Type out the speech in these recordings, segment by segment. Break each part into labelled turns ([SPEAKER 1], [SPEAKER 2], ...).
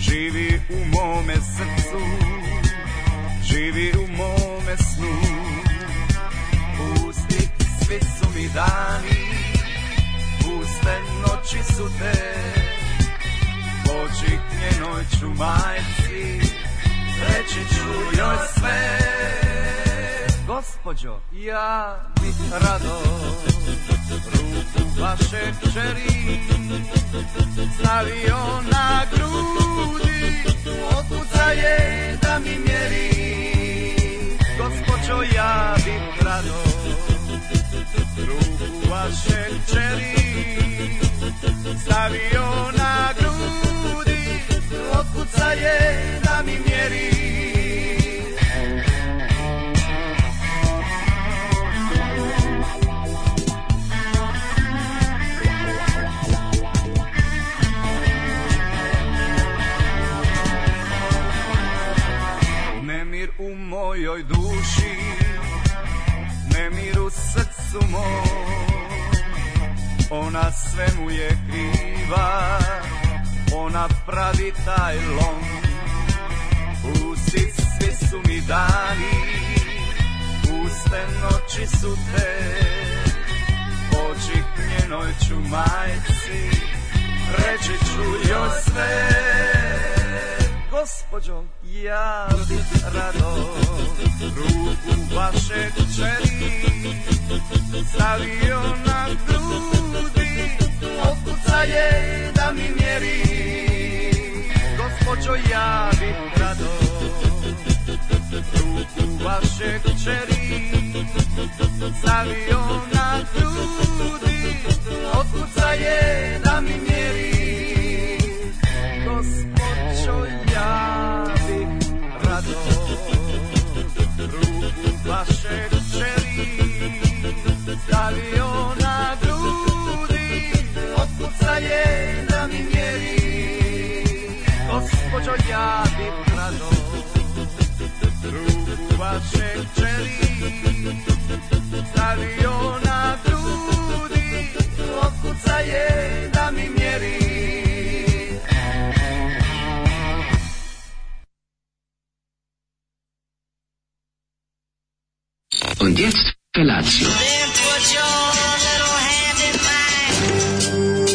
[SPEAKER 1] Živi u mome srcu Živi u mome snu Pusti, svi su mi dani Puste noći su te Oči njenoj ću majci Reći ću joj sve Gospođo, ja bih rado Ruku vaše čeri Stavio na grudi Otkuca je da mi mjeri Gospođo, ja bih rado Ruku vaše čeri Stavio na grudi Otkuca je da mi mjeri Nemir u mojoj duši Nemir u srcu mom Ona sve mu je kriva Ona pravi taj lom Usi svi su mi dani Puste noći su te Oči njenoj ću majci Reći ću joj sve Gospođo, ja bih rado ruku vaše čeri stavio na grudi, otkuca je da mi mjeri. Gospođo, ja bih rado ruku vaše čeri stavio na grudi, otkuca je da mi mjeri. Gospođo, ja bih rado ruku vaše čeri stavio na grudi, otkuca je da mi mjeri. Gospođo, ja bih rado ruku vaše čeri stavio na grudi, otkuca je da mi mjeri.
[SPEAKER 2] Und jetzt Felatio.
[SPEAKER 3] Then put your little hand in mine.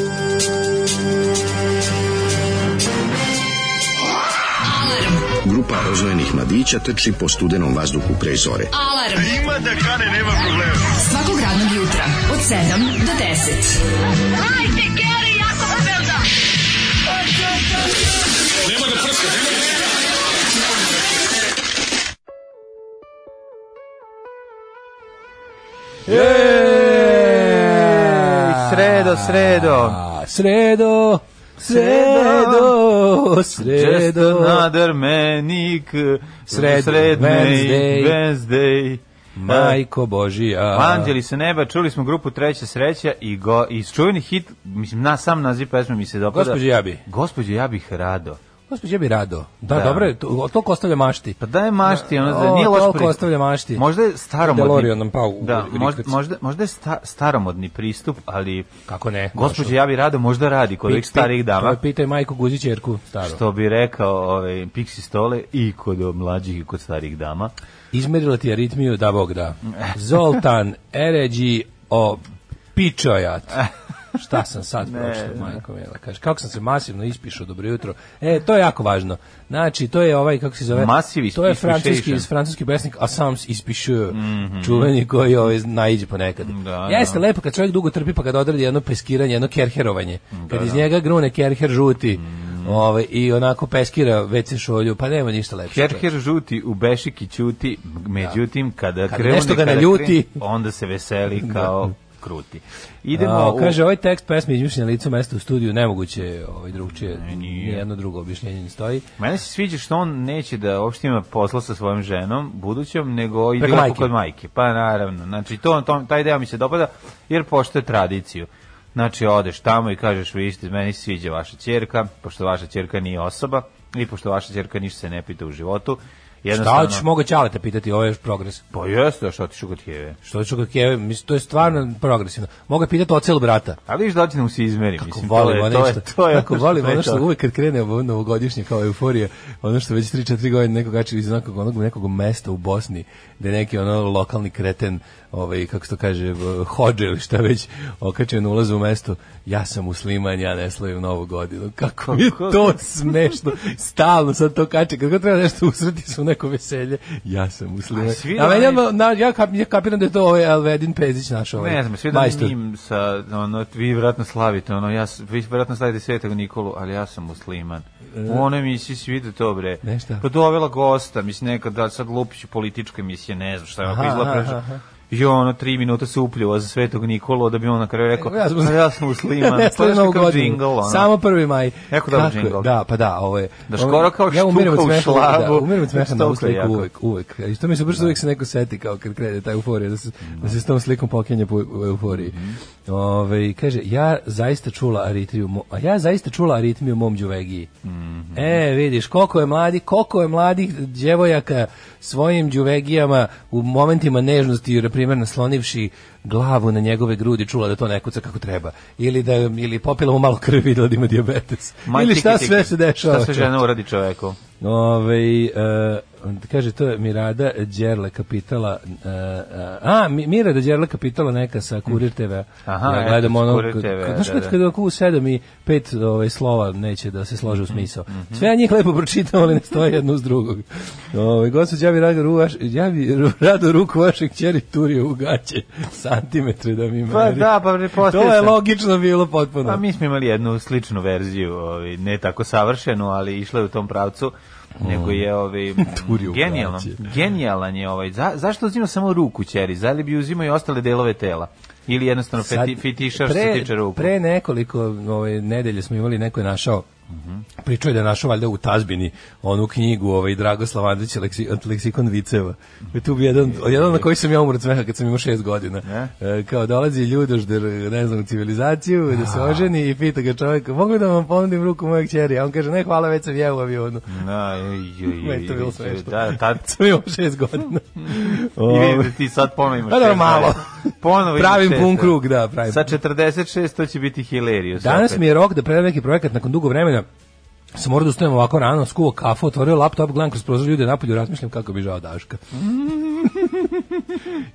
[SPEAKER 4] Grupa rozvojenih mladića trči po studenom vazduhu pre zore.
[SPEAKER 5] Alarm. Ima da kane, nema problema. Svakog radnog jutra, od 7 do 10.
[SPEAKER 3] Hajde, Geri, jako se velda.
[SPEAKER 6] Sredo, sredo.
[SPEAKER 7] A, sredo, sredo,
[SPEAKER 6] Just
[SPEAKER 7] sredo,
[SPEAKER 6] another manic
[SPEAKER 7] Sred-
[SPEAKER 6] Wednesday.
[SPEAKER 7] Wednesday.
[SPEAKER 6] Wednesday.
[SPEAKER 7] majko Božija.
[SPEAKER 6] Anđeli se neba, čuli smo grupu Treća sreća i go, i čuveni hit, mislim, na sam naziv pesme mi se dopada.
[SPEAKER 7] Gospođo, ja bi.
[SPEAKER 6] Gospođo, ja bih rado.
[SPEAKER 7] Gospodje bi rado. Da,
[SPEAKER 6] Da.
[SPEAKER 7] dobro je, to- toliko ostavlja mašti.
[SPEAKER 6] Pa daj mašti, ono,
[SPEAKER 7] O,
[SPEAKER 6] da nije loš
[SPEAKER 7] toliko
[SPEAKER 6] pristup.
[SPEAKER 7] ostavlja mašti.
[SPEAKER 6] Možda je staromodni.
[SPEAKER 7] DeLorean nam pao u
[SPEAKER 6] Da,
[SPEAKER 7] rikverc.
[SPEAKER 6] možda, možda, možda je sta, staromodni pristup, ali...
[SPEAKER 7] Kako ne?
[SPEAKER 6] Gospođo, ja bih rado možda radi kod
[SPEAKER 7] Pit-
[SPEAKER 6] ovih starih
[SPEAKER 7] pit-
[SPEAKER 6] dama.
[SPEAKER 7] to je Pitaj majku Guzić Jerku, staro.
[SPEAKER 6] Što bi rekao ovaj, Pixi Stole i kod mlađih i kod starih dama.
[SPEAKER 7] Izmerila ti aritmiju, da bog da. Zoltan, Eređi, o pičojat. Šta sam sad prošao, majko mila, kaže, kako sam se masivno ispišao, dobro jutro. E, to je jako važno. Znači, to je ovaj, kako se zove,
[SPEAKER 6] Masiv
[SPEAKER 7] to je
[SPEAKER 6] ispišation.
[SPEAKER 7] francuski, francuski pesnik, a sam ispišio, čuveni koji ovaj, naiđe ponekad.
[SPEAKER 6] Mhm. Da,
[SPEAKER 7] Jeste lepo kad čovjek dugo trpi pa kad odradi jedno peskiranje, jedno kerherovanje. kad iz njega grune kerher žuti
[SPEAKER 6] Mhm.
[SPEAKER 7] ovaj, i onako peskira WC šolju, pa nema ništa lepše.
[SPEAKER 6] Kerher žuti u Bešiki ćuti, međutim kada,
[SPEAKER 7] Kada
[SPEAKER 6] krenu
[SPEAKER 7] nešto ga
[SPEAKER 6] nekada
[SPEAKER 7] naljuti.
[SPEAKER 6] krenu, onda se veseli kao kruti. Idemo
[SPEAKER 7] A,
[SPEAKER 6] u...
[SPEAKER 7] kaže, ovaj tekst pesme izmišljen licu mesta u studiju, nemoguće je ovaj, drugčije,
[SPEAKER 6] nije.
[SPEAKER 7] nijedno drugo objašnjenje ne stoji.
[SPEAKER 6] Mene se sviđa što on neće da uopšte ima posla sa svojom ženom budućom, nego ide
[SPEAKER 7] Preko
[SPEAKER 6] lepo
[SPEAKER 7] majke.
[SPEAKER 6] kod majke. Pa naravno, znači to, to, taj deo mi se dopada jer poštuje tradiciju. Znači odeš tamo i kažeš vi ste, meni se sviđa vaša ćerka, pošto vaša ćerka nije osoba i pošto vaša ćerka ništa se ne pita u životu,
[SPEAKER 7] Šta
[SPEAKER 6] Jednostavno,
[SPEAKER 7] hoćeš mogu ćale te pitati, ovo je još progres.
[SPEAKER 6] Pa jeste, a šta ti šukat heve?
[SPEAKER 7] Što ću kod Keve, mislim, to je stvarno progresivno. Mogu ga pitati ocel brata.
[SPEAKER 6] A vidiš da li će nam se izmeri,
[SPEAKER 7] Kako
[SPEAKER 6] mislim, to
[SPEAKER 7] volim
[SPEAKER 6] je,
[SPEAKER 7] ono
[SPEAKER 6] to je,
[SPEAKER 7] što,
[SPEAKER 6] to je,
[SPEAKER 7] kako volim
[SPEAKER 6] to je
[SPEAKER 7] ono što
[SPEAKER 6] to.
[SPEAKER 7] uvek kad krene ovo novogodišnje kao euforija, ono što već 3-4 godine neko gače iz nekog, onog nekog mesta u Bosni, gde neki ono lokalni kreten, ovaj, kako se to kaže, v- hođe ili šta već, okače na ulazu u mesto, ja sam musliman, ja ne slavim novu godinu. Kako mi je
[SPEAKER 6] Kako?
[SPEAKER 7] to smešno, stalno sad to kače, kad god treba nešto usreti su neko veselje, ja sam musliman.
[SPEAKER 6] A svi
[SPEAKER 7] A meni,
[SPEAKER 6] oni-
[SPEAKER 7] ono, na, ja, kap, ja kapiram da je to ovaj Alvedin Pezić naš ovaj,
[SPEAKER 6] Ne znam, svi da
[SPEAKER 7] majstor.
[SPEAKER 6] njim sa, ono, vi vjerojatno slavite, ono, ja, s- vi vjerojatno slavite Svetog Nikolu, ali ja sam musliman.
[SPEAKER 7] E.
[SPEAKER 6] U onoj emisiji si vidio to, bre.
[SPEAKER 7] Ne, šta?
[SPEAKER 6] Pa dovela gosta, mislim, neka da sad lupiću političke emisije, ne znam šta je, ako
[SPEAKER 7] Aha,
[SPEAKER 6] izgleda
[SPEAKER 7] aha,
[SPEAKER 6] preža-
[SPEAKER 7] aha.
[SPEAKER 6] I ono, tri minuta se upljuva za Svetog Nikolu, da bi on na kraju rekao,
[SPEAKER 7] Ja
[SPEAKER 6] ja
[SPEAKER 7] sam
[SPEAKER 6] sam,
[SPEAKER 7] musliman."
[SPEAKER 6] ja sam
[SPEAKER 7] ne
[SPEAKER 6] musliman. to je
[SPEAKER 7] slavim
[SPEAKER 6] nešto
[SPEAKER 7] novu
[SPEAKER 6] kao
[SPEAKER 7] godinu.
[SPEAKER 6] džingl, ono.
[SPEAKER 7] Samo prvi maj.
[SPEAKER 6] Jako dobar
[SPEAKER 7] Kako je?
[SPEAKER 6] džingl.
[SPEAKER 7] Da, pa da, ovo je.
[SPEAKER 6] Da
[SPEAKER 7] ovo je-
[SPEAKER 6] skoro kao
[SPEAKER 7] ja umirem od
[SPEAKER 6] štuka u
[SPEAKER 7] smeha, Da,
[SPEAKER 6] šlabu.
[SPEAKER 7] umirem od smeha na ovu
[SPEAKER 6] Štuka
[SPEAKER 7] sliku
[SPEAKER 6] jako.
[SPEAKER 7] uvek, uvek. I što mi se brzo uvek se neko seti kao kad krene ta euforija, da se, da se s tom slikom pokenje po u euforiji.
[SPEAKER 6] Mhm.
[SPEAKER 7] Ove, kaže, ja zaista čula aritriju, mo- a ja zaista čula aritmiju mom đuvegiji.
[SPEAKER 6] Mhm.
[SPEAKER 7] E, vidiš, koliko je mladi, koliko je mladih djevojaka svojim đuvegijama u momentima nežnosti, na primjer, naslonivši glavu na njegove grudi čula da to ne kuca kako treba ili da ili popila mu malo krvi videla da ima dijabetes
[SPEAKER 6] Ma,
[SPEAKER 7] ili
[SPEAKER 6] tiki,
[SPEAKER 7] šta
[SPEAKER 6] tiki.
[SPEAKER 7] sve se dešava
[SPEAKER 6] Šta sve
[SPEAKER 7] čovječe.
[SPEAKER 6] žena uradi čoveku?
[SPEAKER 7] Ove, e, kaže, to je Mirada Đerle Kapitala, e, e, a, Mi- Mirada Đerle Kapitala neka sa Kurir TV.
[SPEAKER 6] Aha,
[SPEAKER 7] ja gledam
[SPEAKER 6] eto,
[SPEAKER 7] ono,
[SPEAKER 6] Kurir
[SPEAKER 7] kad-
[SPEAKER 6] TV,
[SPEAKER 7] kad- znaš
[SPEAKER 6] da,
[SPEAKER 7] kad,
[SPEAKER 6] da.
[SPEAKER 7] kad ako u sedam i pet ovaj, slova neće da se slože u
[SPEAKER 6] Mhm,
[SPEAKER 7] smisao. Sve ja njih lepo pročitam, ali ne stoje jedno uz drugog. Ove, gospod, ja bi rado, ru, vaš, ja bi ru- rado ruku vašeg ćeri turio u gaće, santimetre da mi meri.
[SPEAKER 6] Pa da, pa
[SPEAKER 7] To
[SPEAKER 6] pretpostavio
[SPEAKER 7] je
[SPEAKER 6] sam.
[SPEAKER 7] logično bilo potpuno.
[SPEAKER 6] Pa mi smo imali jednu sličnu verziju, ovaj, ne tako savršenu, ali išla je u tom pravcu nego je
[SPEAKER 7] Mm.
[SPEAKER 6] ovaj
[SPEAKER 7] Turio
[SPEAKER 6] genijalan
[SPEAKER 7] braće.
[SPEAKER 6] genijalan je ovaj za, zašto uzima samo ruku ćeri za li bi uzimao i ostale delove tela ili jednostavno
[SPEAKER 7] Sad,
[SPEAKER 6] feti, fetišar što se
[SPEAKER 7] pre-
[SPEAKER 6] tiče ruku
[SPEAKER 7] Pre nekoliko ovaj, nedelje smo imali, neko je našao pričao je da je našao valjda u Tazbini onu knjigu ovaj, Dragoslav Andrić leksi, leksikon viceva. I tu bi jedan, jedan na koji sam ja umro od smeha kad sam imao šest godina. E, kao dolazi Ljudoš da ne znam, u civilizaciju, da se oženi i pita ga čovjek, mogu da vam ponudim ruku mojeg čeri? A on kaže, ne, hvala, već sam jeo u avionu.
[SPEAKER 6] na joj, joj,
[SPEAKER 7] Meni je to bilo
[SPEAKER 6] joj,
[SPEAKER 7] smešno.
[SPEAKER 6] da tad
[SPEAKER 7] Sam imao šest godina.
[SPEAKER 6] I vidim
[SPEAKER 7] Ovaj,
[SPEAKER 6] da ti sad ponovo imaš
[SPEAKER 7] Pa dobro,
[SPEAKER 6] šest
[SPEAKER 7] malo.
[SPEAKER 6] godina. Ponovo imaš
[SPEAKER 7] Pravim
[SPEAKER 6] šest
[SPEAKER 7] pun
[SPEAKER 6] godina.
[SPEAKER 7] krug, da, pravim
[SPEAKER 6] Sa 46 to će biti Hilarious.
[SPEAKER 7] Danas
[SPEAKER 6] opet.
[SPEAKER 7] mi je rok da predam neki projekat nakon dugo vremena. Sam morao da ustajem ovako rano, skuvao kafu, otvorio laptop, gledam kroz prozor ljude napolju, razmišljam kako bi žao Daška.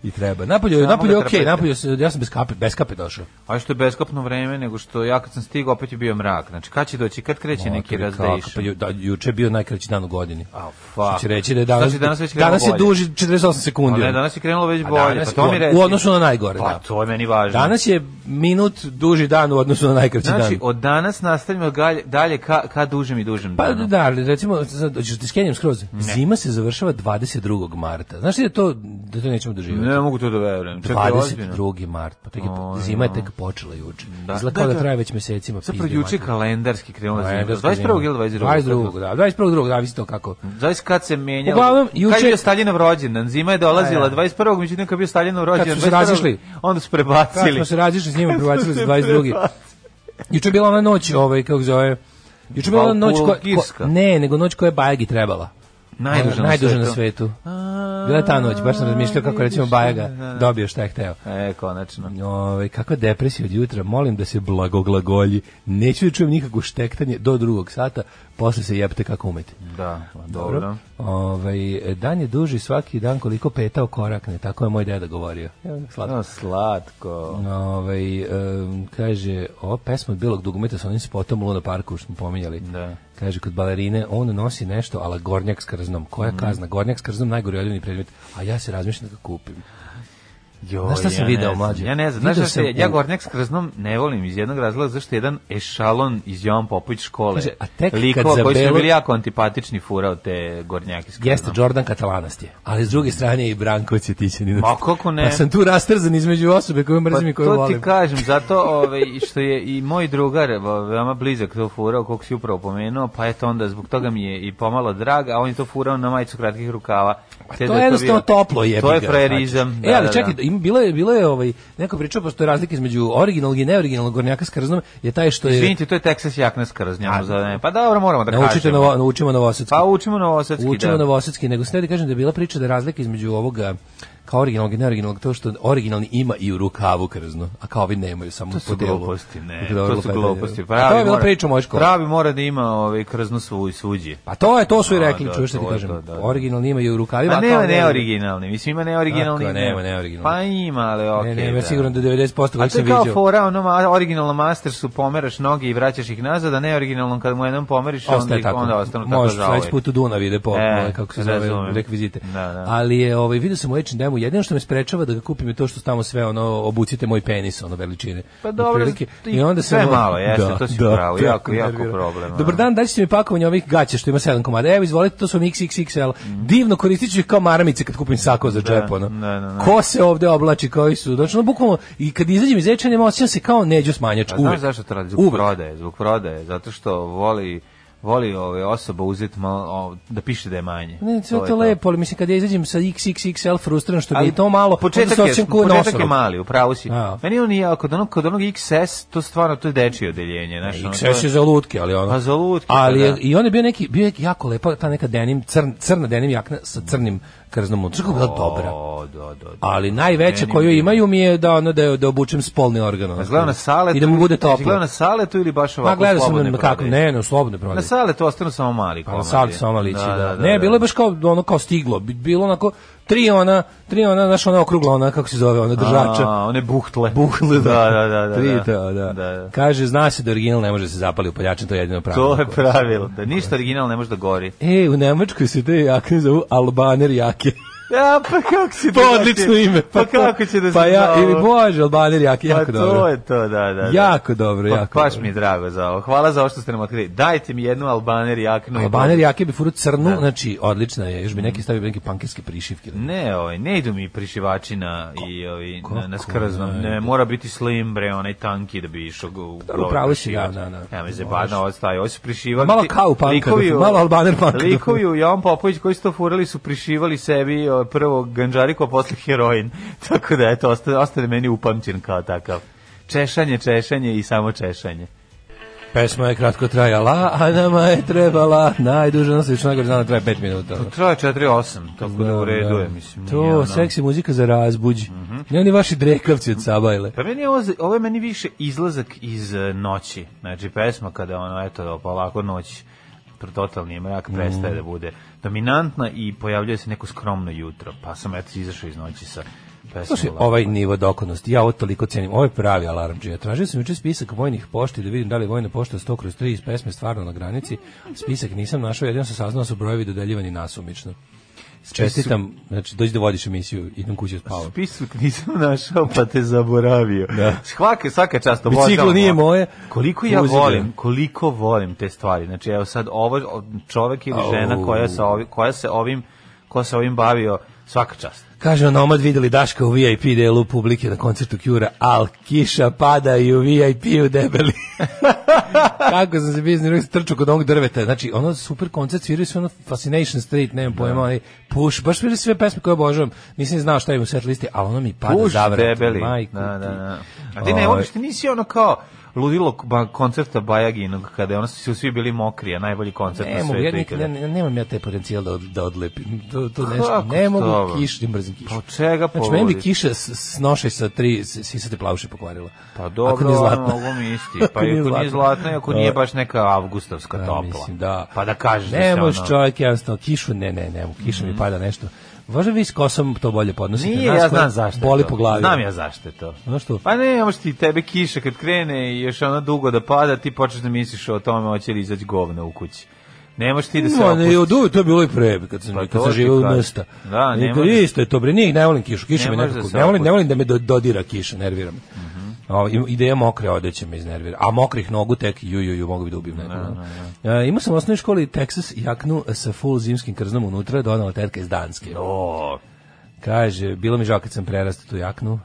[SPEAKER 7] I treba. Napolju,
[SPEAKER 6] Samo
[SPEAKER 7] napolju je
[SPEAKER 6] ga
[SPEAKER 7] okej,
[SPEAKER 6] trpite.
[SPEAKER 7] napolju se, ja sam bez kape, bez kape došao.
[SPEAKER 6] A što je beskopno vreme, nego što ja kad sam stigao opet je bio mrak. Znači kad će doći, kad kreće neki
[SPEAKER 7] Otkud kako,
[SPEAKER 6] razdejš.
[SPEAKER 7] Pa ju, da, juče je bio najkraći dan u godini.
[SPEAKER 6] A, fuck.
[SPEAKER 7] Što će reći da je danas,
[SPEAKER 6] Znači, danas već krenulo
[SPEAKER 7] danas je
[SPEAKER 6] bolje.
[SPEAKER 7] duži 48 sekundi.
[SPEAKER 6] Pa Ne, danas je krenulo već
[SPEAKER 7] A
[SPEAKER 6] bolje.
[SPEAKER 7] danas
[SPEAKER 6] Pa
[SPEAKER 7] je
[SPEAKER 6] to mi
[SPEAKER 7] bolje.
[SPEAKER 6] reci.
[SPEAKER 7] U odnosu na najgore,
[SPEAKER 6] Pa
[SPEAKER 7] da.
[SPEAKER 6] to je meni važno.
[SPEAKER 7] Danas je minut duži dan u odnosu na najkraći dan.
[SPEAKER 6] Znači, od danas nastavimo galje- dalje ka, ka dužem i dužem
[SPEAKER 7] Pa
[SPEAKER 6] danu.
[SPEAKER 7] da, ali recimo, sad, hoćeš da ti skenjam skroz, zima se završava 22. marta. Znaš ti da to, da to nećemo doživjeti?
[SPEAKER 6] Ne mogu to da verujem. Čekaj, ozbiljno.
[SPEAKER 7] 22. mart, pa tek je, zima je tek počela juče. Da.
[SPEAKER 6] Da.
[SPEAKER 7] Izgleda kao
[SPEAKER 6] Da,
[SPEAKER 7] da,
[SPEAKER 6] da.
[SPEAKER 7] traje već mesecima.
[SPEAKER 6] Zapravo
[SPEAKER 7] pizdi
[SPEAKER 6] juče
[SPEAKER 7] mater. Pa,
[SPEAKER 6] kalendarski krenulo zima.
[SPEAKER 7] Kalendarska
[SPEAKER 6] 21.
[SPEAKER 7] zima.
[SPEAKER 6] ili 22.
[SPEAKER 7] 22. da, 21. drugog, da, visi to kako.
[SPEAKER 6] Zavis kad se menjalo.
[SPEAKER 7] Uglavnom,
[SPEAKER 6] Kad
[SPEAKER 7] juče-
[SPEAKER 6] je bio Staljinov rođendan, zima je dolazila
[SPEAKER 7] A, ja.
[SPEAKER 6] 21. međutim kad je bio Staljinov rođendan.
[SPEAKER 7] Kad su se
[SPEAKER 6] 21.,
[SPEAKER 7] razišli.
[SPEAKER 6] Onda su
[SPEAKER 7] Kad
[SPEAKER 6] prebacili.
[SPEAKER 7] smo se različili s njima, prebacili za 22. Juče je bila ona noć, ovaj, kako se zove, Juče je bila ona noć koja,
[SPEAKER 6] Valpurgirska.
[SPEAKER 7] ko, ne, nego noć koja je Bajagi trebala.
[SPEAKER 6] Najduža
[SPEAKER 7] Ona-
[SPEAKER 6] na
[SPEAKER 7] najduža na
[SPEAKER 6] svetu.
[SPEAKER 7] svetu. Bila je ta noć, baš sam razmišljao kako recimo Bajaga dobio šta je hteo.
[SPEAKER 6] E, konačno.
[SPEAKER 7] Ove, kakva depresija od jutra, molim da se blagoglagolji. Neću da čujem nikakvo štektanje do drugog sata, posle se jebte kako umete.
[SPEAKER 6] Da, pa dobro.
[SPEAKER 7] Ove, dan je duži svaki dan koliko petao korakne, tako je moj deda govorio. Ja, Slatko.
[SPEAKER 6] No, slatko.
[SPEAKER 7] Ove, em, kaže, o, pesma od bilog dugmeta sa onim spotom u Luna Parku, što smo pominjali.
[SPEAKER 6] Da.
[SPEAKER 7] Kaže, kod balerine, on nosi nešto, ali gornjak s krznom. Koja
[SPEAKER 6] Mhm.
[SPEAKER 7] kazna? Gornjak s krznom, najgori odljivni predmet. A ja se razmišljam da ga kupim.
[SPEAKER 6] Jo,
[SPEAKER 7] Znaš šta sam video,
[SPEAKER 6] ne znam,
[SPEAKER 7] mlađe?
[SPEAKER 6] Ja ne znam,
[SPEAKER 7] Video
[SPEAKER 6] znaš šta se,
[SPEAKER 7] sam u-
[SPEAKER 6] ja Gornjak s krznom ne volim iz jednog razloga, zašto je jedan ešalon iz Jovan Popović škole.
[SPEAKER 7] Kaže, a tek kad
[SPEAKER 6] likova koji
[SPEAKER 7] zabelo-
[SPEAKER 6] su bili jako antipatični furao te Gornjake s krznom.
[SPEAKER 7] Jeste, Jordan Katalanast je. Ali s druge strane je i Branko Cjetićanin.
[SPEAKER 6] Ma, kako ne?
[SPEAKER 7] Pa sam tu rastrzan između osobe koju mrzim i
[SPEAKER 6] Pa
[SPEAKER 7] koju
[SPEAKER 6] to
[SPEAKER 7] volim.
[SPEAKER 6] ti kažem, zato ovaj, što je i moj drugar o, veoma blizak to furao, kog si upravo pomenuo, pa eto onda zbog toga mi je i pomalo drag, a on je to furao na majicu kratkih rukava. Te da
[SPEAKER 7] Pa to je jednostavno
[SPEAKER 6] bio-
[SPEAKER 7] toplo je.
[SPEAKER 6] To je frajerizam.
[SPEAKER 7] e, ali čekaj, ima bilo je bilo je ovaj neko pričao postoje razlika između originalnog i neoriginalnog gornjaka s krznom je taj što je
[SPEAKER 6] Izvinite, to je Texas jakna s krznjama za ne. Pa dobro, moramo da
[SPEAKER 7] naučite
[SPEAKER 6] kažemo.
[SPEAKER 7] novo, naučimo novosadski.
[SPEAKER 6] Pa učimo novosadski,
[SPEAKER 7] Učimo
[SPEAKER 6] da.
[SPEAKER 7] novosadski, nego ste da kažem da je bila priča da je razlika između ovoga kao originalnog i neoriginalnog, to što originalni ima i u rukavu krzno, a kao ovi nemaju samo
[SPEAKER 6] To su
[SPEAKER 7] po delu.
[SPEAKER 6] gluposti, ne.
[SPEAKER 7] Dobro,
[SPEAKER 6] To su
[SPEAKER 7] lupetanje.
[SPEAKER 6] gluposti.
[SPEAKER 7] pa A to
[SPEAKER 6] Pravi
[SPEAKER 7] je bila
[SPEAKER 6] mora-
[SPEAKER 7] priča u mojoj školi.
[SPEAKER 6] Pravi mora da ima ovaj krzno svu, svuđi.
[SPEAKER 7] Pa to je, to su i
[SPEAKER 6] A,
[SPEAKER 7] rekli,
[SPEAKER 6] da,
[SPEAKER 7] čuješ što ti
[SPEAKER 6] to je
[SPEAKER 7] kažem.
[SPEAKER 6] to, da, da.
[SPEAKER 7] Originalni ima i u rukavima.
[SPEAKER 6] Pa
[SPEAKER 7] kao
[SPEAKER 6] nema
[SPEAKER 7] neoriginalni.
[SPEAKER 6] neoriginalni, mislim ima neoriginalni.
[SPEAKER 7] Tako je,
[SPEAKER 6] i
[SPEAKER 7] nema
[SPEAKER 6] ne-
[SPEAKER 7] neoriginalni.
[SPEAKER 6] Pa ima, ali okej.
[SPEAKER 7] Ne, ne,
[SPEAKER 6] da.
[SPEAKER 7] ja sigurno da 90%
[SPEAKER 6] A
[SPEAKER 7] kojeg
[SPEAKER 6] to
[SPEAKER 7] sam
[SPEAKER 6] je kao
[SPEAKER 7] vidio.
[SPEAKER 6] fora, ono ma- originalno master su pomeraš noge i vraćaš ih nazad, a neoriginalno kad mu jednom pomeriš, onda,
[SPEAKER 7] Ostaje
[SPEAKER 6] ih-
[SPEAKER 7] tako.
[SPEAKER 6] onda ostanu tako ovaj.
[SPEAKER 7] Možeš
[SPEAKER 6] žalovi.
[SPEAKER 7] sledeći put u Dunav ide po,
[SPEAKER 6] E,
[SPEAKER 7] ovaj, kako se zove,
[SPEAKER 6] razumem.
[SPEAKER 7] rekvizite.
[SPEAKER 6] Da, da.
[SPEAKER 7] Ali je, ovaj, vidio sam u H&M-u, jedino što me sprečava da ga kupim je to što tamo sve, ono, obucite moj penis, ono, veličine.
[SPEAKER 6] Pa dobro,
[SPEAKER 7] Otprilike.
[SPEAKER 6] i sve
[SPEAKER 7] ono-
[SPEAKER 6] je malo, jeste, to si u pravu, jako, jako
[SPEAKER 7] nervira.
[SPEAKER 6] problem, a.
[SPEAKER 7] Dobar dan, daći mi pakovanje ovih gaća što ima 7 komada. Evo, izvolite, to su mi XXXL. Divno koristit ću ih kao maramice kad kupim sako za džep, ono.
[SPEAKER 6] da, da, da.
[SPEAKER 7] Ko se ovde oblači, koji su, znači, ono, bukvalno, i kad izađem iz H&M, osjećam se kao neđo smanjač,
[SPEAKER 6] A
[SPEAKER 7] uvek.
[SPEAKER 6] znaš zašto to radi? Zbog
[SPEAKER 7] Uvek.
[SPEAKER 6] prodaje, zbog prodaje, zato što voli voli ove osoba uzeti malo o, da piše da je manje.
[SPEAKER 7] Ne, sve
[SPEAKER 6] je
[SPEAKER 7] to lepo, ali mislim kad ja izađem sa XXXL frustriran što mi je
[SPEAKER 6] Ali
[SPEAKER 7] to malo,
[SPEAKER 6] početak
[SPEAKER 7] onda se
[SPEAKER 6] je,
[SPEAKER 7] osjećam kao
[SPEAKER 6] početak
[SPEAKER 7] nosorob.
[SPEAKER 6] je mali, upravo si.
[SPEAKER 7] A.
[SPEAKER 6] Meni on je, kod onog, ono, kod onog XS, to stvarno, to je dečije odeljenje. Znaš, ono, to je-
[SPEAKER 7] XS je za lutke, ali ono.
[SPEAKER 6] Pa za lutke,
[SPEAKER 7] Ali
[SPEAKER 6] pa
[SPEAKER 7] je,
[SPEAKER 6] da.
[SPEAKER 7] i on je bio neki, bio je jako lepa ta neka denim, crn, crna denim jakna sa crnim krznom unutra, kako je bila dobra.
[SPEAKER 6] O, da, da, da.
[SPEAKER 7] Ali najveća
[SPEAKER 6] Denim
[SPEAKER 7] koju
[SPEAKER 6] je- Pa
[SPEAKER 7] imaju mi je da ono da, je- da obučem spolni organ. Ono,
[SPEAKER 6] Gledao na sale
[SPEAKER 7] I da mu bude
[SPEAKER 6] Gledao
[SPEAKER 7] toplo.
[SPEAKER 6] na sale tu ili baš ovako
[SPEAKER 7] Ma gledao sam
[SPEAKER 6] slobodne
[SPEAKER 7] na kako,
[SPEAKER 6] prodaje?
[SPEAKER 7] ne, ne, u slobodnoj prodaji.
[SPEAKER 6] Na sale tu ostanu samo mali
[SPEAKER 7] Pa
[SPEAKER 6] komadi.
[SPEAKER 7] na sali sa malići, da, Ne, bilo je baš kao ono kao stiglo, bi- bilo onako tri ona, tri ona, znaš, ona okrugla, ona kako se zove, ona držača.
[SPEAKER 6] A, one buhtle.
[SPEAKER 7] Buhle,
[SPEAKER 6] da, da, da. da,
[SPEAKER 7] Tri,
[SPEAKER 6] da.
[SPEAKER 7] da, da.
[SPEAKER 6] da.
[SPEAKER 7] Kaže, zna se da original ne može da se zapali u poljačin, to je jedino pravilo.
[SPEAKER 6] To je pravilo. Da ništa original ne može da gori.
[SPEAKER 7] E, u Nemačkoj se te jakne zovu Albaner jake.
[SPEAKER 6] Ja, pa kako si
[SPEAKER 7] Pa odlično ime.
[SPEAKER 6] Pa, kako će da se
[SPEAKER 7] Pa ja,
[SPEAKER 6] zove?
[SPEAKER 7] ili bože, Albaner jake,
[SPEAKER 6] Pa
[SPEAKER 7] jako dobro.
[SPEAKER 6] to je to, da, da. da.
[SPEAKER 7] Jako dobro,
[SPEAKER 6] Pa,
[SPEAKER 7] jako
[SPEAKER 6] baš
[SPEAKER 7] dobro.
[SPEAKER 6] mi je drago za ovo. Hvala za ovo što ste nam otkrili. Dajte mi jednu albaner jaknu.
[SPEAKER 7] Albaner jake bi furu crnu,
[SPEAKER 6] Da. Mhm.
[SPEAKER 7] znači odlična je, još bi neki stavio neke pankerske prišivke.
[SPEAKER 6] Ne, ovaj, ne idu mi prišivači na, i, ovi, na, na
[SPEAKER 7] kako
[SPEAKER 6] skrznom.
[SPEAKER 7] ne
[SPEAKER 6] Ne, mora biti slim, bre, onaj tanki da bi išao go,
[SPEAKER 7] Dobro, pravo si, da, da, da. Pa
[SPEAKER 6] Ja me zebadno ostaje. Ovo su prišivali.
[SPEAKER 7] Malo
[SPEAKER 6] ti-
[SPEAKER 7] kao panka,
[SPEAKER 6] likovi u-
[SPEAKER 7] malo Albaner panka.
[SPEAKER 6] Likovi u Jovan Popović koji su to furali su prišivali sebi o, prvo ganđariku, a posle heroin. Tako da, eto, ostane, ostane meni upamćen kao takav. Češanje, češanje i samo češanje.
[SPEAKER 7] Pesma je kratko trajala, a nama je trebala najduža noslična godina, traje 5 minuta.
[SPEAKER 6] Traje 4-8, tako da u redu je,
[SPEAKER 7] Da.
[SPEAKER 6] mislim.
[SPEAKER 7] To,
[SPEAKER 6] nije ono- Mhm.
[SPEAKER 7] seksi muzika za razbuđ. Ne oni vaši drekavci od Sabajle.
[SPEAKER 6] Pa meni je ovo, ovo je meni više izlazak iz e, noći. Znači, pesma kada ono, eto, polako noć, pr- totalni je mrak,
[SPEAKER 7] Mhm.
[SPEAKER 6] prestaje da bude dominantna i pojavljuje se neko skromno jutro. Pa sam, eto, izašao iz noći sa pesmom.
[SPEAKER 7] Slušaj,
[SPEAKER 6] Lako.
[SPEAKER 7] ovaj nivo dokonosti, ja ovo toliko cenim. Ovo je pravi alarm džija. Tražio sam juče spisak vojnih pošti da vidim da li je vojna pošta 100 kroz 3 iz pesme stvarno na granici. Spisak nisam našao, jedino sam saznao da su brojevi dodeljivani nasumično. Čestitam, znači dođi da vodiš emisiju, idem kući spavam.
[SPEAKER 6] Spisak nisam našao, pa te zaboravio. Da. Svaka, svaka čast obožavam
[SPEAKER 7] Biciklo
[SPEAKER 6] ovo.
[SPEAKER 7] nije moje.
[SPEAKER 6] Koliko ja
[SPEAKER 7] Uzi ga.
[SPEAKER 6] volim, koliko volim te stvari. Znači, evo sad, ovo, o- čovek ili žena
[SPEAKER 7] Au.
[SPEAKER 6] koja, sa ovi, koja se ovim, ko se ovim bavio, svaka čast.
[SPEAKER 7] Kaže Nomad videli Daška u VIP delu publike na koncertu Kjura, al kiša pada i u VIP u debeli. Kako sam se bio iznervirao, sam trčao kod ovog drveta. Znači, ono super koncert, sviraju su ono Fascination Street, nemam pojma, onaj Push, baš sviraju sve pesme koje obožavam. Nisam ni znao šta je u set listi, ali ono mi pada
[SPEAKER 6] Puš
[SPEAKER 7] zavrat.
[SPEAKER 6] debeli.
[SPEAKER 7] Majku
[SPEAKER 6] Pa da, da,
[SPEAKER 7] ti.
[SPEAKER 6] da. A ti ne
[SPEAKER 7] Ovaj.
[SPEAKER 6] voliš, ti nisi ono kao ludilo k- ba- koncerta Bajaginog, kada je ono su svi bili mokri, a najbolji koncert
[SPEAKER 7] Ne
[SPEAKER 6] na
[SPEAKER 7] mogu,
[SPEAKER 6] svetu
[SPEAKER 7] ja nikad,
[SPEAKER 6] ikada.
[SPEAKER 7] ne, ne- nemam ja taj potencijal da, od, da odlepim. To, to nešto,
[SPEAKER 6] Kako
[SPEAKER 7] ne mogu
[SPEAKER 6] to?
[SPEAKER 7] kiš, ne mrzim kišu.
[SPEAKER 6] Pa od čega
[SPEAKER 7] Znači, meni bi
[SPEAKER 6] poludiš?
[SPEAKER 7] kiša s, snoše sa tri s- sisate plavuše pokvarila.
[SPEAKER 6] Pa
[SPEAKER 7] Ako
[SPEAKER 6] dobro,
[SPEAKER 7] nije
[SPEAKER 6] ono,
[SPEAKER 7] zlatna.
[SPEAKER 6] mogu mi isti. Pa
[SPEAKER 7] Ako
[SPEAKER 6] i
[SPEAKER 7] nije
[SPEAKER 6] ako nije
[SPEAKER 7] zlatna.
[SPEAKER 6] zlatna, i ako nije
[SPEAKER 7] Da.
[SPEAKER 6] baš neka avgustovska
[SPEAKER 7] Da,
[SPEAKER 6] topla.
[SPEAKER 7] Mislim, da.
[SPEAKER 6] Pa da kažeš da
[SPEAKER 7] ne
[SPEAKER 6] se
[SPEAKER 7] možeš
[SPEAKER 6] ono... Mhm.
[SPEAKER 7] čovjek jednostavno kišu, ne, ne, ne, u kišu mi pada nešto. Važno vi s kosom to bolje podnosite.
[SPEAKER 6] Nije,
[SPEAKER 7] Nas
[SPEAKER 6] ja
[SPEAKER 7] koje
[SPEAKER 6] znam zašto. je
[SPEAKER 7] Boli
[SPEAKER 6] to.
[SPEAKER 7] po glavi.
[SPEAKER 6] Znam ja zašto je to.
[SPEAKER 7] Znaš što?
[SPEAKER 6] Pa ne, možeš ti tebe kiša kad krene i još ona dugo da pada, ti počneš da misliš o tome hoće li izaći govna u kući. Ne možeš ti da se
[SPEAKER 7] Ma, ne,
[SPEAKER 6] opustiš.
[SPEAKER 7] i od uvek, to je bilo i pre, kad sam,
[SPEAKER 6] Pa to
[SPEAKER 7] kad sam
[SPEAKER 6] ti
[SPEAKER 7] živio u
[SPEAKER 6] kažem.
[SPEAKER 7] mesta.
[SPEAKER 6] Da, ne
[SPEAKER 7] I
[SPEAKER 6] možeš.
[SPEAKER 7] Isto je to, bre, nije, ne volim kišu, kiša
[SPEAKER 6] Ne
[SPEAKER 7] me
[SPEAKER 6] možeš
[SPEAKER 7] nekako,
[SPEAKER 6] da se Mhm.
[SPEAKER 7] ne volim,
[SPEAKER 6] opustiš.
[SPEAKER 7] ne volim da me do- dodira kiša, nervira me. O, i- ideja mokre odeće me iznervira, a mokrih nogu tek, ju, ju, ju, mogu bi da ubijem nekog. E, imao sam u osnovnoj školi Texas jaknu sa full zimskim krznom unutra, donala tetka iz Danske.
[SPEAKER 6] O,
[SPEAKER 7] Kaže, bilo mi žao kad sam prerastao tu jaknu.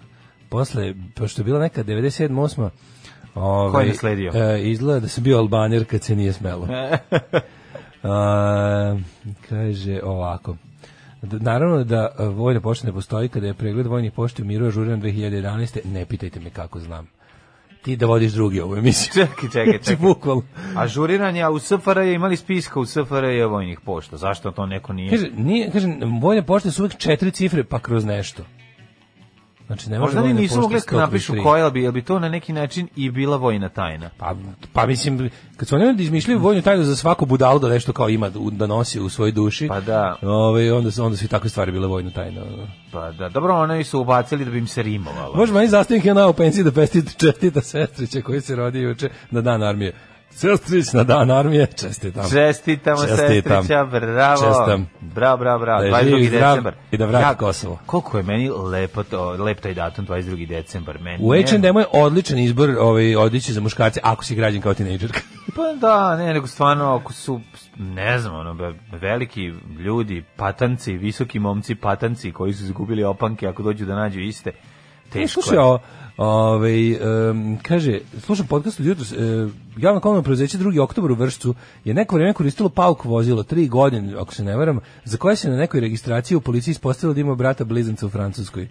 [SPEAKER 7] Posle, pošto je bila neka 97. 8. Ovaj,
[SPEAKER 6] Ko je nasledio?
[SPEAKER 7] E, izgleda da sam bio albanjer kad se nije smelo. A, kaže ovako. D- Naravno da e, vojna pošta ne postoji kada je pregled vojnih pošta u miru ažuriran 2011. Ne pitajte me kako znam. Ti da vodiš drugi ovu emisiju.
[SPEAKER 6] Čekaj, čekaj,
[SPEAKER 7] Znači,
[SPEAKER 6] čekaj.
[SPEAKER 7] bukvalno.
[SPEAKER 6] Ažuriran je, a u SFRJ je imali spiska u SFRJ vojnih pošta. Zašto to neko nije?
[SPEAKER 7] Kaže, nije, kaže, vojne pošte su uvek četiri cifre pa kroz nešto. Znači, ne može
[SPEAKER 6] Možda ni
[SPEAKER 7] vojna
[SPEAKER 6] nisu
[SPEAKER 7] pošta
[SPEAKER 6] mogli da
[SPEAKER 7] 133.
[SPEAKER 6] napišu koja, ali bi, jel bi to na neki način i bila vojna tajna.
[SPEAKER 7] Pa, pa mislim, kad su oni onda izmišljaju vojnu tajnu za svaku budalu da nešto kao ima u- da nosi u svojoj duši,
[SPEAKER 6] Pa da.
[SPEAKER 7] ovaj, onda, su, onda su i takve stvari bile vojna tajna. ono.
[SPEAKER 6] Pa da, dobro, oni su ubacili da bi im se rimovalo.
[SPEAKER 7] Može meni zastavim kanal u pensiji da pestite čestita sestrića koji se rodi juče na dan armije. Sestrić na dan armije, čestitam.
[SPEAKER 6] Čestitamo
[SPEAKER 7] Čestitam.
[SPEAKER 6] sestrića, bravo.
[SPEAKER 7] Čestam.
[SPEAKER 6] Bravo, bravo, bravo.
[SPEAKER 7] Da je
[SPEAKER 6] 22.
[SPEAKER 7] živ i zdrav
[SPEAKER 6] decembar.
[SPEAKER 7] i da vrati
[SPEAKER 6] Ja,
[SPEAKER 7] Kosovo.
[SPEAKER 6] Koliko je meni lepo to, lep taj datum 22. decembar. Meni
[SPEAKER 7] U
[SPEAKER 6] je-
[SPEAKER 7] H&M-u je odličan izbor ovaj, odliči za muškarce ako si građan kao tinejdžerka.
[SPEAKER 6] Pa da, ne, nego stvarno, ako su, ne znam, ono, be- veliki ljudi, patanci, visoki momci, patanci koji su izgubili opanke, ako dođu da nađu iste, teško
[SPEAKER 7] E, Slušaj,
[SPEAKER 6] je.
[SPEAKER 7] o, ovaj, em, kaže, slušam podcast od jutros, e, javno komunalno preuzeće 2. oktober u Vršcu je neko vreme koristilo pauk vozilo, tri godine, ako se ne varam, za koje se na nekoj registraciji u policiji ispostavilo da ima brata blizanca u Francuskoj.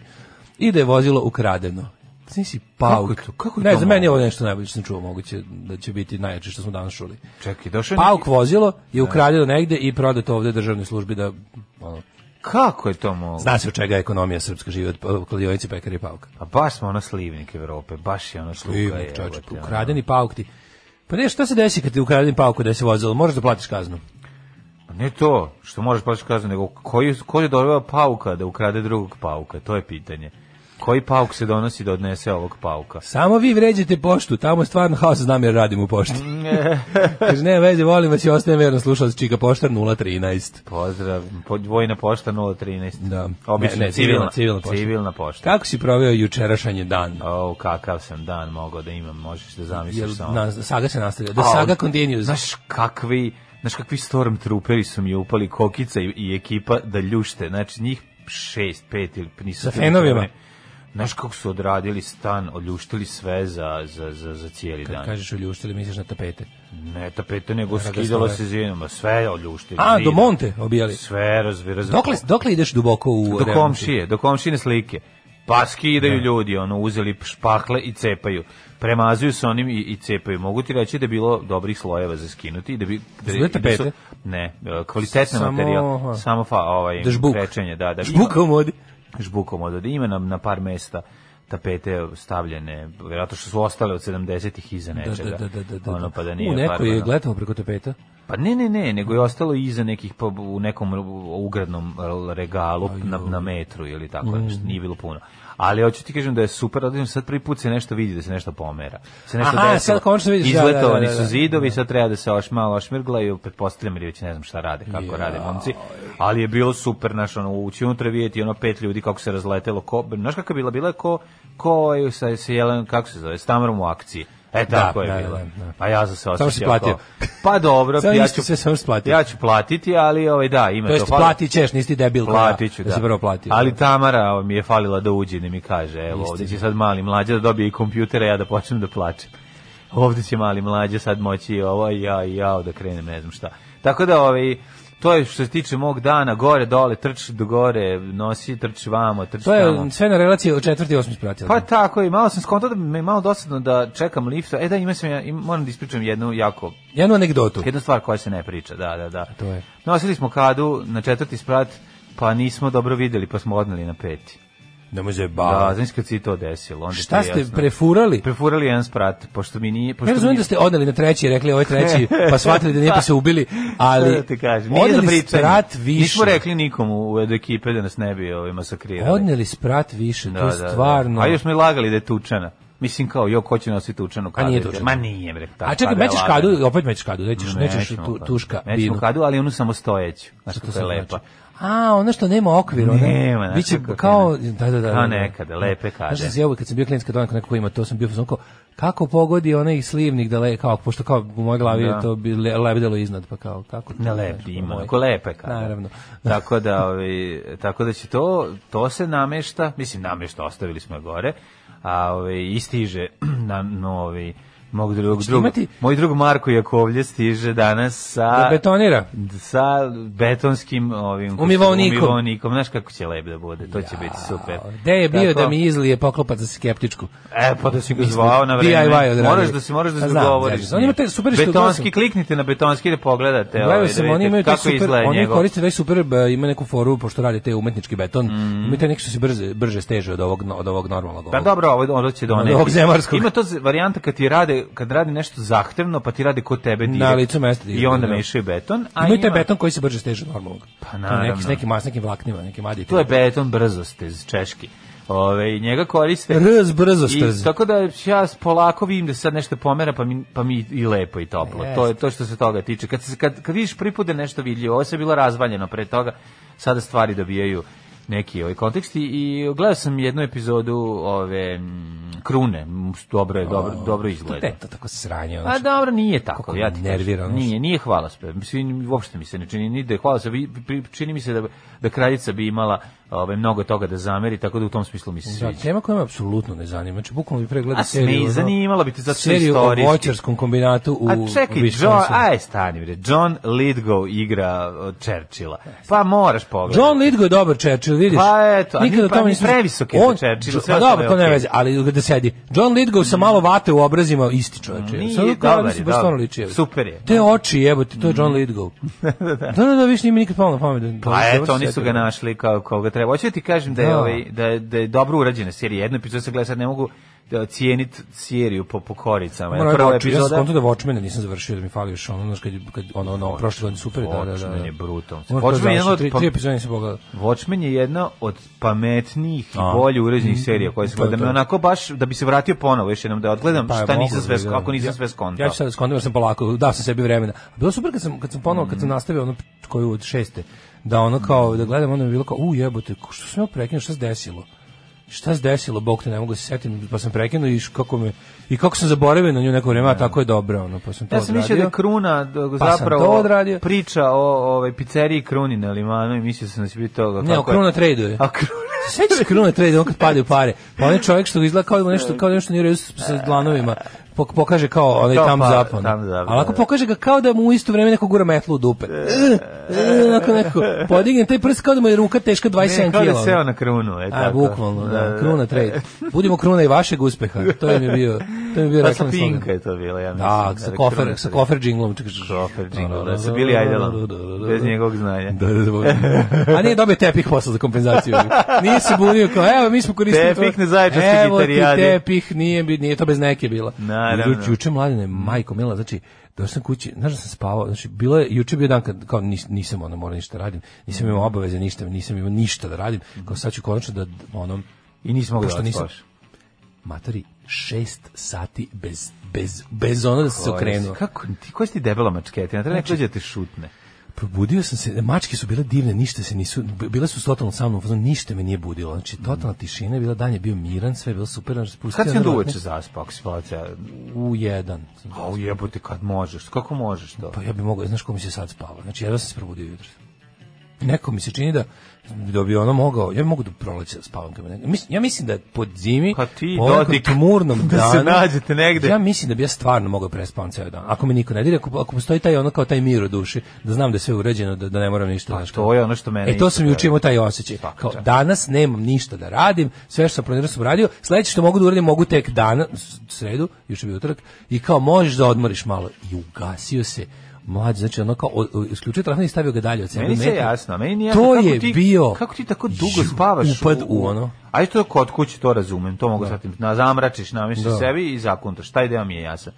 [SPEAKER 7] I da je vozilo ukradeno. Znaš si pauk.
[SPEAKER 6] Kako je to- kako je
[SPEAKER 7] ne,
[SPEAKER 6] to
[SPEAKER 7] za meni je ovo
[SPEAKER 6] moguće?
[SPEAKER 7] nešto najbolje što sam čuo, moguće da će biti najjače što smo danas čuli.
[SPEAKER 6] Čekaj, došao je
[SPEAKER 7] Pauk
[SPEAKER 6] neki-
[SPEAKER 7] vozilo je ukradeno negde i prodato ovde državnoj službi da... Ono,
[SPEAKER 6] Kako je to moguće?
[SPEAKER 7] zna se od čega ekonomija srpska živi od pa- kladionice, pekara i pauka.
[SPEAKER 6] A baš smo ono slivnik Evrope, baš je ono sluka
[SPEAKER 7] Ima,
[SPEAKER 6] je.
[SPEAKER 7] čoveče,
[SPEAKER 6] evo te, ono.
[SPEAKER 7] ukradeni pauk ti. Pa ne, šta se desi kad ti ukradeni pauk da se vozilo? Moraš da platiš kaznu.
[SPEAKER 6] Pa Ne to, što možeš plaćati kaznu, nego koji, ko je doveo pauka da ukrade drugog pauka, to je pitanje. Koji pauk se donosi da odnese ovog pauka?
[SPEAKER 7] Samo vi vređate poštu, tamo je stvarno haos, znam jer radim u pošti. Kaže, ne veze, volim vas i ostajem verno slušalac Čika Poštar 013.
[SPEAKER 6] Pozdrav, po- vojna pošta 013.
[SPEAKER 7] Da.
[SPEAKER 6] Obično,
[SPEAKER 7] Ne, ne, civilna, civilna pošta.
[SPEAKER 6] Civilna pošta.
[SPEAKER 7] Kako si proveo jučerašanji dan?
[SPEAKER 6] O, kakav sam dan mogao da imam, možeš da
[SPEAKER 7] Jel,
[SPEAKER 6] zamisliš samo.
[SPEAKER 7] na, saga se nastavlja. The
[SPEAKER 6] A,
[SPEAKER 7] saga
[SPEAKER 6] on-
[SPEAKER 7] continues.
[SPEAKER 6] Znaš kakvi, znaš kakvi stormtrooperi su mi upali, Kokica i, i ekipa da ljušte, znači njih šest, pet ili nisu...
[SPEAKER 7] Sa fenovima?
[SPEAKER 6] Znaš kako su odradili stan, oljuštili sve za, za, za, za cijeli
[SPEAKER 7] Kad
[SPEAKER 6] dan.
[SPEAKER 7] kažeš uljuštili, misliš na tapete.
[SPEAKER 6] Ne tapete, nego
[SPEAKER 7] Ragastove.
[SPEAKER 6] skidalo se zidama, sve oljuštili.
[SPEAKER 7] A, do
[SPEAKER 6] zidom,
[SPEAKER 7] Monte obijali.
[SPEAKER 6] Sve razvi, razvi.
[SPEAKER 7] Dokle, dokle ideš duboko u...
[SPEAKER 6] do
[SPEAKER 7] realnosti?
[SPEAKER 6] komšije, do komšine slike. Pa skidaju ljudi, ono, uzeli špakle i cepaju. Premazuju se onim i, i cepaju. Mogu ti reći da je bilo dobrih slojeva za skinuti i da bi... Da,
[SPEAKER 7] Zle
[SPEAKER 6] i da
[SPEAKER 7] tapete?
[SPEAKER 6] ne, kvalitetni
[SPEAKER 7] Samo,
[SPEAKER 6] materijal.
[SPEAKER 7] aha.
[SPEAKER 6] Samo fa, ovaj,
[SPEAKER 7] Da žbuk.
[SPEAKER 6] krečenje, da, da.
[SPEAKER 7] Žbuka u modi.
[SPEAKER 6] žbukom od ima na, na par mesta tapete stavljene, vjerojatno što su ostale od 70-ih iza
[SPEAKER 7] Da, da,
[SPEAKER 6] nečega.
[SPEAKER 7] da, da, da, da.
[SPEAKER 6] Ono, pa da nije
[SPEAKER 7] U, neko je
[SPEAKER 6] farbano.
[SPEAKER 7] gledao preko tapeta.
[SPEAKER 6] Pa ne, ne, ne, nego je ostalo iza nekih pa, u nekom ugradnom e, regalu na, na metru ili tako
[SPEAKER 7] Mm.
[SPEAKER 6] nešto, nije bilo puno. Ali hoću ti kažem da je super, odlično, sad prvi put se nešto vidi da se nešto pomera. Se nešto
[SPEAKER 7] Aha,
[SPEAKER 6] desilo.
[SPEAKER 7] sad konačno vidiš, da, da, da,
[SPEAKER 6] Izletovani
[SPEAKER 7] da, da.
[SPEAKER 6] su zidovi, sad treba da se oš, malo ošmirglaju, pretpostavljam ili već ne znam šta rade, kako rade momci. Ali je bilo super, naš, ono, ući unutra vidjeti ono pet ljudi kako se razletelo, ko, znaš kako je bila, bila je ko, ko je sa, sa Jelen, kako se zove, s Tamarom u akciji. E, tako je
[SPEAKER 7] da,
[SPEAKER 6] bilo.
[SPEAKER 7] da, da.
[SPEAKER 6] A ja sam se
[SPEAKER 7] si
[SPEAKER 6] osjećao.
[SPEAKER 7] platio.
[SPEAKER 6] kao, Pa dobro,
[SPEAKER 7] Samo
[SPEAKER 6] ja
[SPEAKER 7] isto
[SPEAKER 6] ću
[SPEAKER 7] sve, samo si platio.
[SPEAKER 6] Ja ću platiti, ali ovaj da, ima
[SPEAKER 7] To jest
[SPEAKER 6] fali-
[SPEAKER 7] platit ćeš, nisi ti debil. kao ja,
[SPEAKER 6] Platit ću,
[SPEAKER 7] da.
[SPEAKER 6] da.
[SPEAKER 7] si prvo platio.
[SPEAKER 6] Ali Tamara ovaj, mi je falila da uđe, ne mi kaže, evo, ovdje će sad mali mlađa da dobije i kompjutera, ja da počnem da plačem. Ovdje će mali mlađa sad moći i ovo, i ja, i ja, da krenem, ne znam šta. Tako da, ovaj, to je što se tiče mog dana, gore, dole, trči do gore, nosi, trči vamo, trči
[SPEAKER 7] To
[SPEAKER 6] tamo.
[SPEAKER 7] je sve na relaciji od četvrti i osmi spratila.
[SPEAKER 6] Pa tako i malo sam skontao da mi je malo dosadno da čekam lifta. E da, ima sam ja, im- moram da ispričam jednu jako
[SPEAKER 7] Jednu anegdotu.
[SPEAKER 6] Jedna stvar koja se ne priča, da, da, da.
[SPEAKER 7] to je?
[SPEAKER 6] Nosili smo kadu na četvrti sprat, pa nismo dobro videli, pa smo odneli na peti.
[SPEAKER 7] Ne može
[SPEAKER 6] Da,
[SPEAKER 7] ba.
[SPEAKER 6] znaš kad se i to desilo. Onda
[SPEAKER 7] Šta
[SPEAKER 6] ti je
[SPEAKER 7] ste
[SPEAKER 6] jasno.
[SPEAKER 7] prefurali?
[SPEAKER 6] Prefurali jedan sprat, pošto mi nije... Pošto
[SPEAKER 7] Ne razumijem
[SPEAKER 6] mi-
[SPEAKER 7] da ste odneli na treći i rekli ovo je treći, pa shvatili da nije pa se ubili, ali
[SPEAKER 6] Šta da ti kažem, nije za
[SPEAKER 7] odneli
[SPEAKER 6] pričanje.
[SPEAKER 7] sprat više.
[SPEAKER 6] Nismo rekli nikomu u od ekipe da nas ne bi ovaj, masakrirali.
[SPEAKER 7] Odneli sprat više, to
[SPEAKER 6] da,
[SPEAKER 7] je
[SPEAKER 6] da, da.
[SPEAKER 7] stvarno.
[SPEAKER 6] A još mi lagali da je tučana. Mislim kao, jo, ko će nositi tučanu kadu?
[SPEAKER 7] Pa nije tučena.
[SPEAKER 6] Ma nije, bre. ta
[SPEAKER 7] A čekaj,
[SPEAKER 6] kada je
[SPEAKER 7] mećeš
[SPEAKER 6] lagana.
[SPEAKER 7] kadu, opet mećeš kadu, nećeš, nećeš
[SPEAKER 6] Nećemo
[SPEAKER 7] tu,
[SPEAKER 6] kadu.
[SPEAKER 7] tuška
[SPEAKER 6] Nećemo
[SPEAKER 7] vinu.
[SPEAKER 6] kadu, ali onu samostojeću. Znaš
[SPEAKER 7] Šta to
[SPEAKER 6] kako je
[SPEAKER 7] sad
[SPEAKER 6] lepa.
[SPEAKER 7] znači? A, ono što nema okvira, ona.
[SPEAKER 6] Nema, znaš
[SPEAKER 7] biće
[SPEAKER 6] kako je,
[SPEAKER 7] kao
[SPEAKER 6] ne.
[SPEAKER 7] da da da.
[SPEAKER 6] Kao
[SPEAKER 7] da.
[SPEAKER 6] nekada, lepe kade.
[SPEAKER 7] Znaš, ja uvek kad sam bio klijent kad onako neko ko ima to sam bio fazon kao kako pogodi onaj slivnik da le kao pošto kao u mojoj glavi je
[SPEAKER 6] Da.
[SPEAKER 7] to bi le, lebdelo iznad pa kao kako to, znaš, ono,
[SPEAKER 6] Ne
[SPEAKER 7] ovaj,
[SPEAKER 6] lepi,
[SPEAKER 7] kao
[SPEAKER 6] ima,
[SPEAKER 7] moj.
[SPEAKER 6] ako lepe kada.
[SPEAKER 7] Naravno.
[SPEAKER 6] tako da, ovaj, tako da će to, to se namešta, mislim namešta, ostavili smo je gore, a ovaj, i stiže na, na ovaj, Mog drug,
[SPEAKER 7] Hoćete
[SPEAKER 6] drug,
[SPEAKER 7] imati-
[SPEAKER 6] moj drug Marko Jakovlje stiže danas sa...
[SPEAKER 7] Da betonira.
[SPEAKER 6] sa betonskim ovim kako se-
[SPEAKER 7] Umivonikom.
[SPEAKER 6] umivonikom. Znaš kako će lep da bude, to će biti super.
[SPEAKER 7] Gde je bio
[SPEAKER 6] Tako-
[SPEAKER 7] da mi izlije poklopac za skeptičku?
[SPEAKER 6] E, pa da si ga zvao na vreme.
[SPEAKER 7] DIY odradio.
[SPEAKER 6] Moraš da se moraš da
[SPEAKER 7] A
[SPEAKER 6] se
[SPEAKER 7] znam,
[SPEAKER 6] dogovoriš.
[SPEAKER 7] znam. Oni imaju te super što
[SPEAKER 6] Betonski,
[SPEAKER 7] gledam.
[SPEAKER 6] kliknite na betonski da pogledate. ovaj,
[SPEAKER 7] Gledao
[SPEAKER 6] da
[SPEAKER 7] sam,
[SPEAKER 6] vidite
[SPEAKER 7] oni imaju taj
[SPEAKER 6] kako
[SPEAKER 7] super,
[SPEAKER 6] izgleda
[SPEAKER 7] oni
[SPEAKER 6] njegov.
[SPEAKER 7] koriste taj super, b- ima neku foru, pošto radi te umetnički beton, imaju taj neki što se brže, brže steže od ovog, no- od ovog normalnog.
[SPEAKER 6] Mhm. Pa
[SPEAKER 7] ovog.
[SPEAKER 6] dobro, ovo ovo će doneti.
[SPEAKER 7] ovog zemarskog.
[SPEAKER 6] Ima to z- varijanta kad ti rade, kad radi nešto zahtevno, pa ti rade kod tebe direkt.
[SPEAKER 7] licu mesta direkt,
[SPEAKER 6] I onda
[SPEAKER 7] da.
[SPEAKER 6] mešaju beton. A
[SPEAKER 7] Imaju taj
[SPEAKER 6] ima- Pa
[SPEAKER 7] beton koji se brže steže od normalnog. To je Neki, s
[SPEAKER 6] naravno.
[SPEAKER 7] nekim, mas, nekim vlaknima, nekim aditima.
[SPEAKER 6] To je beton brzostez, češki. Ove, njega koriste.
[SPEAKER 7] Rz brzo
[SPEAKER 6] I,
[SPEAKER 7] stez.
[SPEAKER 6] tako da ja polako vidim da se sad nešto pomera, pa mi, pa mi i lepo i toplo.
[SPEAKER 7] Jest.
[SPEAKER 6] To je to što se toga tiče. Kad, se, kad, kad vidiš prvi put da je nešto vidljivo, ovo se bilo razvaljeno pre toga, sada stvari dobijaju neki ovaj kontekst i, i gledao sam jednu epizodu ove m, krune, M, dobro je, dobro, dobro izgleda.
[SPEAKER 7] Eto, tako se sranje. ono
[SPEAKER 6] Pa
[SPEAKER 7] što-
[SPEAKER 6] dobro, nije tako.
[SPEAKER 7] me
[SPEAKER 6] Ja ti
[SPEAKER 7] nervira,
[SPEAKER 6] kažem.
[SPEAKER 7] ono što-
[SPEAKER 6] Nije, nije hvala uopšte mi se ne čini ni da je hvala Čini mi se da, da kraljica bi imala ovaj, mnogo toga da zameri, tako da u tom smislu mi se
[SPEAKER 7] Da,
[SPEAKER 6] sviđa.
[SPEAKER 7] tema koja me apsolutno ne zanima. Znači, bukvalno bi pregledao
[SPEAKER 6] A
[SPEAKER 7] seriju.
[SPEAKER 6] sme,
[SPEAKER 7] ono,
[SPEAKER 6] zanimala bi te zato što je
[SPEAKER 7] seriju o
[SPEAKER 6] istorijski.
[SPEAKER 7] voćarskom kombinatu u
[SPEAKER 6] A čekaj, John,
[SPEAKER 7] Wisconsin.
[SPEAKER 6] aj stani bre, John Lidgow igra uh, Churchilla. Pa moraš pogledati.
[SPEAKER 7] John Lithgow je dobar Churchill, vidiš?
[SPEAKER 6] Pa eto, a
[SPEAKER 7] Nikad
[SPEAKER 6] ni-
[SPEAKER 7] o
[SPEAKER 6] pa
[SPEAKER 7] tome
[SPEAKER 6] ni
[SPEAKER 7] nisam-
[SPEAKER 6] previsok je za
[SPEAKER 7] On-
[SPEAKER 6] Churchilla, sve
[SPEAKER 7] Pa
[SPEAKER 6] ostalo
[SPEAKER 7] dobro,
[SPEAKER 6] je
[SPEAKER 7] to ne
[SPEAKER 6] okej. Mm.
[SPEAKER 7] veze, ali da sedi. John Lithgow sa malo vate u obrazima, isti čovječe.
[SPEAKER 6] Nije,
[SPEAKER 7] Sad
[SPEAKER 6] dobar
[SPEAKER 7] kao,
[SPEAKER 6] je,
[SPEAKER 7] mislim, baš
[SPEAKER 6] dobar.
[SPEAKER 7] stvarno liči, jebote.
[SPEAKER 6] Super je. Mm.
[SPEAKER 7] Te oči, jebote, to je John Lithgow. da, da, da, više nije mi nikad palo na pamet. da-
[SPEAKER 6] Pa
[SPEAKER 7] da- da-
[SPEAKER 6] eto, oni
[SPEAKER 7] da-
[SPEAKER 6] su ga našli kao koga treba. Hoću ti kažem da je,
[SPEAKER 7] Da.
[SPEAKER 6] ovaj, da, je- da je dobro urađena serija. Jednu epizodu se gleda, sad ne mogu da cijenit seriju po, po koricama.
[SPEAKER 7] Moram
[SPEAKER 6] Pa Prva
[SPEAKER 7] da oči, ja sam
[SPEAKER 6] epizoda-
[SPEAKER 7] skonto da Watchmena nisam završio, da mi fali još ono, znaš, kad, kad ono, ono, prošle godine super, da, da, da.
[SPEAKER 6] Watchmen je brutalno.
[SPEAKER 7] Moram to
[SPEAKER 6] Watchmen je jedan
[SPEAKER 7] završiti,
[SPEAKER 6] od
[SPEAKER 7] tri,
[SPEAKER 6] pa-
[SPEAKER 7] tri epizode nisam pogledao.
[SPEAKER 6] Watchmen je jedna od pametnijih i bolje uređenih serija koje se
[SPEAKER 7] To je
[SPEAKER 6] gledam.
[SPEAKER 7] to.
[SPEAKER 6] Onako baš da bi se vratio ponovo još jednom da odgledam šta
[SPEAKER 7] mogu pa
[SPEAKER 6] nisam
[SPEAKER 7] da
[SPEAKER 6] sve,
[SPEAKER 7] vidim.
[SPEAKER 6] kako nisam
[SPEAKER 7] Ja-
[SPEAKER 6] sve skontao.
[SPEAKER 7] Ja ću sad skontam jer sam polako, dao sam sebi vremena. A Bilo super kad sam, kad sam ponovo,
[SPEAKER 6] Mm.
[SPEAKER 7] kad sam nastavio ono koju od šeste, da ono kao, da gledam, onda mi je bilo kao, u jebote, ko- što sam ja prekinuo, šta se desilo? Šta se desilo, bog te ne mogu se setim, pa sam prekinuo i š- kako me, i kako sam zaboravio na nju neko vreme, a tako je dobro, ono, pa sam to
[SPEAKER 6] Ja sam mislio da je
[SPEAKER 7] odradio.
[SPEAKER 6] Kruna da,
[SPEAKER 7] Pa sam to
[SPEAKER 6] zapravo
[SPEAKER 7] odradio.
[SPEAKER 6] priča o ovaj pizzeriji Kruni na limanu i mislio sam da će biti toga.
[SPEAKER 7] Ne, o
[SPEAKER 6] kako je-
[SPEAKER 7] Kruna traduje.
[SPEAKER 6] A Kruna
[SPEAKER 7] Sećaš se Kruna trade, on kad padaju pare. Pa onaj čovjek što izgleda kao ima nešto, kao nešto nije u redu s- sa dlanovima, pok- pokaže kao ovaj onaj
[SPEAKER 6] Kao
[SPEAKER 7] tam
[SPEAKER 6] pa-
[SPEAKER 7] zapon.
[SPEAKER 6] thumbs up,
[SPEAKER 7] ono. Ali ako
[SPEAKER 6] da. E.
[SPEAKER 7] pokaže ga kao da mu u isto vreme neko gura metlu u dupe. Ako neko podigne taj prst kao da mu je ruka teška
[SPEAKER 6] Ne,
[SPEAKER 7] 27
[SPEAKER 6] kao da je
[SPEAKER 7] kg.
[SPEAKER 6] seo na krunu. E,
[SPEAKER 7] ono. A,
[SPEAKER 6] tako.
[SPEAKER 7] bukvalno, da. Kruna trade. Budimo kruna i vašeg uspeha. To im je bio, to im je bio
[SPEAKER 6] Pa sa
[SPEAKER 7] reklamni slogan.
[SPEAKER 6] Pinka je to bilo, ja mislim.
[SPEAKER 7] Da, sa
[SPEAKER 6] Kruna
[SPEAKER 7] kofer, sa
[SPEAKER 6] Trade.
[SPEAKER 7] kofer džinglom.
[SPEAKER 6] Kofer džingl, da, sa Billy Idolom. Bez njegovog znanja.
[SPEAKER 7] Da, da, da. A nije dobio tepih posla za kompenzaciju. Nije se bunio kao, evo, mi smo koristili
[SPEAKER 6] Tepih
[SPEAKER 7] to.
[SPEAKER 6] na zaječarskoj
[SPEAKER 7] Evo ti
[SPEAKER 6] gitarijadi.
[SPEAKER 7] tepih, nije, bi- nije to bez neke bila.
[SPEAKER 6] Naravno.
[SPEAKER 7] Juče, juče mladine, majko mila, znači, došao sam kući, znaš da sam spavao, znači, bilo je, juče bio dan kad, kao, nis, nisam, ono, morao ništa da radim, nisam imao obaveze, ništa, nisam imao ništa da radim, kao sad ću konačno da, ono,
[SPEAKER 6] I nisi mogao
[SPEAKER 7] Pošto
[SPEAKER 6] da
[SPEAKER 7] nisam-
[SPEAKER 6] odspaš.
[SPEAKER 7] matori, šest sati bez, bez, bez ono da sam se okrenuo. Znači,
[SPEAKER 6] Kako ti, koja si ti debela mačketina? Treba neko dođe da te šutne.
[SPEAKER 7] Probudio sam se, mačke su bile divne, ništa se nisu, b- bile su totalno sa mnom, fazon, ništa me nije budilo. Znači, totalna tišina je bila, dan je bio miran, sve je bilo super. znači, spustio
[SPEAKER 6] Mm. Kad si onda
[SPEAKER 7] na-
[SPEAKER 6] uveče zaspao, ako si spala cijela?
[SPEAKER 7] U jedan.
[SPEAKER 6] A jebote, kad možeš? Kako možeš to?
[SPEAKER 7] Pa ja bi mogao, znaš ko mi se sad spava. Znači, jedva sam se probudio jutros. Neko mi se čini da da bi ono mogao, ja bi mogu da proleće da spavam kad me ne- mislim, ja mislim da je pod zimi
[SPEAKER 6] Pa ti,
[SPEAKER 7] po ovom
[SPEAKER 6] Dodik,
[SPEAKER 7] tmurnom
[SPEAKER 6] da se
[SPEAKER 7] danu,
[SPEAKER 6] nađete negde.
[SPEAKER 7] ja mislim da bi ja stvarno mogao prespavam ceo dan, ako me niko ne dira, ako, ako postoji taj ono kao taj mir u duši, da znam da je sve uređeno, da, da ne moram ništa znaš, kao-
[SPEAKER 6] To je ono što mene...
[SPEAKER 7] E to sam
[SPEAKER 6] isto
[SPEAKER 7] juče imao taj osjećaj. Kao, danas nemam ništa da radim, sve što sam planirao sam uradio. Sledeće što mogu da uradim mogu tek dana, s- sredu, juče je bio utorak, i kao možeš da odmoriš malo. I ugasio se mlađi, znači ono kao, o- o- isključio telefon i stavio ga dalje od sebe.
[SPEAKER 6] Meni se
[SPEAKER 7] metar.
[SPEAKER 6] jasno, meni nije
[SPEAKER 7] To
[SPEAKER 6] jasno kako
[SPEAKER 7] je
[SPEAKER 6] ti,
[SPEAKER 7] bio
[SPEAKER 6] kako ti tako dugo spavaš
[SPEAKER 7] upad u ono.
[SPEAKER 6] Aj to kod kuće to razumem, to mogu shvatiti. Na zamračiš, namisliš
[SPEAKER 7] Da.
[SPEAKER 6] sebi i zakuntaš. Taj deo mi je jasan.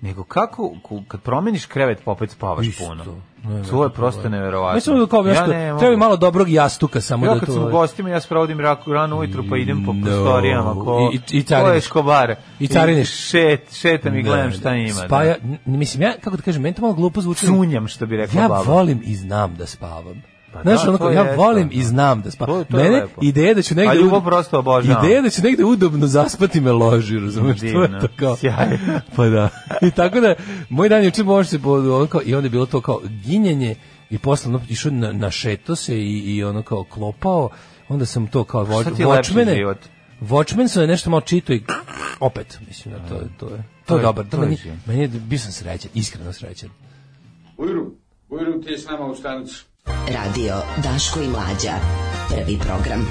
[SPEAKER 6] Nego kako ku- kad promeniš krevet pa opet spavaš
[SPEAKER 7] Isto.
[SPEAKER 6] puno.
[SPEAKER 7] Ne,
[SPEAKER 6] to je prosto neverovatno.
[SPEAKER 7] Mislim da kao nešto,
[SPEAKER 6] ne mogu.
[SPEAKER 7] treba mi malo dobrog jastuka samo
[SPEAKER 6] Ja
[SPEAKER 7] da
[SPEAKER 6] kad
[SPEAKER 7] to...
[SPEAKER 6] sam u gostima, ja sprovodim raku rano ujutru, pa idem po
[SPEAKER 7] No.
[SPEAKER 6] prostorijama. Ko,
[SPEAKER 7] I- i- i
[SPEAKER 6] ko je
[SPEAKER 7] cariniš.
[SPEAKER 6] škobar.
[SPEAKER 7] I cariniš.
[SPEAKER 6] šet, šetam i gledam
[SPEAKER 7] Da,
[SPEAKER 6] šta ima. da.
[SPEAKER 7] Spaja, n- mislim, ja, kako ti kažem, meni to malo glupo zvuči.
[SPEAKER 6] Cunjam, što bi rekla
[SPEAKER 7] ja
[SPEAKER 6] baba.
[SPEAKER 7] volim i znam da spavam.
[SPEAKER 6] Pa
[SPEAKER 7] Znaš,
[SPEAKER 6] da,
[SPEAKER 7] ono
[SPEAKER 6] to
[SPEAKER 7] kao,
[SPEAKER 6] je
[SPEAKER 7] ja
[SPEAKER 6] lepo,
[SPEAKER 7] volim
[SPEAKER 6] da.
[SPEAKER 7] i znam da spavam.
[SPEAKER 6] To- to je
[SPEAKER 7] Mene
[SPEAKER 6] lepo.
[SPEAKER 7] ideja da ću
[SPEAKER 6] A
[SPEAKER 7] negde...
[SPEAKER 6] ljubav
[SPEAKER 7] ud-
[SPEAKER 6] prosto obožavam.
[SPEAKER 7] Ideja da ću negde udobno zaspati me loži, razumeš? To je
[SPEAKER 6] Divno,
[SPEAKER 7] to kao...
[SPEAKER 6] sjajno.
[SPEAKER 7] Pa da. I tako da, moj dan juče može se pod ono kao, i onda je bilo to kao ginjenje i posle ono, išao na, na šeto se i, i ono kao klopao, onda sam to kao
[SPEAKER 6] Šta ti je lepši
[SPEAKER 7] vočmene.
[SPEAKER 6] život?
[SPEAKER 7] Watchmen sam je nešto malo čito i opet, mislim da to je, to je. to je
[SPEAKER 6] je-
[SPEAKER 7] dobar.
[SPEAKER 6] to
[SPEAKER 7] To
[SPEAKER 6] je
[SPEAKER 7] meni,
[SPEAKER 6] život.
[SPEAKER 7] meni je, bio sam srećan, iskreno srećan.
[SPEAKER 8] Bujru, Bujru, ti je s nama u stanicu.
[SPEAKER 5] Radio Daško i Mlađa. Prvi program.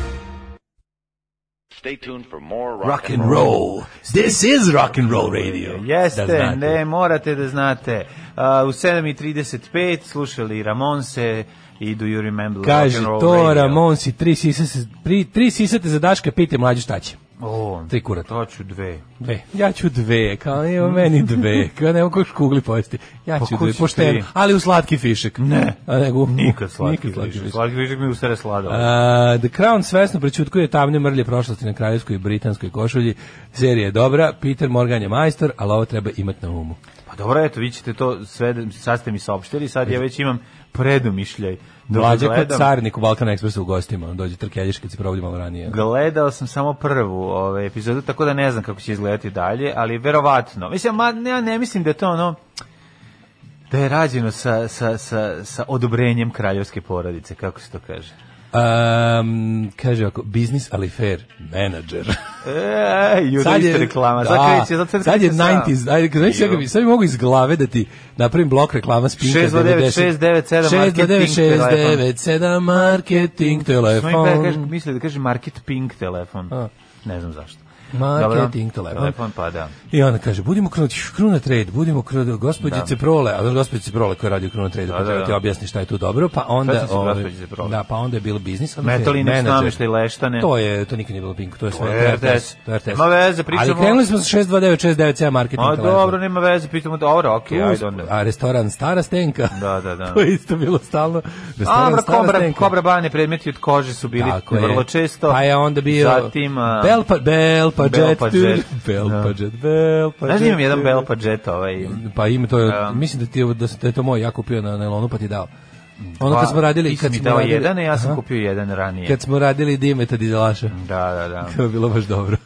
[SPEAKER 9] Stay tuned for more
[SPEAKER 7] Rock and roll. This is rock and roll radio.
[SPEAKER 6] Jeste,
[SPEAKER 7] Da znate.
[SPEAKER 6] ne, morate da znate. A, u 7.35 slušali Ramonse i Do You Remember
[SPEAKER 7] Kaže,
[SPEAKER 6] Rock and Roll
[SPEAKER 7] to
[SPEAKER 6] Radio.
[SPEAKER 7] Ramonsi, tri sisate, pri, tri sisate za Daška, pite mlađu šta će.
[SPEAKER 6] O,
[SPEAKER 7] Tri kurata.
[SPEAKER 6] To ću dve.
[SPEAKER 7] Dve. Ja ću dve, kao evo meni dve, kao nema ko škugli pojesti. Ja
[SPEAKER 6] Pa
[SPEAKER 7] ću
[SPEAKER 6] ko
[SPEAKER 7] dve,
[SPEAKER 6] će tri?
[SPEAKER 7] pošteno, ali u slatki fišek.
[SPEAKER 6] Ne.
[SPEAKER 7] A nego,
[SPEAKER 6] Nikad slatki
[SPEAKER 7] nikad slatki
[SPEAKER 6] višak.
[SPEAKER 7] fišek.
[SPEAKER 6] Slatki višak mi ustare sladalo.
[SPEAKER 7] A, The Crown svesno prećutkuje tamne mrlje prošlosti na kraljevskoj i britanskoj košulji. Serija je dobra, Peter Morgan je majstor, ali ovo treba imati na umu.
[SPEAKER 6] Pa dobro, eto, vi ćete to sve, da- sad ste mi saopštili, sad ja već imam predumišljaj. da
[SPEAKER 7] Mlađa kod
[SPEAKER 6] gledam.
[SPEAKER 7] carnik u Balkan Expressu u gostima, on dođe trkeljiš kad se provodi malo ranije.
[SPEAKER 6] Gledao sam samo prvu ovaj, epizodu, tako da ne znam kako će izgledati dalje, ali verovatno. Mislim, ma, ne, ja ne mislim da je to ono da je rađeno sa, sa, sa, sa odobrenjem kraljevske porodice, kako se to kaže.
[SPEAKER 7] Um, kaže ovako, biznis ali fair, manager.
[SPEAKER 6] E, ju, da isto reklama. Sad kreće, sad sad
[SPEAKER 7] sad je
[SPEAKER 6] kreće sam.
[SPEAKER 7] 90s, ajde, znaš, sad, bi, sad bi mogu iz glave da ti napravim blok reklama s Pinka
[SPEAKER 6] 629, 697,
[SPEAKER 7] 629,
[SPEAKER 6] marketing
[SPEAKER 7] 697, marketing,
[SPEAKER 6] Smo im pre- kaže,
[SPEAKER 7] telefon.
[SPEAKER 6] mislili da kaže Market Pink telefon.
[SPEAKER 7] A.
[SPEAKER 6] Ne znam zašto.
[SPEAKER 7] Marketing
[SPEAKER 6] Dobro.
[SPEAKER 7] telefon.
[SPEAKER 6] Telefon, pa da.
[SPEAKER 7] I ona kaže, budimo krunat, kruna trade, budimo krunat, gospođice Prole, a gospođice Prole koja radi u kruna trade,
[SPEAKER 6] Da,
[SPEAKER 7] pa
[SPEAKER 6] da,
[SPEAKER 7] treba
[SPEAKER 6] da.
[SPEAKER 7] ti objasni šta je tu dobro, pa onda,
[SPEAKER 6] Sećam se
[SPEAKER 7] ovaj,
[SPEAKER 6] gospođice Prole.
[SPEAKER 7] da, pa onda je bilo biznis, ali
[SPEAKER 6] Metaline
[SPEAKER 7] fair, manager.
[SPEAKER 6] nameštaj leštane.
[SPEAKER 7] To je, to nikad nije bilo Pink, to je sve
[SPEAKER 6] je RTS.
[SPEAKER 7] To je RTS.
[SPEAKER 6] Nema veze, pričamo-
[SPEAKER 7] Ali krenuli smo sa 629, 697 marketing
[SPEAKER 6] A
[SPEAKER 7] telefon.
[SPEAKER 6] dobro, nema veze, pitamo da, dobro, okej,
[SPEAKER 7] Tu
[SPEAKER 6] ajde
[SPEAKER 7] smo-
[SPEAKER 6] onda.
[SPEAKER 7] A restoran Stara Stenka?
[SPEAKER 6] Da, da, da.
[SPEAKER 7] to je isto bilo stalno. Restoran
[SPEAKER 6] Abra,
[SPEAKER 7] Stara
[SPEAKER 6] kobra,
[SPEAKER 7] Stenka.
[SPEAKER 6] kobra bane predmeti od kože su bili
[SPEAKER 7] Tako je.
[SPEAKER 6] vrlo često.
[SPEAKER 7] Pa je onda bio
[SPEAKER 6] Zatim, a,
[SPEAKER 7] Belpa, Belpa
[SPEAKER 6] Belpa
[SPEAKER 7] Jet.
[SPEAKER 6] Jet.
[SPEAKER 7] Belpa
[SPEAKER 6] Da.
[SPEAKER 7] Jet, Belpa
[SPEAKER 6] Znaš da imam
[SPEAKER 7] Jet.
[SPEAKER 6] jedan Belpa Jet ovaj.
[SPEAKER 7] Pa ime to je,
[SPEAKER 6] Da.
[SPEAKER 7] mislim da, ti, je- da, sam- da je to moj, ja kupio na nailonu pa ti dao. Ono
[SPEAKER 6] Pa,
[SPEAKER 7] kad smo radili...
[SPEAKER 6] ti si
[SPEAKER 7] Kad
[SPEAKER 6] mi
[SPEAKER 7] smo
[SPEAKER 6] dao
[SPEAKER 7] radili,
[SPEAKER 6] jedan, a ja sam
[SPEAKER 7] Aha.
[SPEAKER 6] kupio jedan ranije.
[SPEAKER 7] Kad smo radili Dimeta Didelaša.
[SPEAKER 6] Da, da, da.
[SPEAKER 7] To je bilo baš dobro.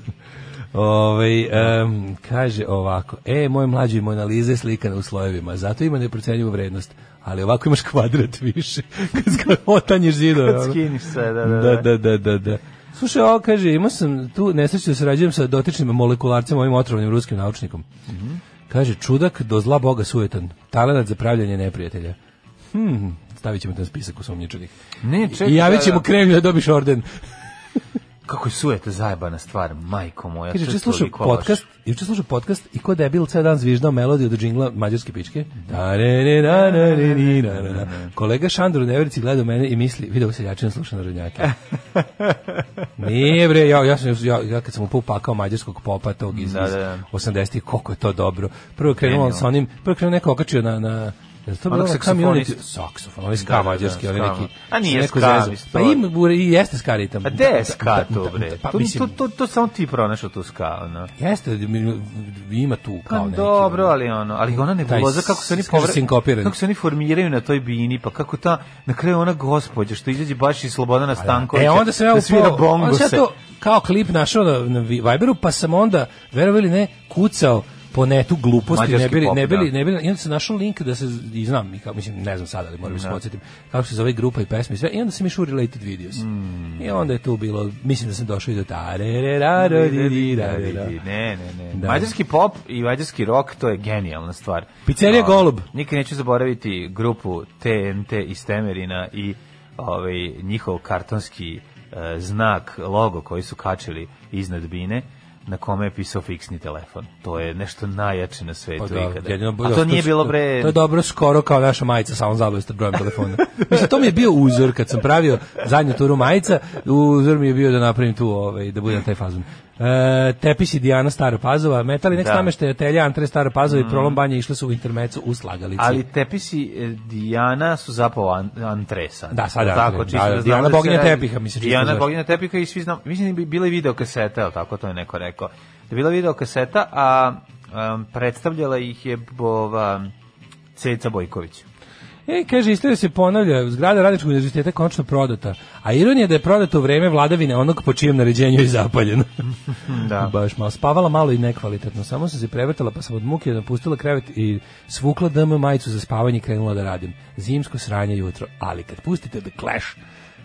[SPEAKER 7] Ove, em, kaže ovako, e, moj mlađi Mona Lisa je slikana u slojevima, zato ima neprocenjivu vrednost, ali ovako imaš kvadrat više, kad sk- otanješ zidove.
[SPEAKER 6] Kad
[SPEAKER 7] ono.
[SPEAKER 6] skiniš sve, da, da,
[SPEAKER 7] da, da, da, da, da. Slušaj, ovo kaže, imao sam tu nesreću da sarađujem sa dotičnim molekularcem, ovim otrovnim ruskim naučnikom.
[SPEAKER 6] Mhm.
[SPEAKER 7] Kaže, čudak do zla boga sujetan, talenat za pravljanje neprijatelja. Hm, stavit ćemo te na spisak usumnjičenih.
[SPEAKER 6] Ne, čekaj.
[SPEAKER 7] I javit
[SPEAKER 6] da,
[SPEAKER 7] ćemo
[SPEAKER 6] da.
[SPEAKER 7] kremlju da dobiš orden.
[SPEAKER 6] Kako je sujeta zajebana stvar, majko moja.
[SPEAKER 7] Kaže,
[SPEAKER 6] to je
[SPEAKER 7] juče slušao
[SPEAKER 6] toliko loše.
[SPEAKER 7] podcast, juče slušao podcast i ko debil ceo dan zviždao melodiju do džingla mađarske pičke. Da, re, re, da, da, re, ni, da, da, da. Kolega Šandor u Neverici gleda u mene i misli, video se jačin sluša narodnjake. Nije bre, ja, ja, sam, ja, ja kad sam mu upakao mađarskog popa tog iz,
[SPEAKER 6] Da, da,
[SPEAKER 7] iz
[SPEAKER 6] da.
[SPEAKER 7] 80-ih, koliko je to dobro. Prvo je krenuo sa onim, prvo je krenuo neko okačio na, na Jel to
[SPEAKER 6] Onog
[SPEAKER 7] bilo
[SPEAKER 6] saksofonista.
[SPEAKER 7] Saksofon, onaj
[SPEAKER 6] Da, da,
[SPEAKER 7] ska
[SPEAKER 6] da,
[SPEAKER 7] mađarski, onaj
[SPEAKER 6] ska.
[SPEAKER 7] neki.
[SPEAKER 6] A nije
[SPEAKER 7] neko
[SPEAKER 6] ska,
[SPEAKER 7] zezao.
[SPEAKER 6] mislim,
[SPEAKER 7] Pa
[SPEAKER 6] to-
[SPEAKER 7] ima, i jeste ska ritam.
[SPEAKER 6] A gde je ska
[SPEAKER 7] Da,
[SPEAKER 6] to,
[SPEAKER 7] da,
[SPEAKER 6] bre?
[SPEAKER 7] Pa,
[SPEAKER 6] to,
[SPEAKER 7] mislim,
[SPEAKER 6] to, to, to samo ti pronašao tu ska, ono.
[SPEAKER 7] Jeste, mi- ima tu
[SPEAKER 6] Pa
[SPEAKER 7] kao neki.
[SPEAKER 6] dobro,
[SPEAKER 7] ono.
[SPEAKER 6] ali ono, ali ona ne
[SPEAKER 7] Taj
[SPEAKER 6] voza kako se oni
[SPEAKER 7] s- kaže
[SPEAKER 6] povra-
[SPEAKER 7] sinkopirani.
[SPEAKER 6] kako se oni formiraju na toj bini, pa kako ta na kraju ona gospođa što izađe baš iz Slobodana Stankovića.
[SPEAKER 7] E, onda sam ja
[SPEAKER 6] da svira
[SPEAKER 7] upao, onda sam ja
[SPEAKER 6] bongose.
[SPEAKER 7] to kao klip našao na, na Vi- Viberu, pa sam onda, verovali ne, kucao po netu gluposti,
[SPEAKER 6] Mađarski
[SPEAKER 7] ne bili,
[SPEAKER 6] pop,
[SPEAKER 7] ne bili,
[SPEAKER 6] da.
[SPEAKER 7] ne bili, i onda sam našao link da se, i znam, i kao, mislim, ne znam sada, ali moram da se podsjetim, kako se zove grupa i pesma i sve, i onda sam išao u related videos.
[SPEAKER 6] Mm.
[SPEAKER 7] I onda je tu bilo, mislim da sam došao i do ta, re, re, ra, ro, di, di, ra, re, ra.
[SPEAKER 6] Ne, ne, ne.
[SPEAKER 7] Da.
[SPEAKER 6] Mađarski pop i mađarski rock, to je genijalna stvar.
[SPEAKER 7] Pizzerija
[SPEAKER 6] Ono,
[SPEAKER 7] Golub.
[SPEAKER 6] Nikad neću zaboraviti grupu TNT iz Temerina i ovaj, njihov kartonski eh, znak, logo koji su kačili iznad bine na kome je pisao fiksni telefon. To je nešto najjače na svetu
[SPEAKER 7] Pa da,
[SPEAKER 6] ikada.
[SPEAKER 7] jedino
[SPEAKER 6] A
[SPEAKER 7] bolje,
[SPEAKER 6] to nije bilo bre...
[SPEAKER 7] To je dobro skoro kao naša majica sa onom zabavom sa brojem telefona. Mislim to mi je bio uzor kad sam pravio zadnju turu majica, uzor mi je bio da napravim tu ovaj da budem taj fazon. E, tepis i Dijana Stara Pazova, metali nek
[SPEAKER 6] Da. Mm.
[SPEAKER 7] nameštaj Telja Antre Stara Pazova i Prolom Banje išle su u intermecu u slagalici.
[SPEAKER 6] Ali tepisi e, Dijana su zapravo an, antresa.
[SPEAKER 7] Da, sad antre,
[SPEAKER 6] tako,
[SPEAKER 7] da,
[SPEAKER 6] čisto
[SPEAKER 7] da,
[SPEAKER 6] znam
[SPEAKER 7] Dijana
[SPEAKER 6] se
[SPEAKER 7] boginja
[SPEAKER 6] radi-
[SPEAKER 7] tepiha, mislim, čisto
[SPEAKER 6] Dijana
[SPEAKER 7] znaš.
[SPEAKER 6] boginja tepiha i svi znam, mislim da bi bila i video kaseta, al tako to je neko rekao. Da je bila video kaseta, a em, predstavljala ih je ova Ceca Bojković.
[SPEAKER 7] E, kaže, istorija se ponavlja, zgrada Radničkog univerziteta je konačno prodata, a ironija je da je prodata u vreme vladavine onog po čijem naređenju je zapaljeno.
[SPEAKER 6] Da.
[SPEAKER 7] Baš malo. Spavala malo i nekvalitetno. Samo sam se prevrtala pa sam od muke napustila krevet i svukla DM majicu za spavanje i krenula da radim. Zimsko sranje jutro, ali kad pustite The Clash,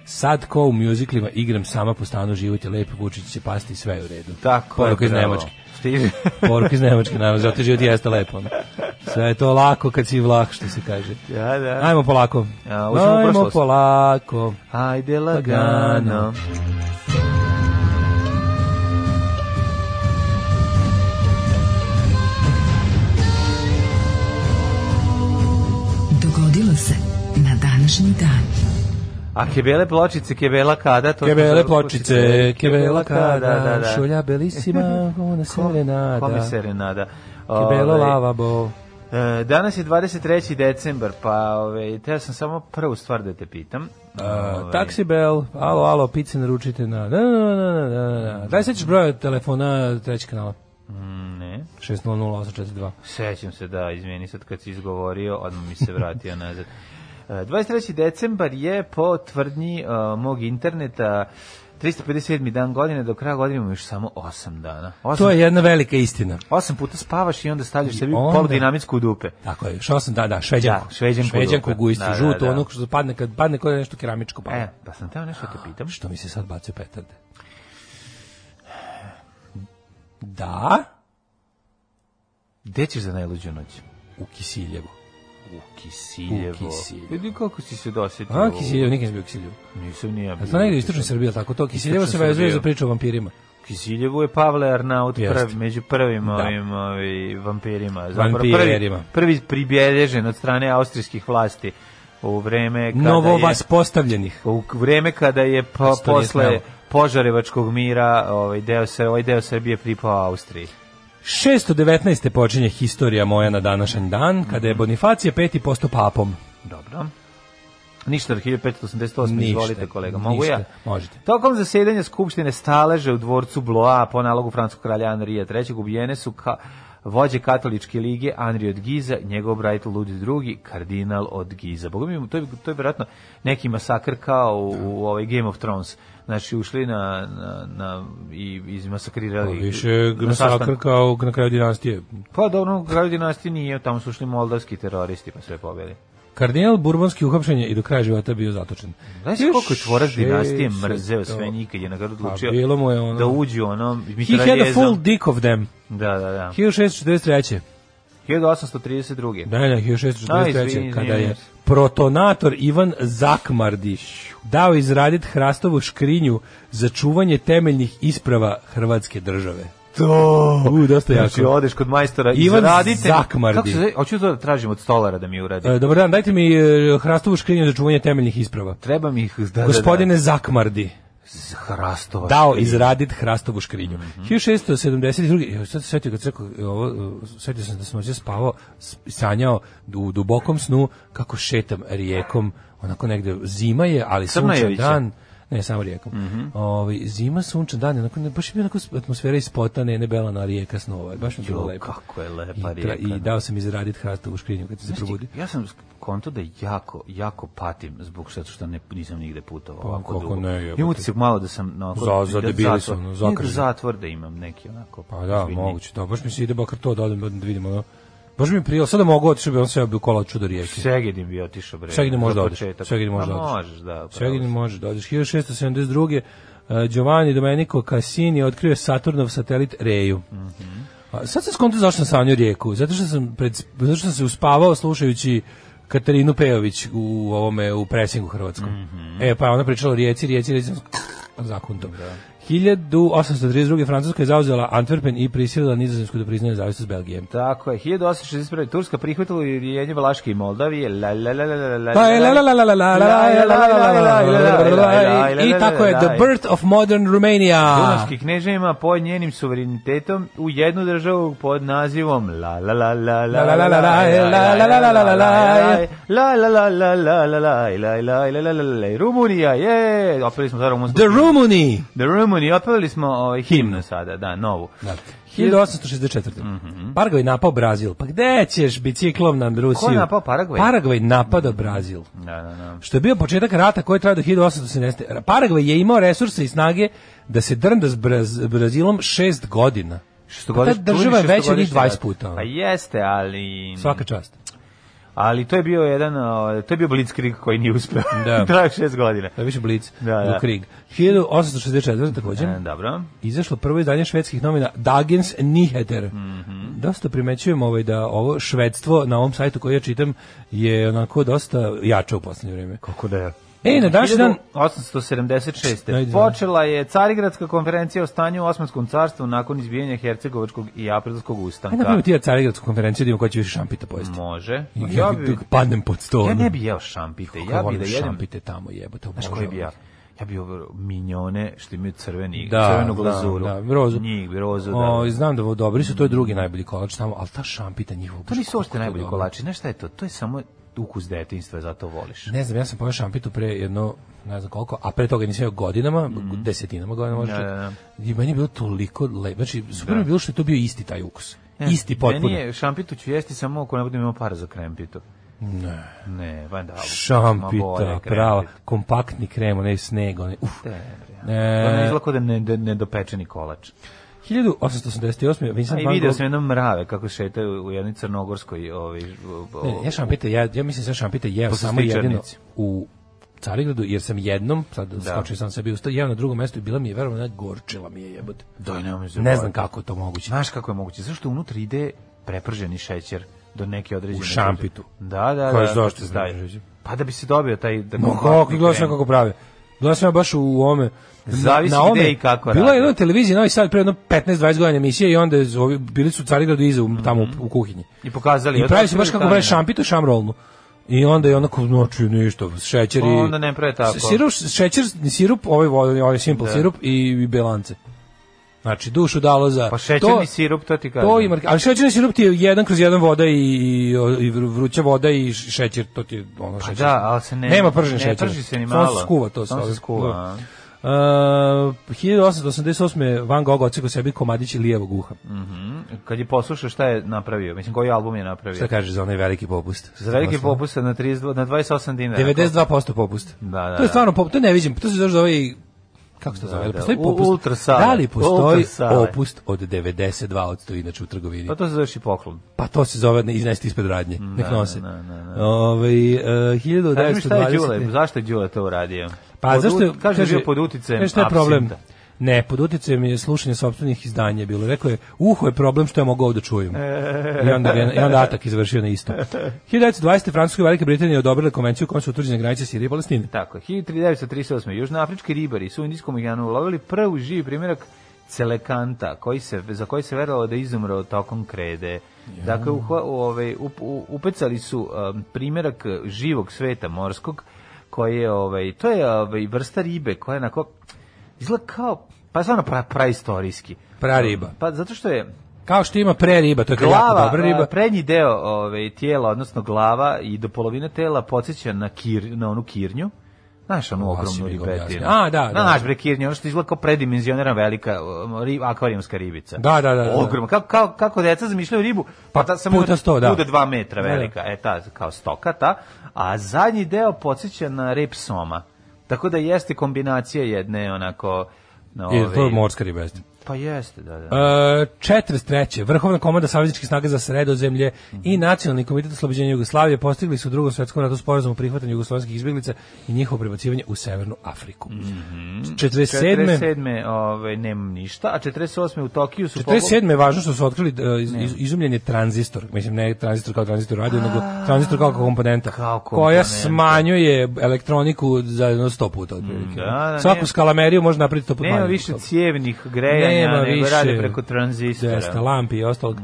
[SPEAKER 7] Sad ko u muziklima igram sama po stanu, život je lep, Vučić će pasti sve je u redu.
[SPEAKER 6] Tako
[SPEAKER 7] Poruka iz
[SPEAKER 6] bravo.
[SPEAKER 7] Nemačke.
[SPEAKER 6] Stiže.
[SPEAKER 7] Poruka iz Nemačke, naravno, zato život jeste lepo. ono. Sve je to lako kad si vlah, što se kaže.
[SPEAKER 6] Da, da.
[SPEAKER 7] Ajmo polako.
[SPEAKER 6] A, hoćemo u
[SPEAKER 7] Ajmo
[SPEAKER 6] prošlost.
[SPEAKER 7] polako.
[SPEAKER 6] Ajde
[SPEAKER 7] Pa
[SPEAKER 6] lagano.
[SPEAKER 5] Dogodilo se na današnji dan.
[SPEAKER 6] A kebele pločice, kebela kada? To
[SPEAKER 7] Kebele
[SPEAKER 6] to-
[SPEAKER 7] pločice, kebela
[SPEAKER 6] da,
[SPEAKER 7] kada,
[SPEAKER 6] da.
[SPEAKER 7] šolja belisima, ona serenada.
[SPEAKER 6] Kome serenada?
[SPEAKER 7] Kebelo
[SPEAKER 6] Ovaj,
[SPEAKER 7] lavabo.
[SPEAKER 6] e, Danas je 23. decembar, pa ove, teo sam samo prvu stvar da te pitam.
[SPEAKER 7] Uh, taksi bel, alo, alo, pice naručite na... Na, na, na, na, na, na. Daj sećaš broja telefona trećeg kanala.
[SPEAKER 6] Mm, Ne,
[SPEAKER 7] 600842.
[SPEAKER 6] sećam se da, izmeni sad kad si izgovorio, odmah mi se vratio nazad. E, 23. decembar je po tvrdnji e, mog interneta 357. dan godine, do kraja godine imamo još samo 8 dana. 8,
[SPEAKER 7] To je jedna velika istina.
[SPEAKER 6] osam puta spavaš i onda stavljaš sebi
[SPEAKER 7] onda-
[SPEAKER 6] polu dinamitsku u dupe.
[SPEAKER 7] Tako je, šao sam, da, da, šveđanku.
[SPEAKER 6] Da, šveđanku
[SPEAKER 7] šveđanku
[SPEAKER 6] dupe.
[SPEAKER 7] guistu,
[SPEAKER 6] Da, da,
[SPEAKER 7] žuto,
[SPEAKER 6] da.
[SPEAKER 7] ono što padne, kad padne koje nešto keramičko padne.
[SPEAKER 6] E, pa sam teo nešto da te pitam.
[SPEAKER 7] Što mi se sad bacio petarde? Da,
[SPEAKER 6] Gde ćeš za najluđu noć?
[SPEAKER 7] u Kisiljevu.
[SPEAKER 6] U Kisiljevo.
[SPEAKER 7] U Kisiljevo.
[SPEAKER 6] Vidi kako si se dosetio.
[SPEAKER 7] A, Kisiljevo, nikad nisam bio u Kisiljevu.
[SPEAKER 6] Nisam ni ja bio.
[SPEAKER 7] A to negdje u istočnoj Srbiji, jel tako to? Kisiljevo se
[SPEAKER 6] Istočna
[SPEAKER 7] vezuje
[SPEAKER 6] Srbija.
[SPEAKER 7] za priču o vampirima.
[SPEAKER 6] Kisiljevo je Pavle Arnaut
[SPEAKER 7] Jeste.
[SPEAKER 6] prvi, među prvim
[SPEAKER 7] Da.
[SPEAKER 6] ovim ovi, vampirima. Zapravo
[SPEAKER 7] Vampirima.
[SPEAKER 6] Prvi, prvi pribilježen od strane austrijskih vlasti u vreme kada
[SPEAKER 7] Novo
[SPEAKER 6] je...
[SPEAKER 7] vas postavljenih.
[SPEAKER 6] U vreme kada je po,
[SPEAKER 7] Isto nije
[SPEAKER 6] posle
[SPEAKER 7] smelo.
[SPEAKER 6] požarevačkog mira ovaj deo, se, ovaj deo Srbije pripao Austriji.
[SPEAKER 7] 619. počinje historija moja na današnji dan, kada
[SPEAKER 6] Mhm.
[SPEAKER 7] je Bonifacije peti posto papom.
[SPEAKER 6] Dobro. Ništa, 1588,
[SPEAKER 7] Ništa,
[SPEAKER 6] izvolite kolega, mogu
[SPEAKER 7] ništa,
[SPEAKER 6] ja?
[SPEAKER 7] možete.
[SPEAKER 6] Tokom zasedanja Skupštine staleže u dvorcu Bloa po nalogu francuskog kralja Anrija III. ubijene su ka, vođe katoličke lige Anri od Giza, njegov brat Lud II, kardinal od Giza. Boga mi, to je, to je vjerojatno neki masakr kao u, u ovaj Game of Thrones. Znači, ušli na, na, na i izmasakrirali.
[SPEAKER 7] Pa, Više
[SPEAKER 6] na sastanak.
[SPEAKER 7] masakr kao na kraju dinastije.
[SPEAKER 6] Pa dobro, u kraju dinastije nije, tamo su ušli moldavski teroristi pa sve pobeli.
[SPEAKER 7] Kardinal Burbonski uhapšen je i do kraja života bio zatočen.
[SPEAKER 6] Znaš koliko je tvorac dinastije
[SPEAKER 7] 600.
[SPEAKER 6] mrzeo sve njih kad je na kraju odlučio
[SPEAKER 7] Pa, bilo mu je ono-
[SPEAKER 6] da uđu ono
[SPEAKER 7] He had a full
[SPEAKER 6] mitraljezom.
[SPEAKER 7] dick of them.
[SPEAKER 6] Da, da, da.
[SPEAKER 7] 1643.
[SPEAKER 6] 1832.
[SPEAKER 7] Ne, ne,
[SPEAKER 6] A, izvini,
[SPEAKER 7] 1643. Kada
[SPEAKER 6] izvini.
[SPEAKER 7] je protonator Ivan Zakmardi dao izraditi hrastovu škrinju za čuvanje temeljnih isprava Hrvatske države. To! U, dosta
[SPEAKER 6] Znači,
[SPEAKER 7] jako.
[SPEAKER 6] odeš kod majstora i
[SPEAKER 7] Ivan
[SPEAKER 6] zaradite.
[SPEAKER 7] Zakmardi.
[SPEAKER 6] Kako se zove? Hoću to da tražim od stolara da mi uradi.
[SPEAKER 7] E, dobar dan, dajte mi e, hrastovu škrinju za čuvanje temeljnih isprava.
[SPEAKER 6] Treba mi ih... Da,
[SPEAKER 7] Gospodine Zakmardi,
[SPEAKER 6] Da, da. Hrastova.
[SPEAKER 7] dao
[SPEAKER 6] škrinja.
[SPEAKER 7] izraditi hrastovu škrinju.
[SPEAKER 6] Mhm.
[SPEAKER 7] 1672. Jo, sad se setio kad se rekao, e, ovo, e, setio sam da sam noćas spavao, s- sanjao u dubokom snu kako šetam rijekom, onako negde zima je, ali sunčan
[SPEAKER 6] Crnojevića.
[SPEAKER 7] dan. Ne, samo rijekom.
[SPEAKER 6] Mhm.
[SPEAKER 7] Ovaj, zima, sunčan dan, onako, ne, baš je bila onako atmosfera ispota, ne, ne bela na rijeka snova. Baš mi je bilo
[SPEAKER 6] Jo,
[SPEAKER 7] lepo.
[SPEAKER 6] kako je lepa
[SPEAKER 7] I, tra-
[SPEAKER 6] rijeka, da.
[SPEAKER 7] I dao sam izraditi hrastovu škrinju kad sam se probudio.
[SPEAKER 6] Ja sam konto da jako, jako patim zbog što što ne, nisam nigde putovao. ovako
[SPEAKER 7] kako
[SPEAKER 6] dugo.
[SPEAKER 7] Pa, ne, jebote.
[SPEAKER 6] Imam utisak malo da sam... No,
[SPEAKER 7] Za- za debili sam, ono,
[SPEAKER 6] zatvor.
[SPEAKER 7] zakržen.
[SPEAKER 6] Zatvor da imam neki onako.
[SPEAKER 7] Pa da,
[SPEAKER 6] ozbiljniji.
[SPEAKER 7] moguće to. Baš mi se ide bakar to da odem da vidim ono. Baš mi je prijelo, sada mogu otišao bi on sve bio kola čudo rijeke.
[SPEAKER 6] Segedin bi otišao bre.
[SPEAKER 7] Segedin može
[SPEAKER 6] za
[SPEAKER 7] da odeš,
[SPEAKER 6] početak.
[SPEAKER 7] Segedin može
[SPEAKER 6] Pa
[SPEAKER 7] da odeš.
[SPEAKER 6] možeš, da.
[SPEAKER 7] Svegin može da odeš. 1672. eh, Giovanni Domenico Cassini otkrio je Saturnov satelit Reju. A sad sam skonto zašto sam sanjao rijeku. Zato što sam, pred, zato što sam se uspavao slušajući Katarinu Pejović u ovome u presingu hrvatskom. E pa je ona pričala o rijeci, rijeci, rijeci zakunto. 1832. Francuska je zauzela Antwerpen i prisilila Nizozemsku da priznaje zavisnost Belgije.
[SPEAKER 6] Tako je, 1861. Turska prihvatila ujedinjenje Vlaške i Moldavije. La, la, la, la, la, la,
[SPEAKER 7] Pa je la la la la la la la la la la la la la. I tako je The Birth of Modern Romania.
[SPEAKER 6] Dunavski kneže ima pod njenim suverenitetom u jednu državu pod nazivom la la la la la la la la la la la la la la la la la la la la la la la la la la Rumunija, je! Opeli smo za Rumunsku.
[SPEAKER 7] The Rumuni.
[SPEAKER 6] The Rumunija, opeli smo ovaj, himnu sada, da, novu.
[SPEAKER 7] 1864. Paragvaj napao Brazil. Pa gde ćeš biciklom na Rusiju?
[SPEAKER 6] Mhm. Ko je napao Paragvaj?
[SPEAKER 7] Paragvaj napada Brazil.
[SPEAKER 6] Da, da, da.
[SPEAKER 7] Što je bio početak rata koji je trajao do 1870. Paragvaj je imao resurse i snage da se drnda s Braz- Brazilom šest godina.
[SPEAKER 6] Šestogodiš-
[SPEAKER 7] Pa ta država je
[SPEAKER 6] duži
[SPEAKER 7] veća od njih
[SPEAKER 6] šestogodišnji
[SPEAKER 7] 20
[SPEAKER 6] rat.
[SPEAKER 7] puta. ono.
[SPEAKER 6] Pa jeste, Pa ali...
[SPEAKER 7] Svaka čast.
[SPEAKER 6] Ali to je bio jedan, a, to je bio Blitzkrieg koji nije uspeo.
[SPEAKER 7] Da.
[SPEAKER 6] Trajao je šest godina.
[SPEAKER 7] To je više Blitz,
[SPEAKER 6] Da, da.
[SPEAKER 7] do Krieg. 1864. takođe,
[SPEAKER 6] E, dobro.
[SPEAKER 7] izašlo prvo izdanje švedskih novina Dagens Nyheter.
[SPEAKER 6] Mhm.
[SPEAKER 7] Dosta primećujem ovaj da ovo švedstvo na ovom sajtu koji ja čitam je onako dosta jače u poslednje vreme.
[SPEAKER 6] Kako da je?
[SPEAKER 7] E, na današnji dan
[SPEAKER 6] 876.
[SPEAKER 7] Ajde.
[SPEAKER 6] počela je Carigradska konferencija o stanju u Osmanskom carstvu nakon izbijanja Hercegovačkog i Aprilskog
[SPEAKER 7] Ajde napravimo
[SPEAKER 6] ustanka.
[SPEAKER 7] ti ja Carigradsku konferenciju da vidimo ko će više šampita pojesti.
[SPEAKER 6] Može.
[SPEAKER 7] Ja bi, dok padnem pod sto.
[SPEAKER 6] ja
[SPEAKER 7] ono.
[SPEAKER 6] ne bi jeo šampite,
[SPEAKER 7] Kako
[SPEAKER 6] ja bi
[SPEAKER 7] volim
[SPEAKER 6] da jedem
[SPEAKER 7] šampite tamo jebote.
[SPEAKER 6] Znaš koji bi ja? Ja bi ovo minjone što imaju crveni,
[SPEAKER 7] Da,
[SPEAKER 6] crvenu
[SPEAKER 7] da,
[SPEAKER 6] glazuru.
[SPEAKER 7] da, rozu.
[SPEAKER 6] Njih bi rozu, da.
[SPEAKER 7] O, znam da ovo dobri su, to je drugi najbolji kolač tamo, ali ta šampita njihova.
[SPEAKER 6] to
[SPEAKER 7] baš
[SPEAKER 6] nisu
[SPEAKER 7] kako
[SPEAKER 6] ošte
[SPEAKER 7] je
[SPEAKER 6] najbolji
[SPEAKER 7] dobro.
[SPEAKER 6] kolači. Znaš šta je to? To je samo ukus detinjstva, zato voliš.
[SPEAKER 7] Ne znam, ja sam pojao šampitu pre jedno ne znam koliko, a pre toga nisam jeo godinama, desetinama godina možda.
[SPEAKER 6] Mhm. Da, da, da.
[SPEAKER 7] I meni je bilo toliko lepo. Znači, super mi je bilo što je to bio isti taj ukus. isti potpuno.
[SPEAKER 6] E, Meni je šampitu ću jesti samo ako ne budem imao para za krempitu. Ne. Ne, van da. ma bolje
[SPEAKER 7] Šampita,
[SPEAKER 6] krempit.
[SPEAKER 7] prava, kompaktni krem, onaj sneg, onaj, uf.
[SPEAKER 6] To ne
[SPEAKER 7] E,
[SPEAKER 6] izgleda kao da ne, da- nedopečeni kolač.
[SPEAKER 7] 1888. Vincent
[SPEAKER 6] A i
[SPEAKER 7] van
[SPEAKER 6] video
[SPEAKER 7] Gogh-
[SPEAKER 6] sam jednom mrave kako šetaju u jednoj crnogorskoj... Ovaj, o-
[SPEAKER 7] Ne, E, ja šampite, ja, ja mislim da sam šampite jeo
[SPEAKER 6] Posle
[SPEAKER 7] samo jedino
[SPEAKER 6] sličarnici.
[SPEAKER 7] u Carigradu, jer sam jednom, sad skočio sam sebi usta, jeo na drugo mesto i bila mi je, verovatno, gorčila mi je jebote.
[SPEAKER 6] Daj, nemoj se
[SPEAKER 7] Ne
[SPEAKER 6] bojati.
[SPEAKER 7] znam kako je to moguće.
[SPEAKER 6] Znaš kako je moguće? Zašto unutra ide preprženi šećer do neke određene...
[SPEAKER 7] U šampitu.
[SPEAKER 6] Da, da,
[SPEAKER 7] Kažeš
[SPEAKER 6] da.
[SPEAKER 7] zašto
[SPEAKER 6] Taj.
[SPEAKER 7] znaš, reći?
[SPEAKER 6] Pa da bi se dobio taj... Da
[SPEAKER 7] Ma kako, gledao sam ja kako prave. Gledao sam ja baš u ome. na-
[SPEAKER 6] Zavisi
[SPEAKER 7] na ome.
[SPEAKER 6] gde i kako
[SPEAKER 7] Bila
[SPEAKER 6] rade.
[SPEAKER 7] je jedna televizija Novi Sad pre jedno 15-20 godina emisije i onda je zovi- bili su u Carigradu iza u-
[SPEAKER 6] Mhm.
[SPEAKER 7] tamo u, u kuhinji.
[SPEAKER 6] I pokazali...
[SPEAKER 7] I pravi se
[SPEAKER 6] Otkrili
[SPEAKER 7] baš kako
[SPEAKER 6] tajnu.
[SPEAKER 7] pravi šampitu i šamrolnu. I onda je onako noću ništa, šećer i...
[SPEAKER 6] Pa onda ne prave tako.
[SPEAKER 7] Sirup, šećer, sirup, ovaj, ovaj, ovaj simple sirup i, i belance. Znači, dušu dalo za...
[SPEAKER 6] Pa šećerni
[SPEAKER 7] to-
[SPEAKER 6] sirup, to ti kažem.
[SPEAKER 7] To i marka, ali šećerni sirup ti je jedan kroz jedan voda i, i, i vru- vruća voda i š- šećer, to ti je ono
[SPEAKER 6] Pa
[SPEAKER 7] šećer.
[SPEAKER 6] da, ali se ne...
[SPEAKER 7] Nema pržen
[SPEAKER 6] ne
[SPEAKER 7] šećer.
[SPEAKER 6] prži se ni
[SPEAKER 7] Samo
[SPEAKER 6] malo.
[SPEAKER 7] se Uh, skuva to.
[SPEAKER 6] Samo se
[SPEAKER 7] ove-
[SPEAKER 6] skuva.
[SPEAKER 7] da.
[SPEAKER 6] a.
[SPEAKER 7] Uh, 1888. Van Gogh ocekao sebi komadići lijevog uha.
[SPEAKER 6] Mm. Kad je poslušao šta je napravio, mislim koji album je napravio.
[SPEAKER 7] Šta kaže za onaj veliki popust?
[SPEAKER 6] Za veliki popust na 32 na 28 dinara.
[SPEAKER 7] 92% popust.
[SPEAKER 6] Da, da,
[SPEAKER 7] To je
[SPEAKER 6] da.
[SPEAKER 7] stvarno popust, to ne vidim, to se zove ovaj kako se to zove?
[SPEAKER 6] Da, da,
[SPEAKER 7] Postoji
[SPEAKER 6] u-
[SPEAKER 7] popust.
[SPEAKER 6] ultra sale.
[SPEAKER 7] Da li postoji
[SPEAKER 6] Ultra sale.
[SPEAKER 7] popust od 92% inače u trgovini?
[SPEAKER 6] Pa to se zoveš i poklon.
[SPEAKER 7] Pa to se zove ne iznesti ispred radnje. Nek nose.
[SPEAKER 6] ne, ne,
[SPEAKER 7] Ovaj e,
[SPEAKER 6] Kaži mi šta je Đule,
[SPEAKER 7] 1920.
[SPEAKER 6] zašto je Đule to uradio?
[SPEAKER 7] Pa
[SPEAKER 6] Pod
[SPEAKER 7] zašto
[SPEAKER 6] ut- kaže, bio pod uticajem
[SPEAKER 7] Znaš šta je problem?
[SPEAKER 6] absinta.
[SPEAKER 7] Ne, pod uticajem je slušanje sopstvenih izdanja bilo. Rekao je, uho je problem što ja mogu ovo da čujem. I onda, je- i onda atak izvršio na isto. 1920. Francuska i Velika Britanija odobrile konvenciju u kojom su utvrđene granice Sirije i Palestine.
[SPEAKER 6] Tako, je, 1938. Južnoafrički ribari su u Indijskom okeanu ulovili prvi živi primjerak celekanta koji se, za koji se verovalo da je izumro tokom krede. Dakle, u, u, ovaj, up, u, upecali su um, primjerak eh, živog sveta morskog koji je, ovaj, to je ovaj, vrsta ribe koja je onako, izgleda kao, pa stvarno pra, praistorijski.
[SPEAKER 7] Prariba.
[SPEAKER 6] Pa zato što je
[SPEAKER 7] Kao što ima pre riba, to je kao jako
[SPEAKER 6] glava,
[SPEAKER 7] dobra riba.
[SPEAKER 6] a, prednji deo ove, tijela, odnosno glava i do polovine tela podsjeća na, kir, na onu kirnju. Znaš onu
[SPEAKER 7] Ovako si
[SPEAKER 6] ogromnu
[SPEAKER 7] mi ga
[SPEAKER 6] ribetinu?
[SPEAKER 7] objasnio. A, da, da.
[SPEAKER 6] Znaš bre kirnju, ono što izgleda kao predimenzionirana velika um, ri, akvarijumska ribibica.
[SPEAKER 7] Da, da, da, da.
[SPEAKER 6] Ogromna. Kako, kao, kako deca zamišljaju ribu, pa ta samo
[SPEAKER 7] puta sto, da.
[SPEAKER 6] bude dva metra
[SPEAKER 7] Da.
[SPEAKER 6] velika. E, ta, kao stoka, ta. A zadnji deo podsjeća na rep soma. Tako da jeste kombinacija jedne onako... na
[SPEAKER 7] I
[SPEAKER 6] ove-
[SPEAKER 7] to je morska riba. jeste.
[SPEAKER 6] Pa jeste, da, da.
[SPEAKER 7] E, 43. Vrhovna komanda savezničkih snaga za sredozemlje i Nacionalni komitet oslobođenja Jugoslavije postigli su u drugom svetskom ratu sporazum o prihvatanju jugoslovenskih izbjeglica i njihovo prebacivanje u Severnu Afriku.
[SPEAKER 6] Mhm.
[SPEAKER 7] 47.
[SPEAKER 6] 47. Ove, ovaj, nemam ništa, a 48. u Tokiju su...
[SPEAKER 7] 47. je važno što su otkrili e, iz, iz- izumljen je tranzistor, mislim ne tranzistor kao tranzistor radio, nego tranzistor kao komponenta,
[SPEAKER 6] Kao
[SPEAKER 7] koja
[SPEAKER 6] komponenta.
[SPEAKER 7] smanjuje elektroniku za jedno 100 puta otprilike.
[SPEAKER 6] da, da,
[SPEAKER 7] Svaku
[SPEAKER 6] nema-
[SPEAKER 7] skalameriju može napraviti 100 puta
[SPEAKER 6] Nema
[SPEAKER 7] manje.
[SPEAKER 6] više cijevnih grejanja, nego rade preko tranzistora. Mm.
[SPEAKER 7] Jeste, lampi i ostalog.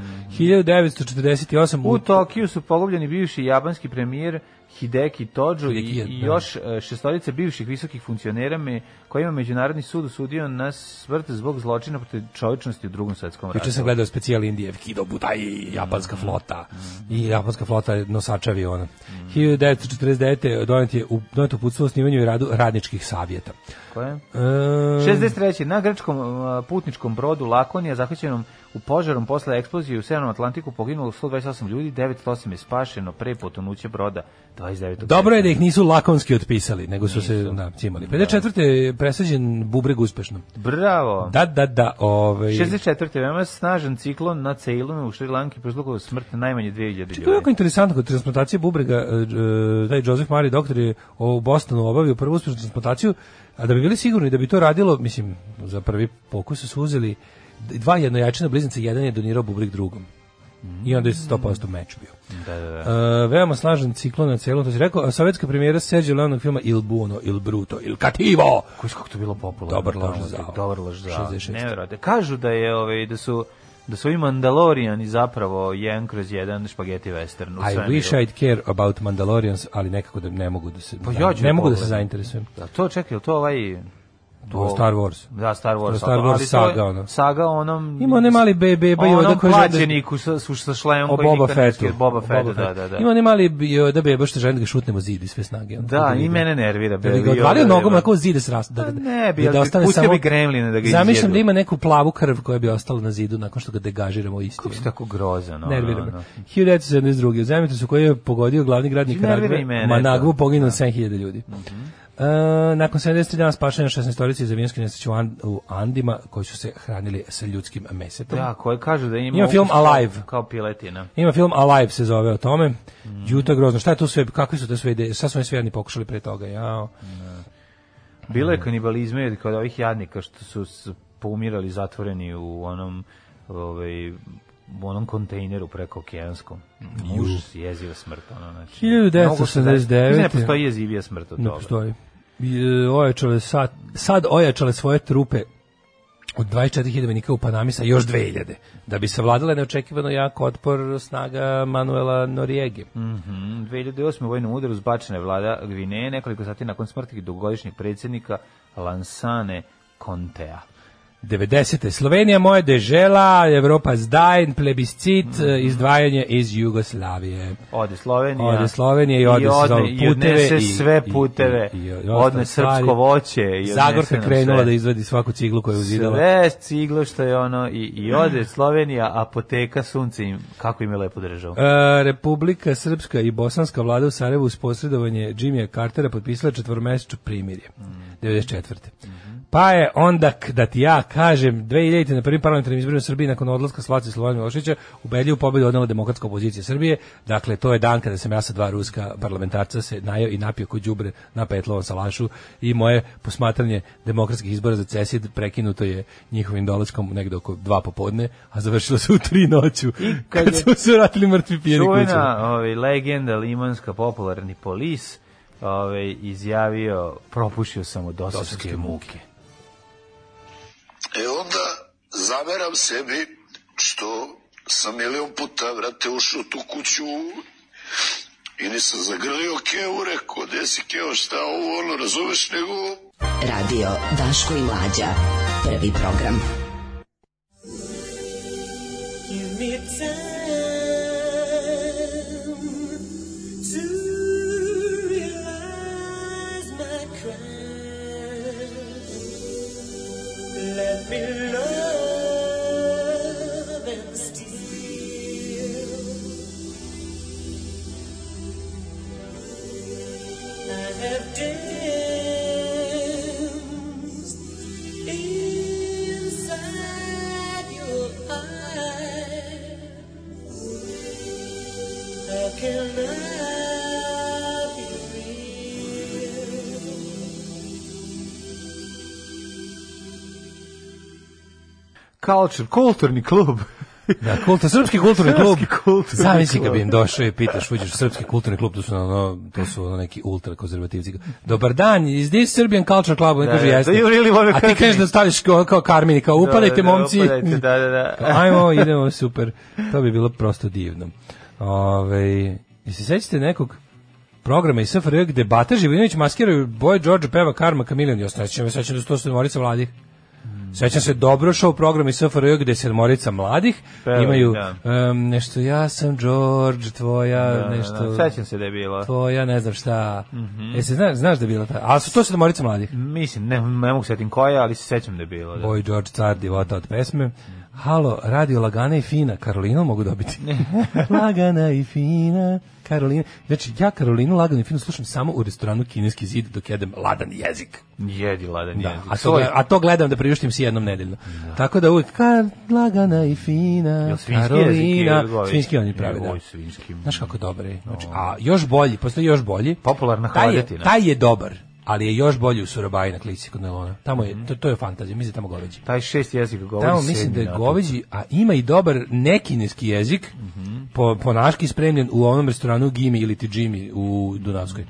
[SPEAKER 7] 1948
[SPEAKER 6] U Tokiju su pogubljeni bivši japanski premijer Hideki Tojo i,
[SPEAKER 7] Hideki,
[SPEAKER 6] i
[SPEAKER 7] da.
[SPEAKER 6] još e, šestorica bivših visokih funkcionera me, kojima je Međunarodni sud usudio na smrt zbog zločina protiv čovječnosti u drugom svetskom ratu.
[SPEAKER 7] Juče sam gledao specijal Indije, Kido Budai, japanska flota.
[SPEAKER 6] Mm.
[SPEAKER 7] I japanska flota je nosač aviona. 1949. donet je u doneto uputstvo o osnivanju i radu radničkih savjeta.
[SPEAKER 6] Koje?
[SPEAKER 7] E,
[SPEAKER 6] 63. Na grčkom e, putničkom brodu Lakonija, zahvaćenom U požarom posle eksplozije u Severnom Atlantiku poginulo 128 ljudi, 908 je spašeno pre potonuća broda 29.
[SPEAKER 7] Dobro je da ih nisu lakonski otpisali, nego su se da, cimali. 54. je presađen bubreg uspešno.
[SPEAKER 6] Bravo.
[SPEAKER 7] Da, da, da. Ovaj...
[SPEAKER 6] 64. veoma snažan ciklon na Ceilomu u Šrilanki prouzrokovao smrt najmanje 2000 ljudi.
[SPEAKER 7] To je jako interesantno, kod transplantacije bubrega, e, e, taj Joseph Murray doktor je u Bostonu obavio prvu uspešnu transplantaciju, a da bi bili sigurni da bi to radilo, mislim, za prvi pokus su uzeli dva jednojačina bliznice, jedan je donirao bubreg drugom. I onda je 100% meč bio.
[SPEAKER 6] Da, da, da.
[SPEAKER 7] E, veoma slažen ciklon na celom, to si rekao, a sovjetska premijera Sergio Leonog filma Il Buono, Il Bruto, Il Cativo.
[SPEAKER 6] Koji kako to bilo popularno.
[SPEAKER 7] Dobar lož
[SPEAKER 6] Tamo,
[SPEAKER 7] zao.
[SPEAKER 6] Dobar lož zao.
[SPEAKER 7] 66.
[SPEAKER 6] Nevjerojatno. Kažu da je ovaj da su da su i Mandalorijani zapravo jedan kroz jedan špageti western. u
[SPEAKER 7] I
[SPEAKER 6] svemiru.
[SPEAKER 7] wish I'd care about Mandalorians, ali nekako da ne mogu da se
[SPEAKER 6] Pa ja ću
[SPEAKER 7] ne mogu da
[SPEAKER 6] pogledati.
[SPEAKER 7] se zainteresujem.
[SPEAKER 6] Da, to čekaj, jel to ovaj
[SPEAKER 7] To Star Wars.
[SPEAKER 6] Da, Star Wars.
[SPEAKER 7] Star
[SPEAKER 6] ali-
[SPEAKER 7] Wars
[SPEAKER 6] ali to je
[SPEAKER 7] saga, ono.
[SPEAKER 6] Saga onom...
[SPEAKER 7] Ima onaj mali be- beba
[SPEAKER 6] Onom
[SPEAKER 7] Yoda koji želi da-
[SPEAKER 6] plaćeniku sa, su, sa šlejom
[SPEAKER 7] O
[SPEAKER 6] koji
[SPEAKER 7] Boba
[SPEAKER 6] nikad ne
[SPEAKER 7] Fettu.
[SPEAKER 6] skida. Boba
[SPEAKER 7] O
[SPEAKER 6] Fetta, da, da, da.
[SPEAKER 7] Ima onaj mali Yoda beba što želi da ga šutnemo zid i sve snage. ono,
[SPEAKER 6] Da,
[SPEAKER 7] ga
[SPEAKER 6] i
[SPEAKER 7] ide.
[SPEAKER 6] mene nervira.
[SPEAKER 7] Da bi
[SPEAKER 6] Baby
[SPEAKER 7] ga
[SPEAKER 6] Yoda,
[SPEAKER 7] odvalio
[SPEAKER 6] da,
[SPEAKER 7] nogom,
[SPEAKER 6] da.
[SPEAKER 7] ako zid da se rast- da,
[SPEAKER 6] Pa
[SPEAKER 7] da,
[SPEAKER 6] ne bi,
[SPEAKER 7] da,
[SPEAKER 6] ali
[SPEAKER 7] ostane
[SPEAKER 6] pustio
[SPEAKER 7] samo-
[SPEAKER 6] bi gremlina da ga
[SPEAKER 7] Zamišljam
[SPEAKER 6] izjedu.
[SPEAKER 7] da ima neku plavu krv koja bi ostala na zidu nakon što ga degažiramo isti.
[SPEAKER 6] Kako si tako grozan? ono,
[SPEAKER 7] Nervira me.
[SPEAKER 6] ono.
[SPEAKER 7] 1972. U zemljotresu koji je pogodio glavni grad
[SPEAKER 6] Nervira
[SPEAKER 7] Nikaragve,
[SPEAKER 6] i mene,
[SPEAKER 7] Managvu,
[SPEAKER 6] da. Mhm.
[SPEAKER 7] poginulo 7000 ljudi. E, nakon 70 dana spašenja 16-orice iz avijanske nesreće u, An- u Andima koji su se hranili sa ljudskim mesetom.
[SPEAKER 6] Da, koji kažu da ima...
[SPEAKER 7] Ima film
[SPEAKER 6] ukus kao-
[SPEAKER 7] Alive.
[SPEAKER 6] Kao piletina.
[SPEAKER 7] Ima film Alive se zove o tome. Juto je grozno. Šta je tu sve? Kakve su te sve ideje? Šta su oni sve jedni pokušali pre toga? Jao.
[SPEAKER 6] Bilo
[SPEAKER 7] Mm.
[SPEAKER 6] je kanibalizma i kod ovih jadnika što su s- poumirali zatvoreni u onom ovaj u onom kontejneru preko okeanskom. Muž jeziva smrt. Ono, znači,
[SPEAKER 7] 1989.
[SPEAKER 6] mnogo se da- Mislim, Ne postoji jezivija smrt od
[SPEAKER 7] Ne
[SPEAKER 6] toga.
[SPEAKER 7] postoji. Je, e, Ojačale sad, sad ojačale svoje trupe od 24.000 vojnika u Panami sa još 2000, da bi savladale neočekivano jak otpor snaga Manuela Noriege.
[SPEAKER 6] Mhm, 2008. u vojnom udaru zbačena je vlada Gvineje nekoliko sati nakon smrti dugogodišnjeg predsjednika Lansane Contea.
[SPEAKER 7] 90. Slovenija moja dežela, Evropa zdajn, plebiscit, eh, izdvajanje iz Jugoslavije.
[SPEAKER 6] Ode Slovenija.
[SPEAKER 7] Ode Slovenija i ode se zove
[SPEAKER 6] i
[SPEAKER 7] puteve
[SPEAKER 6] odnese
[SPEAKER 7] i-
[SPEAKER 6] sve
[SPEAKER 7] i-
[SPEAKER 6] puteve.
[SPEAKER 7] i- i- i ostale
[SPEAKER 6] odne
[SPEAKER 7] stvari.
[SPEAKER 6] srpsko voće. i odnese
[SPEAKER 7] Zagorka
[SPEAKER 6] nam
[SPEAKER 7] krenula
[SPEAKER 6] sve.
[SPEAKER 7] da izvadi svaku ciglu koju je uzidala.
[SPEAKER 6] Sve ciglo što je ono i, i ode Slovenija, apoteka, sunce im, kako im je lepo držao.
[SPEAKER 7] E, Republika Srpska i Bosanska vlada u Sarajevu uz posredovanje Jimmyja Cartera potpisala četvormesečno primirje.
[SPEAKER 6] Mm.
[SPEAKER 7] 94.
[SPEAKER 6] Mhm.
[SPEAKER 7] Pa je onda, k- da ti ja kažem, 2000. na prvim parlamentarnim izborima u Srbiji nakon odlaska Slavice Slovanja Miloševića ubedljivu pobedu odnela demokratska opozicija Srbije. Dakle, to je dan kada sam ja sa dva ruska parlamentarca se najeo i napio kod đubre na petlovom salašu i moje posmatranje demokratskih izbora za CESID prekinuto je njihovim dolaskom negde oko dva popodne, a završilo se u tri noću
[SPEAKER 6] kad
[SPEAKER 7] kad
[SPEAKER 6] je-
[SPEAKER 7] smo se vratili mrtvi pijeni kućama.
[SPEAKER 6] Čuvena ovaj, legenda limanska popularni polis ovaj, izjavio, propušio sam od dosovske muke.
[SPEAKER 10] E onda zameram sebi što sam milion puta, vrate, ušao u tu kuću i nisam zagrlio Keu, rekao, gde si Keo, šta ovo, ono, razumeš, nego
[SPEAKER 5] Radio Daško i Mlađa. Prvi program.
[SPEAKER 3] Give me time to realize my crime. Let me love and steal. I have danced inside your eyes. How can I be real?
[SPEAKER 6] Culture, kulturni klub.
[SPEAKER 7] Da, kulta, srpski kulturni klub.
[SPEAKER 6] Srpski kulturni
[SPEAKER 7] Zamisli kad
[SPEAKER 6] klub.
[SPEAKER 7] bi im došao i pitaš, uđeš u srpski kulturni klub, to su, ono, to su ono neki ultrakonzervativci. Dobar dan, is this Serbian Culture Club? Oni
[SPEAKER 6] Da,
[SPEAKER 7] kažu,
[SPEAKER 6] da,
[SPEAKER 7] jeste.
[SPEAKER 6] do you really wanna
[SPEAKER 7] A ti
[SPEAKER 6] hurt
[SPEAKER 7] kažeš
[SPEAKER 6] me?
[SPEAKER 7] da staviš kao, kao Karmini, kao upadajte
[SPEAKER 6] Da, da,
[SPEAKER 7] momci.
[SPEAKER 6] upadajte, da, da, da.
[SPEAKER 7] Kao, Ajmo, idemo, super. To bi bilo prosto divno. Ove, jesi sećate nekog programa iz SFRJ gde Bata Živinović maskiraju Boy George peva Karma Kamilion. Ja sećam, sećam da su to sedmorica mladih. Sećam se dobro show program iz SFRJ gde sedmorica mladih
[SPEAKER 6] Peva,
[SPEAKER 7] imaju
[SPEAKER 6] da.
[SPEAKER 7] em, nešto ja sam George, tvoja
[SPEAKER 6] Da, da,
[SPEAKER 7] nešto...
[SPEAKER 6] da, Sećam se Mhm. da je bilo.
[SPEAKER 7] Tvoja ne znam šta. Mm znaš, znaš da je bila ta... Ali su to sedmorica mladih.
[SPEAKER 6] Mislim, ne, ne mogu setim koja, ali se sećam da je bilo. Da.
[SPEAKER 7] Boy George car divota od pesme. Halo, radio Lagana i Fina, Karolinu mogu dobiti. Lagana i Fina, Karolina. Znači, ja Karolinu Laganu i Finu slušam samo u restoranu Kineski zid dok jedem ladan jezik.
[SPEAKER 6] Jedi ladan
[SPEAKER 7] Da,
[SPEAKER 6] jezik.
[SPEAKER 7] a, to, gle- a to gledam da priuštim si jednom nedeljno. Tako da uvijek kar, lagana i fina,
[SPEAKER 6] Jel svinjski jezik je
[SPEAKER 7] Karolina,
[SPEAKER 6] odgovor?
[SPEAKER 7] svinjski oni pravi,
[SPEAKER 6] Joj,
[SPEAKER 7] da.
[SPEAKER 6] svinjski. mm.
[SPEAKER 7] Znaš kako dobar je. Znači, a još bolji, postoji još bolji.
[SPEAKER 6] Popularna
[SPEAKER 7] taj je,
[SPEAKER 6] hladetina.
[SPEAKER 7] taj je dobar, ali je još bolji u Surabaji na klici kod Nelona. Tamo je,
[SPEAKER 6] Mhm.
[SPEAKER 7] to, to je fantazija, mislim da je tamo goveđi.
[SPEAKER 6] Taj šest jezika govori
[SPEAKER 7] Tamo mislim da
[SPEAKER 6] sedmi
[SPEAKER 7] je
[SPEAKER 6] na
[SPEAKER 7] goveđi, a ima i dobar nekineski jezik,
[SPEAKER 6] Mhm.
[SPEAKER 7] po, po naški spremljen u onom restoranu Gimi ili ti Jimmy u Dunavskoj.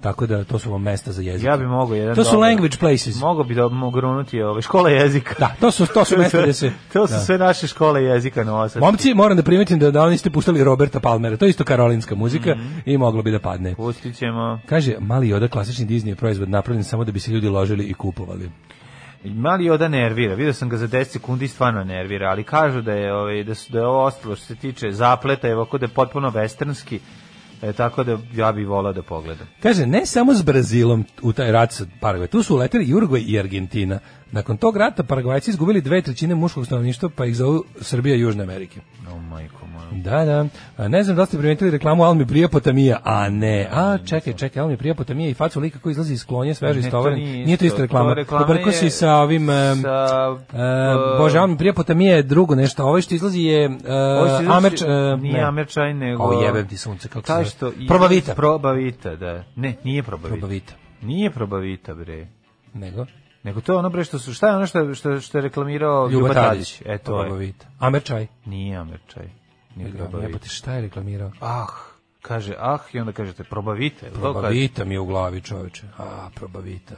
[SPEAKER 7] Tako da to su vam mesta za jezik.
[SPEAKER 6] Mhm. Ja bi mogao jedan
[SPEAKER 7] To su
[SPEAKER 6] dobar-
[SPEAKER 7] language places.
[SPEAKER 6] Mogao bi da mogu grunuti ove škole jezika.
[SPEAKER 7] Da, to su to su mesta gde se
[SPEAKER 6] to su
[SPEAKER 7] da.
[SPEAKER 6] sve naše škole jezika na osad.
[SPEAKER 7] Momci, moram da primetim da, da oni ste puštali Roberta Palmera, to je isto karolinska muzika
[SPEAKER 6] Mhm.
[SPEAKER 7] i moglo bi da padne.
[SPEAKER 6] Pustit ćemo.
[SPEAKER 7] Kaže, mali Yoda klasični Disney je proizvod napravljen samo da bi se ljudi ložili i kupovali.
[SPEAKER 6] Mali Joda nervira. Video sam ga za 10 sekundi i stvarno nervira, ali kažu da je ovaj da su da je ovo ostalo što se tiče zapleta, evo kod je potpuno westernski. E, tako da ja bih volao da pogledam.
[SPEAKER 7] Kaže, ne samo s Brazilom u taj rat sa Paragvaj, tu su uleteli i Urugvaj i Argentina. Nakon tog rata Paragvajci izgubili dve trećine muškog stanovništva, pa ih zovu Srbija i Južna Amerike.
[SPEAKER 6] O majko moja.
[SPEAKER 7] Da, da. A, Ne znam da li ste primetili reklamu Almi Prijapotamija, a ne. A, čekaj, čekaj, Almi Prijapotamija i facu lika koji izlazi iz klonja, sveže
[SPEAKER 6] Ne,
[SPEAKER 7] istovaren.
[SPEAKER 6] to nije
[SPEAKER 7] Nije to
[SPEAKER 6] isto.
[SPEAKER 7] isto reklama.
[SPEAKER 6] To reklama
[SPEAKER 7] Pobrko si
[SPEAKER 6] je
[SPEAKER 7] sa ovim... em,
[SPEAKER 6] sa,
[SPEAKER 7] e,
[SPEAKER 6] e,
[SPEAKER 7] Bože, Almi Prijapotamija je drugo nešto. a Ovo što izlazi je... e,
[SPEAKER 6] Ovo se zove-
[SPEAKER 7] Amerč... e,
[SPEAKER 6] nije
[SPEAKER 7] ne.
[SPEAKER 6] Amerčaj, nego...
[SPEAKER 7] O, jebem ti sunce, kako se
[SPEAKER 6] Taj
[SPEAKER 7] zove.
[SPEAKER 6] što i-
[SPEAKER 7] Probavita.
[SPEAKER 6] Probavita, da. Ne, nije probavita.
[SPEAKER 7] Probavita.
[SPEAKER 6] Nije probavita, bre.
[SPEAKER 7] Nego?
[SPEAKER 6] Nego to je ono bre što su, šta je ono što, što, što je reklamirao
[SPEAKER 7] Ljuba Tadić.
[SPEAKER 6] E, to je.
[SPEAKER 7] Probavita. Amerčaj.
[SPEAKER 6] Nije Amerčaj. Nije probavita.
[SPEAKER 7] Jebote, šta je reklamirao?
[SPEAKER 6] Ah, kaže ah i onda kažete probavite. jel to kaže?
[SPEAKER 7] Probavita mi je u glavi, čoveče. A, probavita.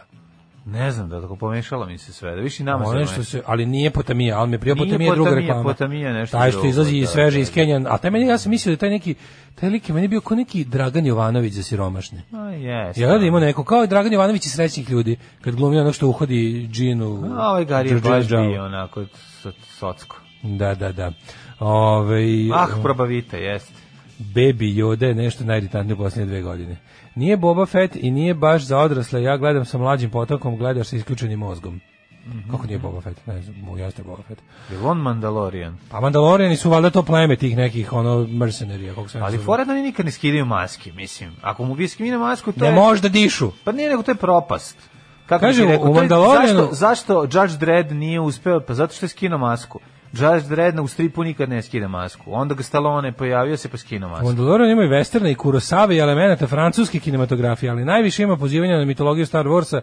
[SPEAKER 6] Ne znam da tako pomešalo mi se sve. Da više i nama se
[SPEAKER 7] Ono što se, ali nije potamija, ali mi je prija
[SPEAKER 6] Nije
[SPEAKER 7] potamija druga
[SPEAKER 6] potamija,
[SPEAKER 7] reklama.
[SPEAKER 6] potamija je nešto
[SPEAKER 7] Taj što
[SPEAKER 6] drugo,
[SPEAKER 7] izlazi
[SPEAKER 6] da,
[SPEAKER 7] i sveže
[SPEAKER 6] da,
[SPEAKER 7] iz Kenja, a taj meni, ja sam mislio da je taj neki, taj lik je meni bio kao neki Dragan Jovanović za siromašne.
[SPEAKER 6] A, jes.
[SPEAKER 7] Ja da ima neko, kao i Dragan Jovanović iz srećnih ljudi, kad glumi onog što uhodi džinu.
[SPEAKER 6] A ovaj Gari je baš
[SPEAKER 7] Đorđević Džavu.
[SPEAKER 6] bio onako so- socko.
[SPEAKER 7] Da, da, da. Ovaj, Ove,
[SPEAKER 6] Ah, probavite, jeste.
[SPEAKER 7] Baby Yoda je nešto najiritantnije u posljednje dve godine. Nije Boba Fett i nije baš za odrasle, ja gledam sa mlađim potokom, gledaš sa isključenim mozgom.
[SPEAKER 6] Mhm.
[SPEAKER 7] Kako nije Boba Fett? Ne znam, mu jeste Boba Fett.
[SPEAKER 6] Je li on Mandalorian?
[SPEAKER 7] Pa Mandaloriani su valjda to pleme tih nekih ono mercenarija, kako se ne
[SPEAKER 6] Ali
[SPEAKER 7] zove.
[SPEAKER 6] fora da oni nikad ne skidaju maske, mislim. Ako mu vi skine masku, to
[SPEAKER 7] Ne
[SPEAKER 6] je...
[SPEAKER 7] može da dišu.
[SPEAKER 6] Pa nije nego to je propast. Kako
[SPEAKER 7] Kaže,
[SPEAKER 6] bi ti rekao,
[SPEAKER 7] u
[SPEAKER 6] to je-
[SPEAKER 7] Mandalorianu-
[SPEAKER 6] Zašto, zašto Judge Dredd nije uspeo? Pa zato što je skinuo masku. Judge Dredd na- u stripu nikad ne skida masku. Onda ga Stallone pojavio se pa skinuo masku.
[SPEAKER 7] Mandalorian imaju westerna i Kurosawa i elemenata francuske kinematografije, ali najviše ima pozivanja na mitologiju Star Warsa.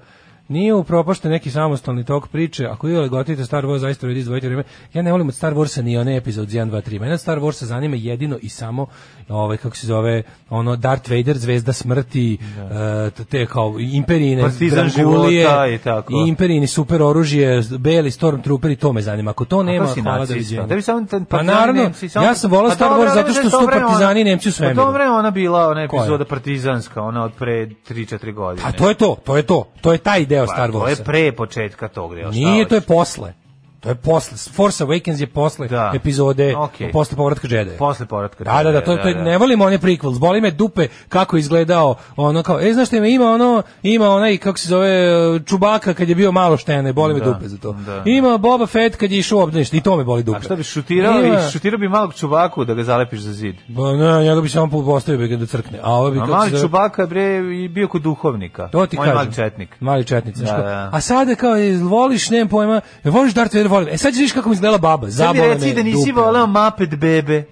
[SPEAKER 7] Nije upropašten neki samostalni tok priče. Ako je legotite Star Wars, zaista vredi izdvojiti vreme. Ja ne volim od Star Warsa ni one epizod 1, 2, 3. Mene od Star Warsa zanima jedino i samo ovaj, kako se zove, ono Darth Vader, zvezda smrti, eh, t- te kao imperine,
[SPEAKER 6] Partizan
[SPEAKER 7] Drangulije,
[SPEAKER 6] života i tako.
[SPEAKER 7] i imperini, super oružje, beli stormtrooper i to me zanima. Ako to nema,
[SPEAKER 6] si
[SPEAKER 7] hvala da
[SPEAKER 6] nacista?
[SPEAKER 7] viđenja.
[SPEAKER 6] Da bi samo ten-
[SPEAKER 7] pa
[SPEAKER 6] partizani
[SPEAKER 7] naravno,
[SPEAKER 6] Nemci, samo-
[SPEAKER 7] ja sam volao
[SPEAKER 6] Pa
[SPEAKER 7] Star
[SPEAKER 6] dobro,
[SPEAKER 7] Wars zato
[SPEAKER 6] ali
[SPEAKER 7] što
[SPEAKER 6] za to
[SPEAKER 7] su
[SPEAKER 6] vreme
[SPEAKER 7] partizani i
[SPEAKER 6] ona-
[SPEAKER 7] Nemci u svemiru.
[SPEAKER 6] Pa dobro je ona bila ona
[SPEAKER 7] Koja?
[SPEAKER 6] epizoda partizanska, ona od pre 3-4 godine.
[SPEAKER 7] A Pa to je to, to je to. To je taj deo Star
[SPEAKER 6] Pa To je
[SPEAKER 7] Warsa.
[SPEAKER 6] pre početka tog dela. šta
[SPEAKER 7] Nije, to je
[SPEAKER 6] hoćeš?
[SPEAKER 7] posle. To je posle. Force Awakens je posle
[SPEAKER 6] Da.
[SPEAKER 7] epizode,
[SPEAKER 6] Okej.
[SPEAKER 7] posle povratka Jedi.
[SPEAKER 6] Posle povratka
[SPEAKER 7] Da, da, da,
[SPEAKER 6] Jedi-a,
[SPEAKER 7] to, to,
[SPEAKER 6] da, da.
[SPEAKER 7] ne volim one prequels, boli me dupe kako je izgledao, ono kao, e, znaš šta ima, ima ono, ima onaj, kako se zove, Čubaka kad je bio malo štene, boli me
[SPEAKER 6] Da,
[SPEAKER 7] dupe za to.
[SPEAKER 6] da.
[SPEAKER 7] Ima Boba Fett kad je išao u obdanište, i to me boli dupe.
[SPEAKER 6] A šta bi šutirao?
[SPEAKER 7] Ima-
[SPEAKER 6] I šutirao bi malog čubaku da ga zalepiš za zid.
[SPEAKER 7] Ba, ne, njega bi samo postavio bi ga da crkne, a ovo bi,
[SPEAKER 6] A
[SPEAKER 7] kako se
[SPEAKER 6] mali
[SPEAKER 7] zove-
[SPEAKER 6] čubaka bre i bio kod duhovnika.
[SPEAKER 7] To ti
[SPEAKER 6] On je
[SPEAKER 7] kažem.
[SPEAKER 6] mali četnik.
[SPEAKER 7] Mali četnik. znaš
[SPEAKER 6] Da,
[SPEAKER 7] ko.
[SPEAKER 6] da.
[SPEAKER 7] A sada kao, jel voliš, nemam pojma, jel voliš Darth Vader, volim. E sad ćeš vidiš kako mi izgledala baba.
[SPEAKER 6] Sad mi
[SPEAKER 7] Zabole
[SPEAKER 6] reci
[SPEAKER 7] me
[SPEAKER 6] da
[SPEAKER 7] dupe.
[SPEAKER 6] nisi
[SPEAKER 7] ono.
[SPEAKER 6] voleo Muppet bebe.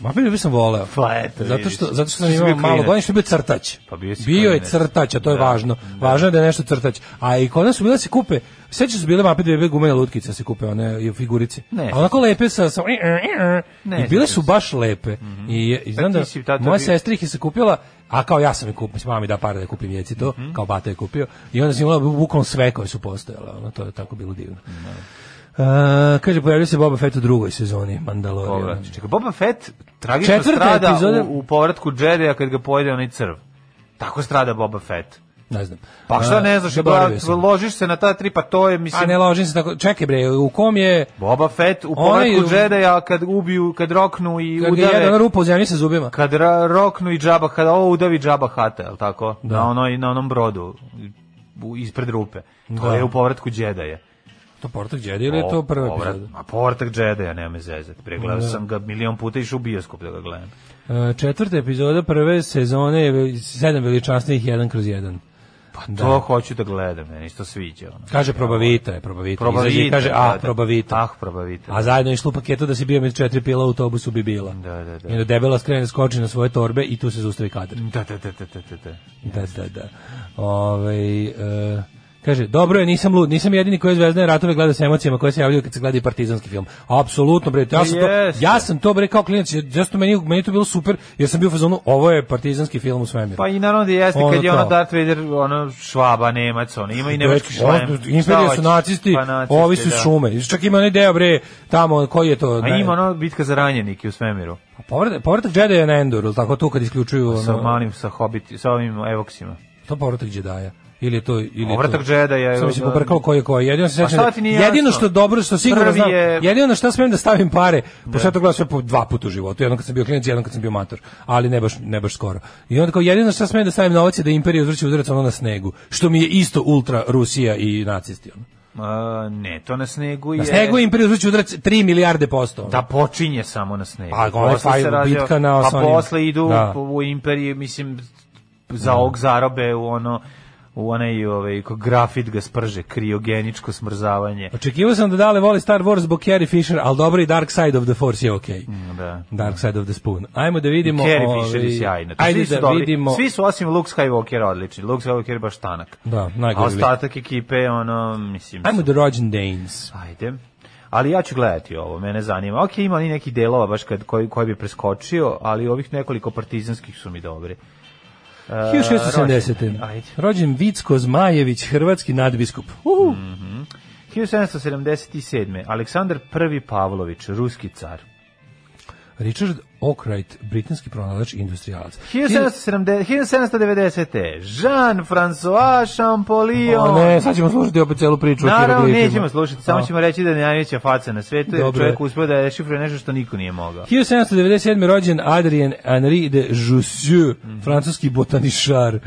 [SPEAKER 7] Ma bi bi sam voleo.
[SPEAKER 6] Pa eto,
[SPEAKER 7] Zato
[SPEAKER 6] vidiš.
[SPEAKER 7] što, zato što sam
[SPEAKER 6] Što si
[SPEAKER 7] imao
[SPEAKER 6] bio
[SPEAKER 7] malo
[SPEAKER 6] klinac.
[SPEAKER 7] godina, što je bio crtač.
[SPEAKER 6] Pa bio si
[SPEAKER 7] je
[SPEAKER 6] klinac.
[SPEAKER 7] crtač, a to je
[SPEAKER 6] Da.
[SPEAKER 7] važno. Važno je da je nešto crtač. A i kod nas su bile se kupe, sećaš su bile mape dve gumene lutkice se kupe, one i figurice.
[SPEAKER 6] Ne.
[SPEAKER 7] A onako lepe sa... sa
[SPEAKER 6] Ne,
[SPEAKER 7] I bile su
[SPEAKER 6] sećam se. Mhm. Pa
[SPEAKER 7] baš lepe. I, i znam
[SPEAKER 6] ti
[SPEAKER 7] da
[SPEAKER 6] si tata
[SPEAKER 7] moja
[SPEAKER 6] bio-
[SPEAKER 7] sestra ih je se kupila, a kao ja sam je kupio, mislim, mama mi da para da kupim djeci to,
[SPEAKER 6] Mhm.
[SPEAKER 7] kao bata je kupio. I onda sam imala bukvalno sve koje su postojale, ono, to je tako bilo divno. A, kaže, pojavio se Boba Fett u drugoj sezoni Mandalorian.
[SPEAKER 6] Povrat. Čekaj, Boba Fett tragično
[SPEAKER 7] Četvrta
[SPEAKER 6] strada
[SPEAKER 7] epizoda-
[SPEAKER 6] u, u povratku Jedi-a kad ga pojede onaj crv. Tako strada Boba Fett.
[SPEAKER 7] Ne znam.
[SPEAKER 6] Pa šta
[SPEAKER 7] A,
[SPEAKER 6] ne znaš,
[SPEAKER 7] zaboravio
[SPEAKER 6] ba,
[SPEAKER 7] sam.
[SPEAKER 6] ložiš se na ta tri, pa to je,
[SPEAKER 7] A
[SPEAKER 6] mislim,
[SPEAKER 7] ne ložim se tako. Čekaj bre, u kom je
[SPEAKER 6] Boba Fett u
[SPEAKER 7] Onaj-
[SPEAKER 6] povratku Jedi-a kad ubiju, kad roknu i
[SPEAKER 7] kad je jedna
[SPEAKER 6] udave,
[SPEAKER 7] rupa u zemlji sa zubima?
[SPEAKER 6] kad ra, roknu i džaba, kad ovo udavi džaba hata, je tako?
[SPEAKER 7] Da.
[SPEAKER 6] Na, onoj, na onom brodu, u- ispred rupe. To
[SPEAKER 7] Da.
[SPEAKER 6] je u povratku Jedi-a.
[SPEAKER 7] To Portak Jedi ili je to prva
[SPEAKER 6] Povrat-
[SPEAKER 7] epizoda?
[SPEAKER 6] A Povratak Jedi, ja nema me zezati. Pregledao
[SPEAKER 7] Da.
[SPEAKER 6] sam ga milion puta išao u bioskop da ga gledam.
[SPEAKER 7] E, Četvrta epizoda prve sezone je ve- sedam veličanstvenih jedan kroz jedan. Pa
[SPEAKER 6] To hoću da gledam, meni se to sviđa. Ono.
[SPEAKER 7] Kaže probavita je, probavita.
[SPEAKER 6] Probavita,
[SPEAKER 7] Izađe i kaže,
[SPEAKER 6] da,
[SPEAKER 7] ah,
[SPEAKER 6] da.
[SPEAKER 7] probavita.
[SPEAKER 6] Ah, probavita.
[SPEAKER 7] A zajedno je išlo u paketu da si bio med četiri pila u autobusu bi bila.
[SPEAKER 6] Da, da, da.
[SPEAKER 7] I onda debela skrene, skoči na svoje torbe i tu se zustavi kadar.
[SPEAKER 6] Da, da, da, da, da, da, da.
[SPEAKER 7] Da, da, da. Ovaj, e, kaže, dobro je, nisam lud, nisam jedini koji je zvezdane ratove gleda sa emocijama koje se javljaju kad se gleda i partizanski film. Apsolutno, bre, ja sam to,
[SPEAKER 6] Jeste.
[SPEAKER 7] ja sam to, bre, kao klinac, jasno meni, meni je to bilo super, jer sam bio u fazonu, ovo je partizanski film u svemiru.
[SPEAKER 6] Pa i naravno da jeste
[SPEAKER 7] Ono
[SPEAKER 6] kad je ono
[SPEAKER 7] to.
[SPEAKER 6] Darth Vader, ono švaba, nemac, ono ima i nemački
[SPEAKER 7] Već, ono,
[SPEAKER 6] šlem. Šta
[SPEAKER 7] Imperija su
[SPEAKER 6] hoćeš?
[SPEAKER 7] nacisti,
[SPEAKER 6] Pa nacisti,
[SPEAKER 7] ovi su iz
[SPEAKER 6] da.
[SPEAKER 7] šume. I Čak ima onaj deo, bre, tamo, koji je to?
[SPEAKER 6] A ima ono bitka za ranjenike u svemiru.
[SPEAKER 7] Povratak, povratak Jedi na Endor, ili tako tu kad isključuju... Ono,
[SPEAKER 6] Sa malim, sa hobiti, sa ovim evoksima.
[SPEAKER 7] To povratak Jedaja. Ili je to ili
[SPEAKER 6] Povratak
[SPEAKER 7] to,
[SPEAKER 6] Jedi je-
[SPEAKER 7] Sam se pobrkao ko je ko. je. Jedino se
[SPEAKER 6] Pa
[SPEAKER 7] sećam.
[SPEAKER 6] šta
[SPEAKER 7] da-
[SPEAKER 6] ti nije
[SPEAKER 7] jedino
[SPEAKER 6] jasno?
[SPEAKER 7] što dobro što sigurno
[SPEAKER 6] Prvi
[SPEAKER 7] znam,
[SPEAKER 6] je-
[SPEAKER 7] jedino na šta smem da stavim pare. Pošto ja to gledam sve po dva puta u životu, jednom kad sam bio klinac, jednom kad sam bio mator, ali ne baš ne baš skoro. I onda kao jedino na šta smem da stavim novac je da Imperija uzvrće udarac ono na snegu, što mi je isto ultra Rusija i nacisti ono.
[SPEAKER 6] A, ne, to na snegu je...
[SPEAKER 7] Na snegu je Imperija uzvrće udarac 3 milijarde posto. ono.
[SPEAKER 6] Da počinje samo na snegu.
[SPEAKER 7] Pa, onaj
[SPEAKER 6] Posle se
[SPEAKER 7] fajl,
[SPEAKER 6] razvija-
[SPEAKER 7] bitka na
[SPEAKER 6] Pa
[SPEAKER 7] Osonima.
[SPEAKER 6] posle idu
[SPEAKER 7] Da.
[SPEAKER 6] u imperiju, mislim, za og zarobe u ono u onaj ovaj ko grafit ga sprže kriogeničko smrzavanje
[SPEAKER 7] Očekivao sam da dale voli Star Wars zbog Carrie Fisher, ali dobro i Dark Side of the Force je okej.
[SPEAKER 6] da
[SPEAKER 7] Dark Side of the Spoon. Ajmo da vidimo...
[SPEAKER 6] Mm. Carrie
[SPEAKER 7] ovaj,
[SPEAKER 6] Fisher je sjajna. To
[SPEAKER 7] Ajde
[SPEAKER 6] svi su
[SPEAKER 7] da
[SPEAKER 6] dobri.
[SPEAKER 7] vidimo...
[SPEAKER 6] Svi su osim Luke Skywalker odlični. Luke Skywalker je baš tanak.
[SPEAKER 7] Da,
[SPEAKER 6] A
[SPEAKER 7] najgori. lik.
[SPEAKER 6] ostatak ekipe, ono, mislim...
[SPEAKER 7] Ajmo
[SPEAKER 6] su-
[SPEAKER 7] da rođen Danes.
[SPEAKER 6] Ajde. Ali ja ću gledati ovo, mene zanima. Ok, ima li nekih delova baš kad, koji, koji bi preskočio, ali ovih nekoliko partizanskih su mi dobri. E,
[SPEAKER 7] 1670.
[SPEAKER 6] rođen- Ajde.
[SPEAKER 7] Rođen Vicko Zmajević, hrvatski nadbiskup. Uhu.
[SPEAKER 6] Mm. 1777. Aleksandar I. Pavlović, ruski car.
[SPEAKER 7] Richard Ockright, britanski pronalač i industrijalac.
[SPEAKER 6] 1770 1790. Jean-François Champollion.
[SPEAKER 7] O, ne, sad ćemo slušati opet celu priču o
[SPEAKER 6] Naravno,
[SPEAKER 7] hieroglifima.
[SPEAKER 6] nećemo slušati, samo
[SPEAKER 7] A.
[SPEAKER 6] ćemo reći da je najveća faca na svetu, jer
[SPEAKER 7] Dobro
[SPEAKER 6] čovjek
[SPEAKER 7] je.
[SPEAKER 6] uspio da je šifruje nešto što niko nije mogao.
[SPEAKER 7] 1797. rođen Adrien Henri de Jussieu,
[SPEAKER 6] Mhm.
[SPEAKER 7] francuski botanišar.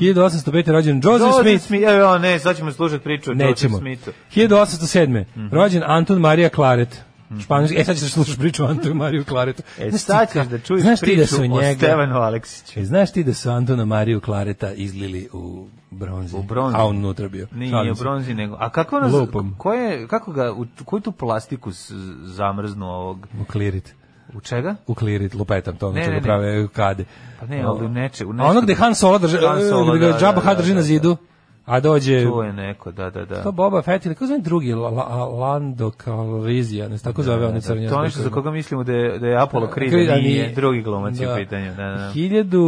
[SPEAKER 7] 1805. rođen Joseph,
[SPEAKER 6] Joseph
[SPEAKER 7] Smith.
[SPEAKER 6] Smith, evo, ne, sad ćemo slušati priču o Joseph Mhm.
[SPEAKER 7] Nećemo.
[SPEAKER 6] Smithu.
[SPEAKER 7] 1807. Rođen Anton Marija Klaret. Španjolski. E sad ćeš da slušaš priču o Antonu Mariju Klaretu.
[SPEAKER 6] Mhm. E,
[SPEAKER 7] Znaš
[SPEAKER 6] sad
[SPEAKER 7] ti
[SPEAKER 6] ćeš
[SPEAKER 7] ka-
[SPEAKER 6] da čuješ
[SPEAKER 7] znaš ti
[SPEAKER 6] priču
[SPEAKER 7] da su
[SPEAKER 6] o
[SPEAKER 7] njega-
[SPEAKER 6] Stevanu Aleksiću.
[SPEAKER 7] E, znaš ti da su Antona Mariju Klareta izlili u bronzi? U
[SPEAKER 6] bronzi.
[SPEAKER 7] A on unutra bio.
[SPEAKER 6] Nije
[SPEAKER 7] Šalim
[SPEAKER 6] u
[SPEAKER 7] se.
[SPEAKER 6] bronzi, nego... A kako ono...
[SPEAKER 7] Lupom.
[SPEAKER 6] Koje, kako ga, u koju tu plastiku s- zamrznu ovog?
[SPEAKER 7] U klirit.
[SPEAKER 6] U čega?
[SPEAKER 7] U klirit, lupetam to, ono
[SPEAKER 6] Ne,
[SPEAKER 7] čega
[SPEAKER 6] ne, ne.
[SPEAKER 7] prave kade.
[SPEAKER 6] Pa ne, ali u neče... U
[SPEAKER 7] A ono gde Han Solo drže,
[SPEAKER 6] Han Solo,
[SPEAKER 7] gde
[SPEAKER 6] da,
[SPEAKER 7] ga Jabba
[SPEAKER 6] da,
[SPEAKER 7] Hutt drži
[SPEAKER 6] da,
[SPEAKER 7] na
[SPEAKER 6] da.
[SPEAKER 7] zidu, a dođe...
[SPEAKER 6] To je neko, da, da, da.
[SPEAKER 7] To Boba Fett ili kako zove drugi, La- La- Lando Calrissian, ne znam, tako zove on crnjac.
[SPEAKER 6] To je nešto za koga mislimo da je, da je Apollo Creed, da nije, drugi glumac je u pitanju. Da, da, Mhm. da.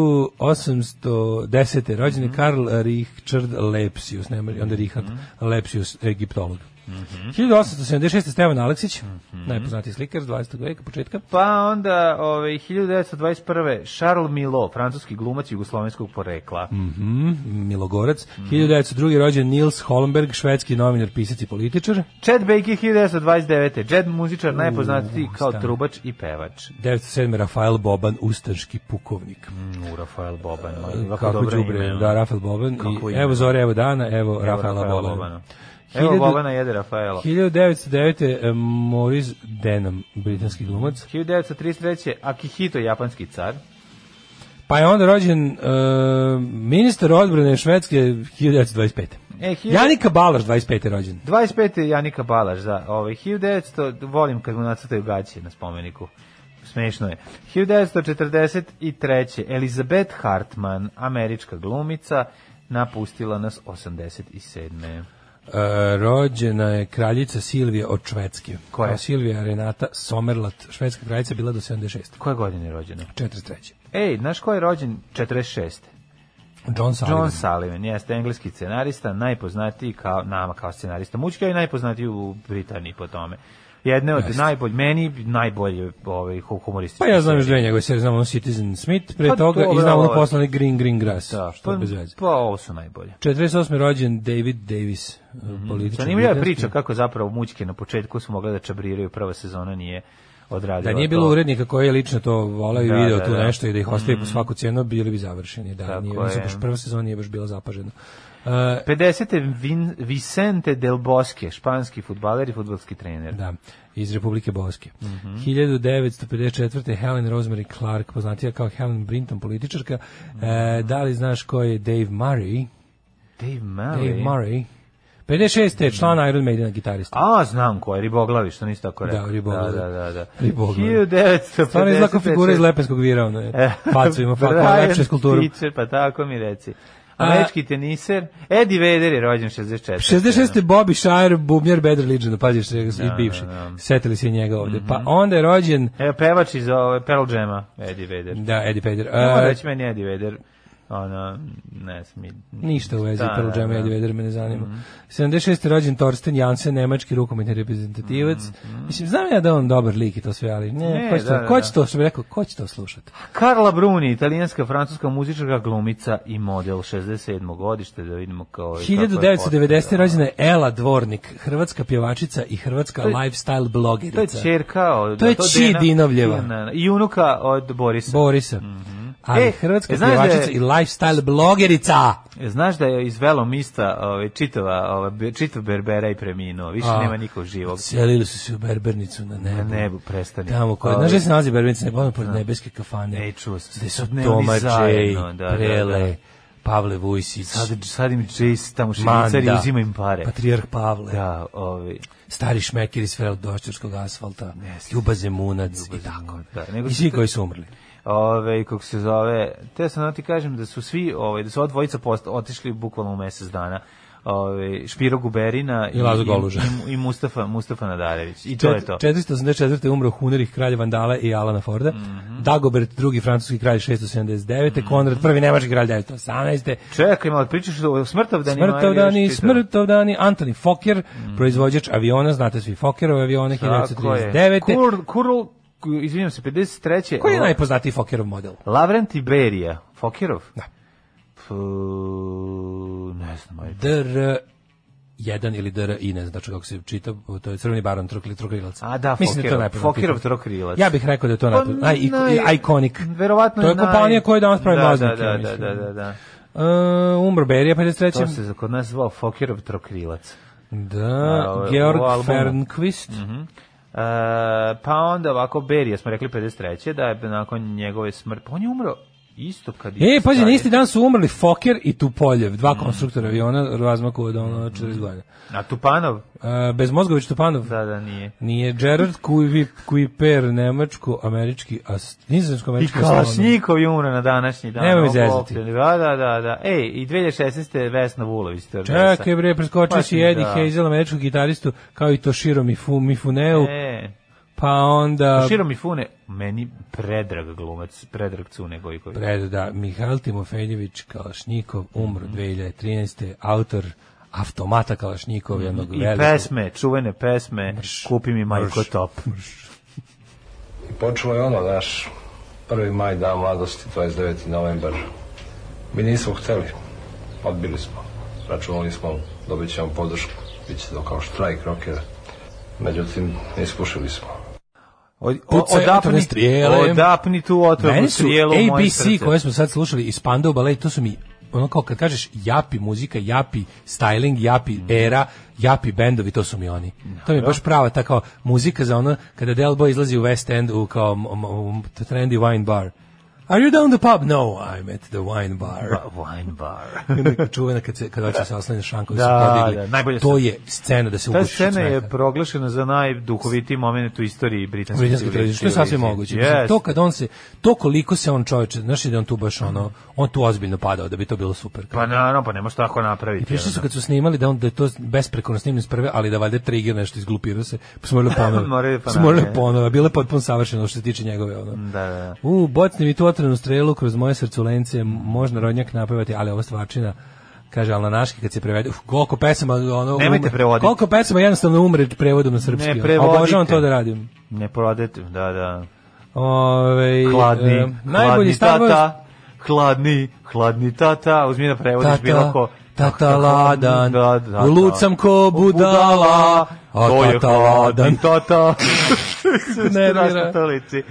[SPEAKER 7] 1810. rođen je Karl Richard Lepsius, ne, onda
[SPEAKER 6] Mhm.
[SPEAKER 7] Richard Lepsius, egiptolog. 1876. Stevan Aleksić,
[SPEAKER 6] Mhm.
[SPEAKER 7] najpoznatiji slikar s 20. veka, početka.
[SPEAKER 6] Pa onda, ovaj, 1921. Charles Milo, francuski glumac jugoslovenskog porekla.
[SPEAKER 7] Mhm, Milogorac.
[SPEAKER 6] Mhm.
[SPEAKER 7] 1902. rođen Nils Holmberg, švedski novinar, pisac i političar.
[SPEAKER 6] Chad Baker 1929. Jed muzičar najpoznatiji kao
[SPEAKER 7] stan.
[SPEAKER 6] trubač i pevač.
[SPEAKER 7] 1907. Rafael Boban, ustaški pukovnik.
[SPEAKER 6] U Rafael Boban.
[SPEAKER 7] Kako đubre, da Rafael Boban
[SPEAKER 6] ono. Kako
[SPEAKER 7] i
[SPEAKER 6] ime.
[SPEAKER 7] evo zore, evo dana, evo, Rafaela
[SPEAKER 6] Rafaela
[SPEAKER 7] Bobana.
[SPEAKER 6] Bobana. Evo
[SPEAKER 7] Hiljadu-
[SPEAKER 6] Bobana jede Rafaela.
[SPEAKER 7] 1909. e, Moris Denham, britanski glumac.
[SPEAKER 6] 1933. Akihito, japanski car.
[SPEAKER 7] Pa je onda rođen e, ministar odbrane Švedske 1925.
[SPEAKER 6] E, hiljadu-
[SPEAKER 7] Janika Balaš 25. je rođen.
[SPEAKER 6] 25. je Janika Balaš za ovaj 1900, volim kad mu nacrtaju gaće na spomeniku. Smešno je. 1943. Elizabeth Hartman, američka glumica, napustila nas 87.
[SPEAKER 7] E, rođena je kraljica Silvija od Švedske.
[SPEAKER 6] Koja?
[SPEAKER 7] A Silvija Renata Somerlat, švedska kraljica, bila do 76.
[SPEAKER 6] Koje godine je rođena?
[SPEAKER 7] 43.
[SPEAKER 6] Ej, znaš ko je rođen 46.
[SPEAKER 7] John Sullivan.
[SPEAKER 6] John Sullivan, jeste engleski scenarista, najpoznatiji kao nama kao scenarista mučka i najpoznatiji u Britaniji po tome. Jedne od
[SPEAKER 7] Jeste.
[SPEAKER 6] najbolj, meni najbolje ovaj, hu- humoristički.
[SPEAKER 7] Pa ja znam još
[SPEAKER 6] serije.
[SPEAKER 7] dve njegove serije, znam ono Citizen Smith, pre
[SPEAKER 6] Pa
[SPEAKER 7] toga
[SPEAKER 6] dobro,
[SPEAKER 7] i znam ono
[SPEAKER 6] ovo je-
[SPEAKER 7] poslani Green Green Grass,
[SPEAKER 6] Da,
[SPEAKER 7] što je bez veze.
[SPEAKER 6] Pa ovo su najbolje.
[SPEAKER 7] 48. rođen David Davis, mm -hmm. političar.
[SPEAKER 6] Mhm. Zanimljiva je
[SPEAKER 7] britanski.
[SPEAKER 6] priča kako zapravo mućke na početku su mogle da čabriraju, prva sezona nije odradila
[SPEAKER 7] Da nije bilo
[SPEAKER 6] to.
[SPEAKER 7] urednika koji je lično to volao i
[SPEAKER 6] Da,
[SPEAKER 7] video
[SPEAKER 6] da,
[SPEAKER 7] tu
[SPEAKER 6] da. Mm.
[SPEAKER 7] nešto i da ih ostavi po svaku cenu, bili bi završeni. Da,
[SPEAKER 6] Tako
[SPEAKER 7] nije, mislim,
[SPEAKER 6] je.
[SPEAKER 7] baš prva sezona nije baš bila zapažena. Uh,
[SPEAKER 6] 50. Vin, Vicente del Bosque, španski futbaler i futbalski trener.
[SPEAKER 7] da, iz Republike Boske.
[SPEAKER 6] Mhm.
[SPEAKER 7] 1954. Helen Rosemary Clark, poznatija kao Helen Brinton, političarka.
[SPEAKER 6] Mhm.
[SPEAKER 7] E, da li znaš ko je Dave Murray?
[SPEAKER 6] Dave Murray. Mhm.
[SPEAKER 7] Dave Murray. 56. član Iron Maidena, gitarista.
[SPEAKER 6] A, znam ko je, Riboglavi, što nisi tako rekao.
[SPEAKER 7] Da, Riboglavi.
[SPEAKER 6] Da, da, da. da.
[SPEAKER 7] Riboglavi.
[SPEAKER 6] 1950.
[SPEAKER 7] Stvarno je znako figura iz Lepenskog vira, ono je. Facu ima, facu,
[SPEAKER 6] Brian
[SPEAKER 7] lepše skulpturu.
[SPEAKER 6] Pitcher, pa tako mi reci.
[SPEAKER 7] A-
[SPEAKER 6] Američki teniser. Eddie Vedder je rođen 64.
[SPEAKER 7] 66. Bobby Shire, bubnjar Bad Religion, pazi što je i bivši. Setili se i njega ovde. Pa
[SPEAKER 6] Mhm.
[SPEAKER 7] onda je rođen,
[SPEAKER 6] E, pevač iz ove, Pearl Jam-a, Eddie Vedder.
[SPEAKER 7] da, Eddie Vedder. E,
[SPEAKER 6] Ne moram
[SPEAKER 7] A,
[SPEAKER 6] reći meni Eddie Vedder. Ono, ne smi...
[SPEAKER 7] ništa u vezi
[SPEAKER 6] Da,
[SPEAKER 7] Pearl
[SPEAKER 6] da,
[SPEAKER 7] Jam i
[SPEAKER 6] da. Mhm.
[SPEAKER 7] Eddie Vedder me ne zanima. 76. je rođen Torsten Jansen, nemački rukometni reprezentativac. Mislim, znam ja da je on dobar lik i to sve, ali ne,
[SPEAKER 6] Mhm, Ne,
[SPEAKER 7] ko, će to,
[SPEAKER 6] da, Pa da,
[SPEAKER 7] ko
[SPEAKER 6] da.
[SPEAKER 7] će to, što bi rekao, ko će to slušati?
[SPEAKER 6] Karla Bruni, italijanska, francuska muzičarka, glumica i model 67. godište, da vidimo kao... kako je
[SPEAKER 7] 1990.
[SPEAKER 6] postavljeno.
[SPEAKER 7] rođena je Ela Dvornik, hrvatska pjevačica i hrvatska
[SPEAKER 6] To je-
[SPEAKER 7] lifestyle
[SPEAKER 6] To je
[SPEAKER 7] blogerica.
[SPEAKER 6] čerka od...
[SPEAKER 7] To je
[SPEAKER 6] od
[SPEAKER 7] Či
[SPEAKER 6] Dena-
[SPEAKER 7] Dinovljeva.
[SPEAKER 6] Dena- I unuka od Borisa.
[SPEAKER 7] Borisa. Ali
[SPEAKER 6] E,
[SPEAKER 7] hrvatska
[SPEAKER 6] e, znaš da je-
[SPEAKER 7] pjevačica i lifestyle blogerica.
[SPEAKER 6] E, Znaš da je iz Velomista ovaj, čitava, ovaj, be- čitav Berbera i preminuo, više
[SPEAKER 7] A.
[SPEAKER 6] nema nikog živog.
[SPEAKER 7] Selili su se u Berbernicu na nebu.
[SPEAKER 6] Na nebu, prestani.
[SPEAKER 7] Tamo kod,
[SPEAKER 6] Ovaj,
[SPEAKER 7] znaš gde se nalazi Berbernica? Ne poznam, pored nebeske kafane.
[SPEAKER 6] Ej, čuo sam.
[SPEAKER 7] Gde su
[SPEAKER 6] Sad ne, oni
[SPEAKER 7] Toma J,
[SPEAKER 6] zajedno, da, da,
[SPEAKER 7] Prele,
[SPEAKER 6] da.
[SPEAKER 7] Pavle Vujsić,
[SPEAKER 6] Sad, sad im Jace tamo
[SPEAKER 7] Manda,
[SPEAKER 6] švicari uzima im pare.
[SPEAKER 7] Patrijarh Pavle,
[SPEAKER 6] Da, ovaj, ovi,
[SPEAKER 7] stari šmeker iz Freldošćarskog asfalta, Ljuba Zemunac i tako.
[SPEAKER 6] da, nego
[SPEAKER 7] I
[SPEAKER 6] su
[SPEAKER 7] svi
[SPEAKER 6] to-
[SPEAKER 7] koji su umrli.
[SPEAKER 6] ove, ovaj, kako se zove, te sam da ti kažem da su svi, ove, da su ova dvojica post, otišli bukvalno u mesec dana. Ove, Špiro Guberina
[SPEAKER 7] I Lazo Goluža.
[SPEAKER 6] i, i Mustafa, Mustafa Nadarević. I to je to.
[SPEAKER 7] 484. je umro Hunerih kralj Vandala i Alana Forda.
[SPEAKER 6] Mhm.
[SPEAKER 7] Dagobert drugi francuski kralj 679. Konrad prvi nemački kralj 918.
[SPEAKER 6] Čekaj, malo pričaš o smrtovdanima. ajde
[SPEAKER 7] Smrtovdani,
[SPEAKER 6] još čitam.
[SPEAKER 7] smrtovdani, Antoni Fokker, proizvođač aviona, znate svi Fokkerove avione
[SPEAKER 6] Tako je.
[SPEAKER 7] 1939.
[SPEAKER 6] Kur, kurl, ku- izvinjam se, 53.
[SPEAKER 7] Koji je najpoznatiji Fokkerov model?
[SPEAKER 6] Lavrent Iberija. Fokirov?
[SPEAKER 7] Da.
[SPEAKER 6] P, ne znam, ajde.
[SPEAKER 7] DR jedan ili DR i ne znam tačno kako se čita, to je crveni baron trokli trokrilac.
[SPEAKER 6] A da,
[SPEAKER 7] Mislim da je to
[SPEAKER 6] Fokkerov.
[SPEAKER 7] najpoznatiji.
[SPEAKER 6] Fokkerov trokrilac. Pa
[SPEAKER 7] Ja bih rekao da je to najpoznatiji. Naj, i, i, ikonik.
[SPEAKER 6] Verovatno
[SPEAKER 7] to je
[SPEAKER 6] naj-
[SPEAKER 7] kompanija koja danas pravi
[SPEAKER 6] da,
[SPEAKER 7] maznike.
[SPEAKER 6] Da, da,
[SPEAKER 7] mislim.
[SPEAKER 6] da, da, da.
[SPEAKER 7] Uh, umro Berija 53.
[SPEAKER 6] To se za- kod nas zvao Fokirov trokrilac.
[SPEAKER 7] Da,
[SPEAKER 6] ovo-
[SPEAKER 7] Georg
[SPEAKER 6] ovo albumu.
[SPEAKER 7] Fernqvist.
[SPEAKER 6] E, pa onda ovako Berija smo rekli 53. da je nakon njegove smrti pa on je umro isto kad je
[SPEAKER 7] E, pazi, na
[SPEAKER 6] Stalin.
[SPEAKER 7] isti dan su umrli Fokker i Tupoljev, dva konstruktora aviona, razmaku od ono 40 godina.
[SPEAKER 6] a Tupanov
[SPEAKER 7] Uh, Bezmozgović Tupanov.
[SPEAKER 6] da da nije
[SPEAKER 7] Nije Gerard Kuivi, Kuiper, nemačko-američki, a
[SPEAKER 6] I
[SPEAKER 7] nizozemsko-američki
[SPEAKER 6] Kalašnikov je umro na današnji dan.
[SPEAKER 7] Nemoj me
[SPEAKER 6] Ovo
[SPEAKER 7] zezati.
[SPEAKER 6] opet. Da, da, da, da. Ej, i 2016. Vesna Vulović. stewardesa.
[SPEAKER 7] Čekaj bre, preskočio
[SPEAKER 6] Pa
[SPEAKER 7] si
[SPEAKER 6] si,
[SPEAKER 7] Eddie
[SPEAKER 6] da.
[SPEAKER 7] Hazel, američkog gitaristu, kao i Toshiro Mifu, Mifuneu,
[SPEAKER 6] E,
[SPEAKER 7] pa onda...
[SPEAKER 6] Širo Mifune, meni predrag glumac, predrag Cune Gojković.
[SPEAKER 7] Pred, da, Mihajl Timofejević Kalašnikov, umro
[SPEAKER 6] Mhm.
[SPEAKER 7] 2013. Autor Automata Kalašnikov, jednog
[SPEAKER 6] Mhm. I
[SPEAKER 7] velikog...
[SPEAKER 6] pesme, čuvene pesme, kupi mi Majko Top.
[SPEAKER 11] Počelo je ono, znaš, 1. maj, dan mladosti, 29. novembar. Mi nismo hteli, odbili smo. Računali smo, dobit ćemo podršku, bit će to kao štrajk rokera. Međutim, iskušili smo.
[SPEAKER 6] Od,
[SPEAKER 7] Pucaj otrovne strijele.
[SPEAKER 6] odapni tu otrovnu
[SPEAKER 7] Meni su
[SPEAKER 6] strijelu u moje
[SPEAKER 7] ABC
[SPEAKER 6] srce.
[SPEAKER 7] koje smo sad slušali iz Spandau Ballet, to su mi ono kao kad kažeš japi muzika, japi styling, japi
[SPEAKER 6] Mhm.
[SPEAKER 7] era, japi bendovi, to su mi oni. To mi je baš prava ta kao muzika za ono kada Del Boy izlazi u West End u kao m- m- m- trendy wine bar. Are you down the pub? No, I'm at the wine bar.
[SPEAKER 6] Pa, Wine bar.
[SPEAKER 7] Neka čuvena kad se kad hoće se oslanje Šankovi
[SPEAKER 6] Da,
[SPEAKER 7] su podigli.
[SPEAKER 6] da, najbolje
[SPEAKER 7] to
[SPEAKER 6] su.
[SPEAKER 7] je scena da se
[SPEAKER 6] Ta
[SPEAKER 7] ugušiš od
[SPEAKER 6] scena je
[SPEAKER 7] smeha.
[SPEAKER 6] proglašena za najduhovitiji moment u istoriji britanske
[SPEAKER 7] Britanske televizije, što je sasvim moguće. Mislim,
[SPEAKER 6] Yes.
[SPEAKER 7] To kad on se, to koliko se on čovječe, znaš da je on tu baš ono, on tu ozbiljno padao, da bi to bilo super.
[SPEAKER 6] Pa naravno, pa ne možeš tako napraviti.
[SPEAKER 7] I prišli su
[SPEAKER 6] ono.
[SPEAKER 7] kad su snimali da on da je to besprekorno snimljeno s prve, ali da valjda trigger nešto izglupirao se, pa su morali ponovo.
[SPEAKER 6] Morali
[SPEAKER 7] Pa su morali
[SPEAKER 6] ponavljati.
[SPEAKER 7] ponovo, bilo je potpuno savršeno što se tiče njegove ono.
[SPEAKER 6] Da, da, da.
[SPEAKER 7] U, bocni mi tu otrenu strelu kroz moje srculence, možda rodnjak napevati, ali ova stvarčina kaže al na naški kad se prevede uf, koliko pesama ono
[SPEAKER 6] Nemojte
[SPEAKER 7] umre-
[SPEAKER 6] prevoditi.
[SPEAKER 7] koliko pesama jednostavno umre prevodom na srpski
[SPEAKER 6] Ne
[SPEAKER 7] ono.
[SPEAKER 6] prevodite.
[SPEAKER 7] obožavam to da radim
[SPEAKER 6] Ne prodajte, da, da.
[SPEAKER 7] Ove,
[SPEAKER 6] Hladni,
[SPEAKER 7] e,
[SPEAKER 6] hladni
[SPEAKER 7] najbolji Star Wars
[SPEAKER 6] tata, hladni, hladni tata, uzmi da prevodiš
[SPEAKER 7] Tata,
[SPEAKER 6] bilo ko.
[SPEAKER 7] tata ladan,
[SPEAKER 6] Da, da, da.
[SPEAKER 7] lucam ko budala, a
[SPEAKER 6] To je
[SPEAKER 7] tata ladan.
[SPEAKER 6] hladni tata.
[SPEAKER 7] nervira.
[SPEAKER 6] Strašno to lici.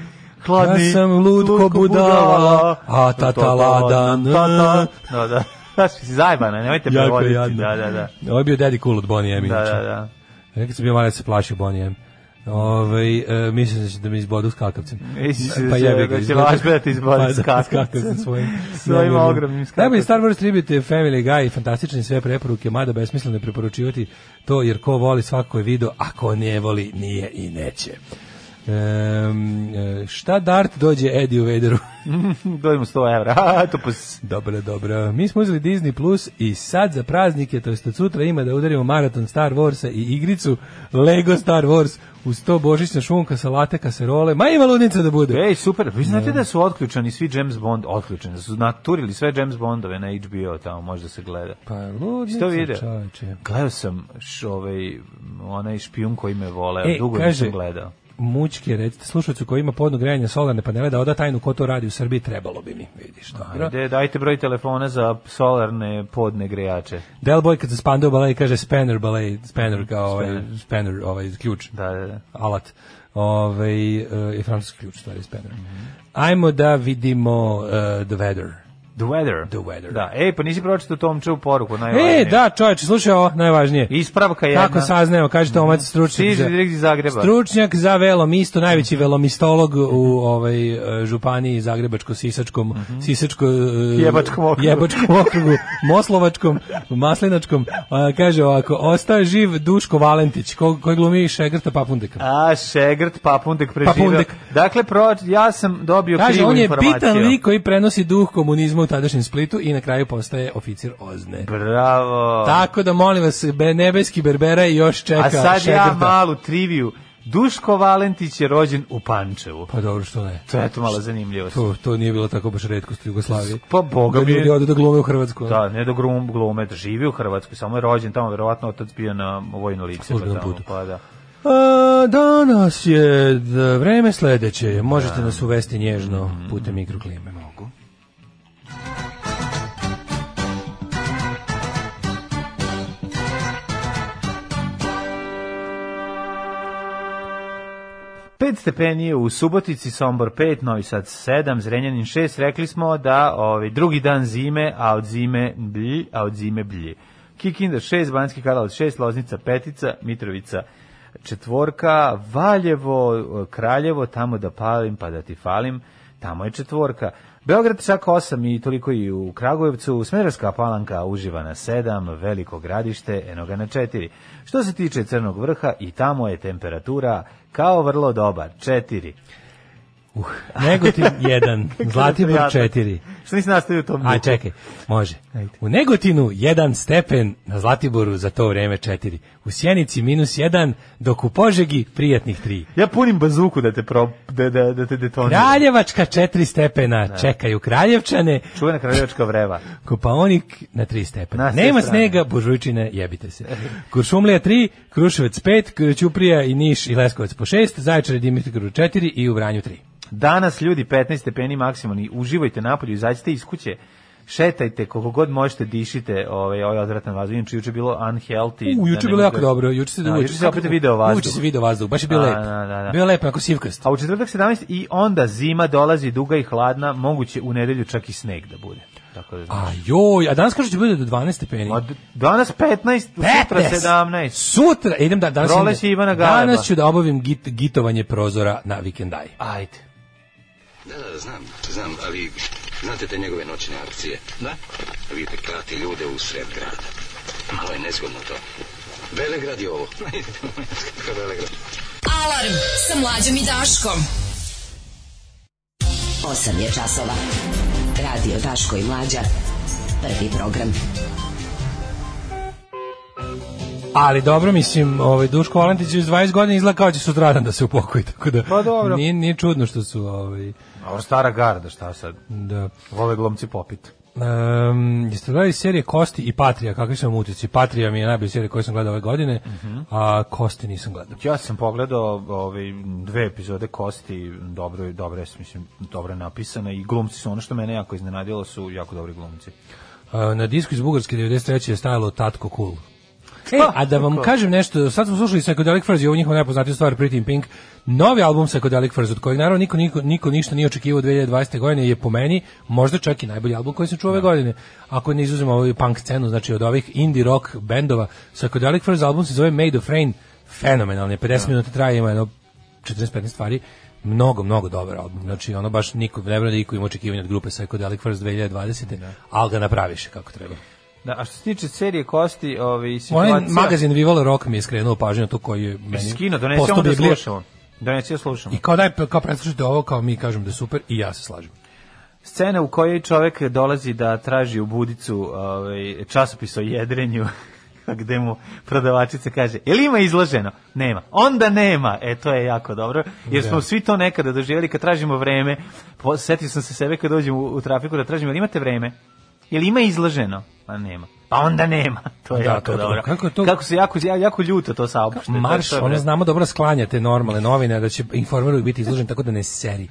[SPEAKER 6] Hladni,
[SPEAKER 7] Ja sam lud ko budala, a tata ladan.
[SPEAKER 6] Tata. Da, da. Znaš, si zajebana, nemojte
[SPEAKER 7] Jako je
[SPEAKER 6] prevoditi.
[SPEAKER 7] jadno.
[SPEAKER 6] Da, da, da.
[SPEAKER 7] Ovo je bio Daddy Cool od Bonnie M.
[SPEAKER 6] Da,
[SPEAKER 7] inače.
[SPEAKER 6] da, da.
[SPEAKER 7] Ja kad sam bio mali ja sam se plašio Bonnie M. Ove, e, mislim da će da me izbodu s kakavcem.
[SPEAKER 6] Misliš da će-
[SPEAKER 7] jebi ga,
[SPEAKER 6] da će
[SPEAKER 7] izgleda-
[SPEAKER 6] Laško da te izbode
[SPEAKER 7] Pa
[SPEAKER 6] s
[SPEAKER 7] da,
[SPEAKER 6] kakavcem.
[SPEAKER 7] svojim.
[SPEAKER 6] Svojim
[SPEAKER 7] Najboljim.
[SPEAKER 6] ogromnim skakavcem.
[SPEAKER 7] Najbolji Star Wars tribute je Family Guy, fantastični sve preporuke, mada besmisleno je preporučivati to, jer ko voli svako je video, a ko ne voli nije i neće. Ehm, e, šta Dart dođe Eddie u Vaderu?
[SPEAKER 6] Dojmo 100 evra. A, to pus.
[SPEAKER 7] Dobro, dobro. Mi smo uzeli Disney Plus i sad za praznike, to jest od sutra ima da udarimo maraton Star Warsa i igricu Lego Star Wars uz to božićna šunka, salate, kaserole. Ma ima ludnica da bude.
[SPEAKER 6] Ej, super. Vi znate da su otključani svi James Bond otključeni, da su naturili sve James Bondove na HBO tamo, možda se gleda.
[SPEAKER 7] Pa
[SPEAKER 6] Isto
[SPEAKER 7] ludnica,
[SPEAKER 6] video.
[SPEAKER 7] čoveče.
[SPEAKER 6] Gledao sam š, ovaj, m, onaj špijun koji me voleo,
[SPEAKER 7] E,
[SPEAKER 6] dugo
[SPEAKER 7] kaže-
[SPEAKER 6] nisam gledao.
[SPEAKER 7] Mučke, recite slušalcu koji ima podno grejanje solarne panele da oda tajnu ko to radi u Srbiji, trebalo bi mi, vidiš. Dobro.
[SPEAKER 6] Ajde, dajte broj telefona za solarne podne grejače.
[SPEAKER 7] Del Boy kad se spandeo balej kaže spanner balej, spanner kao ovaj, spanner, ovaj ključ.
[SPEAKER 6] Da, da, da.
[SPEAKER 7] alat. Ove, e, i francuski ključ, stvari, spanner. Ajmo da vidimo e, The Weather.
[SPEAKER 6] The Weather.
[SPEAKER 7] The Weather.
[SPEAKER 6] Da, ej, pa nisi pročito Tomčevu poruku, najvažnije.
[SPEAKER 7] E, da, čovječe, slušaj ovo, najvažnije.
[SPEAKER 6] Ispravka jedna.
[SPEAKER 7] Kako saznajemo, kaže Tomac, stručnjak
[SPEAKER 6] Stiže direkt iz Zagreba.
[SPEAKER 7] Stručnjak za velomisto, najveći velomistolog u ovaj e, županiji Zagrebačko-Sisačkom, Sisačko e,
[SPEAKER 6] Mhm. Jebačkom okrugu.
[SPEAKER 7] Jebačkom okrugu, Moslovačkom, Maslinačkom. A, kaže ovako, ostao je živ Duško Valentić, ko, koji glumi Šegrta Papundeka.
[SPEAKER 6] A, Šegrt, Papundek preživio.
[SPEAKER 7] Papundek.
[SPEAKER 6] Dakle, proč, ja sam dobio
[SPEAKER 7] Kaže,
[SPEAKER 6] krivu
[SPEAKER 7] on je
[SPEAKER 6] informaciju.
[SPEAKER 7] bitan lik koji prenosi duh komunizma u tadašnjem Splitu i na kraju postaje oficir Ozne.
[SPEAKER 6] Bravo.
[SPEAKER 7] Tako da molim vas, be, nebeski Berbera i još čeka
[SPEAKER 6] A sad ja
[SPEAKER 7] Šegrta.
[SPEAKER 6] malu triviju. Duško Valentić je rođen u Pančevu.
[SPEAKER 7] Pa dobro, što ne.
[SPEAKER 6] To je to malo zanimljivo.
[SPEAKER 7] To, to nije bilo tako baš redkost u Jugoslaviji.
[SPEAKER 6] Pa, boga
[SPEAKER 7] da
[SPEAKER 6] mi je.
[SPEAKER 7] ljudi odu da glume u Hrvatsku.
[SPEAKER 6] Da, ne do grum, glume, da živi u Hrvatskoj, samo je rođen tamo, verovatno otac bio na vojno lice. Pa,
[SPEAKER 7] Službenom
[SPEAKER 6] tamo,
[SPEAKER 7] putu.
[SPEAKER 6] pa da.
[SPEAKER 7] A, danas je da, vreme sledeće. Možete nas uvesti nježno
[SPEAKER 6] Mm.
[SPEAKER 7] putem mikroklime. Mogu.
[SPEAKER 6] Pet stepeni je u Subotici, Sombor 5, Novi Sad 7, Zrenjanin 6. Rekli smo da ovaj, drugi dan zime, a od zime blj, a od zime blji. Kikinda 6, Banski Karlovac 6, Loznica 5, Mitrovica četvorka, Valjevo, Kraljevo, tamo da palim pa da ti falim, tamo je četvorka. Beograd čak 8 i toliko i u Kragujevcu, Smederska palanka uživa na 7, Veliko gradište, eno ga na 4. Što se tiče Crnog vrha, i tamo je temperatura kao vrlo dobar, 4.
[SPEAKER 7] Negotin 1, Zlatibor
[SPEAKER 6] Prijatno.
[SPEAKER 7] 4.
[SPEAKER 6] Što nisi nastavio u tom
[SPEAKER 7] A
[SPEAKER 6] duhu?
[SPEAKER 7] čekaj, može.
[SPEAKER 6] Ajde.
[SPEAKER 7] U Negotinu 1 stepen, na Zlatiboru za to vreme 4. U Sjenici minus 1, dok u Požegi prijatnih 3.
[SPEAKER 6] Ja punim bazuku da te, pro, da, da, da te detoniram.
[SPEAKER 7] Kraljevačka 4 stepena, čekaju Kraljevčane,
[SPEAKER 6] Čuvena kraljevačka vreva.
[SPEAKER 7] Kopaonik na 3 stepena.
[SPEAKER 6] Na sve
[SPEAKER 7] Nema
[SPEAKER 6] strane.
[SPEAKER 7] snega, Božujčine, jebite se. Kuršumlija 3, Kruševac 5, Ćuprija i Niš i Leskovac po 6, Zaječar i Dimitrovgrad 4 i u Vranju 3.
[SPEAKER 6] Danas, ljudi, 15 stepeni maksimalni, uživajte napolju, izađite iz kuće, šetajte, koliko god možete, dišite ovaj, ovaj odvratan vazduh. Inače, juče je bilo unhealthy.
[SPEAKER 7] U,
[SPEAKER 6] da
[SPEAKER 7] juče je
[SPEAKER 6] ne
[SPEAKER 7] bilo jako
[SPEAKER 6] mogu-
[SPEAKER 7] dobro, juče se,
[SPEAKER 6] Da, juče se opet video vazduh.
[SPEAKER 7] Juče se video vazduh, baš je bio
[SPEAKER 6] Da,
[SPEAKER 7] lep.
[SPEAKER 6] da, da, da.
[SPEAKER 7] Bio lep, onako sivkast.
[SPEAKER 6] A u četvrtak 17 i onda zima dolazi duga i hladna, moguće u nedelju čak i sneg da bude. Tako da
[SPEAKER 7] A
[SPEAKER 6] znaš.
[SPEAKER 7] joj, a danas kažu će bude do 12 stepeni.
[SPEAKER 6] Ma, d- danas 15, sutra 17.
[SPEAKER 7] Sutra, e, idem da, danas,
[SPEAKER 6] Proleće
[SPEAKER 7] idem-
[SPEAKER 6] Ivana Galeba.
[SPEAKER 7] danas ću da obavim git, gitovanje prozora na vikendaji.
[SPEAKER 6] Ajde.
[SPEAKER 2] Da, da, da, znam, znam, ali znate te njegove noćne akcije? Da. Vidite, klati ljude u sred grada. Malo je nezgodno to. Velegrad je ovo. Kakav Velegrad.
[SPEAKER 5] Alarm sa mlađom i Daškom.
[SPEAKER 3] 8 je časova. Radio Daško i Mlađa. Prvi program.
[SPEAKER 7] Ali dobro, mislim, ovaj Duško Valentić iz 20 godina izgleda kao će sutradan da se upokoji, tako da
[SPEAKER 6] Pa dobro.
[SPEAKER 7] Nije, nije čudno što su ovaj,
[SPEAKER 6] A Ovo stara garda, šta sad?
[SPEAKER 7] da.
[SPEAKER 6] Vole glomci popit.
[SPEAKER 7] Um, jeste gledali serije Kosti i Patrija, kakvi su vam utjeci? Patrija mi je najbolja serija koju sam gledao ove godine,
[SPEAKER 6] Mhm.
[SPEAKER 7] a Kosti nisam gledao.
[SPEAKER 6] Ja sam pogledao ove dve epizode Kosti, dobro je, dobro je, mislim, dobro je napisana i glumci su ono što mene jako iznenadilo su jako dobri glumci.
[SPEAKER 7] E, na disku iz Bugarske 93. je stajalo Tatko Cool. E, a da vam kažem nešto, sad smo slušali Psychedelic Furs i ovo njihova najpoznatija stvar Pretty in Pink. Novi album Psychedelic Furs od kojeg naravno niko, niko, niko ništa nije očekivao 2020. godine je po meni možda čak i najbolji album koji sam čuo ove godine. Ako ne izuzemo ovu punk scenu, znači od ovih indie rock bendova, Psychedelic Furs album se zove Made of Rain, fenomenalni, je, 50 minuta traje, ima jedno 45 stvari mnogo, mnogo dobar album. Znači, ono baš niko, ne vrlo da niko ima očekivanje od grupe Psychedelic First 2020. Da. Ali ga napraviše kako treba.
[SPEAKER 6] Da, a što se tiče serije Kosti, ovaj,
[SPEAKER 7] situacija... Onaj magazin Vivala Rock mi je skrenuo pažnju na to koji je meni...
[SPEAKER 6] Skino, donesemo da slušamo. Donesemo da slušamo.
[SPEAKER 7] I kao daj, kao preslušajte ovo, kao mi kažem da je super i ja se slažem.
[SPEAKER 6] E, Scena u kojoj čovek dolazi da traži u budicu ovaj, časopis o jedrenju gde mu prodavačica kaže, ili ima izloženo? Nema. Onda nema. E, to je jako dobro, jer smo svi to nekada doživjeli kad tražimo vreme. Setio sam se sebe kad dođem u, u trafiku da tražim, ili imate vreme? Ili ima izloženo? Pa nema. Pa onda nema. To je
[SPEAKER 7] Da,
[SPEAKER 6] jako
[SPEAKER 7] to-
[SPEAKER 6] dobro.
[SPEAKER 7] kako to-
[SPEAKER 6] kako se jako, ja- jako ljuto to saopšte.
[SPEAKER 7] Marš,
[SPEAKER 6] To je- to je-
[SPEAKER 7] ono znamo dobro sklanja te normalne novine, da će informer uvijek biti izložen tako da ne seri.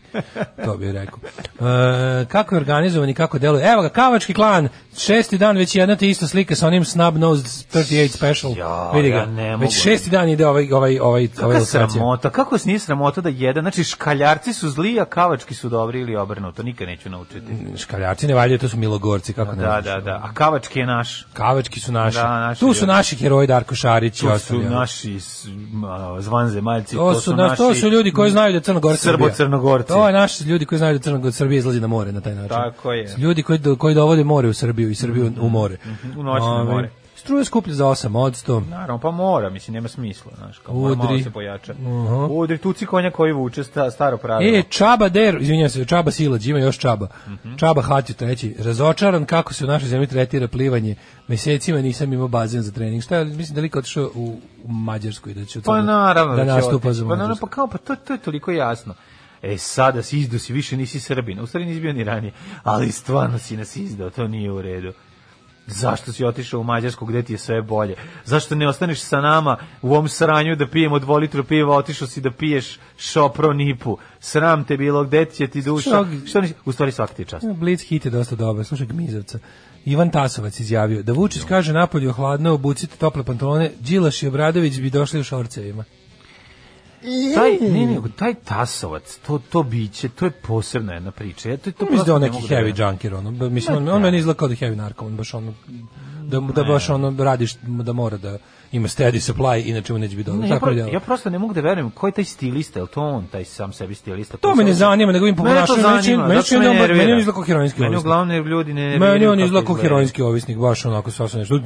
[SPEAKER 7] To bih rekao. E, kako je organizovan i kako deluje? Evo ga, Kavački klan, šesti dan već jedna te ista slika sa onim Snub-Nosed 38 Special.
[SPEAKER 6] Ja,
[SPEAKER 7] Vidi ga.
[SPEAKER 6] ja ne mogu.
[SPEAKER 7] već šesti dan ide ovaj, ovaj, ovaj, ovaj
[SPEAKER 6] Kakva sramota, kako se nije sramota da jedan, znači škaljarci su zli, a kavački su dobri ili obrnuto, nikad neću naučiti.
[SPEAKER 7] Škaljarci ne valjaju, to su milogorci, kako ne
[SPEAKER 6] Da,
[SPEAKER 7] znaš.
[SPEAKER 6] da, da, a kavački je naš.
[SPEAKER 7] Kavački su naši.
[SPEAKER 6] Da, naši
[SPEAKER 7] tu su
[SPEAKER 6] ljudi.
[SPEAKER 7] naši heroji Darko Šarić i
[SPEAKER 6] To su
[SPEAKER 7] ostali. ono.
[SPEAKER 6] naši s- ma, zvanzemaljci,
[SPEAKER 7] To su, na, to su ljudi koji znaju da Crna Gora Srbija.
[SPEAKER 6] Srbo-crnogorci.
[SPEAKER 7] To je naši ljudi koji znaju da Crna Gora Srbija izlazi na more na taj način.
[SPEAKER 6] Tako je. Mhm,
[SPEAKER 7] Ljudi koji, do- koji dovode more u Srbiju i Srbiju u more.
[SPEAKER 6] u noćno
[SPEAKER 7] Ovaj,
[SPEAKER 6] more.
[SPEAKER 7] Struja skuplja za 8%.
[SPEAKER 6] Naravno, pa mora, mislim, nema smisla, znaš, kao mora malo
[SPEAKER 7] Udri.
[SPEAKER 6] se pojača.
[SPEAKER 7] Mhm.
[SPEAKER 6] Udri, tuci konja koji vuče, sta- staro pravilo.
[SPEAKER 7] E, Čaba Der, izvinjam se, Čaba Silać, ima još Čaba.
[SPEAKER 6] Mhm.
[SPEAKER 7] Čaba Hatju treći, razočaran kako se u našoj zemlji tretira plivanje. Mesecima nisam imao bazen za trening. Šta je, mislim da lik otišao u u Mađarsku i da će u
[SPEAKER 6] pa
[SPEAKER 7] Crnu-
[SPEAKER 6] naravno
[SPEAKER 7] Ono, da
[SPEAKER 6] će
[SPEAKER 7] nastupa
[SPEAKER 6] otići.
[SPEAKER 7] za
[SPEAKER 6] pa, naravno,
[SPEAKER 7] Mađarsku.
[SPEAKER 6] pa kao, pa to, to je toliko jasno. E, sada si izdu si, više nisi Srbin. U stvari nisi bio ni ranije, ali stvarno si nas izdao, to nije u redu. Zašto si otišao u Mađarsku gde ti je sve bolje? Zašto ne ostaneš sa nama u ovom sranju da pijemo dvolitru piva, otišao si da piješ šopronipu. Sram te bilo, gde ti će ti duša?
[SPEAKER 7] Što-
[SPEAKER 6] Što nisi? U stvari svaki ti je čast.
[SPEAKER 7] E, Blitz hit je dosta dobar, slušaj Gmizovca. Ivan Tasovac izjavio da Vučić kaže napolju je hladno, obucite tople pantalone, Đilaš i Obradović bi došli u šorcevima.
[SPEAKER 6] Taj, ne, ne, taj tasovac, to, to biće, to je posebna jedna priča. Ja to, to
[SPEAKER 7] Mislim da je on
[SPEAKER 6] prosto ne
[SPEAKER 7] neki
[SPEAKER 6] mogu da
[SPEAKER 7] heavy
[SPEAKER 6] verujem.
[SPEAKER 7] junker, ono, b- mislim, on, on meni izgleda kao da je heavy narkoman, baš ono, da, da baš ono radiš, da mora da ima steady supply, inače mu neće biti dobro.
[SPEAKER 6] Ne, ja,
[SPEAKER 7] Tako
[SPEAKER 6] pro,
[SPEAKER 7] je delo.
[SPEAKER 6] ja prosto ne mogu da verujem ko je taj stilista, je li to on taj sam sebi stilista?
[SPEAKER 7] To me ne zanima, nego im po
[SPEAKER 6] Mene to
[SPEAKER 7] ponašanju, meni čini-
[SPEAKER 6] zanima,
[SPEAKER 7] meni
[SPEAKER 6] zato
[SPEAKER 7] čini
[SPEAKER 6] me
[SPEAKER 7] da on baš-
[SPEAKER 6] nervira.
[SPEAKER 7] meni on izgleda kao heroinski
[SPEAKER 6] Meni
[SPEAKER 7] ovisnik.
[SPEAKER 6] uglavnom ljudi ne nerviraju
[SPEAKER 7] Meni on
[SPEAKER 6] kako
[SPEAKER 7] izgleda kao
[SPEAKER 6] izgleda.
[SPEAKER 7] heroinski ovisnik, baš onako sasvim nešto.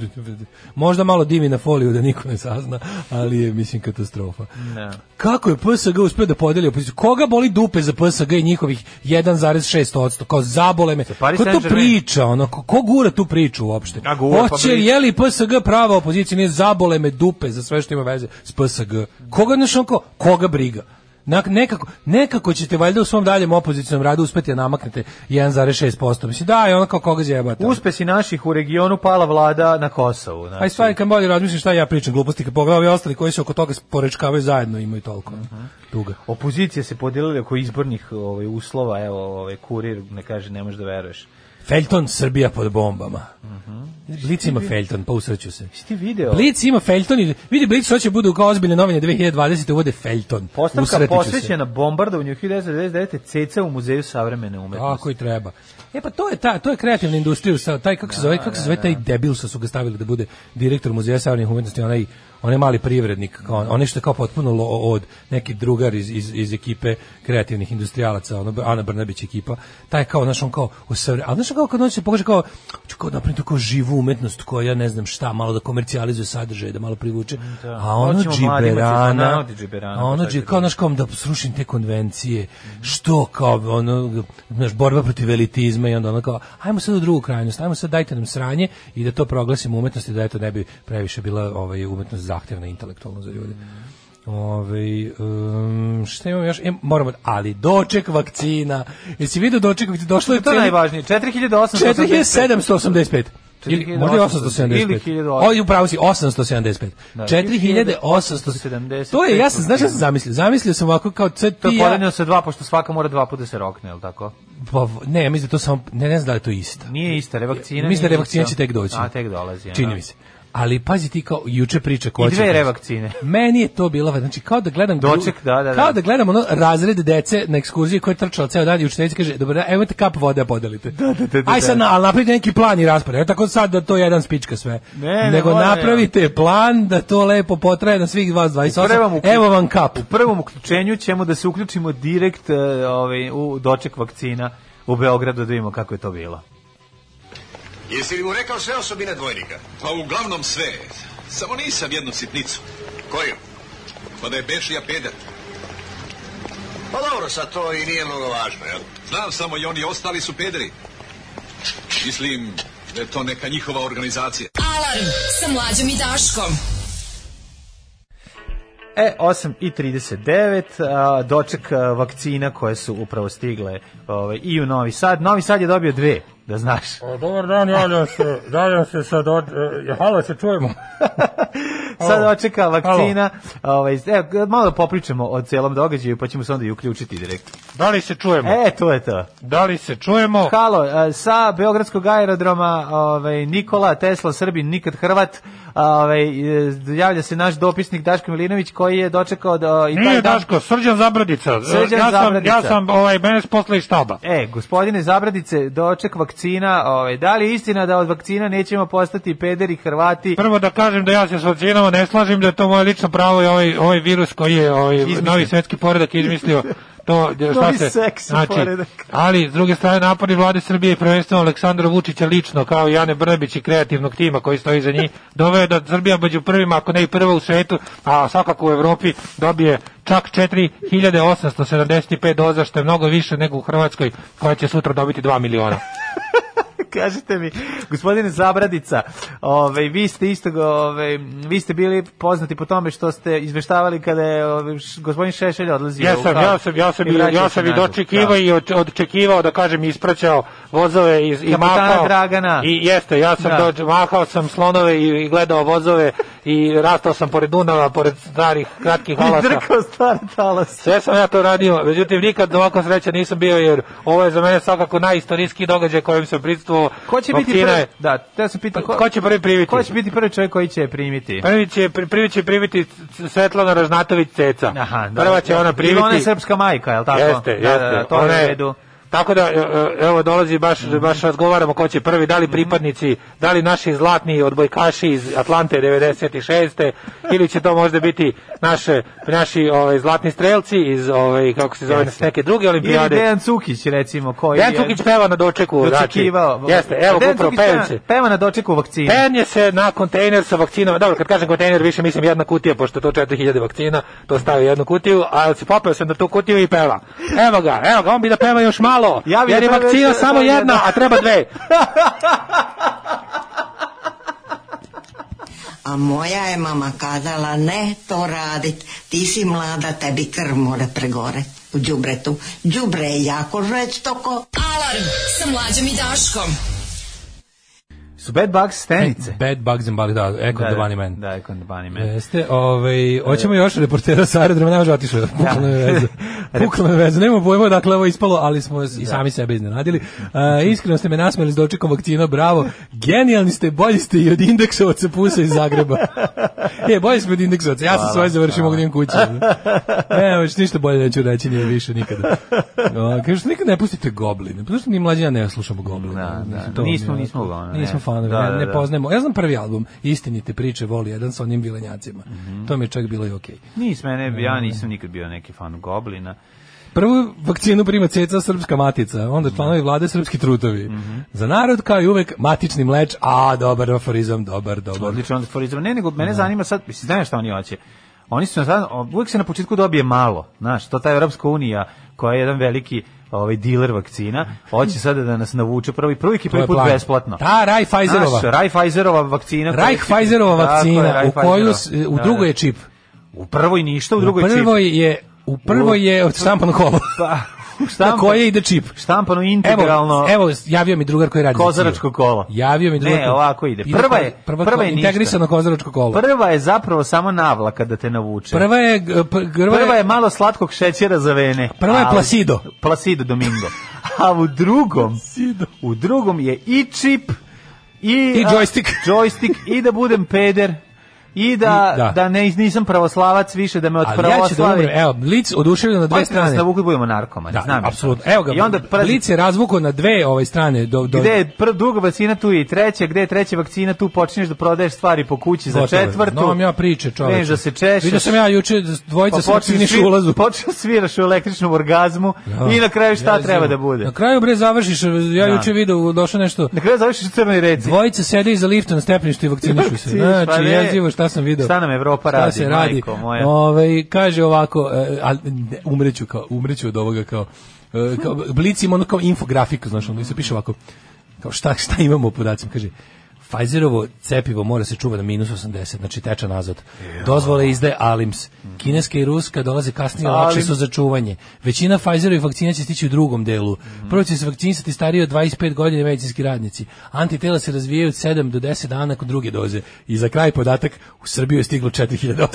[SPEAKER 7] Možda malo divi na foliju da niko ne sazna, ali je, mislim, katastrofa.
[SPEAKER 6] Ne.
[SPEAKER 7] Kako je PSG uspio da podeli opoziciju? Koga boli dupe za PSG i njihovih 1,6%? Kao zabole me.
[SPEAKER 6] Paris
[SPEAKER 7] Ko to
[SPEAKER 6] Saint-Germain.
[SPEAKER 7] priča? Ono, ko, ko gura tu priču uopšte?
[SPEAKER 6] A gura, pa
[SPEAKER 7] Hoće,
[SPEAKER 6] briga.
[SPEAKER 7] je li PSG prava opozicija? Nije zabole me dupe za sve što ima veze s PSG. Koga, znaš, ono kao, koga briga? Nak- nekako, nekako ćete valjda u svom daljem opozicijnom radu uspeti da namaknete 1,6%. Mislim, da, je ono kao koga zjebate.
[SPEAKER 6] Uspesi naših u regionu pala vlada na Kosovu. Znači,
[SPEAKER 7] Aj stvari kad bolje razmislim šta ja pričam gluposti kad pogledam ovi ostali koji se oko toga porečkavaju zajedno imaju toliko ono. tuga.
[SPEAKER 6] Opozicija se podelila oko izbornih ovaj, uslova, evo, ovaj, kurir ne kaže, ne možeš da veruješ.
[SPEAKER 7] Felton Srbija pod bombama. Blic ima Felton, pa usreću se.
[SPEAKER 6] Jesi ti video?
[SPEAKER 7] Blic ima Felton i vidi Blic hoće budu kao ozbiljne novine 2020. uvode Felton.
[SPEAKER 6] Postavka
[SPEAKER 7] Usretit ću se.
[SPEAKER 6] posvećena bombardovanju 1999. ceca u muzeju savremene umetnosti.
[SPEAKER 7] Tako i treba. E pa to je ta, to je kreativna industrija, sa- taj kako se zove, kako se zove taj debil što su ga stavili da bude direktor muzeja savremenih umetnosti, onaj onaj mali privrednik, kao on, onaj što je kao potpuno lo- od neki drugar iz, iz, iz ekipe kreativnih industrijalaca, ono Ana Brnabić ekipa. Taj kao znaš on kao u savre, a znaš kao kad on se pokaže kao ću kao napraviti tu kao živu umetnost koja ja ne znam šta, malo da komercijalizuje sadržaj, da malo privuče. A ono
[SPEAKER 6] Hoćemo mladima će
[SPEAKER 7] džiberana,
[SPEAKER 6] zanavati džiberana,
[SPEAKER 7] a ono
[SPEAKER 6] pa šta
[SPEAKER 7] dži-
[SPEAKER 6] će
[SPEAKER 7] kao znaš, kao da srušim te konvencije, što kao, ono, znaš, borba protiv elitizma i onda ono kao, ajmo sad u drugu krajnost, ajmo sad dajte nam sranje i da to proglasimo umetnosti, da eto ne bi previše bila ovaj, umetnost zahtevna intelektualno za ljude. Ovaj um, šta imamo još? E, moramo, ali doček vakcina. Jesi vidio doček vakcina? Došlo je
[SPEAKER 6] To je
[SPEAKER 7] ceni-
[SPEAKER 6] najvažnije. 4885.
[SPEAKER 7] 4785. Ili, možda je 875.
[SPEAKER 6] Ili
[SPEAKER 7] 1875. O, i upravo si, 875.
[SPEAKER 6] Da.
[SPEAKER 7] 4875. To je, ja sam, znaš ja sam zamislio? Zamislio sam ovako kao CT.
[SPEAKER 6] To je podeljeno sa dva, pošto svaka mora dva puta da se rokne, je li tako?
[SPEAKER 7] Pa, ne, ja mislim da je to samo, ne, ne znam da li je to ista.
[SPEAKER 6] Nije ista, revakcina.
[SPEAKER 7] Mislim da
[SPEAKER 6] nije
[SPEAKER 7] revakcina
[SPEAKER 6] ista.
[SPEAKER 7] će tek doći.
[SPEAKER 6] A, tek dolazi. ja.
[SPEAKER 7] Čini mi se. Ali pazi ti kao juče priča ko
[SPEAKER 6] I
[SPEAKER 7] će.
[SPEAKER 6] dve revakcine.
[SPEAKER 7] Meni je to bilo, znači kao da gledam
[SPEAKER 6] Doček, da, da, da.
[SPEAKER 7] Kao da gledam ono razred dece na ekskurziji koja je trčala ceo dan i učiteljica kaže: "Dobro, evo imate kap vode, a podelite." Da,
[SPEAKER 6] da, da, da,
[SPEAKER 7] Aj sad na, ali napravite neki plan i raspored. E, tako sad da to jedan spička sve.
[SPEAKER 6] Ne, ne,
[SPEAKER 7] Nego
[SPEAKER 6] molim,
[SPEAKER 7] napravite plan da to lepo potraje na svih vas
[SPEAKER 6] U prvom
[SPEAKER 7] 28.
[SPEAKER 6] uključ-
[SPEAKER 7] Evo vam kap.
[SPEAKER 6] U prvom uključenju ćemo da se uključimo direkt e, ovaj, u doček vakcina u Beogradu da vidimo kako je to bilo.
[SPEAKER 12] Jesi li mu rekao sve osobine dvojnika?
[SPEAKER 13] Pa uglavnom sve. Samo nisam jednu sitnicu.
[SPEAKER 12] Koju?
[SPEAKER 13] Pa da je Bešija peder.
[SPEAKER 12] Pa dobro, sad to i nije mnogo važno, jel?
[SPEAKER 13] Znam samo i oni ostali su pederi. Mislim da je to neka njihova organizacija.
[SPEAKER 5] Alarm sa mlađom i Daškom.
[SPEAKER 6] E, 8 i 39, a, doček a, vakcina koje su upravo stigle ovaj, i u Novi Sad. Novi Sad je dobio dve, da znaš.
[SPEAKER 14] Dobar dan, javljam se, javljam se sad od... E, halo, se čujemo.
[SPEAKER 6] Sad očeka vakcina. Ovaj, e, malo da popričamo o celom događaju, pa ćemo se onda i uključiti direktno.
[SPEAKER 14] Da li se čujemo?
[SPEAKER 6] E, to je to.
[SPEAKER 14] Da li se čujemo?
[SPEAKER 6] Halo, e, sa Beogradskog aerodroma ovaj, Nikola Tesla, Srbin, nikad Hrvat, ovaj, e, javlja se naš dopisnik Daško Milinović koji je dočekao da, i
[SPEAKER 14] Nije
[SPEAKER 6] taj dan-
[SPEAKER 14] Daško, Srđan Zabradica.
[SPEAKER 6] Srđan
[SPEAKER 14] ja sam,
[SPEAKER 6] Zabradica.
[SPEAKER 14] Ja sam, ovaj, mene posle iz štaba.
[SPEAKER 6] E, gospodine Zabradice, doček vakcina, ovaj, da li je istina da od vakcina nećemo postati pederi Hrvati?
[SPEAKER 14] Prvo da kažem da ja se s vakcinama ne slažem, da je to moje lično pravo i ovaj, ovaj virus koji je ovaj,
[SPEAKER 6] Izmislio.
[SPEAKER 14] novi svetski poredak izmislio. To, šta
[SPEAKER 6] Novi
[SPEAKER 14] se, znači,
[SPEAKER 6] seksi poredak.
[SPEAKER 14] Ali, s druge strane, napori vlade Srbije i prvenstveno Aleksandra Vučića lično, kao i Jane Brnabić i kreativnog tima koji stoji za njih, doveo je da Srbija među prvima, ako ne i prva u svetu, a svakako u Evropi dobije čak 4875 doza, što je mnogo više nego u Hrvatskoj, koja će sutra dobiti 2 miliona.
[SPEAKER 6] Kažite mi, gospodine Zabradica, ovaj, vi ste isto, ovaj, vi ste bili poznati po tome što ste izveštavali kada je ovaj, š- gospodin Šešelj odlazio. u
[SPEAKER 14] Jesam,
[SPEAKER 6] Hag
[SPEAKER 14] ja sam, ja sam,
[SPEAKER 6] pa? i
[SPEAKER 14] i,
[SPEAKER 6] vraćao
[SPEAKER 14] ja
[SPEAKER 6] se
[SPEAKER 14] sam i
[SPEAKER 6] nazad.
[SPEAKER 14] dočekivao i od, odčekivao, da kažem, ispraćao vozove i, i
[SPEAKER 6] Kapetana
[SPEAKER 14] mahao.
[SPEAKER 6] Dragana.
[SPEAKER 14] I jeste, ja sam
[SPEAKER 6] Da.
[SPEAKER 14] dođe- mahao sam slonove i, i gledao vozove i rastao sam pored Dunava, pored starih kratkih
[SPEAKER 6] Da. I
[SPEAKER 14] halasa.
[SPEAKER 6] drkao stvar talas.
[SPEAKER 14] Sve sam ja to radio, međutim nikad ovako sreća nisam bio jer ovo je za mene svakako najistorijski događaj kojem sam pristupovao.
[SPEAKER 6] Ko će biti
[SPEAKER 14] Vakcina
[SPEAKER 6] prvi?
[SPEAKER 14] je- Pa
[SPEAKER 6] Da, te sam pitao.
[SPEAKER 14] Ko će prvi primiti? Pa,
[SPEAKER 6] Ko će biti prvi čovjek koji će je primiti?
[SPEAKER 14] Prvi će, pri- prvi će primiti Svetlana Ražnatović Ceca.
[SPEAKER 6] Aha, da.
[SPEAKER 14] Prva će ona primiti.
[SPEAKER 6] Ili ona je srpska majka, je li tako?
[SPEAKER 14] Jeste,
[SPEAKER 6] Da,
[SPEAKER 14] jeste.
[SPEAKER 6] da, da, to
[SPEAKER 14] Ona
[SPEAKER 6] je u
[SPEAKER 14] je-
[SPEAKER 6] redu.
[SPEAKER 14] Tako da, e, e, evo, dolazi baš,
[SPEAKER 6] Mhm.
[SPEAKER 14] baš razgovaramo ko će prvi, da li pripadnici, da li naši zlatni odbojkaši iz Atlante 96. ili će to možda biti naše, naši ovaj, zlatni strelci iz, ovaj, kako se zove,
[SPEAKER 6] Jeste.
[SPEAKER 14] neke druge
[SPEAKER 6] Ili
[SPEAKER 14] olimpijade.
[SPEAKER 6] Dejan Cukić, recimo, koji
[SPEAKER 14] Dejan
[SPEAKER 6] je
[SPEAKER 14] Cukić peva na dočeku, znači,
[SPEAKER 6] dočekivao.
[SPEAKER 14] jeste, evo,
[SPEAKER 6] Dejan
[SPEAKER 14] upravo
[SPEAKER 6] Cukić peva-
[SPEAKER 14] pevice.
[SPEAKER 6] Peva na dočeku vakcina.
[SPEAKER 14] Penje se na kontejner sa vakcinama. Dobro, kad kažem kontejner, više mislim jedna kutija, pošto je to 4000 vakcina, to stavio jednu kutiju, a se popeo sam na tu kutiju i peva. Evo ga, evo ga, on bi da peva još malo,
[SPEAKER 6] Ja bi
[SPEAKER 14] jer
[SPEAKER 6] da
[SPEAKER 14] je
[SPEAKER 6] peva
[SPEAKER 14] vakcina
[SPEAKER 6] još-
[SPEAKER 14] samo
[SPEAKER 6] samo
[SPEAKER 14] jedna,
[SPEAKER 6] jedna.
[SPEAKER 14] a treba dve.
[SPEAKER 15] A moja je mama kazala, ne to radit, ti si mlada, tebi krv mora pregore u džubretu. Džubre je jako žestoko.
[SPEAKER 5] Alarm sa mlađom i Daškom.
[SPEAKER 6] Su Bad Bugs stenice.
[SPEAKER 7] Bad Bugs in Baghdad, Echo
[SPEAKER 6] Da,
[SPEAKER 7] the Bunny Man.
[SPEAKER 6] Da, Icon the Bunny Man.
[SPEAKER 7] Jeste, ovaj, hoćemo još reportera sa aerodroma, ne može otišao, pukla me veza. Pukla me veza, nema pojma dakle ovo je ispalo, ali smo i sami sebe iznenadili. A, iskreno ste me nasmeli s dočekom vakcina, bravo, genijalni ste, bolji ste i od indeksovaca pusa iz Zagreba. e, bolji smo od indeksovaca, ja sam svoje završio, mogu da imam kuću. Ne, već ništa bolje neću reći, nije više nikada. O, kažu što nikad ne pustite gobline, zato što ni mlađina ne slušamo gobline.
[SPEAKER 6] Da, da.
[SPEAKER 7] Mislim, to
[SPEAKER 6] Nismo-
[SPEAKER 7] mi je-
[SPEAKER 6] nismo uglavnom, ne.
[SPEAKER 7] Nismo fanovi,
[SPEAKER 6] Da,
[SPEAKER 7] ne,
[SPEAKER 6] da,
[SPEAKER 7] ne
[SPEAKER 6] da.
[SPEAKER 7] poznajemo. Ja znam prvi album, Istinite priče, voli jedan sa onim vilenjacima.
[SPEAKER 6] Mhm.
[SPEAKER 7] To mi je čak bilo i okej.
[SPEAKER 6] Nis mene, ja nisam nikad bio neki fan Goblina.
[SPEAKER 7] Prvu vakcinu prima ceca srpska matica,
[SPEAKER 6] Mhm.
[SPEAKER 7] onda članovi vlade srpski trutovi. Za narod kao i uvek matični mleč, a dobar aforizam, dobar, dobar.
[SPEAKER 6] Odlično, onda forizam. Ne, nego mene zanima sad, mislim, znaš šta oni hoće? Oni su, sad, uvijek se na početku dobije malo, znaš, to ta Europska unija, koja je jedan veliki ovaj diler vakcina, hoće sada da nas navuče prvi, prvi i
[SPEAKER 7] To
[SPEAKER 6] prvi
[SPEAKER 7] je
[SPEAKER 6] put
[SPEAKER 7] plan.
[SPEAKER 6] besplatno.
[SPEAKER 7] Ta Raj Pfizerova.
[SPEAKER 6] Znaš, Raj Pfizerova vakcina. koja
[SPEAKER 7] Reich
[SPEAKER 6] će-
[SPEAKER 7] Pfizerova
[SPEAKER 6] Tako je,
[SPEAKER 7] vakcina,
[SPEAKER 6] Raj
[SPEAKER 7] u koju, s-
[SPEAKER 6] Pfizerova.
[SPEAKER 7] u
[SPEAKER 6] Da,
[SPEAKER 7] drugoj
[SPEAKER 6] da.
[SPEAKER 7] je čip.
[SPEAKER 6] U prvoj ništa, u drugoj
[SPEAKER 7] U
[SPEAKER 6] čip.
[SPEAKER 7] prvoj je, u prvoj je od štampanog kolo.
[SPEAKER 6] Pa,
[SPEAKER 7] na koje ide čip.
[SPEAKER 6] Štampano integralno.
[SPEAKER 7] Evo, evo javio mi drugar koji radi. za
[SPEAKER 6] Kozaračko
[SPEAKER 7] Kijev.
[SPEAKER 6] kolo.
[SPEAKER 7] Javio mi drugar.
[SPEAKER 6] Ne,
[SPEAKER 7] koji-
[SPEAKER 6] ovako ide. Prva je-
[SPEAKER 7] prva,
[SPEAKER 6] prva je ništa.
[SPEAKER 7] integrisano kozaračko kolo.
[SPEAKER 6] Prva je zapravo samo navlaka da te navuče.
[SPEAKER 7] Prva je g- p- prva,
[SPEAKER 6] Prva
[SPEAKER 7] je
[SPEAKER 6] je malo slatkog šećera za vene.
[SPEAKER 7] Prva je
[SPEAKER 6] ali-
[SPEAKER 7] Placido.
[SPEAKER 6] Placido Domingo. A u drugom, u drugom je i čip, i,
[SPEAKER 7] I
[SPEAKER 6] a,
[SPEAKER 7] joystick.
[SPEAKER 6] joystick, i da budem peder, i da,
[SPEAKER 7] I-
[SPEAKER 6] da.
[SPEAKER 7] da.
[SPEAKER 6] ne, nisam pravoslavac više, da me od
[SPEAKER 7] Ali ja ću da
[SPEAKER 6] pravoslavi.
[SPEAKER 7] umrem. Evo, Blic oduševljen na dve
[SPEAKER 6] Pazite nas
[SPEAKER 7] strane.
[SPEAKER 6] na vuku da budemo narkomani.
[SPEAKER 7] Da,
[SPEAKER 6] znam ja to.
[SPEAKER 7] apsolutno. Evo ga.
[SPEAKER 6] I onda prvi-
[SPEAKER 7] Blic je razvukao na dve ove strane do do
[SPEAKER 6] Gde je prva druga vakcina tu je i treća, gde je treća vakcina tu počinješ da prodaješ stvari po kući za
[SPEAKER 7] Gotovo je.
[SPEAKER 6] četvrtu.
[SPEAKER 7] Znam ja priče, čoveče.
[SPEAKER 6] Kreneš da se češeš.
[SPEAKER 7] Vidio sam ja juče da dvojica
[SPEAKER 6] Pa
[SPEAKER 7] pa
[SPEAKER 6] počneš
[SPEAKER 7] svakciniš
[SPEAKER 6] svir-
[SPEAKER 7] u ulazu.
[SPEAKER 6] počneš sviraš u električnom orgazmu
[SPEAKER 7] Ja.
[SPEAKER 6] i na kraju šta
[SPEAKER 7] Jezivo.
[SPEAKER 6] treba da bude?
[SPEAKER 7] Na kraju bre završiš, ja
[SPEAKER 6] Da.
[SPEAKER 7] juče video došao nešto.
[SPEAKER 6] Na kraju završiš u crnoj reci.
[SPEAKER 7] Dvojica sede iza lifta na stepeništu i vakcinišu se.
[SPEAKER 6] Vakciniš, pa
[SPEAKER 7] Znači,
[SPEAKER 6] ne.
[SPEAKER 7] jezivo šta sam video.
[SPEAKER 6] Šta nam Evropa
[SPEAKER 7] Šta
[SPEAKER 6] radi,
[SPEAKER 7] se radi?
[SPEAKER 6] majko moja?
[SPEAKER 7] Ovaj, kaže ovako, e, al, ne, umreću, kao, umreću od ovoga kao, e, kao Blic ima ono kao infografiku, znaš, ono, i se piše ovako, kao šta, šta imamo u podacima, kaže, Pfizerovo cepivo mora se čuva na minus 80, znači teča nazad. Dozvole izdaje Alims. Kineska i Ruska dolaze kasnije, lakše
[SPEAKER 6] Alims.
[SPEAKER 7] su za čuvanje. Većina Pfizerovih vakcina će stići u drugom delu. Prvo će se vakcinisati stariji od 25 godina i medicinski radnici. Antitela se razvijaju od 7 do 10 dana kod druge doze. I za kraj podatak, u Srbiju je stiglo 4875 doza.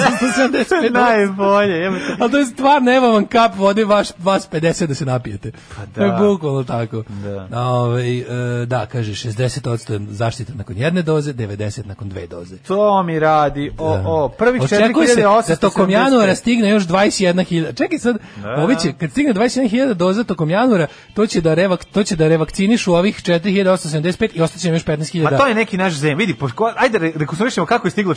[SPEAKER 6] Najbolje. jebote.
[SPEAKER 7] Ali to je stvarno, evo vam kap vode vaš, vas 50 da se napijete.
[SPEAKER 6] Pa da.
[SPEAKER 7] To je bukvalno tako.
[SPEAKER 6] Da.
[SPEAKER 7] Ovaj, e, da, kaže, 60% zaštita nakon jedne doze, 90% nakon dve doze.
[SPEAKER 6] To mi radi. O, o, prvih
[SPEAKER 7] Očekuje se
[SPEAKER 6] 4800.
[SPEAKER 7] da tokom januara stigne još 21.000. Čekaj sad,
[SPEAKER 6] Da.
[SPEAKER 7] ovi će, kad stigne 21.000 doza tokom januara, to će da, revak, to će da revakcinišu ovih 4.875 i ostaće nam još 15.000.
[SPEAKER 6] Ma to je neki naš zem. Vidi, pošto ko- ajde re- rekonstruišemo kako je stiglo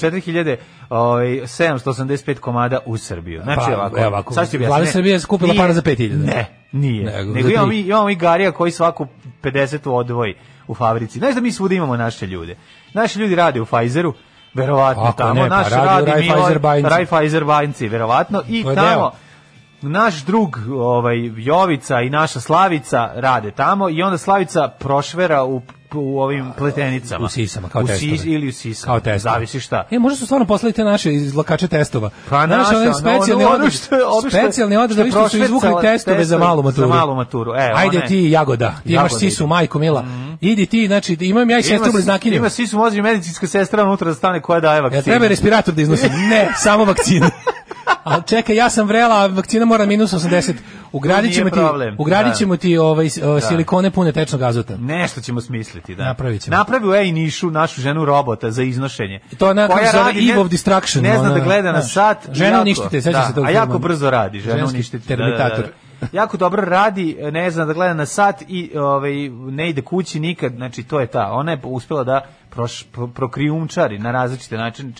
[SPEAKER 6] ovaj, 4785 komada u Srbiju. Znači
[SPEAKER 7] Pa,
[SPEAKER 6] ovako.
[SPEAKER 7] evo ovako.
[SPEAKER 6] sad ću objasniti.
[SPEAKER 7] Vlada
[SPEAKER 6] Ne,
[SPEAKER 7] Srbije je skupila
[SPEAKER 6] nije-
[SPEAKER 7] para za 5000.
[SPEAKER 6] Ne, nije. Nego,
[SPEAKER 7] Nego za
[SPEAKER 6] imamo,
[SPEAKER 7] tri.
[SPEAKER 6] mi, imamo mi Garija koji svaku 50 odvoji u fabrici. Znaš da mi svuda imamo naše ljude. Naši ljudi rade u Pfizeru, verovatno
[SPEAKER 7] Ako
[SPEAKER 6] tamo.
[SPEAKER 7] ne, pa
[SPEAKER 6] naš
[SPEAKER 7] radi u
[SPEAKER 6] radi
[SPEAKER 7] Raiffeisen Bajnci.
[SPEAKER 6] Raiffeisen Bajnci, verovatno. I
[SPEAKER 7] To je
[SPEAKER 6] tamo...
[SPEAKER 7] deo.
[SPEAKER 6] Naš drug, ovaj Jovica i naša Slavica rade tamo i onda Slavica prošvera u, u ovim pletenicama.
[SPEAKER 7] u sisama, kao
[SPEAKER 6] u
[SPEAKER 7] testove.
[SPEAKER 6] sis- Ili u sisama.
[SPEAKER 7] Kao testove.
[SPEAKER 6] Zavisi šta.
[SPEAKER 7] E, možda su stvarno poslali te naše izlakače testova.
[SPEAKER 6] Pa
[SPEAKER 7] Znaš,
[SPEAKER 6] naša,
[SPEAKER 7] onaj
[SPEAKER 6] ono-
[SPEAKER 7] specijalni
[SPEAKER 6] ono
[SPEAKER 7] odr-
[SPEAKER 6] što je- ono što je-
[SPEAKER 7] specijalni
[SPEAKER 6] što
[SPEAKER 7] odr,
[SPEAKER 6] je
[SPEAKER 7] što su izvukli
[SPEAKER 6] prošvercala
[SPEAKER 7] testove za malu
[SPEAKER 6] testove
[SPEAKER 7] maturu.
[SPEAKER 6] za malu maturu, e,
[SPEAKER 7] Ajde
[SPEAKER 6] one-
[SPEAKER 7] ti, Jagoda, ti imaš
[SPEAKER 6] Jagoda
[SPEAKER 7] sisu,
[SPEAKER 6] ide.
[SPEAKER 7] majko mila. Idi ti, znači, imam ja i sestru bliznakinju.
[SPEAKER 6] Ima svi su mozgi medicinska sestra unutra da stane koja daje vakcinu.
[SPEAKER 7] Ja treba je respirator da iznosim. Ne, samo vakcina. A čekaj, ja sam vrela, a vakcina mora minus 80. Ugradit ćemo
[SPEAKER 6] To
[SPEAKER 7] ti,
[SPEAKER 6] nije problem.
[SPEAKER 7] ugradit ćemo ti ovaj, s- o,
[SPEAKER 6] Da.
[SPEAKER 7] silikone pune tečnog azota.
[SPEAKER 6] Nešto ćemo smisliti, da.
[SPEAKER 7] Napravit ćemo.
[SPEAKER 6] Napravi u Ej Nišu našu ženu robota za iznošenje.
[SPEAKER 7] I to ona
[SPEAKER 6] Koja
[SPEAKER 7] kako se zove,
[SPEAKER 6] radi,
[SPEAKER 7] Eve of Destruction,
[SPEAKER 6] Ne zna
[SPEAKER 7] ona,
[SPEAKER 6] da gleda na
[SPEAKER 7] znaš,
[SPEAKER 6] sat.
[SPEAKER 7] žena
[SPEAKER 6] jako-
[SPEAKER 7] uništite, sećam
[SPEAKER 6] da,
[SPEAKER 7] se tog
[SPEAKER 6] A jako
[SPEAKER 7] filma.
[SPEAKER 6] brzo radi, žena
[SPEAKER 7] Ženski
[SPEAKER 6] uništite. da, da, da.
[SPEAKER 7] Terminator.
[SPEAKER 6] Jako dobro radi, ne zna da gleda na sat i ovaj, ne ide kući nikad, znači to je ta. Ona je uspela da proš, pro, prokrijumčari na različite načine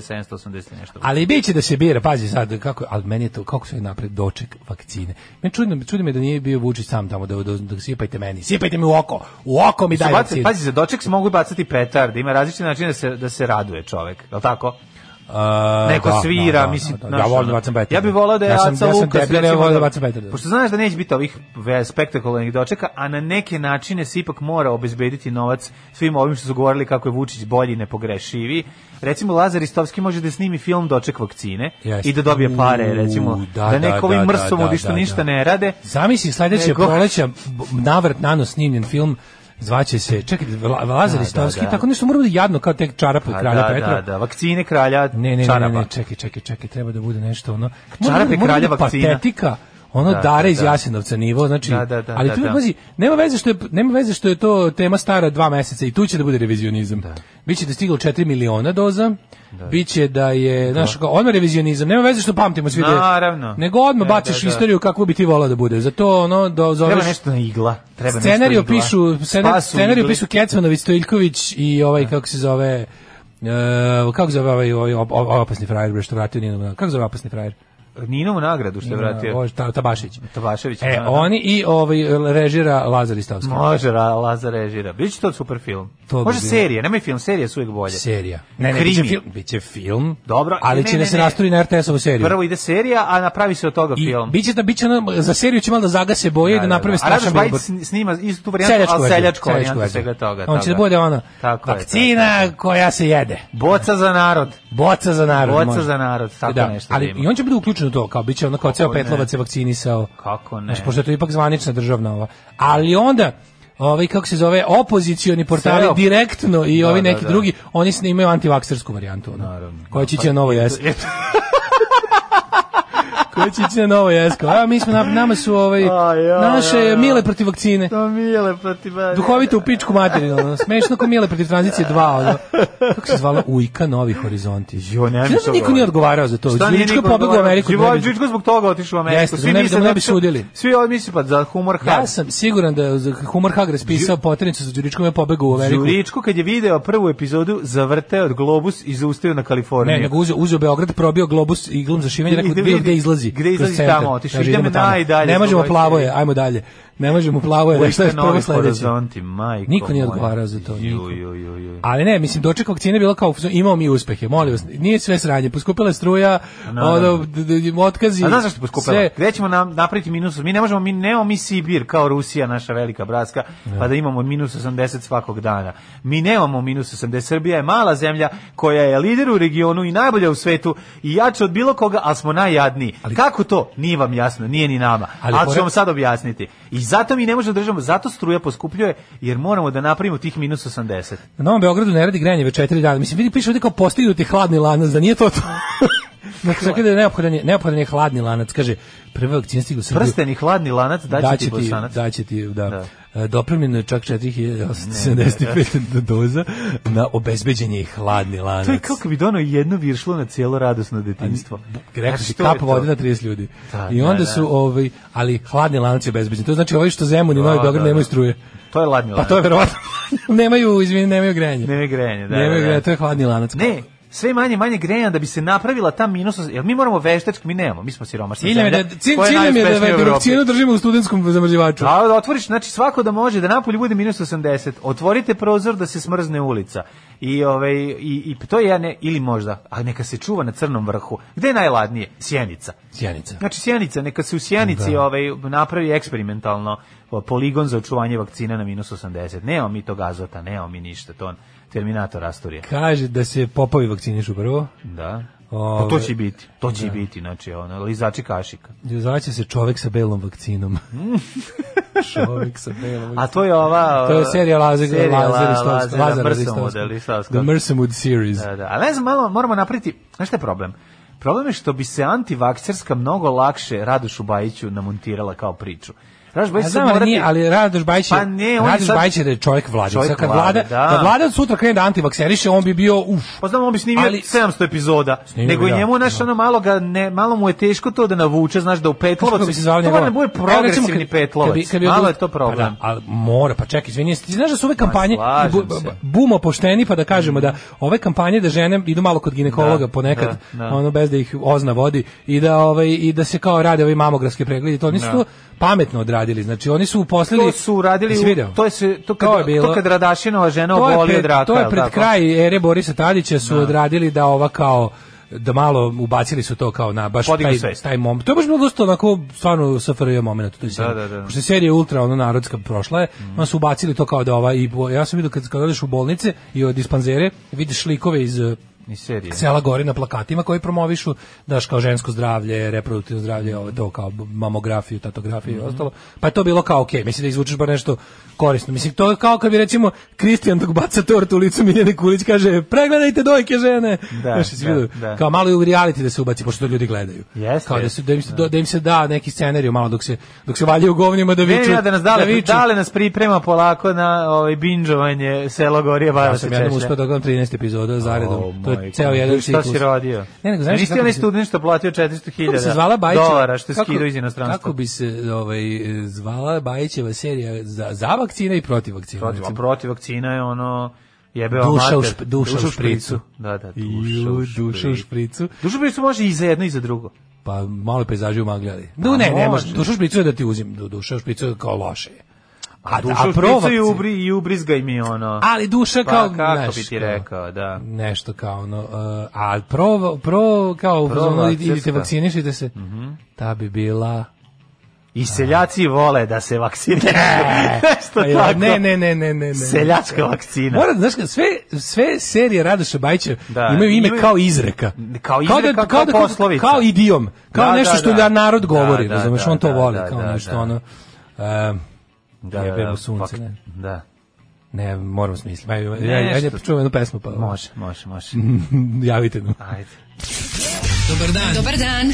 [SPEAKER 6] 4780 i nešto.
[SPEAKER 7] Ali biće da se bira, pazi sad kako, ali meni je to kako se napred doček vakcine. Me čudno, čudi me da nije bio Vučić sam tamo da, da, da sipajte meni. Sipajte mi u oko. U oko mi
[SPEAKER 6] Su
[SPEAKER 7] daj
[SPEAKER 6] baci-
[SPEAKER 7] vakcinu.
[SPEAKER 6] pazi, za doček se mogu bacati petarde, ima različite načine da se, da se raduje čovek, je li tako?
[SPEAKER 7] A,
[SPEAKER 6] Neko
[SPEAKER 7] da,
[SPEAKER 6] svira,
[SPEAKER 7] da, da,
[SPEAKER 6] mislim,
[SPEAKER 7] da, da,
[SPEAKER 6] znaš,
[SPEAKER 7] ja volim
[SPEAKER 6] ono,
[SPEAKER 7] da bacam petarde.
[SPEAKER 6] Ja bih volao da je
[SPEAKER 7] ja sam,
[SPEAKER 6] Aca
[SPEAKER 7] ja sam
[SPEAKER 6] Lukas,
[SPEAKER 7] debil, ja
[SPEAKER 6] recimo,
[SPEAKER 7] volim da
[SPEAKER 6] da-
[SPEAKER 7] bacam petarde.
[SPEAKER 6] Pošto znaš da neće biti ovih ve- spektakularnih dočeka, a na neke načine se ipak mora obezbediti novac svim ovim što su govorili kako je Vučić bolji i nepogrešiviji. Recimo, Lazar Istovski može da snimi film Doček vakcine
[SPEAKER 7] Jeste.
[SPEAKER 6] i da dobije pare,
[SPEAKER 7] U,
[SPEAKER 6] recimo,
[SPEAKER 7] da, da,
[SPEAKER 6] da, neko ovim
[SPEAKER 7] da, da,
[SPEAKER 6] mrstom
[SPEAKER 7] da,
[SPEAKER 6] što
[SPEAKER 7] da,
[SPEAKER 6] ništa
[SPEAKER 7] da.
[SPEAKER 6] ne rade.
[SPEAKER 7] Zamisli sledeće
[SPEAKER 6] Nego-
[SPEAKER 7] proleća b- navrat nano snimljen film zvaće se čekaj La- Lazar
[SPEAKER 6] Da,
[SPEAKER 7] Istovski
[SPEAKER 6] da, da.
[SPEAKER 7] tako nešto mora da jadno kao tek čarapu
[SPEAKER 6] Pa
[SPEAKER 7] kralja
[SPEAKER 6] da,
[SPEAKER 7] Petra
[SPEAKER 6] da, da, vakcine kralja
[SPEAKER 7] ne, ne, ne, ne,
[SPEAKER 6] čarapa.
[SPEAKER 7] ne, čekaj, čekaj, čekaj, treba da bude nešto ono.
[SPEAKER 6] Čarape
[SPEAKER 7] Mora da- mora
[SPEAKER 6] kralja
[SPEAKER 7] da bude
[SPEAKER 6] vakcina.
[SPEAKER 7] Patetika, ono
[SPEAKER 6] Da,
[SPEAKER 7] da, dare
[SPEAKER 6] da,
[SPEAKER 7] iz
[SPEAKER 6] da.
[SPEAKER 7] Jasenovca nivo, znači.
[SPEAKER 6] Da, da, da,
[SPEAKER 7] ali
[SPEAKER 6] da,
[SPEAKER 7] tu
[SPEAKER 6] da.
[SPEAKER 7] pazi, nema veze što je nema veze što je to tema stara dva meseca i tu će da bude revizionizam. Biće da je stiglo 4 miliona doza. Biće da je, znaš, kao, odmah revizionizam, nema veze što pamtimo svi. da je-
[SPEAKER 6] Naravno.
[SPEAKER 7] Nego odmah
[SPEAKER 6] Da,
[SPEAKER 7] baciš
[SPEAKER 6] da, da.
[SPEAKER 7] istoriju kako bi ti volao da bude. Zato ono da zoveš
[SPEAKER 6] Treba nešto na igla. Treba nešto
[SPEAKER 7] scenariju
[SPEAKER 6] igla.
[SPEAKER 7] pišu scenar,
[SPEAKER 6] Spas u
[SPEAKER 7] scenariju
[SPEAKER 6] igli.
[SPEAKER 7] pišu Kecmanović, Stojiljković i ovaj kako se zove e, kako se zove ovaj, ovaj op- op- opasni frajer bre što vratio Ninu na- kako se zove opasni frajer
[SPEAKER 6] Ninovu nagradu što je vratio.
[SPEAKER 7] Bože, Ta- Tabašić
[SPEAKER 6] Tabašević.
[SPEAKER 7] e
[SPEAKER 6] da, da.
[SPEAKER 7] oni i ovaj režira Lazar Istovski
[SPEAKER 6] Može, Ra- Laza režira. Biće to super film.
[SPEAKER 7] To bi
[SPEAKER 6] Može
[SPEAKER 7] bilo.
[SPEAKER 6] serija, nemoj film, serija su uvijek bolje.
[SPEAKER 7] serija ne ne
[SPEAKER 6] Krimi.
[SPEAKER 7] biće film biće film
[SPEAKER 6] Dobro,
[SPEAKER 7] ali
[SPEAKER 6] ne,
[SPEAKER 7] će
[SPEAKER 6] ne,
[SPEAKER 7] da se
[SPEAKER 6] ne.
[SPEAKER 7] rasturi na RTS-ovu seriju
[SPEAKER 6] Prvo ide serija, a napravi se od toga
[SPEAKER 7] I
[SPEAKER 6] film.
[SPEAKER 7] biće da biće ono- za seriju će malo da zagase boje i da naprave
[SPEAKER 6] A Radoš
[SPEAKER 7] strašan
[SPEAKER 6] Bajić
[SPEAKER 7] billboard.
[SPEAKER 6] sn- snima istu tu varijantu, ali
[SPEAKER 7] verziju,
[SPEAKER 6] seljačko varijantu
[SPEAKER 7] verziju.
[SPEAKER 6] svega toga.
[SPEAKER 7] On će da
[SPEAKER 6] tako.
[SPEAKER 7] bude ono,
[SPEAKER 6] Tako je,
[SPEAKER 7] vakcina koja se jede.
[SPEAKER 6] Boca za narod.
[SPEAKER 7] Boca za narod.
[SPEAKER 6] Boca
[SPEAKER 7] može.
[SPEAKER 6] za narod, tako
[SPEAKER 7] da,
[SPEAKER 6] nešto da
[SPEAKER 7] ali
[SPEAKER 6] ima. Pa
[SPEAKER 7] i on će biti uključen zvanično to, kao biće ono kao ceo
[SPEAKER 6] ne?
[SPEAKER 7] Petlovac se vakcinisao.
[SPEAKER 6] Kako ne?
[SPEAKER 7] Znači, pošto je to ipak zvanična državna ova. Ali onda, ovaj, kako se zove, opozicioni portali
[SPEAKER 6] Sve op-
[SPEAKER 7] direktno i
[SPEAKER 6] Da,
[SPEAKER 7] ovi
[SPEAKER 6] da,
[SPEAKER 7] neki
[SPEAKER 6] da.
[SPEAKER 7] drugi, oni snimaju antivaksersku varijantu. Ono, Naravno. Koja će ići na
[SPEAKER 6] Pa,
[SPEAKER 7] novo jes. Koja će ići na novo jesko. A mi smo, na- nama su ovaj, naše mile protiv vakcine.
[SPEAKER 6] To mile protiv...
[SPEAKER 7] Duhovito u pičku materinu. ono. Smešno ko mile protiv tranzicije 2. Ono. Kako se zvala? Ujka Novi Horizonti. Jo,
[SPEAKER 6] ne,
[SPEAKER 7] Znaš da niko nije odgovarao za to?
[SPEAKER 6] Šta nije
[SPEAKER 7] Žiličko je
[SPEAKER 6] niko
[SPEAKER 7] pobegao u
[SPEAKER 6] odgovarao?
[SPEAKER 7] Ameriku.
[SPEAKER 6] Živo-
[SPEAKER 7] da ne bi-
[SPEAKER 6] Žiličko zbog toga otišao u Ameriku.
[SPEAKER 7] Jeste, da ne bi- da
[SPEAKER 6] misle
[SPEAKER 7] ne bi
[SPEAKER 6] će-
[SPEAKER 7] sudili.
[SPEAKER 6] Svi oni misle pa za humor
[SPEAKER 7] Ja sam siguran da za Humor Hag raspisao poternicu za Đuričkom je pobegao u Ameriku.
[SPEAKER 6] Đuričko kad je video prvu epizodu zavrteo od globus i zaustavio na Kaliforniju.
[SPEAKER 7] Ne, nego uzeo, uzeo Beograd, probio globus iglom za šivenje,
[SPEAKER 6] I
[SPEAKER 7] rekao
[SPEAKER 6] da
[SPEAKER 7] bilo
[SPEAKER 6] vidi
[SPEAKER 7] gde izlazi.
[SPEAKER 6] gde izlazi,
[SPEAKER 7] kroz centar.
[SPEAKER 6] tamo otišao,
[SPEAKER 7] Kaže,
[SPEAKER 6] idemo
[SPEAKER 7] tamo.
[SPEAKER 6] najdalje,
[SPEAKER 7] Ne možemo
[SPEAKER 6] slobodno.
[SPEAKER 7] plavo je, ajmo dalje. Ne možemo plavo je, da šta je
[SPEAKER 6] Ujka Novi
[SPEAKER 7] prvo sledeće.
[SPEAKER 6] Horizonti, majko
[SPEAKER 7] Niko nije
[SPEAKER 6] moja.
[SPEAKER 7] odgovarao za to, niko.
[SPEAKER 6] Ju, ju, ju, ju.
[SPEAKER 7] Ali ne, mislim, doček vakcine je bilo kao, imao mi uspehe, molim vas, nije sve sranje, poskupila je struja,
[SPEAKER 6] Naravno.
[SPEAKER 7] ono, d- d- otkazi,
[SPEAKER 6] A znaš zašto je poskupela?
[SPEAKER 7] sve.
[SPEAKER 6] Gde ćemo nam napraviti minus? Mi ne možemo, mi nemamo mi Sibir kao Rusija, naša velika bratska, pa da imamo minus 80 svakog dana. Mi nemamo minus 80. Srbija je mala zemlja koja je lider u regionu i najbolja u svetu i jača od bilo koga, ali smo najjadniji. Kako to? Nije vam jasno, nije ni nama.
[SPEAKER 7] Ali
[SPEAKER 6] Ali,
[SPEAKER 7] pored-
[SPEAKER 6] ću vam sad objasniti. I zato mi ne možemo da držamo, zato struja poskupljuje, jer moramo da napravimo tih minus 80.
[SPEAKER 7] Na Novom Beogradu ne radi grejanje već četiri dana. Mislim, vidi, piše ovdje kao postignuti hladni lanac, da nije to to. Znači, kaže da je neophodan je, neophodan je hladni lanac, kaže, prve vakcine stigla u Srbiju.
[SPEAKER 6] Prsteni hladni lanac daće
[SPEAKER 7] da
[SPEAKER 6] ti
[SPEAKER 7] će ti,
[SPEAKER 6] bosanac.
[SPEAKER 7] da će ti, da.
[SPEAKER 6] Da.
[SPEAKER 7] E, Dopremljeno je čak 4875 doza na obezbeđenje i hladni lanac.
[SPEAKER 6] To je kako bi donao jedno viršlo na cijelo radosno detinjstvo.
[SPEAKER 7] Rekao
[SPEAKER 6] Znaš,
[SPEAKER 7] si
[SPEAKER 6] Znači, to je
[SPEAKER 7] kap
[SPEAKER 6] to.
[SPEAKER 7] vode na 30 ljudi.
[SPEAKER 6] Da,
[SPEAKER 7] I onda
[SPEAKER 6] da,
[SPEAKER 7] su
[SPEAKER 6] da.
[SPEAKER 7] ovaj ali hladni lanac je bezbeđen. To znači ovi što Zemun i
[SPEAKER 6] Da,
[SPEAKER 7] Novi
[SPEAKER 6] da,
[SPEAKER 7] Beograd
[SPEAKER 6] da.
[SPEAKER 7] nemaju struje.
[SPEAKER 6] To je hladni
[SPEAKER 7] Pa
[SPEAKER 6] lanac.
[SPEAKER 7] to je verovatno. nemaju, izvini, nemaju grejanje.
[SPEAKER 6] Nemaju grejanje, da,
[SPEAKER 7] Nemaju
[SPEAKER 6] da, da.
[SPEAKER 7] grejanje, to je hladni lanac.
[SPEAKER 6] Ne, sve manje manje grejanja da bi se napravila ta minus, jer mi moramo veštački, mi nemamo, mi smo siromašni.
[SPEAKER 7] Cilj nam je da, cilj, cilj nam je da, da vakcinu držimo u studentskom zamrzivaču.
[SPEAKER 6] A da otvoriš, znači svako da može da napolju bude minus 80. Otvorite prozor da se smrzne ulica. I ovaj i, i to je ja ne ili možda, a neka se čuva na crnom vrhu. Gde je najladnije? Sjenica.
[SPEAKER 7] Sjenica.
[SPEAKER 6] Znači Sjenica, neka se u Sjenici
[SPEAKER 7] Da.
[SPEAKER 6] ovaj napravi eksperimentalno o, poligon za očuvanje vakcina na minus 80. Nemamo mi tog azota, nemamo mi ništa, to Terminator rasturije.
[SPEAKER 7] Kaže da se popovi vakcinišu prvo.
[SPEAKER 6] Da.
[SPEAKER 7] Ove-
[SPEAKER 6] Pa to će i biti, to će i
[SPEAKER 7] Da.
[SPEAKER 6] biti, znači ono, lizači kašika.
[SPEAKER 7] Zvaće se čovek sa belom vakcinom. čovek sa belom vakcinom.
[SPEAKER 6] A to je ova...
[SPEAKER 7] To je serija Lazar
[SPEAKER 6] serija La-
[SPEAKER 7] Lazar Istovska.
[SPEAKER 6] Lazara
[SPEAKER 7] Lazar
[SPEAKER 6] Mrsomuda,
[SPEAKER 7] The
[SPEAKER 6] Listovska.
[SPEAKER 7] Mersemood series.
[SPEAKER 6] Da, da. Ali ne znam, malo moramo napraviti, znaš šta je problem? Problem je što bi se antivakcerska mnogo lakše Radošu Bajiću namontirala kao priču. Radoš Bajić
[SPEAKER 7] Ja
[SPEAKER 6] sad
[SPEAKER 7] znam, ali,
[SPEAKER 6] morati-
[SPEAKER 7] nije, ali Radoš Bajić je,
[SPEAKER 6] Pa ne, on je
[SPEAKER 7] Radoš
[SPEAKER 6] sad-
[SPEAKER 7] Bajić je da je čovjek vlade.
[SPEAKER 6] Čovjek
[SPEAKER 7] Sad kad vlada,
[SPEAKER 6] vlade,
[SPEAKER 7] da.
[SPEAKER 6] da.
[SPEAKER 7] vlada od sutra krene da antivakseriše, on bi bio, uf,
[SPEAKER 6] Pa znam, on bi snimio
[SPEAKER 7] Ali-
[SPEAKER 6] 700 epizoda.
[SPEAKER 7] Snimio
[SPEAKER 6] nego
[SPEAKER 7] bi,
[SPEAKER 6] i
[SPEAKER 7] da,
[SPEAKER 6] njemu, znaš,
[SPEAKER 7] da.
[SPEAKER 6] ono, malo, ga ne, malo mu je teško to da navuče, znaš, da u Petlovac...
[SPEAKER 7] Kako bi se zvao
[SPEAKER 6] to
[SPEAKER 7] njegova?
[SPEAKER 6] mora da bude
[SPEAKER 7] Evo, recimo,
[SPEAKER 6] progresivni
[SPEAKER 7] kad-
[SPEAKER 6] Petlovac.
[SPEAKER 7] kad bi- kad bi
[SPEAKER 6] malo
[SPEAKER 7] odust-
[SPEAKER 6] je to problem.
[SPEAKER 7] Pa da, ali mora, pa čekaj, izvini, jesi- ti znaš da su ove kampanje
[SPEAKER 6] slažem
[SPEAKER 7] bu-
[SPEAKER 6] se.
[SPEAKER 7] bumo pošteni, pa da kažemo da ove kampanje da žene idu malo kod ginekologa
[SPEAKER 6] Da,
[SPEAKER 7] ponekad,
[SPEAKER 6] da, da.
[SPEAKER 7] ono bez da ih ozna vodi i da ovaj i da se kao rade ovi mamografski pregledi, to oni su
[SPEAKER 6] Da.
[SPEAKER 7] to pametno odradili. Znači oni su uposlili
[SPEAKER 6] To su radili,
[SPEAKER 7] Jesi video?
[SPEAKER 6] u, to je se, to kad,
[SPEAKER 7] To
[SPEAKER 6] to,
[SPEAKER 7] je bilo-
[SPEAKER 6] kad Radašinova žena
[SPEAKER 7] To je
[SPEAKER 6] obolio
[SPEAKER 7] pred-
[SPEAKER 6] draka.
[SPEAKER 7] To je
[SPEAKER 6] jel
[SPEAKER 7] pred
[SPEAKER 6] tako?
[SPEAKER 7] kraj ere Borisa Tadića su odradili da ova kao da malo ubacili su to kao na baš
[SPEAKER 6] Podignu
[SPEAKER 7] taj,
[SPEAKER 6] svest.
[SPEAKER 7] taj mom. To je baš bilo dosta onako stvarno SFRJ moment to je serija.
[SPEAKER 6] da, Mhm. da.
[SPEAKER 7] Pošto je serija ultra ono narodska prošla je, onda su ubacili to kao da ova i bo- ja sam vidio kad kad odeš u bolnice i od dispanzere vidiš likove iz eh,
[SPEAKER 6] Ni serije.
[SPEAKER 7] sela gori na plakatima koji promovišu daš kao žensko zdravlje, reproduktivno
[SPEAKER 6] Mhm.
[SPEAKER 7] zdravlje, ovo to kao mamografiju, tatografiju i ostalo. Pa je to bilo kao okej, mislim da izvučeš bar nešto korisno. Mislim to je kao kad bi recimo Kristijan dok baca tortu u licu Miljane Kulić kaže pregledajte dojke žene.
[SPEAKER 6] Da,
[SPEAKER 7] Znaš, jesi
[SPEAKER 6] da,
[SPEAKER 7] vidio?
[SPEAKER 6] da.
[SPEAKER 7] Kao malo i u reality da se ubaci pošto to ljudi gledaju.
[SPEAKER 6] Jeste,
[SPEAKER 7] Kao da se da im se da, da im se da neki scenarij malo dok se dok se valjaju u govnima da
[SPEAKER 6] Ne,
[SPEAKER 7] viču.
[SPEAKER 6] ne, E, da nas dale,
[SPEAKER 7] viču.
[SPEAKER 6] dale nas priprema polako na ovaj binđovanje selo Gorije
[SPEAKER 7] Ja
[SPEAKER 6] Bajava se
[SPEAKER 7] sam jednom uspeo
[SPEAKER 6] Češlja.
[SPEAKER 7] da gledam 13 epizoda zaredom.
[SPEAKER 6] O,
[SPEAKER 7] to je
[SPEAKER 6] majko,
[SPEAKER 7] ceo jedan
[SPEAKER 6] šta
[SPEAKER 7] ciklus.
[SPEAKER 6] si radio?
[SPEAKER 7] Ne, nego znaš
[SPEAKER 6] Nisi
[SPEAKER 7] kako
[SPEAKER 6] onaj
[SPEAKER 7] se-
[SPEAKER 6] student što platio
[SPEAKER 7] Kako bi se
[SPEAKER 6] 400.000
[SPEAKER 7] zvala Bajićeva?
[SPEAKER 6] dolara što je
[SPEAKER 7] kako-
[SPEAKER 6] skidao iz inostranstva.
[SPEAKER 7] Kako bi se ovaj, zvala Bajićeva serija za, za vakcine i protiv vakcine?
[SPEAKER 6] Protiv, a
[SPEAKER 7] recimo?
[SPEAKER 6] protiv vakcina je ono jebeo
[SPEAKER 7] Duša u
[SPEAKER 6] mater.
[SPEAKER 7] šp- duša u špricu.
[SPEAKER 6] Da, da,
[SPEAKER 7] Ju,
[SPEAKER 6] duša u špricu.
[SPEAKER 7] duša u špricu.
[SPEAKER 6] Duša u špricu može i za jedno i za drugo.
[SPEAKER 7] Pa malo pejzaži u magljali. No,
[SPEAKER 6] Pa
[SPEAKER 7] ne, ne
[SPEAKER 6] može.
[SPEAKER 7] može. Duša u špricu je da ti uzim. Du- Duša u špricu je kao loše. A,
[SPEAKER 6] Duša
[SPEAKER 7] pro
[SPEAKER 6] u špricu i,
[SPEAKER 7] vakcine-
[SPEAKER 6] ubri, i ubrizgaj mi ono.
[SPEAKER 7] Ali duša
[SPEAKER 6] pa
[SPEAKER 7] kao,
[SPEAKER 6] kako
[SPEAKER 7] znaš,
[SPEAKER 6] bi ti
[SPEAKER 7] kao-
[SPEAKER 6] rekao, da.
[SPEAKER 7] Nešto kao ono, uh, a pro, pro kao, ono, pro
[SPEAKER 6] Provakcerska. Mhm.
[SPEAKER 7] idite vakcinišite se, ta bi bila
[SPEAKER 6] I seljaci vole da se vakciniraju.
[SPEAKER 7] Ne,
[SPEAKER 6] Nešto
[SPEAKER 7] Pa ja,
[SPEAKER 6] tako.
[SPEAKER 7] ne, ne, ne, ne, ne, ne.
[SPEAKER 6] Seljačka vakcina.
[SPEAKER 7] Mora, znaš, kad sve, sve serije Radoša Bajića
[SPEAKER 6] Da.
[SPEAKER 7] imaju ime
[SPEAKER 6] Imaju-
[SPEAKER 7] kao izreka.
[SPEAKER 6] Kao izreka, kao poslovica.
[SPEAKER 7] Kao idiom. Kao
[SPEAKER 6] Da,
[SPEAKER 7] nešto
[SPEAKER 6] da,
[SPEAKER 7] što
[SPEAKER 6] da.
[SPEAKER 7] narod govori,
[SPEAKER 6] Da, da,
[SPEAKER 7] razumeš,
[SPEAKER 6] da,
[SPEAKER 7] on to
[SPEAKER 6] da,
[SPEAKER 7] voli,
[SPEAKER 6] da,
[SPEAKER 7] kao
[SPEAKER 6] da,
[SPEAKER 7] nešto
[SPEAKER 6] da.
[SPEAKER 7] ono. em,
[SPEAKER 6] Da,
[SPEAKER 7] jebe
[SPEAKER 6] da,
[SPEAKER 7] mu sunce,
[SPEAKER 6] fak-
[SPEAKER 7] ne.
[SPEAKER 6] Da.
[SPEAKER 7] Ne, moram smisliti. Ajde, ajde,
[SPEAKER 6] Nešto.
[SPEAKER 7] ajde, čujemo jednu pesmu pa. Mm.
[SPEAKER 6] Može, može, može.
[SPEAKER 7] Javite nam.
[SPEAKER 6] Ajde.
[SPEAKER 16] Dobar dan.
[SPEAKER 5] Dobar dan.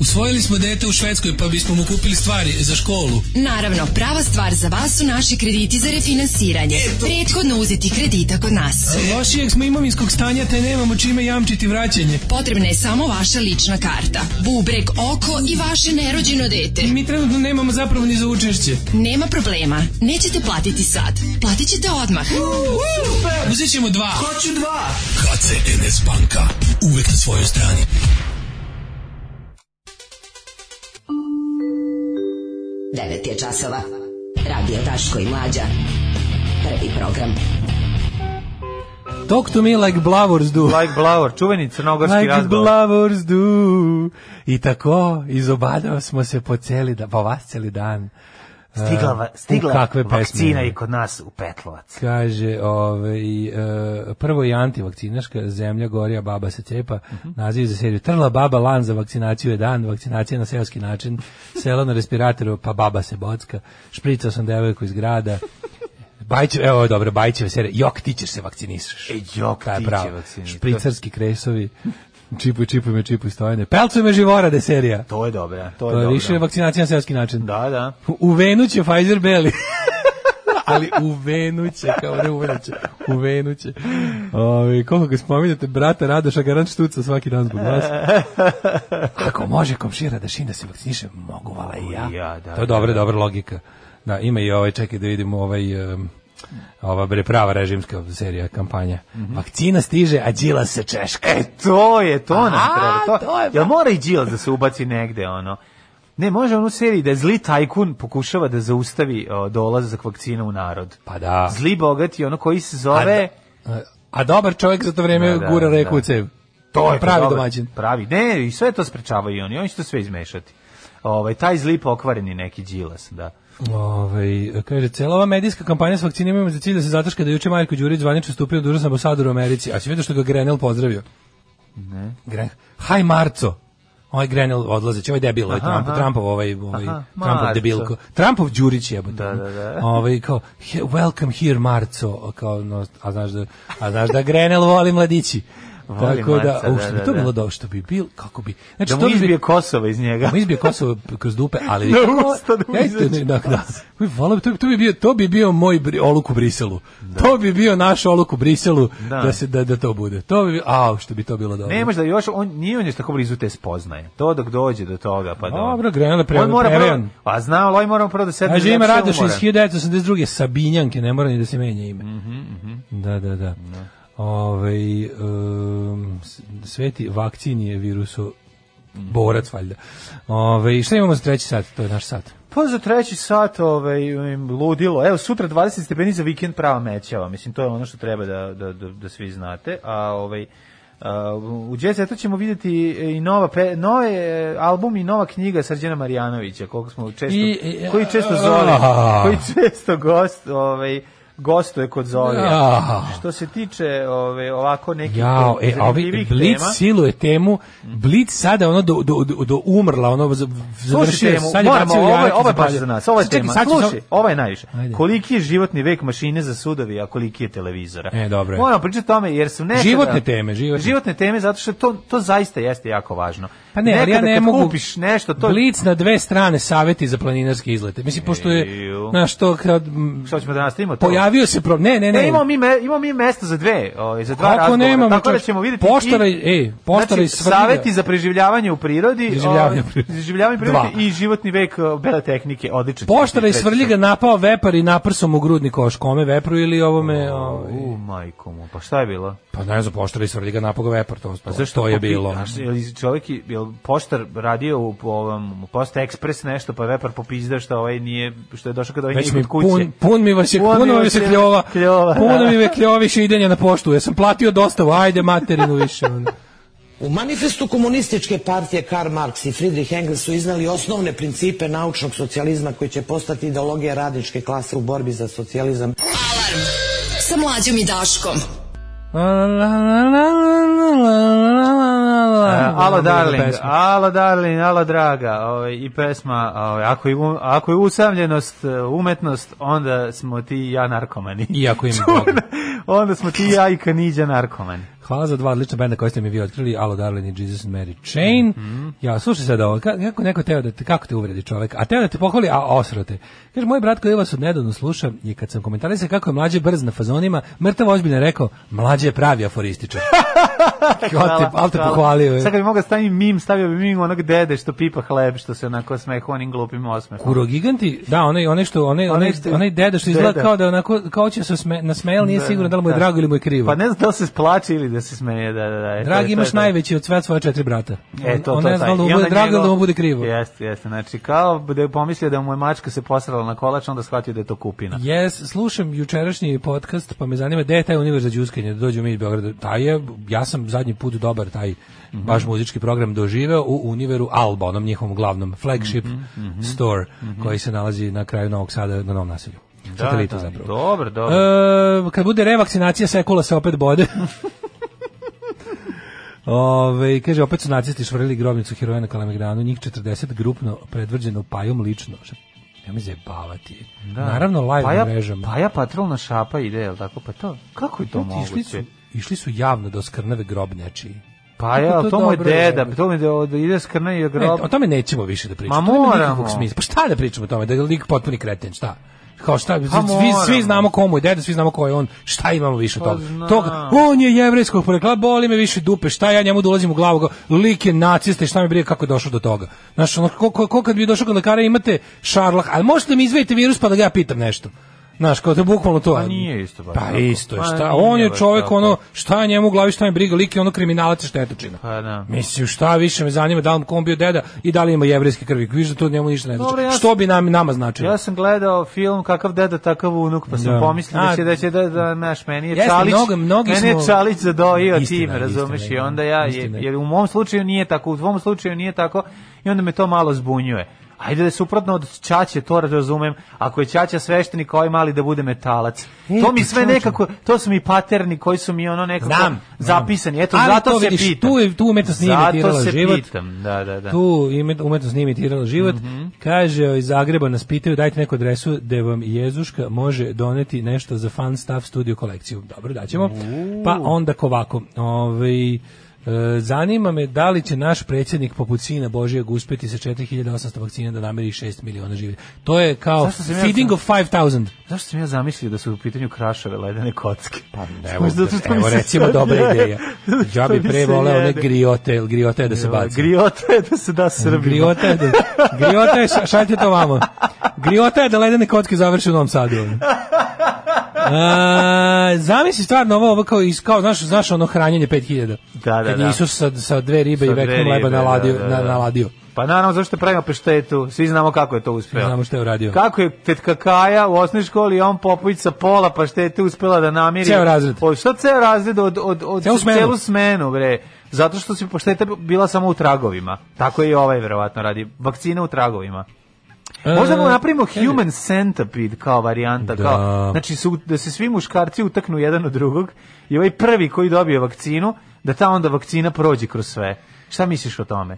[SPEAKER 16] Usvojili smo dete u Švedskoj pa bismo mu kupili stvari za školu.
[SPEAKER 5] Naravno, prava stvar za vas su naši krediti za refinansiranje. Prethodno uzeti kredita kod nas.
[SPEAKER 16] Lošijeg smo imovinskog stanja te nemamo čime jamčiti vraćanje.
[SPEAKER 5] Potrebna je samo vaša lična karta, bubreg, oko i vaše nerođeno dete.
[SPEAKER 16] Mi trenutno nemamo zapravo ni za učešće.
[SPEAKER 5] Nema problema, nećete platiti sad. Platit ćete odmah.
[SPEAKER 16] Uzet ćemo dva.
[SPEAKER 5] Hoću dva.
[SPEAKER 16] HCNS banka. Uvek na svojoj strani.
[SPEAKER 3] Devet je časova. Radio Daško i Mlađa. Prvi program.
[SPEAKER 7] Talk to me like blavors do.
[SPEAKER 6] Like Blavor, čuveni crnogorski
[SPEAKER 7] Like
[SPEAKER 6] razgovor.
[SPEAKER 7] blavors do. I tako, izobadao smo se po celi dan, po vas celi dan.
[SPEAKER 6] Stigla,
[SPEAKER 7] Em,
[SPEAKER 6] va-
[SPEAKER 7] E, u
[SPEAKER 6] stigla
[SPEAKER 7] kakve pesme.
[SPEAKER 6] vakcina i kod nas u Petlovac.
[SPEAKER 7] Kaže, ovaj, e, prvo je antivakcinaška, zemlja gorija, baba se cepa, naziv za seriju Trla baba lan za vakcinaciju je dan, vakcinacija na seoski način, selo na respiratoru, pa baba se bocka, špricao sam devojku iz grada, Bajće, evo ovo je dobro, Bajćeva serija, jok ti ćeš se vakcinisaš.
[SPEAKER 6] E, jok,
[SPEAKER 7] Ta je
[SPEAKER 6] ti će
[SPEAKER 7] prava.
[SPEAKER 6] vakcinisaš.
[SPEAKER 7] Špricarski kresovi, čipuj, čipuj me, čipuj stojane. Pelcu me živorade serija.
[SPEAKER 6] To je dobro, to
[SPEAKER 7] To
[SPEAKER 6] je,
[SPEAKER 7] je,
[SPEAKER 6] Pa dobro.
[SPEAKER 7] više vakcinacija na seoski način.
[SPEAKER 6] Da, da.
[SPEAKER 7] U- U venu će Pfizer Beli. Ali u venu će, kao ne u venu će. U venu će. Ovi, koliko ga spominjate, brata Radoša, garant štuca svaki dan zbog vas. Ako može komšira da šina se vakciniše, mogu vala i ja.
[SPEAKER 6] I ja, da,
[SPEAKER 7] to je
[SPEAKER 6] da,
[SPEAKER 7] dobra,
[SPEAKER 6] da.
[SPEAKER 7] dobra logika. Da, ima i ovaj, čekaj da vidimo ovaj... em, ova bre prava režimska serija kampanja. Vakcina stiže, a Đila se češka.
[SPEAKER 6] Mhm. E, to je, to nam
[SPEAKER 7] A,
[SPEAKER 6] treba. To,
[SPEAKER 7] to je-
[SPEAKER 6] Jel mora i Đilas da se ubaci negde, ono? Ne, može ono u seriji da zli tajkun pokušava da zaustavi o, dolazak vakcina u narod.
[SPEAKER 7] Pa da.
[SPEAKER 6] Zli bogati, ono koji se zove...
[SPEAKER 7] A dobar čovjek za to vrijeme
[SPEAKER 6] Da, da,
[SPEAKER 7] gura reku
[SPEAKER 6] da.
[SPEAKER 7] u cev.
[SPEAKER 6] E, To je
[SPEAKER 7] pravi
[SPEAKER 6] dobar-
[SPEAKER 7] domaćin.
[SPEAKER 6] Pravi. Ne, i sve to sprečavaju i oni. Oni će to sve izmešati. Ovaj, taj zli pokvareni neki Đilas, da.
[SPEAKER 7] Ove, Ovaj, kaže, cela ova medijska kampanja s vakcinima ima za cilj da se zataška da je juče Marko Đurić zvanično stupio dužnost ambasador u Americi. A si vidio što ga Grenell pozdravio?
[SPEAKER 6] Ne.
[SPEAKER 7] Gre... Haj Marco! Ovaj Grenell odlazeći, ovaj debil, ovaj
[SPEAKER 6] Aha,
[SPEAKER 7] Trump,
[SPEAKER 6] aha.
[SPEAKER 7] Trumpov, ovaj, ovaj
[SPEAKER 6] Aha,
[SPEAKER 7] Trumpov
[SPEAKER 6] Marco.
[SPEAKER 7] debilko. Trumpov Đurić jebote.
[SPEAKER 6] Da, da, da.
[SPEAKER 7] Ovaj, kao, "He- welcome here Marco, kao, no, a znaš da, a znaš da Grenell voli mladići.
[SPEAKER 6] Voli
[SPEAKER 7] Tako da,
[SPEAKER 6] Marca,
[SPEAKER 7] u,
[SPEAKER 6] da,
[SPEAKER 7] što
[SPEAKER 6] da,
[SPEAKER 7] bi to
[SPEAKER 6] da.
[SPEAKER 7] bilo dobro, što bi bil, kako bi... Znači,
[SPEAKER 6] Da mu
[SPEAKER 7] to bi-
[SPEAKER 6] izbije Kosovo iz njega.
[SPEAKER 7] mu izbije Kosovo p- kroz dupe, ali
[SPEAKER 6] Na usta da mu
[SPEAKER 7] Ej,
[SPEAKER 6] izađe
[SPEAKER 7] ne, da, da. Uj, volao bi- to, bi- to bi bio to bi bio moj bri, oluk u Briselu. To bi bio naš oluk u Briselu da,
[SPEAKER 6] Da.
[SPEAKER 7] se da, da to bude. To bi bio- a što bi to bilo dobro.
[SPEAKER 6] Ne može da još on nije on još tako blizu te spoznaje. To dok dođe do toga pa da.
[SPEAKER 7] Dobro, Grenell je pre-
[SPEAKER 6] On mora prvo,
[SPEAKER 7] preven.
[SPEAKER 6] pa znao, ali ovaj moramo prvo da sedne.
[SPEAKER 7] Kaže ima
[SPEAKER 6] zato što je
[SPEAKER 7] Radoš iz
[SPEAKER 6] umoran.
[SPEAKER 7] 1982. Sabinjanke, ne mora ni da se menja ime.
[SPEAKER 6] Mhm,
[SPEAKER 7] Da, da, da. Ovaj em, s- sveti vakcin je virusu
[SPEAKER 6] Mhm.
[SPEAKER 7] borac valjda. Ovaj šta imamo za treći sat? To je naš sat.
[SPEAKER 6] Pa za treći sat, ovaj im ludilo. Evo sutra 20 stepeni za vikend prava mećava. Mislim to je ono što treba da da da, da svi znate, a ovaj a, u Jet ćemo vidjeti i nova pe, nove e, album i nova knjiga Srđana Marjanovića, koliko smo često
[SPEAKER 7] I- i-
[SPEAKER 6] koji često zove,
[SPEAKER 7] Ah.
[SPEAKER 6] koji često gost, ovaj gostuje kod Zolija.
[SPEAKER 7] Ah.
[SPEAKER 6] Što se tiče ove ovako nekih
[SPEAKER 7] Jao, e, a ovi
[SPEAKER 6] zanimljivih
[SPEAKER 7] Blitz
[SPEAKER 6] tema-
[SPEAKER 7] siluje temu, Blitz sada ono do, do, do, do umrla, ono z- završio je,
[SPEAKER 6] Slušaj temu,
[SPEAKER 7] sad je
[SPEAKER 6] moramo,
[SPEAKER 7] bacio
[SPEAKER 6] ovo je,
[SPEAKER 7] jarak i
[SPEAKER 6] ovo je baš
[SPEAKER 7] zapalio.
[SPEAKER 6] za nas, ovo je
[SPEAKER 7] Čekaj,
[SPEAKER 6] tema.
[SPEAKER 7] sad ću
[SPEAKER 6] Slušaj,
[SPEAKER 7] samo-
[SPEAKER 6] ovo je najviše.
[SPEAKER 7] Ajde.
[SPEAKER 6] Koliki je životni vek mašine za sudovi, a koliki je televizora?
[SPEAKER 7] E, dobro je.
[SPEAKER 6] Moramo pričati o tome, jer su nekada...
[SPEAKER 7] Životne teme, životne.
[SPEAKER 6] teme, zato što to, to zaista jeste jako važno.
[SPEAKER 7] Pa ne, ali ja
[SPEAKER 6] Nekada
[SPEAKER 7] ne
[SPEAKER 6] kad
[SPEAKER 7] mogu...
[SPEAKER 6] kupiš nešto, to...
[SPEAKER 7] Blitz na dve strane saveti za planinarske izlete. Mislim, pošto je,
[SPEAKER 6] Eju.
[SPEAKER 7] znaš, to kad... m,
[SPEAKER 6] Šta ćemo danas imati?
[SPEAKER 7] Pojavio se pro... Ne, ne, ne.
[SPEAKER 6] Ne, imamo mi me, imamo mi mesta za dve, ovaj za dva
[SPEAKER 7] E. Kako
[SPEAKER 6] razgovora.
[SPEAKER 7] nemamo,
[SPEAKER 6] tako da
[SPEAKER 7] čovječe? e,
[SPEAKER 6] ćemo vidjeti.
[SPEAKER 7] Poštara
[SPEAKER 6] i-
[SPEAKER 7] i- ej, poštara i
[SPEAKER 6] znači,
[SPEAKER 7] svrljiga.
[SPEAKER 6] saveti za preživljavanje u prirodi,
[SPEAKER 7] Preživljavanje
[SPEAKER 6] ovaj,
[SPEAKER 7] u prirodi.
[SPEAKER 6] preživljavanje u
[SPEAKER 7] Dva.
[SPEAKER 6] prirodi i životni vek eh, bele tehnike, odlično.
[SPEAKER 7] Poštara i svrljiga napao vepar i naprsom u grudni koš. Kome vepru ili ovome... ovaj?
[SPEAKER 6] U, majko mu, pa šta je bilo?
[SPEAKER 7] Pa ne znam, poštara i svrljiga napao ga vepar. To,
[SPEAKER 6] Pa
[SPEAKER 7] to,
[SPEAKER 6] zašto
[SPEAKER 7] to je
[SPEAKER 6] popi-
[SPEAKER 7] bilo.
[SPEAKER 6] A šta, je li čovjek je- jel poštar radio u po ovom u Post Express nešto pa je vepar popizda što ovaj nije što je došao kad ovaj
[SPEAKER 7] Već
[SPEAKER 6] nije
[SPEAKER 7] mi
[SPEAKER 6] kod kuće.
[SPEAKER 7] pun, pun mi vas je,
[SPEAKER 6] Pun
[SPEAKER 7] puno
[SPEAKER 6] mi
[SPEAKER 7] mi
[SPEAKER 6] vas
[SPEAKER 7] se
[SPEAKER 6] je
[SPEAKER 7] kljova,
[SPEAKER 6] kljova,
[SPEAKER 7] puno
[SPEAKER 6] da.
[SPEAKER 7] mi je kljoviše idenja na poštu, ja sam platio dostavu, ajde materinu više. ono.
[SPEAKER 17] U manifestu komunističke partije Karl Marx i Friedrich Engels su iznali osnovne principe naučnog socijalizma koji će postati ideologija radničke klase u borbi za socijalizam.
[SPEAKER 5] Alarm sa mlađom i Daškom.
[SPEAKER 6] E, Alo darling, alo darling, alo draga, ovaj i pesma, ovaj ako je u- ako je usamljenost e, umetnost, onda smo ti i ja narkomani.
[SPEAKER 7] Iako ima Boga.
[SPEAKER 6] onda smo ti i ja i Kaniđa narkomani.
[SPEAKER 7] Hvala za dva odlična benda koje ste mi vi otkrili, Alo Darling i Jesus and Mary Chain.
[SPEAKER 6] Mhm.
[SPEAKER 7] Ja, slušaj sad ovo, ka- kako neko teo da te, kako te uvredi čovek, a teo da te pohvali, a osro te. Kaže, moj brat koji vas odnedavno sluša je kad sam komentarisao kako je mlađe brz na fazonima, mrtav ozbiljno rekao, mlađe je pravi aforističar. Hvala, Pa te, al te pohvalio. je.
[SPEAKER 6] Sad kad bi mogao stavim mim, stavio bi mim onog dede što pipa hleb, što se onako smeha onim glupim osmehom.
[SPEAKER 7] Kuro giganti, da, onaj onaj što onaj onaj
[SPEAKER 6] što-
[SPEAKER 7] onaj deda što izgleda
[SPEAKER 6] deda.
[SPEAKER 7] kao da je onako kao će se sme, nasmejal, nije
[SPEAKER 6] Da,
[SPEAKER 7] siguran da li mu je
[SPEAKER 6] da.
[SPEAKER 7] drago ili mu je krivo.
[SPEAKER 6] Pa ne znam da li se splači ili da se smeje, da, da, da. e, to je- to
[SPEAKER 7] Dragi
[SPEAKER 6] je
[SPEAKER 7] imaš
[SPEAKER 6] to.
[SPEAKER 7] najveći od sva svoja četiri brata.
[SPEAKER 6] E,
[SPEAKER 7] On-
[SPEAKER 6] to,
[SPEAKER 7] on
[SPEAKER 6] to,
[SPEAKER 7] ne zna da li mu
[SPEAKER 6] I
[SPEAKER 7] bude
[SPEAKER 6] onda
[SPEAKER 7] drago ili
[SPEAKER 6] njegov-
[SPEAKER 7] da mu bude krivo.
[SPEAKER 6] Jeste, jeste. Znači, kao da je pomislio da mu je mačka se posrala na kolač, onda shvatio da je to kupina.
[SPEAKER 7] Jes, slušam jučerašnji podcast, pa me zanima gde je taj univerz za đuskanje, da dođemo mi iz Beograda. Taj je, ja sam zadnji put dobar taj baš muzički program doživeo u univeru Alba, onom njihovom glavnom flagship store koji se nalazi na kraju Novog Sada na Novom naselju. Satelitu zapravo.
[SPEAKER 6] Dobro, dobro.
[SPEAKER 7] E, kad bude revakcinacija sekula se opet bode. Ove, kaže, opet su nacisti švrili grobnicu heroja na Kalemegdanu, njih 40 grupno predvrđeno pajom lično. Šta- Ja mi zajebavati. Naravno, live
[SPEAKER 6] Paja-
[SPEAKER 7] na mrežama.
[SPEAKER 6] Paja pa patrolna šapa ide, jel tako? Pa to, kako je to
[SPEAKER 7] Ljudi, Išli su,
[SPEAKER 6] moguće?
[SPEAKER 7] išli su javno da oskrnave grob nečiji.
[SPEAKER 6] Pa ja,
[SPEAKER 7] Kako
[SPEAKER 6] to, mu je
[SPEAKER 7] dobro
[SPEAKER 6] deda, to mi je da- da ide skrna i
[SPEAKER 7] Ne,
[SPEAKER 6] grob.
[SPEAKER 7] E, o tome nećemo više da pričamo.
[SPEAKER 6] Ma
[SPEAKER 7] To nema
[SPEAKER 6] moramo.
[SPEAKER 7] nikakvog smisla. Pa šta da pričamo o tome? Da je lik potpuni kreten, šta? Kao šta,
[SPEAKER 6] Pa
[SPEAKER 7] svi,
[SPEAKER 6] moramo.
[SPEAKER 7] svi znamo komu je deda, svi znamo ko je on, šta imamo više od
[SPEAKER 6] Pa
[SPEAKER 7] toga?
[SPEAKER 6] znam.
[SPEAKER 7] toga on je jevrejskog porekla, boli me više dupe, šta ja njemu dolazim u glavu, kao, lik je nacista i šta mi brije kako je došao do toga. Znaš, ono, ko, ko, ko kad bi došao kod lekara imate šarlah, ali možete da mi izvedite virus pa da ga ja pitam nešto. Znaš, kao to je bukvalno to.
[SPEAKER 6] Pa nije isto baš
[SPEAKER 7] Pa
[SPEAKER 6] tako.
[SPEAKER 7] isto je,
[SPEAKER 6] Pa
[SPEAKER 7] šta?
[SPEAKER 6] nije
[SPEAKER 7] on je
[SPEAKER 6] baš
[SPEAKER 7] čovjek
[SPEAKER 6] tako.
[SPEAKER 7] ono, šta je njemu u glavi, šta mi briga, lik je ono kriminalac i štetočina.
[SPEAKER 6] Pa da.
[SPEAKER 7] Mislim, šta više me zanima da li mu kom bio deda i da li ima jevrejski krvi. Viš da to njemu ništa ne znači.
[SPEAKER 6] Dobro, ja
[SPEAKER 7] Što bi nam, nama značilo?
[SPEAKER 6] Ja sam gledao film kakav deda takav unuk, pa sam
[SPEAKER 7] Znači, Da.
[SPEAKER 6] pomislio da će
[SPEAKER 7] A,
[SPEAKER 6] da će da, da naš meni je
[SPEAKER 7] jeste,
[SPEAKER 6] Čalić,
[SPEAKER 7] mnogo- mnogi
[SPEAKER 6] meni je
[SPEAKER 7] smo-
[SPEAKER 6] Čalić zadojio
[SPEAKER 7] Istina,
[SPEAKER 6] tim, razumeš,
[SPEAKER 7] istina,
[SPEAKER 6] i onda ja
[SPEAKER 7] istina.
[SPEAKER 6] jer u mom slučaju nije tako, u tvom slučaju nije tako i onda me to malo zbunjuje. Ajde da je suprotno od Čače, to razumem. Ako je Čača sveštenik, ovaj mali da bude metalac. to mi
[SPEAKER 7] pa
[SPEAKER 6] sve
[SPEAKER 7] čoveče.
[SPEAKER 6] nekako, to su mi paterni koji su mi ono nekako
[SPEAKER 7] Znam,
[SPEAKER 6] zapisani. Eto,
[SPEAKER 7] Ali
[SPEAKER 6] zato
[SPEAKER 7] to
[SPEAKER 6] se
[SPEAKER 7] vidiš,
[SPEAKER 6] pitam.
[SPEAKER 7] tu je- tu umetnost nije imitirala
[SPEAKER 6] Zato se
[SPEAKER 7] život.
[SPEAKER 6] pitam, da, da, Mhm. da.
[SPEAKER 7] Tu ime- umetnost nije imitirala život. Kaže, iz Zagreba nas pitaju, dajte neku adresu da vam Jezuška može doneti nešto za fan staff studio kolekciju. Dobro, daćemo. Pa onda kovako. Ovaj, e, zanima me da li će naš predsjednik poput sina Božijeg uspjeti sa 4800 vakcina da namiri 6 miliona živi. To je kao
[SPEAKER 6] Zašto sam ja-
[SPEAKER 7] feeding of 5000.
[SPEAKER 6] Zašto sam ja zamislio da su u pitanju krašave ledene kocke? Pa
[SPEAKER 7] Evo, evo recimo dobra ideja. Ja bi pre voleo one griote, griote da se baci.
[SPEAKER 6] Griota Ovaj, je da se da Srbima.
[SPEAKER 7] Griota je da, griota je, ša- šaljte to vamo. Griota je da ledene kocke završe u Novom Sadu. A, zamisli stvarno ovo, ovo kao, iz- kao znaš, znaš ono hranjenje 5000.
[SPEAKER 6] Da, da,
[SPEAKER 7] Kad
[SPEAKER 6] da.
[SPEAKER 7] je Isus sa, sa dve ribe
[SPEAKER 6] Sa
[SPEAKER 7] i
[SPEAKER 6] dve
[SPEAKER 7] vekom
[SPEAKER 6] ribe,
[SPEAKER 7] leba naladio.
[SPEAKER 6] da, da, da.
[SPEAKER 7] na- naladio.
[SPEAKER 6] Pa naravno, zašto pravimo peštetu? Svi znamo kako je to uspeo.
[SPEAKER 7] Znamo što je uradio.
[SPEAKER 6] Kako je tetka Kaja u osnovnoj školi, on Popović sa pola pa paštete uspela da namiri.
[SPEAKER 7] Ceo razred.
[SPEAKER 6] O, šta ceo razred od, od, od
[SPEAKER 7] Celu smenu.
[SPEAKER 6] celu smenu, bre? Zato što se pašteta bila samo u tragovima. Tako je i ovaj verovatno radi. Vakcina u tragovima. Možda mu
[SPEAKER 7] E,
[SPEAKER 6] napravimo
[SPEAKER 7] kaže-
[SPEAKER 6] human centipede kao varijanta,
[SPEAKER 7] Da.
[SPEAKER 6] kao, znači su, da se svi muškarci utaknu jedan od drugog i ovaj prvi koji dobije vakcinu, da ta onda vakcina prođe kroz sve. Šta misliš o tome?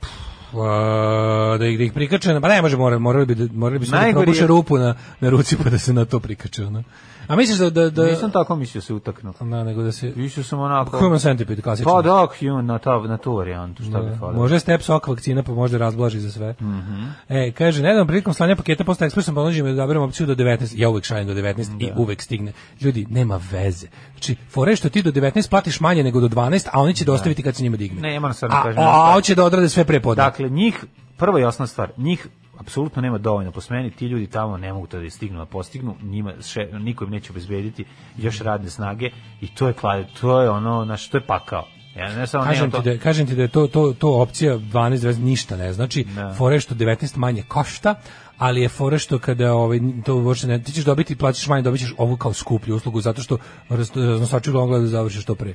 [SPEAKER 7] A, da ih, da ih prikače, na- pa ne može, morali, morali bi, da, morali bi se da
[SPEAKER 6] Najgori
[SPEAKER 7] probuše
[SPEAKER 6] je-
[SPEAKER 7] rupu na, na ruci pa da se na to prikače. ono. A misliš da... da, da
[SPEAKER 6] Nisam tako mislio se utaknu.
[SPEAKER 7] Na, nego da se...
[SPEAKER 6] Mislio sam onako...
[SPEAKER 7] Human centipede, klasično.
[SPEAKER 6] Pa da, human, na, ta, na tu varijantu, šta bi falilo.
[SPEAKER 7] Može step sok vakcina pa možda razblaži za sve.
[SPEAKER 6] Mhm.
[SPEAKER 7] E, kaže, nedavno prilikom slanja paketa posta ekspresom ponuđujem da odaberem opciju do 19. Ja uvek šaljem do 19 i uvek stigne. Ljudi, nema veze. Znači, fore što ti do 19 platiš manje nego do 12, a oni će dostaviti kad se njima digne.
[SPEAKER 6] Ne, ja moram sad da
[SPEAKER 7] a,
[SPEAKER 6] kažem nešto.
[SPEAKER 7] a, a hoće da odrade sve pre podne.
[SPEAKER 6] Dakle, njih, prva i osnovna stvar, njih apsolutno nema dovoljno po smeni, ti ljudi tamo ne mogu to da stignu, a postignu, njima še, niko im neće obezbediti još radne snage i to je klade, to je ono, znaš, to je pakao. Ja ne samo
[SPEAKER 7] Kažem
[SPEAKER 6] nemam
[SPEAKER 7] ti,
[SPEAKER 6] to.
[SPEAKER 7] da, kažem ti da je to, to, to opcija 12, 20, ništa ne znači.
[SPEAKER 6] Ne.
[SPEAKER 7] Fore što 19 manje košta, ali je fore što kada ovaj, to uopšte ne, ti ćeš dobiti, plaćaš manje, dobit ćeš ovu kao skuplju uslugu, zato što raznosači uglavnom gledaju da završe što pre.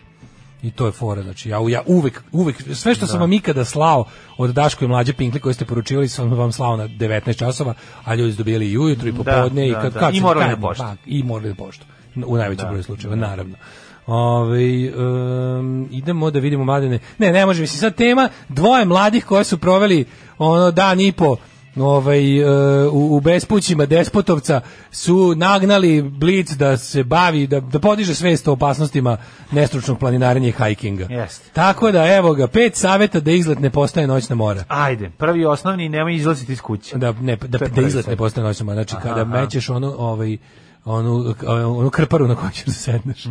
[SPEAKER 7] I to je fora, znači ja, ja uvek, uvek, sve što sam vam ikada slao od Daško i mlađe Pinkli koje ste poručivali sam vam slao na 19 časova, a ljudi su dobijali i ujutru i popodne i
[SPEAKER 6] da,
[SPEAKER 7] kad,
[SPEAKER 6] da.
[SPEAKER 7] kad
[SPEAKER 6] I
[SPEAKER 7] su-
[SPEAKER 6] morali
[SPEAKER 7] kad-
[SPEAKER 6] na poštu.
[SPEAKER 7] pa, I morali na poštu, u najvećem
[SPEAKER 6] Da,
[SPEAKER 7] broju slučajeva, naravno. Ove, um, idemo da vidimo mladene. Ne, ne može, mislim, sad tema dvoje mladih koje su proveli ono dan i po ovaj, e, u, u bespućima Despotovca su nagnali Blic da se bavi, da, da podiže svest o opasnostima nestručnog planinarenja i hajkinga.
[SPEAKER 6] Jeste.
[SPEAKER 7] Tako da, evo ga, pet saveta da izlet ne postaje noćna mora.
[SPEAKER 6] Ajde, prvi i osnovni, nemoj izlaziti iz kuće.
[SPEAKER 7] Da, ne, da,
[SPEAKER 6] To je
[SPEAKER 7] da
[SPEAKER 6] prvi
[SPEAKER 7] izlet ne
[SPEAKER 6] savjet.
[SPEAKER 7] postaje noćna mora. Znači,
[SPEAKER 6] Aha,
[SPEAKER 7] kada
[SPEAKER 6] aha.
[SPEAKER 7] mećeš onu, ovaj, onu, onu krparu na koju ćeš da sedneš.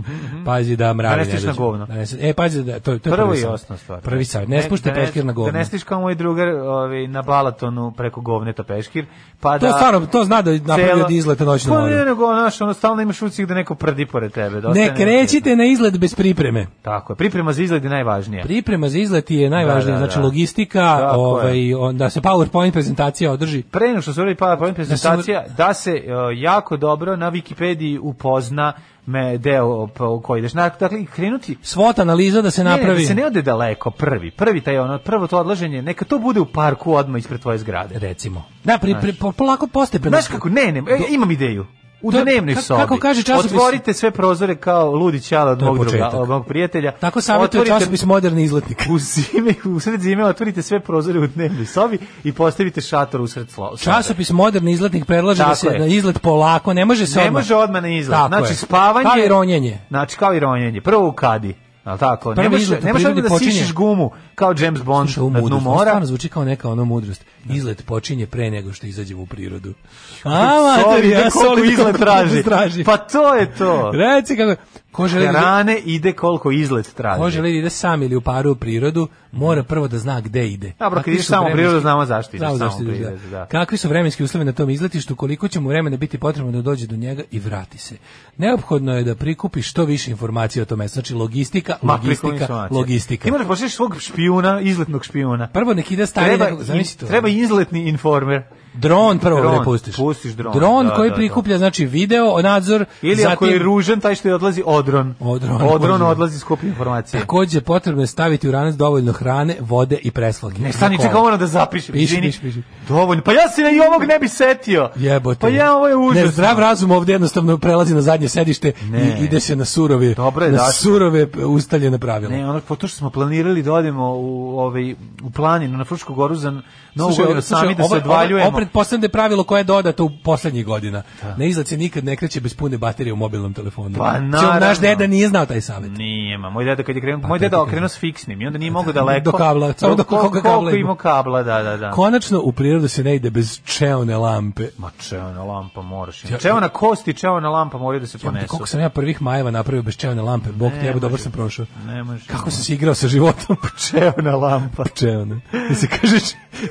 [SPEAKER 7] Pazi da mravi
[SPEAKER 6] Mhm, Da ne stiš na
[SPEAKER 7] dođu.
[SPEAKER 6] govno.
[SPEAKER 7] Da ne stiš- e, pazi da, to, je- to je
[SPEAKER 6] Prvo i
[SPEAKER 7] savjet.
[SPEAKER 6] osnovna stvar.
[SPEAKER 7] Prvi savjet. Ne spuštaj
[SPEAKER 6] da ne-
[SPEAKER 7] peškir na govno.
[SPEAKER 6] Da ne stiš kao moj drugar ovaj, na Balatonu preko govneta peškir. Pa
[SPEAKER 7] To
[SPEAKER 6] da,
[SPEAKER 7] stvarno, to zna da napravi
[SPEAKER 6] cela-
[SPEAKER 7] od izleta noćnu
[SPEAKER 6] Pa ne,
[SPEAKER 7] moru.
[SPEAKER 6] nego, znaš, ono, stalno imaš ucik da neko prdi pored tebe. Da
[SPEAKER 7] Ne
[SPEAKER 6] ostane-
[SPEAKER 7] krećite na izlet bez pripreme.
[SPEAKER 6] Tako je, priprema za izgled je najvažnija.
[SPEAKER 7] Priprema za izlet je najvažnija,
[SPEAKER 6] Da, da,
[SPEAKER 7] znači
[SPEAKER 6] da.
[SPEAKER 7] logistika,
[SPEAKER 6] Tako je.
[SPEAKER 7] ovaj, on- da se PowerPoint prezentacija održi.
[SPEAKER 6] Pre nego što se uradi PowerPoint prezentacija, da se e, jako dobro na Wikipediji upozna me deo po koji ideš. Na- Dakle, krenuti
[SPEAKER 7] SWOT analiza da se
[SPEAKER 6] Ne,
[SPEAKER 7] napravi.
[SPEAKER 6] Ne, da se ne ode daleko, prvi. Prvi taj ono, prvo to odlaženje, neka to bude u parku odmah ispred tvoje zgrade.
[SPEAKER 7] Recimo. Da, pri, pri, po- polako postepeno.
[SPEAKER 6] Znaš kako, ne, ne, e, imam ideju. U
[SPEAKER 7] To je-
[SPEAKER 6] dnevnoj
[SPEAKER 7] kako-
[SPEAKER 6] sobi.
[SPEAKER 7] kako kaže časopis-
[SPEAKER 6] Otvorite sve prozore kao ludi ćala od
[SPEAKER 7] To je
[SPEAKER 6] mog, druga,
[SPEAKER 7] početak.
[SPEAKER 6] od mog prijatelja.
[SPEAKER 7] Tako savjetuje
[SPEAKER 6] Otvorite-
[SPEAKER 7] časopis moderni izletnik.
[SPEAKER 6] U zime, u sred zime otvorite sve prozore u dnevnoj sobi i postavite šator usred slo- sobe.
[SPEAKER 7] Časopis Moderni izletnik predlaže
[SPEAKER 6] Tako
[SPEAKER 7] da se
[SPEAKER 6] je.
[SPEAKER 7] na izlet polako, ne može se
[SPEAKER 6] ne
[SPEAKER 7] odmah.
[SPEAKER 6] može odmah na izlaz.
[SPEAKER 7] Tako
[SPEAKER 6] znači
[SPEAKER 7] je.
[SPEAKER 6] spavanje,
[SPEAKER 7] Kao i ronjenje.
[SPEAKER 6] Znači kao i ronjenje. Prvo u kadi. Al tako, ne
[SPEAKER 7] Prvi
[SPEAKER 6] možeš
[SPEAKER 7] izlet u
[SPEAKER 6] ne možeš
[SPEAKER 7] prirodi
[SPEAKER 6] odmah da
[SPEAKER 7] počinje.
[SPEAKER 6] sišiš gumu kao James Bond
[SPEAKER 7] Slušaj, ovo
[SPEAKER 6] na dnu
[SPEAKER 7] mudrost, ovo
[SPEAKER 6] mora.
[SPEAKER 7] stvarno zvuči kao neka ono mudrost. Izlet počinje pre nego što izađemo u prirodu.
[SPEAKER 6] Solid,
[SPEAKER 7] A,
[SPEAKER 6] ide koliko izlet traži.
[SPEAKER 7] traži.
[SPEAKER 6] Pa to je to.
[SPEAKER 7] Reci kako... Ko želi, da,
[SPEAKER 6] Rane ide koliko izlet traži.
[SPEAKER 7] ko želi da ide sam ili u paru u prirodu, mora prvo da zna gde ide.
[SPEAKER 6] Mm. Dobro, kad
[SPEAKER 7] Kakvi
[SPEAKER 6] ideš
[SPEAKER 7] su
[SPEAKER 6] samo u prirodu,
[SPEAKER 7] vremenski-
[SPEAKER 6] znamo zašto ideš
[SPEAKER 7] Znamo
[SPEAKER 6] samo
[SPEAKER 7] zašto
[SPEAKER 6] u
[SPEAKER 7] ideš, da.
[SPEAKER 6] prirodu, da.
[SPEAKER 7] Kakvi su vremenski uslovi na tom izletištu, koliko će mu vremena biti potrebno da dođe do njega i vrati se. Neophodno je da prikupi što više informacija o tome. Znači logistika,
[SPEAKER 6] Ma, preko
[SPEAKER 7] logistika,
[SPEAKER 6] informacije.
[SPEAKER 7] logistika. Pa,
[SPEAKER 6] Ti moraš pošliš svog špijuna, izletnog špijuna.
[SPEAKER 7] Prvo nek ide stari
[SPEAKER 6] Treba,
[SPEAKER 7] nekog, zamisli to. ono.
[SPEAKER 6] treba izletni informer.
[SPEAKER 7] Dron prvo
[SPEAKER 6] Dron,
[SPEAKER 7] da pustiš.
[SPEAKER 6] pustiš dron, da,
[SPEAKER 7] koji
[SPEAKER 6] da, da.
[SPEAKER 7] prikuplja znači video, nadzor,
[SPEAKER 6] Ili
[SPEAKER 7] zatim
[SPEAKER 6] ako je ružan, taj što je odlazi odron.
[SPEAKER 7] Odron.
[SPEAKER 6] odron odlazi skup informacije.
[SPEAKER 7] takođe potrebno je staviti u ranac dovoljno hrane, vode i preslage.
[SPEAKER 6] Ne, E, stani,
[SPEAKER 7] Za
[SPEAKER 6] čekaj,
[SPEAKER 7] kola.
[SPEAKER 6] moram da zapišem.
[SPEAKER 7] Piši,
[SPEAKER 6] izvini.
[SPEAKER 7] piši, piši.
[SPEAKER 6] Dovoljno. Pa ja se i ovog ne bi setio.
[SPEAKER 7] Jebote.
[SPEAKER 6] Pa ja, ovo je
[SPEAKER 7] Ne,
[SPEAKER 6] užasno.
[SPEAKER 7] zdrav razum ovdje jednostavno prelazi na zadnje sedište
[SPEAKER 6] Ne.
[SPEAKER 7] i ide se na surove,
[SPEAKER 6] Dobro je
[SPEAKER 7] na
[SPEAKER 6] Daško.
[SPEAKER 7] surove ustaljene pravila.
[SPEAKER 6] Ne, ono, po to što smo planirali da odemo u, ovaj, u planinu na Frušku goru za novu
[SPEAKER 7] Slušaj,
[SPEAKER 6] godinu
[SPEAKER 7] slušaj, ovaj-
[SPEAKER 6] sami da
[SPEAKER 7] ovo-
[SPEAKER 6] se
[SPEAKER 7] ovo-
[SPEAKER 6] odvaljujemo.
[SPEAKER 7] Ovo pretpostavljam da je pravilo koje je dodato u poslednjih godina. Na izlaz se nikad ne kreće bez pune baterije u mobilnom telefonu.
[SPEAKER 6] Pa,
[SPEAKER 7] Cijel
[SPEAKER 6] naravno.
[SPEAKER 7] naš deda nije znao taj savjet.
[SPEAKER 6] Nije, ma, moj deda kad je krenuo, moj deda okrenuo s fiksnim i onda nije mogao daleko.
[SPEAKER 7] Pa Do kabla, samo do koliko kabla
[SPEAKER 6] Koliko
[SPEAKER 7] ima.
[SPEAKER 6] ima kabla, da, da, da.
[SPEAKER 7] Konačno u prirodu se ne ide bez čeone lampe.
[SPEAKER 6] Ma čeo na lampa moraš.
[SPEAKER 7] Ja-
[SPEAKER 6] Čeo na kosti, čeo na lampa moraju da se
[SPEAKER 7] Jebote,
[SPEAKER 6] ponesu.
[SPEAKER 7] Koliko sam ja prvih majeva napravio bez čeone lampe, bog
[SPEAKER 6] Pa Ne pa
[SPEAKER 7] te jebe, dobro
[SPEAKER 6] može.
[SPEAKER 7] sam prošao.
[SPEAKER 6] Ne može.
[SPEAKER 7] Kako sam se igrao sa životom? pa
[SPEAKER 6] čeo na lampa?
[SPEAKER 7] Pčeone. I se kaže,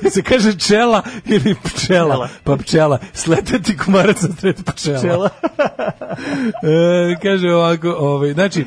[SPEAKER 7] i se kaže čela ili pčela, pa pčela. Sleteti komarac na tret pčela.
[SPEAKER 6] Pčela.
[SPEAKER 7] e, kaže ovako, ovaj, znači,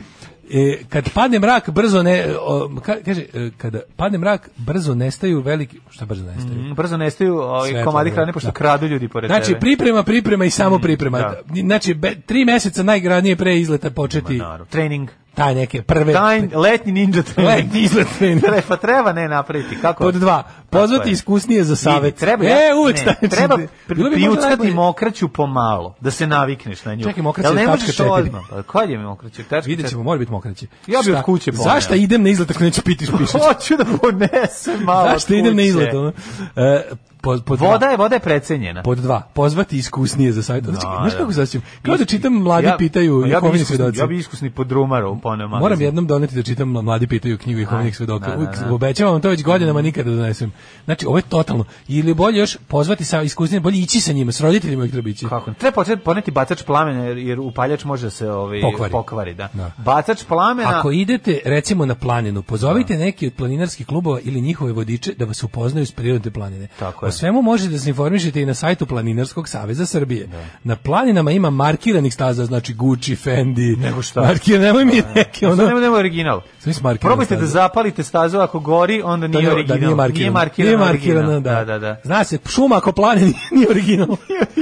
[SPEAKER 7] e, kad padne mrak, brzo ne, o, ka- kaže, e, kada padne mrak, brzo nestaju veliki, šta brzo nestaju?
[SPEAKER 6] Mm, Brzo nestaju ovaj
[SPEAKER 7] Svetlo,
[SPEAKER 6] komadi
[SPEAKER 7] da.
[SPEAKER 6] hrane pošto
[SPEAKER 7] Da.
[SPEAKER 6] kradu ljudi pored
[SPEAKER 7] Znači,
[SPEAKER 6] tebe. Mhm,
[SPEAKER 7] priprema, priprema i samo priprema.
[SPEAKER 6] da.
[SPEAKER 7] Znači, be, tri meseca najgranije pre izleta početi
[SPEAKER 6] Naravno. Trening.
[SPEAKER 7] taj neke prve...
[SPEAKER 6] Tajn, letnji ninja trening.
[SPEAKER 7] Letnji izlet trening.
[SPEAKER 6] Tre- pa treba ne napraviti. Kako?
[SPEAKER 7] Pod dva, pozvati
[SPEAKER 6] je.
[SPEAKER 7] iskusnije za savjet.
[SPEAKER 6] Vidi, treba,
[SPEAKER 7] e,
[SPEAKER 6] ja-
[SPEAKER 7] uvek
[SPEAKER 6] ne,
[SPEAKER 7] stavite-
[SPEAKER 6] treba
[SPEAKER 7] Bilo bi možda
[SPEAKER 6] priuckati
[SPEAKER 7] najbolje-
[SPEAKER 6] mokraću pomalo, da se navikneš na nju.
[SPEAKER 7] Čekaj, mokraća
[SPEAKER 6] Jel
[SPEAKER 7] je
[SPEAKER 6] ne
[SPEAKER 7] tačka
[SPEAKER 6] možeš
[SPEAKER 7] četiri.
[SPEAKER 6] odmah? Pa, Kad je mokraću? Tačka
[SPEAKER 7] Vidjet ćemo,
[SPEAKER 6] četiri?
[SPEAKER 7] mora biti mokraće.
[SPEAKER 6] Ja bi
[SPEAKER 7] Šta-
[SPEAKER 6] od kuće poneo.
[SPEAKER 7] Zašto idem na izlet ako neću piti špišić?
[SPEAKER 6] Hoću da ponesem malo
[SPEAKER 7] Zašto
[SPEAKER 6] od
[SPEAKER 7] idem na
[SPEAKER 6] kuće.
[SPEAKER 7] izlet? Ono? E, pod, pod
[SPEAKER 6] Voda
[SPEAKER 7] dva.
[SPEAKER 6] je, voda je precenjena.
[SPEAKER 7] Pod dva, pozvati iskusnije za savjet. Znači,
[SPEAKER 6] Da,
[SPEAKER 7] znaš
[SPEAKER 6] da.
[SPEAKER 7] kako se osjećam? Kao da čitam mladi
[SPEAKER 6] Ja-
[SPEAKER 7] pitaju
[SPEAKER 6] Ma
[SPEAKER 7] i
[SPEAKER 6] ja bi
[SPEAKER 7] Jehovini
[SPEAKER 6] iskusni,
[SPEAKER 7] svedoci.
[SPEAKER 6] ja bi iskusni podrumar u ponem.
[SPEAKER 7] Moram jednom doneti da čitam Mladi pitaju knjigu Jehovinih svedoka.
[SPEAKER 6] da, da,
[SPEAKER 7] Uvijek
[SPEAKER 6] da.
[SPEAKER 7] obećavam vam to već godinama nikada da donesem. Znači, ovo je totalno. Ili bolje još pozvati sa iskusnim, bolje ići sa njima, s roditeljima ih treba ići.
[SPEAKER 6] Kako? Treba početi poneti bacač plamena jer, jer upaljač može da se ovaj
[SPEAKER 7] Pokvari.
[SPEAKER 6] da.
[SPEAKER 7] Da.
[SPEAKER 6] Bacač plamena.
[SPEAKER 7] Ako idete recimo na planinu, pozovite neki od planinarskih klubova ili njihove vodiče da vas upoznaju s prirodne planine.
[SPEAKER 6] Tako je.
[SPEAKER 7] o svemu možete da se informišete i na sajtu Planinarskog saveza Srbije. Na planinama ima markiranih staza, znači Gucci, Fendi.
[SPEAKER 6] Nego šta?
[SPEAKER 7] Markir, nemoj mi neke
[SPEAKER 6] Ono,
[SPEAKER 7] ono.
[SPEAKER 6] nema, nema original.
[SPEAKER 7] Sve s markirane
[SPEAKER 6] Probajte
[SPEAKER 7] staze.
[SPEAKER 6] da zapalite stazu, ako gori,
[SPEAKER 7] Da
[SPEAKER 6] onda nije
[SPEAKER 7] nije, da
[SPEAKER 6] original.
[SPEAKER 7] nije markirano.
[SPEAKER 6] Nije markiran, original. da. da, da.
[SPEAKER 7] Zna se, šuma ako plane nije, nije original.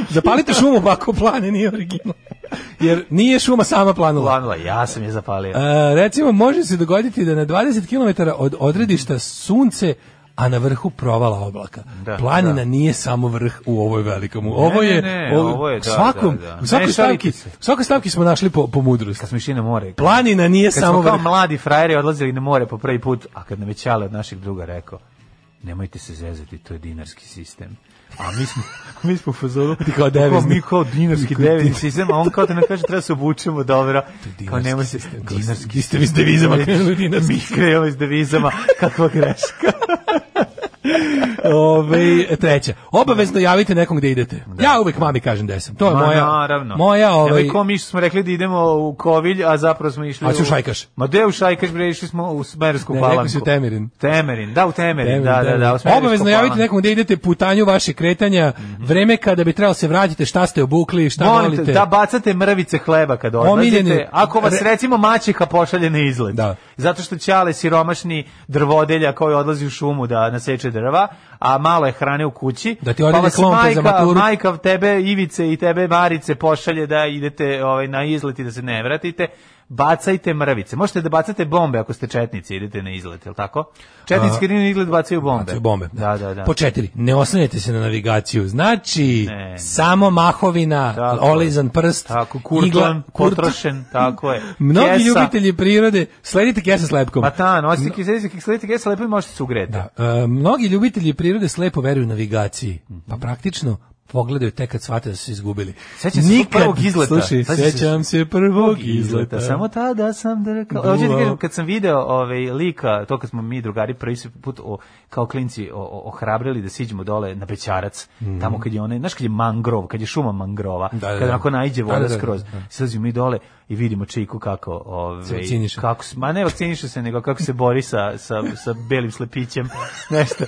[SPEAKER 7] Zapalite šumu pa ako plane nije original. Jer nije šuma sama planula.
[SPEAKER 6] Planula, ja sam je zapalio.
[SPEAKER 7] E, recimo, može se dogoditi da na 20 km od odredišta sunce a na vrhu provala oblaka.
[SPEAKER 6] Da,
[SPEAKER 7] Planina
[SPEAKER 6] da.
[SPEAKER 7] nije samo vrh u ovoj velikom. Ovo
[SPEAKER 6] Ne,
[SPEAKER 7] je,
[SPEAKER 6] ne, ne, ovo je, da,
[SPEAKER 7] svakom,
[SPEAKER 6] da, da.
[SPEAKER 7] u svakoj
[SPEAKER 6] Ne
[SPEAKER 7] stavki,
[SPEAKER 6] šalite se.
[SPEAKER 7] u svakoj stavki smo našli po, po mudrost.
[SPEAKER 6] Kad smo išli na more.
[SPEAKER 7] Planina nije
[SPEAKER 6] Kad
[SPEAKER 7] samo
[SPEAKER 6] smo kao
[SPEAKER 7] vrh.
[SPEAKER 6] mladi frajeri odlazili na more po prvi put, a kad nam je Ćale od naših druga rekao, nemojte se zezati, to je dinarski sistem. A mi smo, mi smo u fazonu,
[SPEAKER 7] Ti kao devizni.
[SPEAKER 6] mi kao dinarski
[SPEAKER 7] Kao
[SPEAKER 6] devizni
[SPEAKER 7] ti-
[SPEAKER 6] sistem, a on kao da nam kaže treba se obučemo dobro. Kao
[SPEAKER 7] dinarski
[SPEAKER 6] nemoj se,
[SPEAKER 7] sistem, kao
[SPEAKER 6] dinarski
[SPEAKER 7] vi ste mi s devizama krenuli, dinarski.
[SPEAKER 6] Mi krenuli s devizama, kakva greška.
[SPEAKER 7] Ove, treća. Obavezno javite nekom gde idete. Ja uvek mami kažem gde sam. To je
[SPEAKER 6] Ma,
[SPEAKER 7] moja.
[SPEAKER 6] naravno.
[SPEAKER 7] Moja, ovaj,
[SPEAKER 6] Evo i kom išli smo rekli da idemo u Kovilj, a zapravo smo išli
[SPEAKER 7] A ću u Šajkaš.
[SPEAKER 6] Ma gde u Šajkaš, bre, išli smo u Smersku
[SPEAKER 7] Ne, rekao
[SPEAKER 6] palanku.
[SPEAKER 7] si u Temerin.
[SPEAKER 6] Temerin, da, u Temerin,
[SPEAKER 7] Temerin,
[SPEAKER 6] da, da,
[SPEAKER 7] Temerin.
[SPEAKER 6] da. u Smersku
[SPEAKER 7] Obavezno javite
[SPEAKER 6] palanku.
[SPEAKER 7] nekom gde idete putanju vaše kretanja, vreme kada bi trebalo se vratite, šta ste obukli, šta
[SPEAKER 6] Mhm. Molim te,
[SPEAKER 7] volite.
[SPEAKER 6] da bacate mrvice hleba kad odlazite.
[SPEAKER 7] Omiljeni-
[SPEAKER 6] ako vas
[SPEAKER 7] re-
[SPEAKER 6] recimo maćeha pošalje na izlet.
[SPEAKER 7] Da.
[SPEAKER 6] Zato što ćale siromašni drvodelja koji odlazi u šumu da naseče drva, a malo je hrane u kući. pa
[SPEAKER 7] Da ti odredi
[SPEAKER 6] vas
[SPEAKER 7] klompe za
[SPEAKER 6] majka,
[SPEAKER 7] maturu.
[SPEAKER 6] majka tebe Ivice i tebe Marice pošalje da idete ovaj, na izlet i da se ne vratite. Bacajte mrvice. Možete da bacate bombe ako ste četnici, idete na izlet, je li tako? Četnici
[SPEAKER 7] A-
[SPEAKER 6] kad idu na izlet bacaju bombe.
[SPEAKER 7] Bacaju bombe.
[SPEAKER 6] Da, da, da.
[SPEAKER 7] Po četiri, ne oslanjajte se na navigaciju. Znači,
[SPEAKER 6] Ne.
[SPEAKER 7] samo mahovina,
[SPEAKER 6] Tako je.
[SPEAKER 7] olizan prst,
[SPEAKER 6] Tako, kurton,
[SPEAKER 7] igla- kurton.
[SPEAKER 6] potrošen, tako je.
[SPEAKER 7] Mnogi
[SPEAKER 6] Kesa.
[SPEAKER 7] ljubitelji prirode, sledite kese s lepkom.
[SPEAKER 6] Pa ta, nosite kiselice, kiselice, kiselice, lepo i možete se ugreti. Da.
[SPEAKER 7] E, mnogi ljubitelji prirode slepo veruju navigaciji,
[SPEAKER 6] Mhm.
[SPEAKER 7] pa praktično pogledaju tek kad shvate da su se izgubili.
[SPEAKER 6] Sećam se svog prvog izleta.
[SPEAKER 7] Slušaj,
[SPEAKER 6] Sećam se
[SPEAKER 7] sećam se prvog izleta.
[SPEAKER 6] Samo tada sam da rekao...
[SPEAKER 7] Buvao.
[SPEAKER 6] Hoću ti kažem, kad sam video ovaj, lika, to kad smo mi drugari prvi se put o, kao klinci o- o- ohrabrili da siđemo dole na Bećarac, tamo kad je onaj, znaš kad je mangrov, kad je šuma mangrova,
[SPEAKER 7] Mhm. Da, da,
[SPEAKER 6] kad
[SPEAKER 7] da.
[SPEAKER 6] onako najđe voda
[SPEAKER 7] Da, da, da,
[SPEAKER 6] skroz,
[SPEAKER 7] da.
[SPEAKER 6] silazimo mi dole i vidimo Čiku kako... Ovaj,
[SPEAKER 7] Se vakciniše.
[SPEAKER 6] Kako, s- ma ne vakciniše se, nego kako se bori sa, sa, sa belim slepićem, nešto.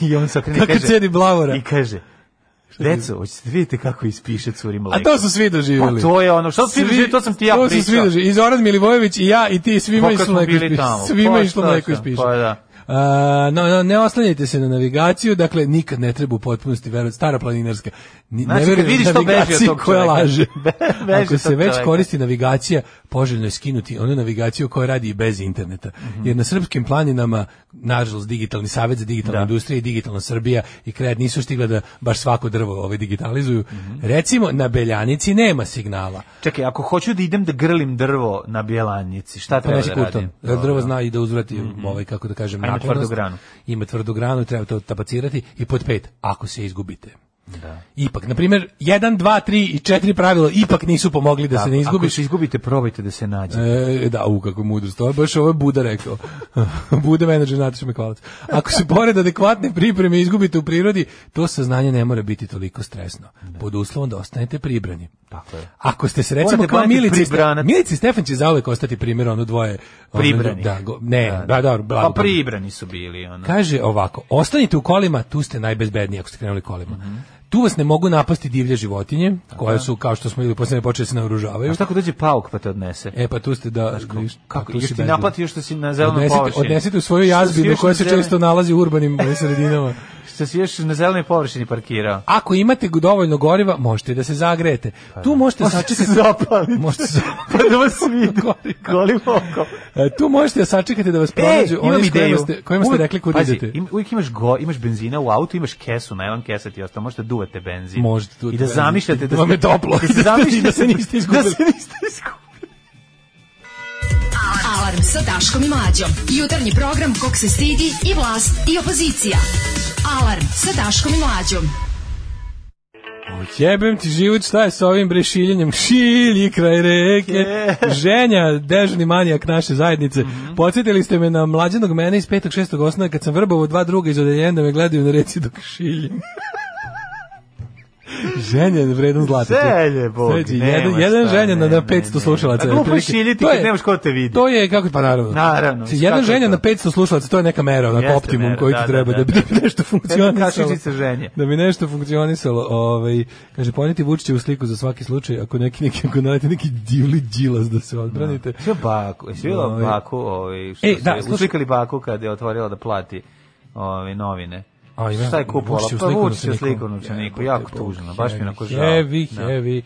[SPEAKER 6] I on se okrene i
[SPEAKER 7] Kako
[SPEAKER 6] kaže...
[SPEAKER 7] cedi blavora.
[SPEAKER 6] I kaže, Deco, hoćete vidite kako ispiše curi mleko.
[SPEAKER 7] A to su svi doživjeli.
[SPEAKER 6] Pa to je ono, što svi doživjeli, to sam ti ja
[SPEAKER 7] to
[SPEAKER 6] pričao.
[SPEAKER 7] su svi doživjeli. I Zoran Milivojević i ja i ti, svima
[SPEAKER 6] Koliko
[SPEAKER 7] išlo
[SPEAKER 6] smo
[SPEAKER 7] mleko
[SPEAKER 6] bili
[SPEAKER 7] ispiše.
[SPEAKER 6] tamo?
[SPEAKER 7] Svima
[SPEAKER 6] Pa,
[SPEAKER 7] išlo
[SPEAKER 6] šta
[SPEAKER 7] mleko
[SPEAKER 6] sam,
[SPEAKER 7] ispiše.
[SPEAKER 6] pa da.
[SPEAKER 7] A, no, no, ne oslanjajte se na navigaciju, dakle nikad ne treba u potpunosti verovati stara planinarska. Ni,
[SPEAKER 6] Znači,
[SPEAKER 7] ne
[SPEAKER 6] kad
[SPEAKER 7] verujem
[SPEAKER 6] vidiš to, beži od
[SPEAKER 7] navigaciji
[SPEAKER 6] tog
[SPEAKER 7] koja
[SPEAKER 6] čoveka.
[SPEAKER 7] laže.
[SPEAKER 6] Be- beži
[SPEAKER 7] Ako
[SPEAKER 6] od
[SPEAKER 7] se
[SPEAKER 6] tog
[SPEAKER 7] već
[SPEAKER 6] čoveka.
[SPEAKER 7] koristi navigacija, poželjno je skinuti onu navigaciju koja radi i bez interneta.
[SPEAKER 6] Mhm.
[SPEAKER 7] Jer na srpskim planinama, nažalost, digitalni savjet za digitalnu
[SPEAKER 6] Da.
[SPEAKER 7] industriju i digitalna Srbija i kred nisu stigla da baš svako drvo ovaj, digitalizuju.
[SPEAKER 6] Mhm.
[SPEAKER 7] Recimo, na Beljanici nema signala.
[SPEAKER 6] Čekaj, ako hoću da idem da grlim drvo na Bjelanjici, šta treba
[SPEAKER 7] Ponesi
[SPEAKER 6] da
[SPEAKER 7] kurton.
[SPEAKER 6] radim?
[SPEAKER 7] Jer drvo zna i Pa da uzvrati ovaj, kako da kažem,
[SPEAKER 6] A ima
[SPEAKER 7] naklonost.
[SPEAKER 6] tvrdu granu.
[SPEAKER 7] Ima tvrdu granu, treba to tapacirati. I pod pet, ako se izgubite.
[SPEAKER 6] Da.
[SPEAKER 7] Ipak, na primjer, 1, 2, 3 i 4 pravilo ipak nisu pomogli da se ne
[SPEAKER 6] Ako
[SPEAKER 7] izgubiš.
[SPEAKER 6] se izgubite, probajte da se nađe.
[SPEAKER 7] E, da, u kakvu mudrost. Ovo je baš ovo je Buda rekao. Buda menadžer Nataša Mihajlovac. Ako se pored adekvatne pripreme izgubite u prirodi, to saznanje ne mora biti toliko stresno. Pod uslovom da ostanete pribrani.
[SPEAKER 6] Tako je.
[SPEAKER 7] Ako ste se recimo
[SPEAKER 6] Morate
[SPEAKER 7] kao
[SPEAKER 6] braniti
[SPEAKER 7] Milici,
[SPEAKER 6] pribranac.
[SPEAKER 7] Milici Stefan će zauvek ostati primjer ono dvoje. ono,
[SPEAKER 6] Pribrani.
[SPEAKER 7] Da, go- ne, da, da, blago.
[SPEAKER 6] Pa pribrani su bili, ono.
[SPEAKER 7] Kaže ovako, ostanite u kolima, tu ste najbezbedniji ako ste krenuli kolima.
[SPEAKER 6] Mhm.
[SPEAKER 7] Tu vas ne mogu napasti divlje životinje, koje su, kao što smo ili poslednje počeli se naoružavaju.
[SPEAKER 6] A šta ako dođe pauk pa te odnese?
[SPEAKER 7] E pa tu ste da viš,
[SPEAKER 6] Kako,
[SPEAKER 7] tu
[SPEAKER 6] još
[SPEAKER 7] si
[SPEAKER 6] ti
[SPEAKER 7] bezbedni.
[SPEAKER 6] naplati još što si na zelenoj
[SPEAKER 7] odnesite,
[SPEAKER 6] površini.
[SPEAKER 7] odnesite u svoju
[SPEAKER 6] Što si
[SPEAKER 7] jazbinu
[SPEAKER 6] još
[SPEAKER 7] koja
[SPEAKER 6] na
[SPEAKER 7] se
[SPEAKER 6] zelenoj-
[SPEAKER 7] često nalazi u urbanim ovim sredinama.
[SPEAKER 6] Što si još na zelenoj površini parkirao?
[SPEAKER 7] Ako imate dovoljno goriva, možete da se zagrejete.
[SPEAKER 6] Pa
[SPEAKER 7] Tu možete sačekati
[SPEAKER 6] zapaliti.
[SPEAKER 7] možete se-
[SPEAKER 6] Pa da vas vidi. Golim oko.
[SPEAKER 7] E, tu možete da sačekate da vas pronađu
[SPEAKER 6] E,
[SPEAKER 7] oni
[SPEAKER 6] imam
[SPEAKER 7] s kojima
[SPEAKER 6] ideju.
[SPEAKER 7] ste, kojima ste
[SPEAKER 6] Uvek-
[SPEAKER 7] rekli kud
[SPEAKER 6] pazi,
[SPEAKER 7] idete.
[SPEAKER 6] im- uvijek imaš, go, imaš benzina u autu, imaš kesu, najlon kesa ti ostao, možete duvate benzin.
[SPEAKER 7] Možete duvate
[SPEAKER 6] I da
[SPEAKER 7] benzin.
[SPEAKER 6] zamišljate da
[SPEAKER 7] Vam je toplo.
[SPEAKER 6] Da se zamišljate
[SPEAKER 7] I da se niste izgubili.
[SPEAKER 6] Da se niste izgubili.
[SPEAKER 5] Alarm sa Daškom i Mlađom. Jutarnji program kog se stidi i vlast i opozicija. Alarm sa Daškom i Mlađom.
[SPEAKER 7] Jebem ti život, šta je sa ovim bre šiljenjem? Šilji kraj reke.
[SPEAKER 6] E.
[SPEAKER 7] Ženja, dežni manijak naše zajednice.
[SPEAKER 6] Mhm.
[SPEAKER 7] Podsjetili ste me na mlađenog mene iz 5. 6. osnovne kad sam vrbao dva druga iz odeljenja da me gledaju na reci dok šiljem. Ženja je vredan zlata.
[SPEAKER 6] Zelje, Bog,
[SPEAKER 7] Znači,
[SPEAKER 6] nema
[SPEAKER 7] jedan,
[SPEAKER 6] šta,
[SPEAKER 7] jedan ženja na,
[SPEAKER 6] ne,
[SPEAKER 7] na
[SPEAKER 6] ne,
[SPEAKER 7] 500
[SPEAKER 6] ne.
[SPEAKER 7] slušalaca.
[SPEAKER 6] A glupo je
[SPEAKER 7] otprilike.
[SPEAKER 6] šiljiti
[SPEAKER 7] To
[SPEAKER 6] kad
[SPEAKER 7] je-
[SPEAKER 6] nemaš ko te vidi.
[SPEAKER 7] To je, kako, pa naravno.
[SPEAKER 6] Naravno,
[SPEAKER 7] Znači, jedan
[SPEAKER 6] kako je
[SPEAKER 7] ženja
[SPEAKER 6] to?
[SPEAKER 7] na 500 slušalaca, to je neka mera, onako
[SPEAKER 6] Jeste
[SPEAKER 7] optimum
[SPEAKER 6] mera,
[SPEAKER 7] koji ti
[SPEAKER 6] da, da,
[SPEAKER 7] treba da,
[SPEAKER 6] da.
[SPEAKER 7] bi da bi nešto funkcionisalo.
[SPEAKER 6] Kašičica ženje.
[SPEAKER 7] Da bi nešto funkcionisalo, ovaj kaže poneti Vučića u sliku za svaki slučaj, ako neki neki ako nađete neki divli đilas da se odbranite.
[SPEAKER 6] Sve baku, sve
[SPEAKER 7] Ovaj.
[SPEAKER 6] baku, ovaj, što
[SPEAKER 7] E,
[SPEAKER 6] su
[SPEAKER 7] da,
[SPEAKER 6] je-
[SPEAKER 7] slušaj.
[SPEAKER 6] uslikali baku kad je otvorila da plati ovaj, novine.
[SPEAKER 7] A, ima-
[SPEAKER 6] Šta je kupovala?
[SPEAKER 7] Vučić je u
[SPEAKER 6] Pa
[SPEAKER 7] slikovnom
[SPEAKER 6] Vučić je u
[SPEAKER 7] učeniku.
[SPEAKER 6] slikovnom učeniku, jako
[SPEAKER 7] Jebote, Bog,
[SPEAKER 6] tužno, baš mi je onako žao.
[SPEAKER 7] Heavy,
[SPEAKER 6] Da.
[SPEAKER 7] heavy.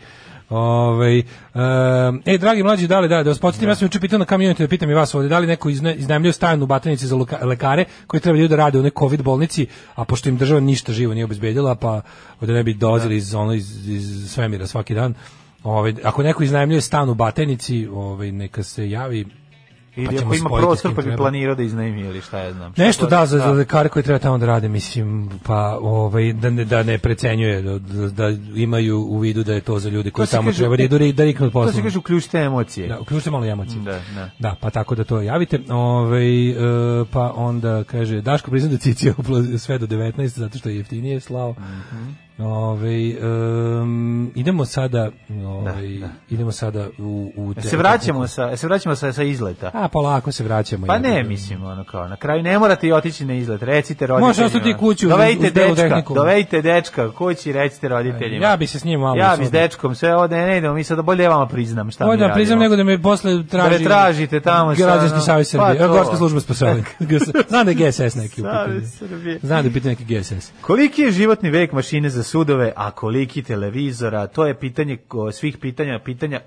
[SPEAKER 7] Ovaj um, e, dragi mlađi, da li da, da vas podsjetim, ja sam juče pitao na community da pitam i vas ovdje, da li neko izne, iznajmljuje stan u Batajnici za luka- lekare koji trebaju da rade u nekoj COVID bolnici, a pošto im država ništa živo nije obezbedila, pa da ne bi dolazili iz, ono, iz, iz svemira svaki dan. Ovaj, ako neko iznajmljuje stan u Batajnici, ovaj, neka se javi
[SPEAKER 6] Ili
[SPEAKER 7] pa ćemo
[SPEAKER 6] ako ima
[SPEAKER 7] spojiti s
[SPEAKER 6] prostor
[SPEAKER 7] kim
[SPEAKER 6] pa bi
[SPEAKER 7] treba.
[SPEAKER 6] planirao da iznajmi ili šta ja znam. Šta
[SPEAKER 7] Nešto
[SPEAKER 6] god.
[SPEAKER 7] da za, za lekare koji treba tamo da rade, mislim, pa ovaj da ne da ne precenjuje da, da imaju u vidu da je to za ljude koji
[SPEAKER 6] se
[SPEAKER 7] tamo
[SPEAKER 6] kaže-
[SPEAKER 7] treba da idu da- da riknu
[SPEAKER 6] To se
[SPEAKER 7] posao.
[SPEAKER 6] kaže uključite emocije.
[SPEAKER 7] Da, uključite malo emocije.
[SPEAKER 6] Da, da.
[SPEAKER 7] Da, pa tako da to javite. Ovaj e, pa onda kaže Daško priznaje da cici sve do 19 zato što je jeftinije slao.
[SPEAKER 6] Mhm.
[SPEAKER 7] Ovaj, em, idemo sada ovaj, idemo sada u, u
[SPEAKER 6] Jel Se vraćamo sa jel se vraćamo sa sa izleta.
[SPEAKER 7] A polako se vraćamo.
[SPEAKER 6] Pa ne,
[SPEAKER 7] jebote.
[SPEAKER 6] mislim, ono kao, na kraju ne morate i otići na izlet, recite roditeljima.
[SPEAKER 7] ostati kući uz-
[SPEAKER 6] Dovedite
[SPEAKER 7] uz belu
[SPEAKER 6] dečka,
[SPEAKER 7] tehniku.
[SPEAKER 6] dovedite dečka kući, recite roditeljima.
[SPEAKER 7] Ja bi se s njim malo
[SPEAKER 6] Ja bi s
[SPEAKER 7] sada-
[SPEAKER 6] dečkom sve ovde, ne idemo, mi sad bolje vama priznam šta
[SPEAKER 7] Ovo
[SPEAKER 6] mi
[SPEAKER 7] da priznam nego
[SPEAKER 6] radimo.
[SPEAKER 7] da me posle traži...
[SPEAKER 6] Da me tražite tamo šta,
[SPEAKER 7] Građanski
[SPEAKER 6] ono.
[SPEAKER 7] savjet
[SPEAKER 6] Pa
[SPEAKER 7] Srbije. Pa
[SPEAKER 6] to.
[SPEAKER 7] Gorska služba spasavanja. Znam da je GSS neki u pitanju.
[SPEAKER 6] Savez Srbije.
[SPEAKER 7] Znam da je pitanje neki GSS.
[SPEAKER 6] Koliki je životni vek mašine za sudove, a koliki televizora? To je pitanje ko- svih pitanja, pitanja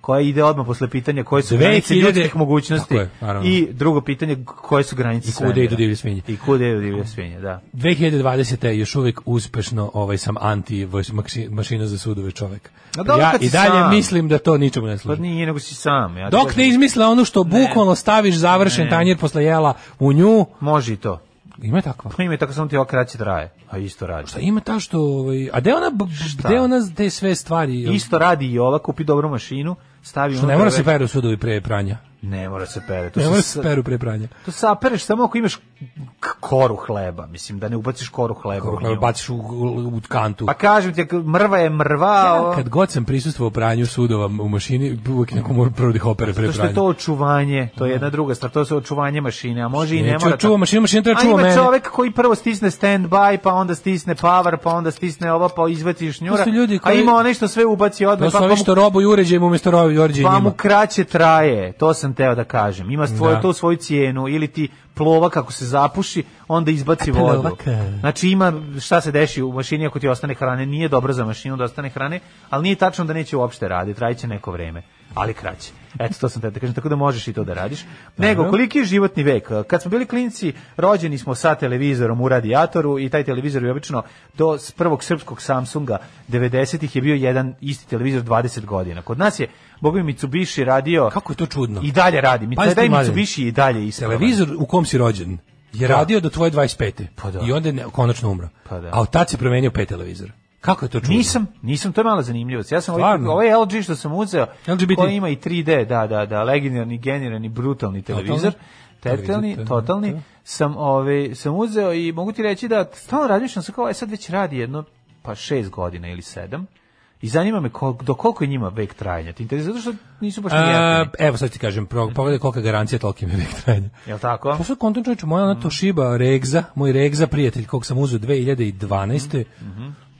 [SPEAKER 6] koje ide odmah posle pitanja koje su
[SPEAKER 7] 2000
[SPEAKER 6] granice ljudskih mogućnosti
[SPEAKER 7] Tako je, naravno.
[SPEAKER 6] i drugo pitanje koje su granice
[SPEAKER 7] I kude
[SPEAKER 6] svemira.
[SPEAKER 7] idu divlje svinje.
[SPEAKER 6] I kude idu divlje svinje, da.
[SPEAKER 7] 2020. je još uvek uspešno ovaj sam anti vaš- maksi- mašina za sudove čovek.
[SPEAKER 6] A dobro
[SPEAKER 7] ja
[SPEAKER 6] kad si
[SPEAKER 7] i dalje
[SPEAKER 6] sam.
[SPEAKER 7] mislim da to ničemu ne
[SPEAKER 6] Pa
[SPEAKER 7] služi.
[SPEAKER 6] nije, nego si sam. Ja ti
[SPEAKER 7] Dok
[SPEAKER 6] kažem,
[SPEAKER 7] ne izmisle ono što bukvalno staviš završen
[SPEAKER 6] Ne.
[SPEAKER 7] tanjer posle jela u nju,
[SPEAKER 6] Može i to.
[SPEAKER 7] ima takva.
[SPEAKER 6] Pa ima i tako samo ti ovo kraće traje, a isto radi.
[SPEAKER 7] Šta ima ta što... Ovaj, a gde ona, b- gde ona te sve stvari...
[SPEAKER 6] Isto radi i ova, kupi dobru mašinu, stavi
[SPEAKER 7] Što ne
[SPEAKER 6] unutra
[SPEAKER 7] mora
[SPEAKER 6] ve-
[SPEAKER 7] se peru sudovi pre pranja.
[SPEAKER 6] Ne mora se pere. To
[SPEAKER 7] Ne
[SPEAKER 6] se
[SPEAKER 7] mora
[SPEAKER 6] s-
[SPEAKER 7] se peru pre pranja.
[SPEAKER 6] To sapereš samo ako imaš k- koru hleba, mislim, da ne ubaciš koru hleba. u
[SPEAKER 7] Kako
[SPEAKER 6] nju.
[SPEAKER 7] baciš u, u, u kantu.
[SPEAKER 6] Pa kažem ti, ako mrva je mrva,
[SPEAKER 7] Ja,
[SPEAKER 6] o-
[SPEAKER 7] kad god sam prisustvovao pranju sudova u mašini, uvek neko mora prvo da ih opere pre
[SPEAKER 6] to što
[SPEAKER 7] pranja.
[SPEAKER 6] je to očuvanje, to je jedna druga stvar, to je očuvanje mašine, a može i ne
[SPEAKER 7] Neću
[SPEAKER 6] mora.
[SPEAKER 7] čuva
[SPEAKER 6] tako.
[SPEAKER 7] mašinu, mašina treba
[SPEAKER 6] A
[SPEAKER 7] čuva
[SPEAKER 6] ima
[SPEAKER 7] mene.
[SPEAKER 6] čovek koji prvo stisne standby, pa onda stisne power, pa onda stisne ovo, pa izvati šnjura,
[SPEAKER 7] To su ljudi
[SPEAKER 6] a
[SPEAKER 7] koji-
[SPEAKER 6] ima onaj što sve ubaci
[SPEAKER 7] To
[SPEAKER 6] odmah,
[SPEAKER 7] su
[SPEAKER 6] pa,
[SPEAKER 7] ovi
[SPEAKER 6] mu,
[SPEAKER 7] što robuju uređajima umjesto robuju
[SPEAKER 6] pa mu
[SPEAKER 7] uređajima.
[SPEAKER 6] kraće traje, to sam teo da kažem. Ima svoju,
[SPEAKER 7] Da.
[SPEAKER 6] to svoju cijenu, ili ti plova kako se zapuši, onda izbaci
[SPEAKER 7] E, Plova
[SPEAKER 6] vodu.
[SPEAKER 7] ka-
[SPEAKER 6] Znači ima šta se deši u mašini ako ti ostane hrane, nije dobro za mašinu da ostane hrane, ali nije tačno da neće uopšte raditi, trajiće neko vreme, ali kraće. Eto, to sam te da kažem, tako da možeš i to da radiš. Nego, koliki je životni vek? Kad smo bili klinci, rođeni smo sa televizorom u radijatoru i taj televizor je obično do s prvog srpskog Samsunga 90-ih je bio jedan isti televizor 20 godina. Kod nas je Bobi Mitsubishi radio
[SPEAKER 7] Kako je to čudno.
[SPEAKER 6] i dalje radi. Mi
[SPEAKER 7] Pazite,
[SPEAKER 6] taj
[SPEAKER 7] mladen.
[SPEAKER 6] Mitsubishi je i dalje ispravan.
[SPEAKER 7] Televizor u kom si rođen je radio do tvoje 25.
[SPEAKER 6] Pa da.
[SPEAKER 7] I onda je ne- konačno umro.
[SPEAKER 6] Pa da.
[SPEAKER 7] A od tad se promenio pet televizora. Kako je to čudno?
[SPEAKER 6] Nisam, nisam, to je mala zanimljivost. Ja sam ovaj,
[SPEAKER 7] Stvarno?
[SPEAKER 6] ovaj LG što sam uzeo,
[SPEAKER 7] LGBT.
[SPEAKER 6] koji ima i 3D, da, da, da, legendarni, generirani, brutalni televizor,
[SPEAKER 7] Totalni?
[SPEAKER 6] tetelni,
[SPEAKER 7] Televizor,
[SPEAKER 6] totalni,
[SPEAKER 7] da.
[SPEAKER 6] sam, ove, sam uzeo i mogu ti reći da stalno razmišljam se kao, aj sad već radi jedno, pa šest godina ili sedam, i zanima me kol, do koliko je njima vek trajanja. Ti interesuje, zato što nisu baš
[SPEAKER 7] A,
[SPEAKER 6] nijeftini.
[SPEAKER 7] evo sad ti kažem, pro- pogledaj kolika je garancija, toliki mi je vek trajanja.
[SPEAKER 6] Jel tako?
[SPEAKER 7] Pa sve kontent čovječe, moja ona Toshiba Regza, moj Regza prijatelj kog sam uzeo 2012.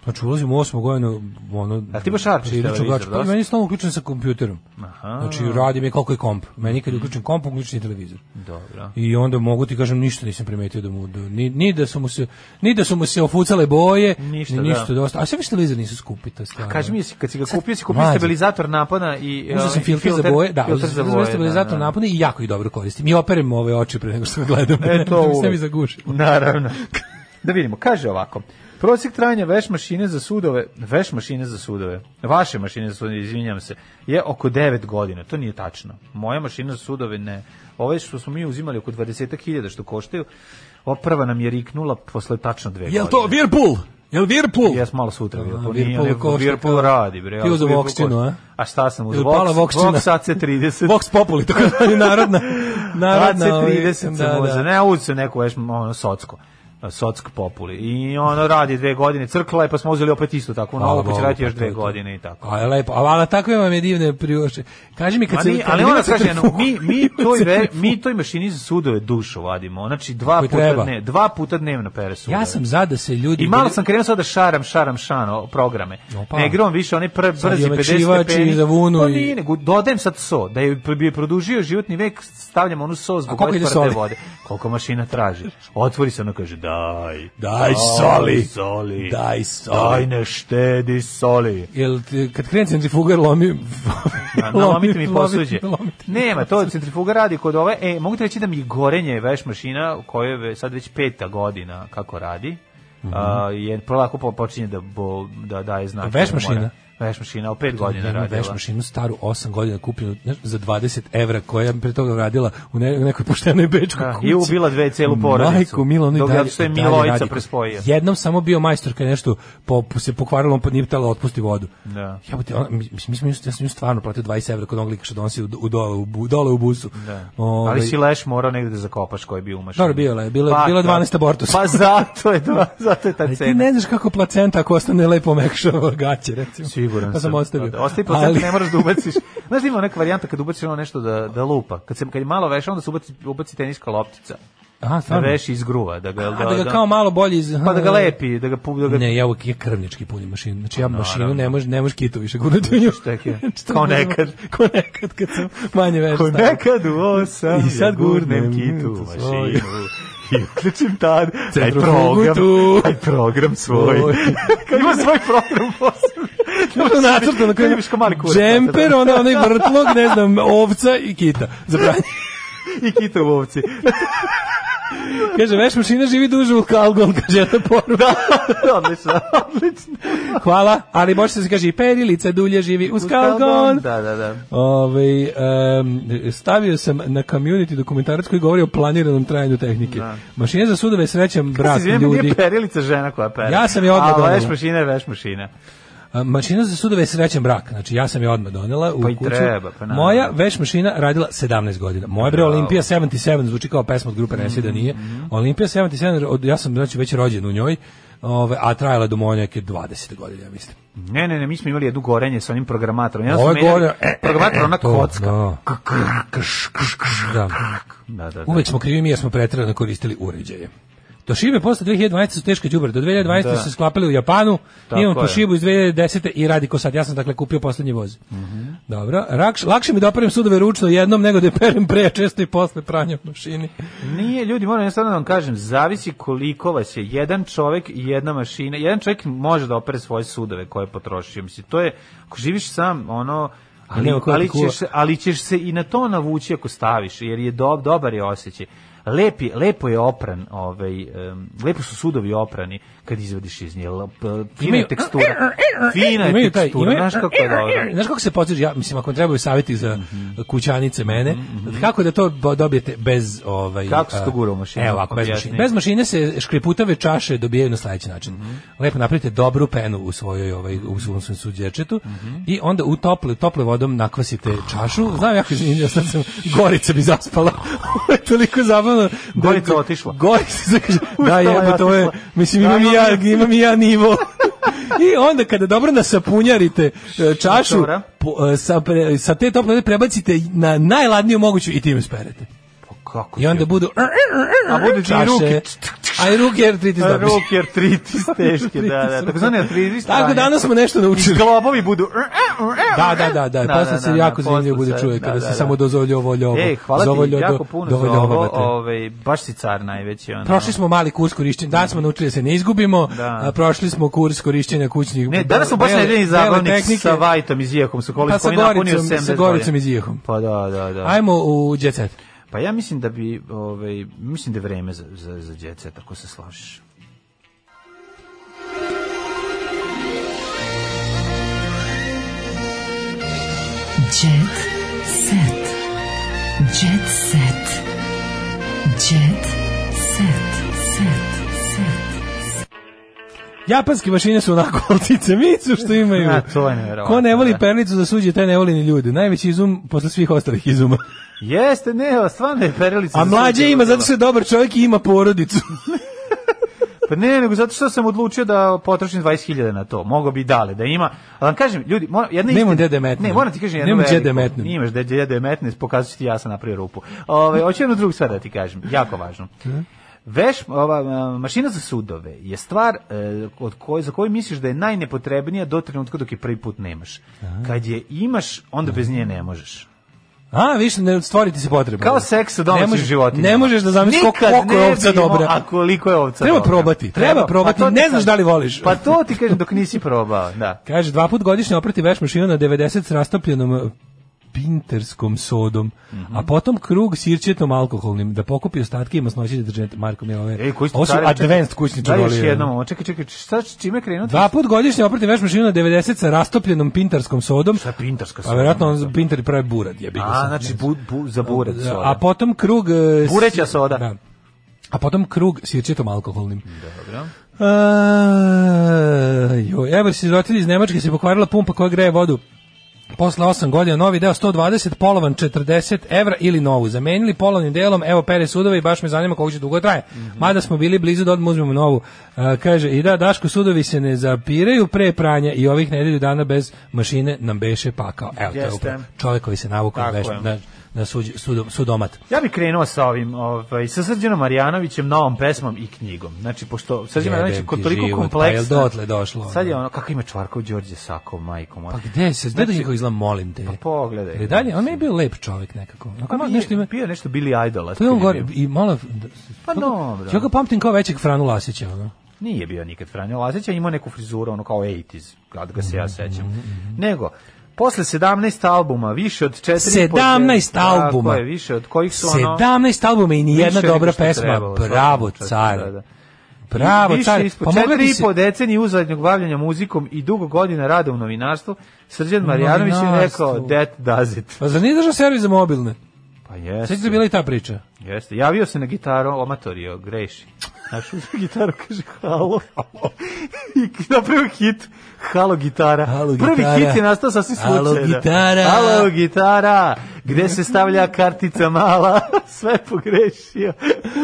[SPEAKER 7] Znači ulazim u osmu godinu, ono...
[SPEAKER 6] A ti baš arčiš
[SPEAKER 7] prilično
[SPEAKER 6] televizor,
[SPEAKER 7] gač- Pa
[SPEAKER 6] dosta?
[SPEAKER 7] meni je stalno uključen sa kompjuterom.
[SPEAKER 6] Aha.
[SPEAKER 7] Znači radi mi koliko je komp. Meni kad je uključen komp, uključen je televizor.
[SPEAKER 6] Dobro.
[SPEAKER 7] I onda mogu ti kažem ništa nisam primetio da mu da- ni, ni da su mu se ni da su mu se ofucale boje,
[SPEAKER 6] Ništa,
[SPEAKER 7] ni
[SPEAKER 6] da.
[SPEAKER 7] ništa dosta. A sve više televizor nisu skupi to je stvarno.
[SPEAKER 6] Kaži mi, jesi- kad si ga kupio, si kupio
[SPEAKER 7] mlađe.
[SPEAKER 6] stabilizator napona i...
[SPEAKER 7] Uzeo sam
[SPEAKER 6] ovaj,
[SPEAKER 7] filter, za boje, da,
[SPEAKER 6] filter
[SPEAKER 7] uzeo
[SPEAKER 6] za
[SPEAKER 7] sam
[SPEAKER 6] boje,
[SPEAKER 7] boje, stabilizator
[SPEAKER 6] da, da.
[SPEAKER 7] napune i jako ih dobro koristim. I operem ove oči pre nego što ga gledam,
[SPEAKER 6] E, to
[SPEAKER 7] da mi se
[SPEAKER 6] uvek.
[SPEAKER 7] mi zaguši.
[SPEAKER 6] Naravno. Da vidimo, kaže ovako. Prosjek trajanja veš mašine za sudove, veš mašine za sudove, vaše mašine za sudove, izvinjam se, je oko 9 godina. To nije tačno. Moja mašina za sudove ne. Ove što smo mi uzimali oko 20.000 što koštaju, ova prva nam je riknula posle tačno dve
[SPEAKER 7] Jel
[SPEAKER 6] godine.
[SPEAKER 7] to Whirlpool? Jel Whirlpool?
[SPEAKER 6] Jes malo sutra bio.
[SPEAKER 7] A,
[SPEAKER 6] To nije,
[SPEAKER 7] Whirlpool
[SPEAKER 6] ali
[SPEAKER 7] košta
[SPEAKER 6] Whirlpool
[SPEAKER 7] kao-
[SPEAKER 6] radi, bre.
[SPEAKER 7] Ti
[SPEAKER 6] ali
[SPEAKER 7] uzeo
[SPEAKER 6] Whirlpool
[SPEAKER 7] Voxinu,
[SPEAKER 6] košta.
[SPEAKER 7] a?
[SPEAKER 6] A šta sam uz
[SPEAKER 7] Jel pala
[SPEAKER 6] Vox?
[SPEAKER 7] Voxina?
[SPEAKER 6] Vox AC30.
[SPEAKER 7] Vox Populi, tako da je narodna. narodna ovaj,
[SPEAKER 6] AC30 sam
[SPEAKER 7] da, da.
[SPEAKER 6] uzeo. Ne, uzeo sam neko veš, ono, socko. Sock populi. I ono radi dve godine crkla je, pa smo uzeli opet isto tako.
[SPEAKER 7] Hvala
[SPEAKER 6] Novo, pa će
[SPEAKER 7] Bogu,
[SPEAKER 6] raditi još
[SPEAKER 7] pa to je
[SPEAKER 6] dve
[SPEAKER 7] to.
[SPEAKER 6] godine i tako.
[SPEAKER 7] A je lepo, ali, ali takve vam je divne priušte. Kaži mi kad
[SPEAKER 6] Ma
[SPEAKER 7] se...
[SPEAKER 6] nije,
[SPEAKER 7] kad
[SPEAKER 6] ali
[SPEAKER 7] ima
[SPEAKER 6] ona
[SPEAKER 7] se
[SPEAKER 6] kaže, ono,
[SPEAKER 7] trefuk-
[SPEAKER 6] mi, mi, toj,
[SPEAKER 7] se
[SPEAKER 6] ve,
[SPEAKER 7] trefuk-
[SPEAKER 6] mi toj mašini za sudove dušu vadimo. Znači, dva
[SPEAKER 7] Koji
[SPEAKER 6] puta,
[SPEAKER 7] treba.
[SPEAKER 6] ne, dva puta dnevno pere sudove.
[SPEAKER 7] Ja sam za da se ljudi...
[SPEAKER 6] I malo sam krenuo sad da šaram, šaram šano programe.
[SPEAKER 7] Opa.
[SPEAKER 6] Ne igram više, oni prvi
[SPEAKER 7] Sad
[SPEAKER 6] brzi
[SPEAKER 7] i
[SPEAKER 6] 50
[SPEAKER 7] omekšivač i
[SPEAKER 6] stepeni.
[SPEAKER 7] za vunu
[SPEAKER 6] Pa
[SPEAKER 7] i-
[SPEAKER 6] nije, nego dodajem sad so. Da je bi produžio životni vek, stavljam onu so
[SPEAKER 7] A
[SPEAKER 6] zbog
[SPEAKER 7] koliko
[SPEAKER 6] ove
[SPEAKER 7] ide
[SPEAKER 6] tvrde
[SPEAKER 7] soli?
[SPEAKER 6] vode. Koliko mašina traži. Otvori se, ona kaže, da, daj.
[SPEAKER 7] Daj soli.
[SPEAKER 6] soli.
[SPEAKER 7] Daj soli.
[SPEAKER 6] Daj ne štedi soli.
[SPEAKER 7] Jel, ti- kad krene centrifugar lomi...
[SPEAKER 6] Na, na, Pa, lomite mi
[SPEAKER 7] lomi-
[SPEAKER 6] posuđe.
[SPEAKER 7] lomi-
[SPEAKER 6] Nema, to centrifuga radi kod ove. E, mogu ti reći da mi je gorenje veš mašina, koja je sad već peta godina kako radi,
[SPEAKER 7] Mhm.
[SPEAKER 6] a, je polako po- počinje da, bo, da daje znak.
[SPEAKER 7] Veš mašina?
[SPEAKER 6] Veš mašina, o pet
[SPEAKER 7] Ja
[SPEAKER 6] godina
[SPEAKER 7] imam
[SPEAKER 6] radila.
[SPEAKER 7] veš mašinu staru 8 godina kupljenu znaš, za 20 evra koja je pre toga radila u, ne, u nekoj poštenoj bečkoj
[SPEAKER 6] Da,
[SPEAKER 7] kući.
[SPEAKER 6] i ubila dve celu porodicu.
[SPEAKER 7] Majko, Milo, ono i
[SPEAKER 6] Dok-
[SPEAKER 7] dalje.
[SPEAKER 6] zato što je
[SPEAKER 7] dalje
[SPEAKER 6] Milojica
[SPEAKER 7] radi.
[SPEAKER 6] prespojio.
[SPEAKER 7] Jednom samo bio majstor kad je nešto po, se pokvarilo, on pa nije htjela da otpusti vodu.
[SPEAKER 6] Da.
[SPEAKER 7] Ja, mi, mi, mi, smo nju- ja sam nju stvarno platio 20 evra kod onog lika što donosi u, u, dole, u, bu- dole u busu.
[SPEAKER 6] Da.
[SPEAKER 7] Ovaj,
[SPEAKER 6] Ali si leš morao negde da zakopaš koji je bio u mašini.
[SPEAKER 7] Dobro, bilo je, bilo, je- bilo je
[SPEAKER 6] da.
[SPEAKER 7] 12 abortusa.
[SPEAKER 6] Pa zato je, dva, zato je ta
[SPEAKER 7] Ali ti
[SPEAKER 6] cena.
[SPEAKER 7] ne znaš kako placenta ako ostane lepo mekšava gaće, recimo.
[SPEAKER 6] Siguran
[SPEAKER 7] Pa sam. ostavio.
[SPEAKER 6] Da, da. Ostavi placenta,
[SPEAKER 7] Ali-
[SPEAKER 6] ne moraš da ubaciš. Znaš da ima neka varijanta kad ubaciš ono nešto da, da lupa. Kad, se, kad je malo veša, onda se ubaci, ubaci teniska loptica.
[SPEAKER 7] Aha,
[SPEAKER 6] Da
[SPEAKER 7] stvarno.
[SPEAKER 6] veš iz gruva. Da ga,
[SPEAKER 7] A da ga kao malo bolje iz...
[SPEAKER 6] Pa da ga lepi, da ga... pu- Da ga
[SPEAKER 7] Ne, ja uvijek je krvnički punim mašinu. Znači ja mašinu
[SPEAKER 6] naravno.
[SPEAKER 7] ne može ne može kitu više gurnuti u nju.
[SPEAKER 6] Šta je?
[SPEAKER 7] Što
[SPEAKER 6] Kao
[SPEAKER 7] ne znam,
[SPEAKER 6] nekad.
[SPEAKER 7] Kao nekad kad sam manje veš.
[SPEAKER 6] Ko nekad u osam,
[SPEAKER 7] I sad
[SPEAKER 6] ja gurnem
[SPEAKER 7] gurnem
[SPEAKER 6] kitu
[SPEAKER 7] tu
[SPEAKER 6] u
[SPEAKER 7] svoju.
[SPEAKER 6] mašinu. I uključim tad, taj
[SPEAKER 7] Centrofugu
[SPEAKER 6] program,
[SPEAKER 7] tu.
[SPEAKER 6] taj program svoj.
[SPEAKER 7] Svoj.
[SPEAKER 6] Kad ima svoj program posebno.
[SPEAKER 7] Ono nacrta na
[SPEAKER 6] Kad
[SPEAKER 7] kojem
[SPEAKER 6] imaš kao mali kurac.
[SPEAKER 7] džemper, onda onaj vrtlog, ne znam, ovca i kita. Za pranje.
[SPEAKER 6] I kita u ovci.
[SPEAKER 7] Kaže, veš mašina živi duže u kalgon, kaže, jedna poruka.
[SPEAKER 6] odlično, odlično.
[SPEAKER 7] Hvala, ali može se kaže i perilica dulje živi uz kalgon.
[SPEAKER 6] Da, da, da.
[SPEAKER 7] Ove, em, stavio sam na community dokumentarac koji govori o planiranom trajanju tehnike. Mašina za sudove je srećan brat
[SPEAKER 6] Izvijem,
[SPEAKER 7] ljudi.
[SPEAKER 6] nije perilica žena koja pere.
[SPEAKER 7] Ja sam je odmah
[SPEAKER 6] A
[SPEAKER 7] donela.
[SPEAKER 6] veš mašina je veš mašina.
[SPEAKER 7] A, Mašina za sudove je srećan brak. Znači ja sam je odmah donela u
[SPEAKER 6] Pa i
[SPEAKER 7] kuću.
[SPEAKER 6] treba, pa naravno.
[SPEAKER 7] Moja veš mašina radila 17 godina. Moja bre Olimpija 77 zvuči kao pesma od grupe Nesi
[SPEAKER 6] Mhm,
[SPEAKER 7] da nije. Olimpija 77 od, ja sam znači već rođen u njoj. Ove, a trajala do moje neke 20 godina, ja mislim.
[SPEAKER 6] Ne, ne, ne, mi smo imali jednu gorenje sa onim programatorom. Ja
[SPEAKER 7] Ovo
[SPEAKER 6] sam
[SPEAKER 7] je
[SPEAKER 6] menjali
[SPEAKER 7] gore, e, e,
[SPEAKER 6] programator,
[SPEAKER 7] e,
[SPEAKER 6] ona
[SPEAKER 7] to,
[SPEAKER 6] kocka.
[SPEAKER 7] da. Da.
[SPEAKER 6] Da, da, da.
[SPEAKER 7] Uvek smo krivi mi jer smo preterano koristili uređaje. Toshiba posle 2012 su teška đubre. Do 2012
[SPEAKER 6] Da.
[SPEAKER 7] su se sklapali u Japanu.
[SPEAKER 6] Tako
[SPEAKER 7] Imam
[SPEAKER 6] je.
[SPEAKER 7] Toshibu iz 2010 i radi ko sad. Ja sam dakle kupio poslednji voz.
[SPEAKER 6] Mhm.
[SPEAKER 7] Dobro. Rakš, lakše mi da operem sudove ručno jednom nego da je perem pre često i posle pranja u mašini.
[SPEAKER 6] Nije, ljudi, moram jednostavno da vam kažem, zavisi koliko vas je jedan čovek i jedna mašina. Jedan čovek može da opere svoje sudove koje je potrošio. Mislim, to je, ako živiš sam, ono, ali,
[SPEAKER 7] nema ko da
[SPEAKER 6] ali,
[SPEAKER 7] ti kuva.
[SPEAKER 6] ćeš, se- ali ćeš se i na to navući ako staviš, jer je dob, dobar je osjećaj. Lepi, lepo je opran, ovaj, em, lepo su sudovi oprani kad izvadiš iz nje. lep- Fina
[SPEAKER 7] Imaju-
[SPEAKER 6] je tekstura. Fina je
[SPEAKER 7] Imaju taj-
[SPEAKER 6] tekstura,
[SPEAKER 7] imaju-
[SPEAKER 6] znaš kako je dobro.
[SPEAKER 7] Znaš kako se podsjeća, ja, mislim, ako vam trebaju savjeti za kućanice mene, kako da to bo- dobijete bez... Ovaj,
[SPEAKER 6] Mhm, Kako se to
[SPEAKER 7] a,
[SPEAKER 6] gura u mašinu?
[SPEAKER 7] Evo, ako bez
[SPEAKER 6] Objasni. Mhm.
[SPEAKER 7] mašine. Bez mašine se škriputave čaše dobijaju na sledeći način. Lepo napravite dobru penu u svojoj ovaj, u svom svom suđečetu
[SPEAKER 6] Mhm.
[SPEAKER 7] i onda u tople, tople vodom nakvasite čašu. Znam, jako izvinjam, sad sam, Gorica bi zaspala. Ovo je toliko zabavno. da-
[SPEAKER 6] Gorica otišla.
[SPEAKER 7] Gorica se kaže, da
[SPEAKER 6] Ustala je
[SPEAKER 7] jebo, to je,
[SPEAKER 6] otišla.
[SPEAKER 7] mislim, imam i ja,
[SPEAKER 6] Da, imam-
[SPEAKER 7] imam i ja nivo. I onda kada dobro nasapunjarite e, čašu,
[SPEAKER 6] Dobra.
[SPEAKER 7] po- e, sa, pre- sa te tople vode prebacite na najladniju moguću i time sperete.
[SPEAKER 6] Kako
[SPEAKER 7] I onda budu...
[SPEAKER 6] A budu ti i ruke.
[SPEAKER 7] A i ruke artritis dobiš.
[SPEAKER 6] Ruke artritis teške, da, da. Tako zvane artritis.
[SPEAKER 7] Tako danas smo nešto naučili.
[SPEAKER 6] Globovi budu... e,
[SPEAKER 7] Da, da, da, da, posle se jako zanimljivo bude čuje kada se samo dozvolju ovo ljovo.
[SPEAKER 6] E, hvala ti
[SPEAKER 7] zovoljo do-
[SPEAKER 6] jako puno za
[SPEAKER 7] dovoljovate.
[SPEAKER 6] ovo, ovaj, baš si car najveći. Ono.
[SPEAKER 7] Prošli smo mali kurs korišćenja, danas smo naučili da se ne izgubimo,
[SPEAKER 6] Da.
[SPEAKER 7] a prošli smo kurs korišćenja kućnih...
[SPEAKER 6] Ne, danas smo baš
[SPEAKER 7] bele-
[SPEAKER 6] nedeljni
[SPEAKER 7] bele
[SPEAKER 6] zabavnik
[SPEAKER 7] tehnike.
[SPEAKER 6] sa Vajtom iz Ijekom, sa kolis
[SPEAKER 7] Pa sa
[SPEAKER 6] koji je napunio
[SPEAKER 7] Goricom-
[SPEAKER 6] 70
[SPEAKER 7] sa Goricom
[SPEAKER 6] godina.
[SPEAKER 7] iz Ijehom.
[SPEAKER 6] Pa da, da, da.
[SPEAKER 7] Ajmo u Jet Set.
[SPEAKER 6] Pa ja mislim da bi, ovaj, mislim da je vreme za, za, za djece, tako se slažiš.
[SPEAKER 5] Jet set. Jet set. Jet set. Set. Set.
[SPEAKER 7] Japanske mašine su onako oltice micu što imaju.
[SPEAKER 6] A, to je nevjerovatno,
[SPEAKER 7] Ko ne voli
[SPEAKER 6] da.
[SPEAKER 7] perlicu za suđe, taj ne voli ni ljude. Najveći izum posle svih ostalih izuma.
[SPEAKER 6] Jeste, ne, stvarno je perilica.
[SPEAKER 7] A
[SPEAKER 6] za
[SPEAKER 7] mlađe
[SPEAKER 6] suđe
[SPEAKER 7] ima, zato
[SPEAKER 6] uzela.
[SPEAKER 7] što je dobar čovjek i ima porodicu.
[SPEAKER 6] Pa ne, nego zato što sam odlučio da potrošim 20.000 na to. Mogao bi i dale da ima. Ali vam kažem, ljudi, mora, jedna
[SPEAKER 7] Nemam
[SPEAKER 6] istina-
[SPEAKER 7] gde da je metnem.
[SPEAKER 6] Ne, moram ti kažem jednu
[SPEAKER 7] Nemam gde
[SPEAKER 6] veliku.
[SPEAKER 7] da je metnem.
[SPEAKER 6] Imaš gde gde da je metnem, pokazat ću ti ja sam napravio rupu. Ove, hoću jednu drugu stvar da ti kažem, jako važno. Veš, ova, a, mašina za sudove je stvar e, od koje, za koju misliš da je najnepotrebnija do trenutka dok je prvi put nemaš. Kad je imaš, onda bez nje ne možeš.
[SPEAKER 7] A, više ne stvoriti se potreba.
[SPEAKER 6] Kao seks sa
[SPEAKER 7] Ne
[SPEAKER 6] domaćim
[SPEAKER 7] možeš-
[SPEAKER 6] životinjama.
[SPEAKER 7] Ne možeš da zamisliš koliko,
[SPEAKER 6] Nikad
[SPEAKER 7] koliko je
[SPEAKER 6] ne
[SPEAKER 7] ovca
[SPEAKER 6] vidimo,
[SPEAKER 7] dobra.
[SPEAKER 6] A koliko je ovca
[SPEAKER 7] Treba
[SPEAKER 6] dobra. pa
[SPEAKER 7] probati, treba probati,
[SPEAKER 6] to ti
[SPEAKER 7] ne znaš
[SPEAKER 6] kažem.
[SPEAKER 7] da li voliš.
[SPEAKER 6] Pa to ti kažem dok nisi probao, da.
[SPEAKER 7] Kaže, dva put godišnje oprati veš mašinu na 90 s rastopljenom eh, pinterskom sodom, a potom krug sirćetom alkoholnim, da pokupi ostatke i masnoći deterdženta. Marko mi je ove...
[SPEAKER 6] E, kućni
[SPEAKER 7] ovo su
[SPEAKER 6] carevi, čekaj.
[SPEAKER 7] advanced kućni
[SPEAKER 6] Daj još
[SPEAKER 7] čarolije.
[SPEAKER 6] jednom, ovo, čekaj, čekaj, šta, s čime krenuti?
[SPEAKER 7] Dva put godišnje oprati veš mašinu na 90 sa rastopljenom pintarskom sodom. Šta
[SPEAKER 6] pintarska
[SPEAKER 7] A vjerojatno Pa on pintari pravi burad, jebi ga
[SPEAKER 6] A,
[SPEAKER 7] sad.
[SPEAKER 6] znači, bu, bu, za burec.
[SPEAKER 7] Da, A potom krug... eh, s-
[SPEAKER 6] Bureća soda.
[SPEAKER 7] Da. A potom krug sirćetom alkoholnim.
[SPEAKER 6] Dobro.
[SPEAKER 7] Jo, evo se roditelji iz Nemačke se pokvarila pumpa koja greje vodu. Posle 8 godina novi deo 120, polovan 40 evra ili novu. Zamenili polovnim delom, evo pere sudove i baš me zanima koliko će dugo traje.
[SPEAKER 6] Mhm.
[SPEAKER 7] Mada smo bili blizu da odmah uzmemo novu. A, kaže, i da, Daško, sudovi se ne zapiraju pre pranja i ovih nedelju dana bez mašine nam beše pakao. Evo, to je
[SPEAKER 6] Jeste.
[SPEAKER 7] upravo čovjek koji se navukao
[SPEAKER 6] Tako
[SPEAKER 7] veš,
[SPEAKER 6] je.
[SPEAKER 7] na, na suđ- sudom- sudomat.
[SPEAKER 6] Ja bih krenuo sa ovim, ovaj, sa Srđanom Marjanovićem, novom pesmom i knjigom. Znači, pošto Srđan
[SPEAKER 7] Jebem
[SPEAKER 6] Marjanović je
[SPEAKER 7] ti
[SPEAKER 6] kod toliko
[SPEAKER 7] život, pa
[SPEAKER 6] kompleksna.
[SPEAKER 7] jel dotle došlo, ono?
[SPEAKER 6] Sad je ono, kako ima Čvarkov Đorđe Sako, majko moja.
[SPEAKER 7] Pa gde se, gde znači, izgleda, molim te.
[SPEAKER 6] Pa pogledaj.
[SPEAKER 7] Ali dalje, on mi je bio lep čovjek nekako. Onako
[SPEAKER 6] Pa
[SPEAKER 7] malo
[SPEAKER 6] bio,
[SPEAKER 7] nešto ima,
[SPEAKER 6] bio nešto Billy Idol.
[SPEAKER 7] To je on gore, i malo...
[SPEAKER 6] Pa dobro.
[SPEAKER 7] Ja ga pamtim kao većeg Franu Lasića, ono.
[SPEAKER 6] Nije bio nikad Franjo Lazić, a imao neku frizuru, ono kao 80s, kad ga se
[SPEAKER 7] Mhm,
[SPEAKER 6] ja sećam. Nego, posle 17 albuma, više od 4...
[SPEAKER 7] 17 albuma.
[SPEAKER 6] Je, više od kojih su ono...
[SPEAKER 7] 17 albuma i ni
[SPEAKER 6] Više
[SPEAKER 7] jedna
[SPEAKER 6] nego
[SPEAKER 7] dobra
[SPEAKER 6] što je
[SPEAKER 7] pesma.
[SPEAKER 6] trebalo, svakom
[SPEAKER 7] Bravo,
[SPEAKER 6] času, da,
[SPEAKER 7] car.
[SPEAKER 6] da.
[SPEAKER 7] Bravo,
[SPEAKER 6] Više
[SPEAKER 7] car.
[SPEAKER 6] ispod
[SPEAKER 7] Pa mogla
[SPEAKER 6] četiri
[SPEAKER 7] bi
[SPEAKER 6] i
[SPEAKER 7] se...
[SPEAKER 6] po decenije uzadnjog bavljanja muzikom i dugo godina rada u novinarstvu, Srđan Marjanović je rekao
[SPEAKER 7] Novinarstvu.
[SPEAKER 6] that does it.
[SPEAKER 7] Pa zar nije držao servis za mobilne?
[SPEAKER 6] Pa jeste.
[SPEAKER 7] Sveći da je bila i ta priča.
[SPEAKER 6] Jeste, javio se na gitaru, omatorio, greši. Znaš, uzme gitaru, kaže halo, halo. I napravio hit, halo gitara.
[SPEAKER 7] Halo
[SPEAKER 6] Prvi
[SPEAKER 7] gitara.
[SPEAKER 6] hit je nastao sasvim
[SPEAKER 7] Halo
[SPEAKER 6] slučajno.
[SPEAKER 7] gitara.
[SPEAKER 6] Halo gitara, gde se stavlja kartica mala, sve pogrešio.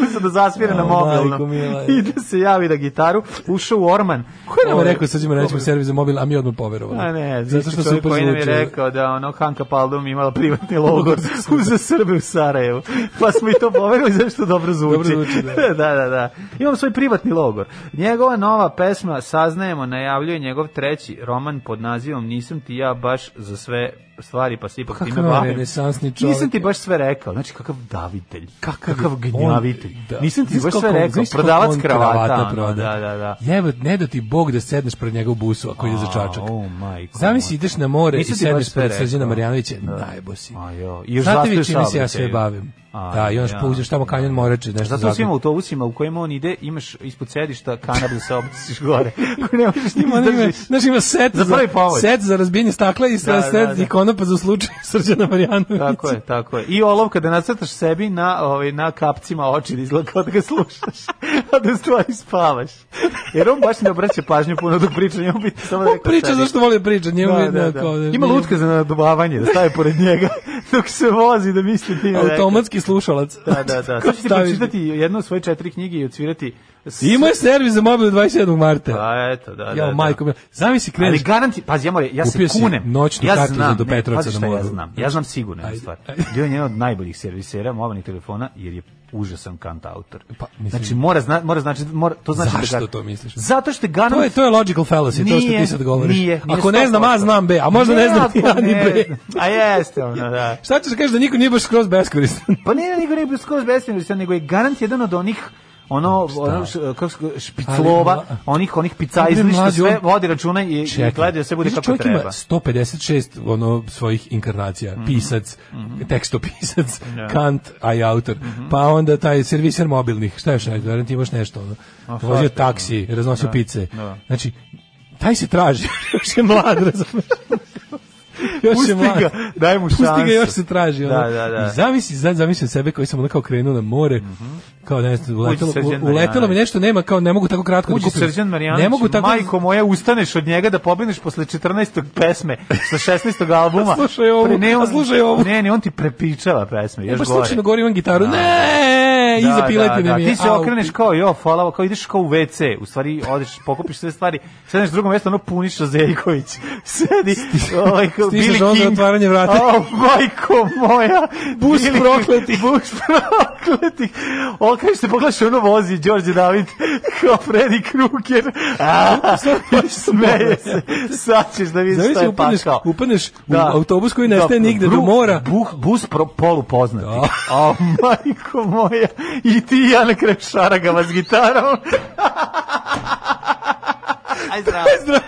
[SPEAKER 6] Uzeo da zasvira na
[SPEAKER 7] O, majko
[SPEAKER 6] mobilnom.
[SPEAKER 7] mila.
[SPEAKER 6] I da se javi na gitaru, ušao u orman.
[SPEAKER 7] Ko je nam
[SPEAKER 6] Ovaj,
[SPEAKER 7] rekao, sad ćemo reći mu servis za mobil, a mi odmah poverovali.
[SPEAKER 6] a ne,
[SPEAKER 7] zato što se
[SPEAKER 6] čovjek koji nam je
[SPEAKER 7] upozvuče.
[SPEAKER 6] rekao da ono Hanka Paldum imala privatni logor uza Srbe u Sarajevu. Pa smo i to poverili zašto dobro zvuči.
[SPEAKER 7] Dobro zvuči, da.
[SPEAKER 6] da, da, da. Imam svoj privatni logor. Njegova nova pesma Saznajemo najavljuje njegov treći roman pod nazivom Nisam ti ja baš za sve stvari pa se ipak time
[SPEAKER 7] Kakav je
[SPEAKER 6] bavim.
[SPEAKER 7] renesansni čovjek.
[SPEAKER 6] Nisam ti baš sve rekao. Znači kakav davitelj, kakav,
[SPEAKER 7] je on-
[SPEAKER 6] gnjavitelj.
[SPEAKER 7] da.
[SPEAKER 6] Nisam ti
[SPEAKER 7] Znaš
[SPEAKER 6] baš
[SPEAKER 7] koliko
[SPEAKER 6] sve
[SPEAKER 7] on-
[SPEAKER 6] rekao.
[SPEAKER 7] znaš koliko
[SPEAKER 6] Prodavac
[SPEAKER 7] on
[SPEAKER 6] kravata. ono,
[SPEAKER 7] prodaje?
[SPEAKER 6] Da, da, da.
[SPEAKER 7] Jebe, ne da ti Bog da sedneš pred njega u busu ako ide za čačak.
[SPEAKER 6] A, o, majko
[SPEAKER 7] Zamisli
[SPEAKER 6] moja.
[SPEAKER 7] ideš na more
[SPEAKER 6] Nisam
[SPEAKER 7] i
[SPEAKER 6] ti baš
[SPEAKER 7] sedneš
[SPEAKER 6] sve
[SPEAKER 7] pred
[SPEAKER 6] rekao.
[SPEAKER 7] Srđana Marjanovića,
[SPEAKER 6] Da.
[SPEAKER 7] najbo si.
[SPEAKER 6] A jo, i još
[SPEAKER 7] Znate
[SPEAKER 6] zastoju
[SPEAKER 7] vi čime se ja sve
[SPEAKER 6] saobraćaju.
[SPEAKER 7] bavim?
[SPEAKER 6] A,
[SPEAKER 7] da, i onda
[SPEAKER 6] ja.
[SPEAKER 7] pa uđeš tamo kanjon moreče, nešto
[SPEAKER 6] Zato u svim
[SPEAKER 7] zagrebu.
[SPEAKER 6] autobusima u kojima on ide, imaš ispod sedišta kanab da se obdesiš gore. Ako ne možeš ni
[SPEAKER 7] Ima, ima,
[SPEAKER 6] izdržiš.
[SPEAKER 7] znaš, ima set
[SPEAKER 6] Za prvi pomoć.
[SPEAKER 7] set za razbijenje stakla i
[SPEAKER 6] Da,
[SPEAKER 7] set,
[SPEAKER 6] da,
[SPEAKER 7] set
[SPEAKER 6] da.
[SPEAKER 7] i konopa za slučaj Srđana Marjanovića.
[SPEAKER 6] Tako je, tako je. I olovka da nacrtaš sebi na, ovaj, na kapcima oči da izgleda kao da ga slušaš, a da u stvari spavaš. Jer on baš ne obraća pažnju puno dok priča, njemu biti samo
[SPEAKER 7] On
[SPEAKER 6] rekao
[SPEAKER 7] priča
[SPEAKER 6] sebi.
[SPEAKER 7] zašto voli priča, njemu
[SPEAKER 6] Da,
[SPEAKER 7] je
[SPEAKER 6] da, da.
[SPEAKER 7] jednako, ovde,
[SPEAKER 6] Ima
[SPEAKER 7] nije-
[SPEAKER 6] lutka za nadobavanje, da staje pored njega dok se vozi da misli ti je rekao.
[SPEAKER 7] automatski slušalac.
[SPEAKER 6] Da, da, da. Sad ću ti
[SPEAKER 7] Stavi-
[SPEAKER 6] pročitati jednu od svoje četiri knjige i odsvirati... s-
[SPEAKER 7] Imao je servis za mobil 27. marta.
[SPEAKER 6] Pa eto, da, da.
[SPEAKER 7] Ja,
[SPEAKER 6] da.
[SPEAKER 7] majko, mila. zamisli kreneš.
[SPEAKER 6] Ali garanti, pazi, ja, moram, ja se
[SPEAKER 7] Kupio si
[SPEAKER 6] kunem.
[SPEAKER 7] noćnu
[SPEAKER 6] ja
[SPEAKER 7] kartu za do
[SPEAKER 6] ne,
[SPEAKER 7] Petrovca
[SPEAKER 6] pazi
[SPEAKER 7] na
[SPEAKER 6] šta
[SPEAKER 7] moru.
[SPEAKER 6] Ja znam, ja znam sigurno jednu stvar. Bio je jedan od najboljih servisera mobilnih telefona, jer je užasan kant autor.
[SPEAKER 7] Pa, mislim-
[SPEAKER 6] znači, mora, zna, mora znači, mora, to znači
[SPEAKER 7] Zašto
[SPEAKER 6] da ga-
[SPEAKER 7] to misliš?
[SPEAKER 6] Zato što Ganant...
[SPEAKER 7] To je, to je logical fallacy, to što ti sad govoriš.
[SPEAKER 6] Nije, nije
[SPEAKER 7] ako ne znam A,
[SPEAKER 6] 100%.
[SPEAKER 7] znam B, a možda ne, znam
[SPEAKER 6] ako
[SPEAKER 7] ja ni
[SPEAKER 6] ne
[SPEAKER 7] B.
[SPEAKER 6] znam. A jeste, ono, da.
[SPEAKER 7] Šta ćeš da kažeš da niko nije baš skroz beskoristan?
[SPEAKER 6] Pa ne, nego ne bio skroz besmislen, nego je garant jedan od onih ono, ono š, kako se kaže, špiclova,
[SPEAKER 7] Ali, mla-
[SPEAKER 6] onih onih
[SPEAKER 7] Bre,
[SPEAKER 6] picajzli što
[SPEAKER 7] mlađi,
[SPEAKER 6] sve
[SPEAKER 7] on-
[SPEAKER 6] vodi računa i, i gledaju sve bude
[SPEAKER 7] Znači,
[SPEAKER 6] kako
[SPEAKER 7] čovjek
[SPEAKER 6] treba. Mhm.
[SPEAKER 7] ima 156 ono svojih inkarnacija, pisac, tekstopisac,
[SPEAKER 6] Da. Mhm.
[SPEAKER 7] Kant, a i autor. Pa onda taj serviser mobilnih, šta još ne, Zoran, ti imaš nešto ono. Vozio
[SPEAKER 6] svašta,
[SPEAKER 7] taksi, raznosio
[SPEAKER 6] Da,
[SPEAKER 7] pice.
[SPEAKER 6] da.
[SPEAKER 7] Znači taj se traži, još je mlad, razumeš? Još
[SPEAKER 6] Pusti
[SPEAKER 7] je mlad.
[SPEAKER 6] ga, daj mu
[SPEAKER 7] Pusti ga,
[SPEAKER 6] šansu.
[SPEAKER 7] još se traži. ono.
[SPEAKER 6] Da, da, Mhm. da.
[SPEAKER 7] I zamisli, sad zamislim sebe koji sam onako krenuo na more, kao ne znam, uletelo,
[SPEAKER 6] Srđan
[SPEAKER 7] u- uletelo mi
[SPEAKER 6] Marjanović.
[SPEAKER 7] nešto, nema kao, ne mogu tako kratko da
[SPEAKER 6] Uđi
[SPEAKER 7] kupim.
[SPEAKER 6] Srđan Marjanović,
[SPEAKER 7] Ne mogu tako,
[SPEAKER 6] majko moja, ustaneš od njega da pobegneš posle 14. pesme sa 16. albuma.
[SPEAKER 7] A slušaj ovu,
[SPEAKER 6] Pre-
[SPEAKER 7] a slušaj ovu. E, pa
[SPEAKER 6] Ne, ne, on ti prepičava pesme,
[SPEAKER 7] Ja
[SPEAKER 6] još
[SPEAKER 7] baš
[SPEAKER 6] gore.
[SPEAKER 7] slučajno gore imam gitaru.
[SPEAKER 6] Da.
[SPEAKER 7] Ne, iza piletine mi je.
[SPEAKER 6] Ti se
[SPEAKER 7] Au.
[SPEAKER 6] okreneš kao, jo, falavo, kao ideš kao u WC, u stvari odeš, pokupiš sve stvari, sedneš drugom mjestu, ono puniš Zeljković, sedi, ovaj, kao
[SPEAKER 7] stižeš
[SPEAKER 6] Billy
[SPEAKER 7] onda
[SPEAKER 6] King.
[SPEAKER 7] otvaranje vrata.
[SPEAKER 6] O, majko moja!
[SPEAKER 7] Bus
[SPEAKER 6] Billy King,
[SPEAKER 7] prokleti.
[SPEAKER 6] Bus prokleti! gledati, okreneš se, pogledaš ono vozi, Đorđe David, kao Freddy Krueger, a, i smeje se, sad ćeš da vidiš šta
[SPEAKER 7] Zavisi
[SPEAKER 6] je
[SPEAKER 7] upadneš,
[SPEAKER 6] pakao.
[SPEAKER 7] upadneš u autobus koji nestaje nigde do
[SPEAKER 6] bru-
[SPEAKER 7] mora.
[SPEAKER 6] Buh, bus pro, polu poznati. A, majko moja, i ti i ja na kraju šaragama s gitarom. Aj zdravo.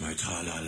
[SPEAKER 12] my tra-la-la.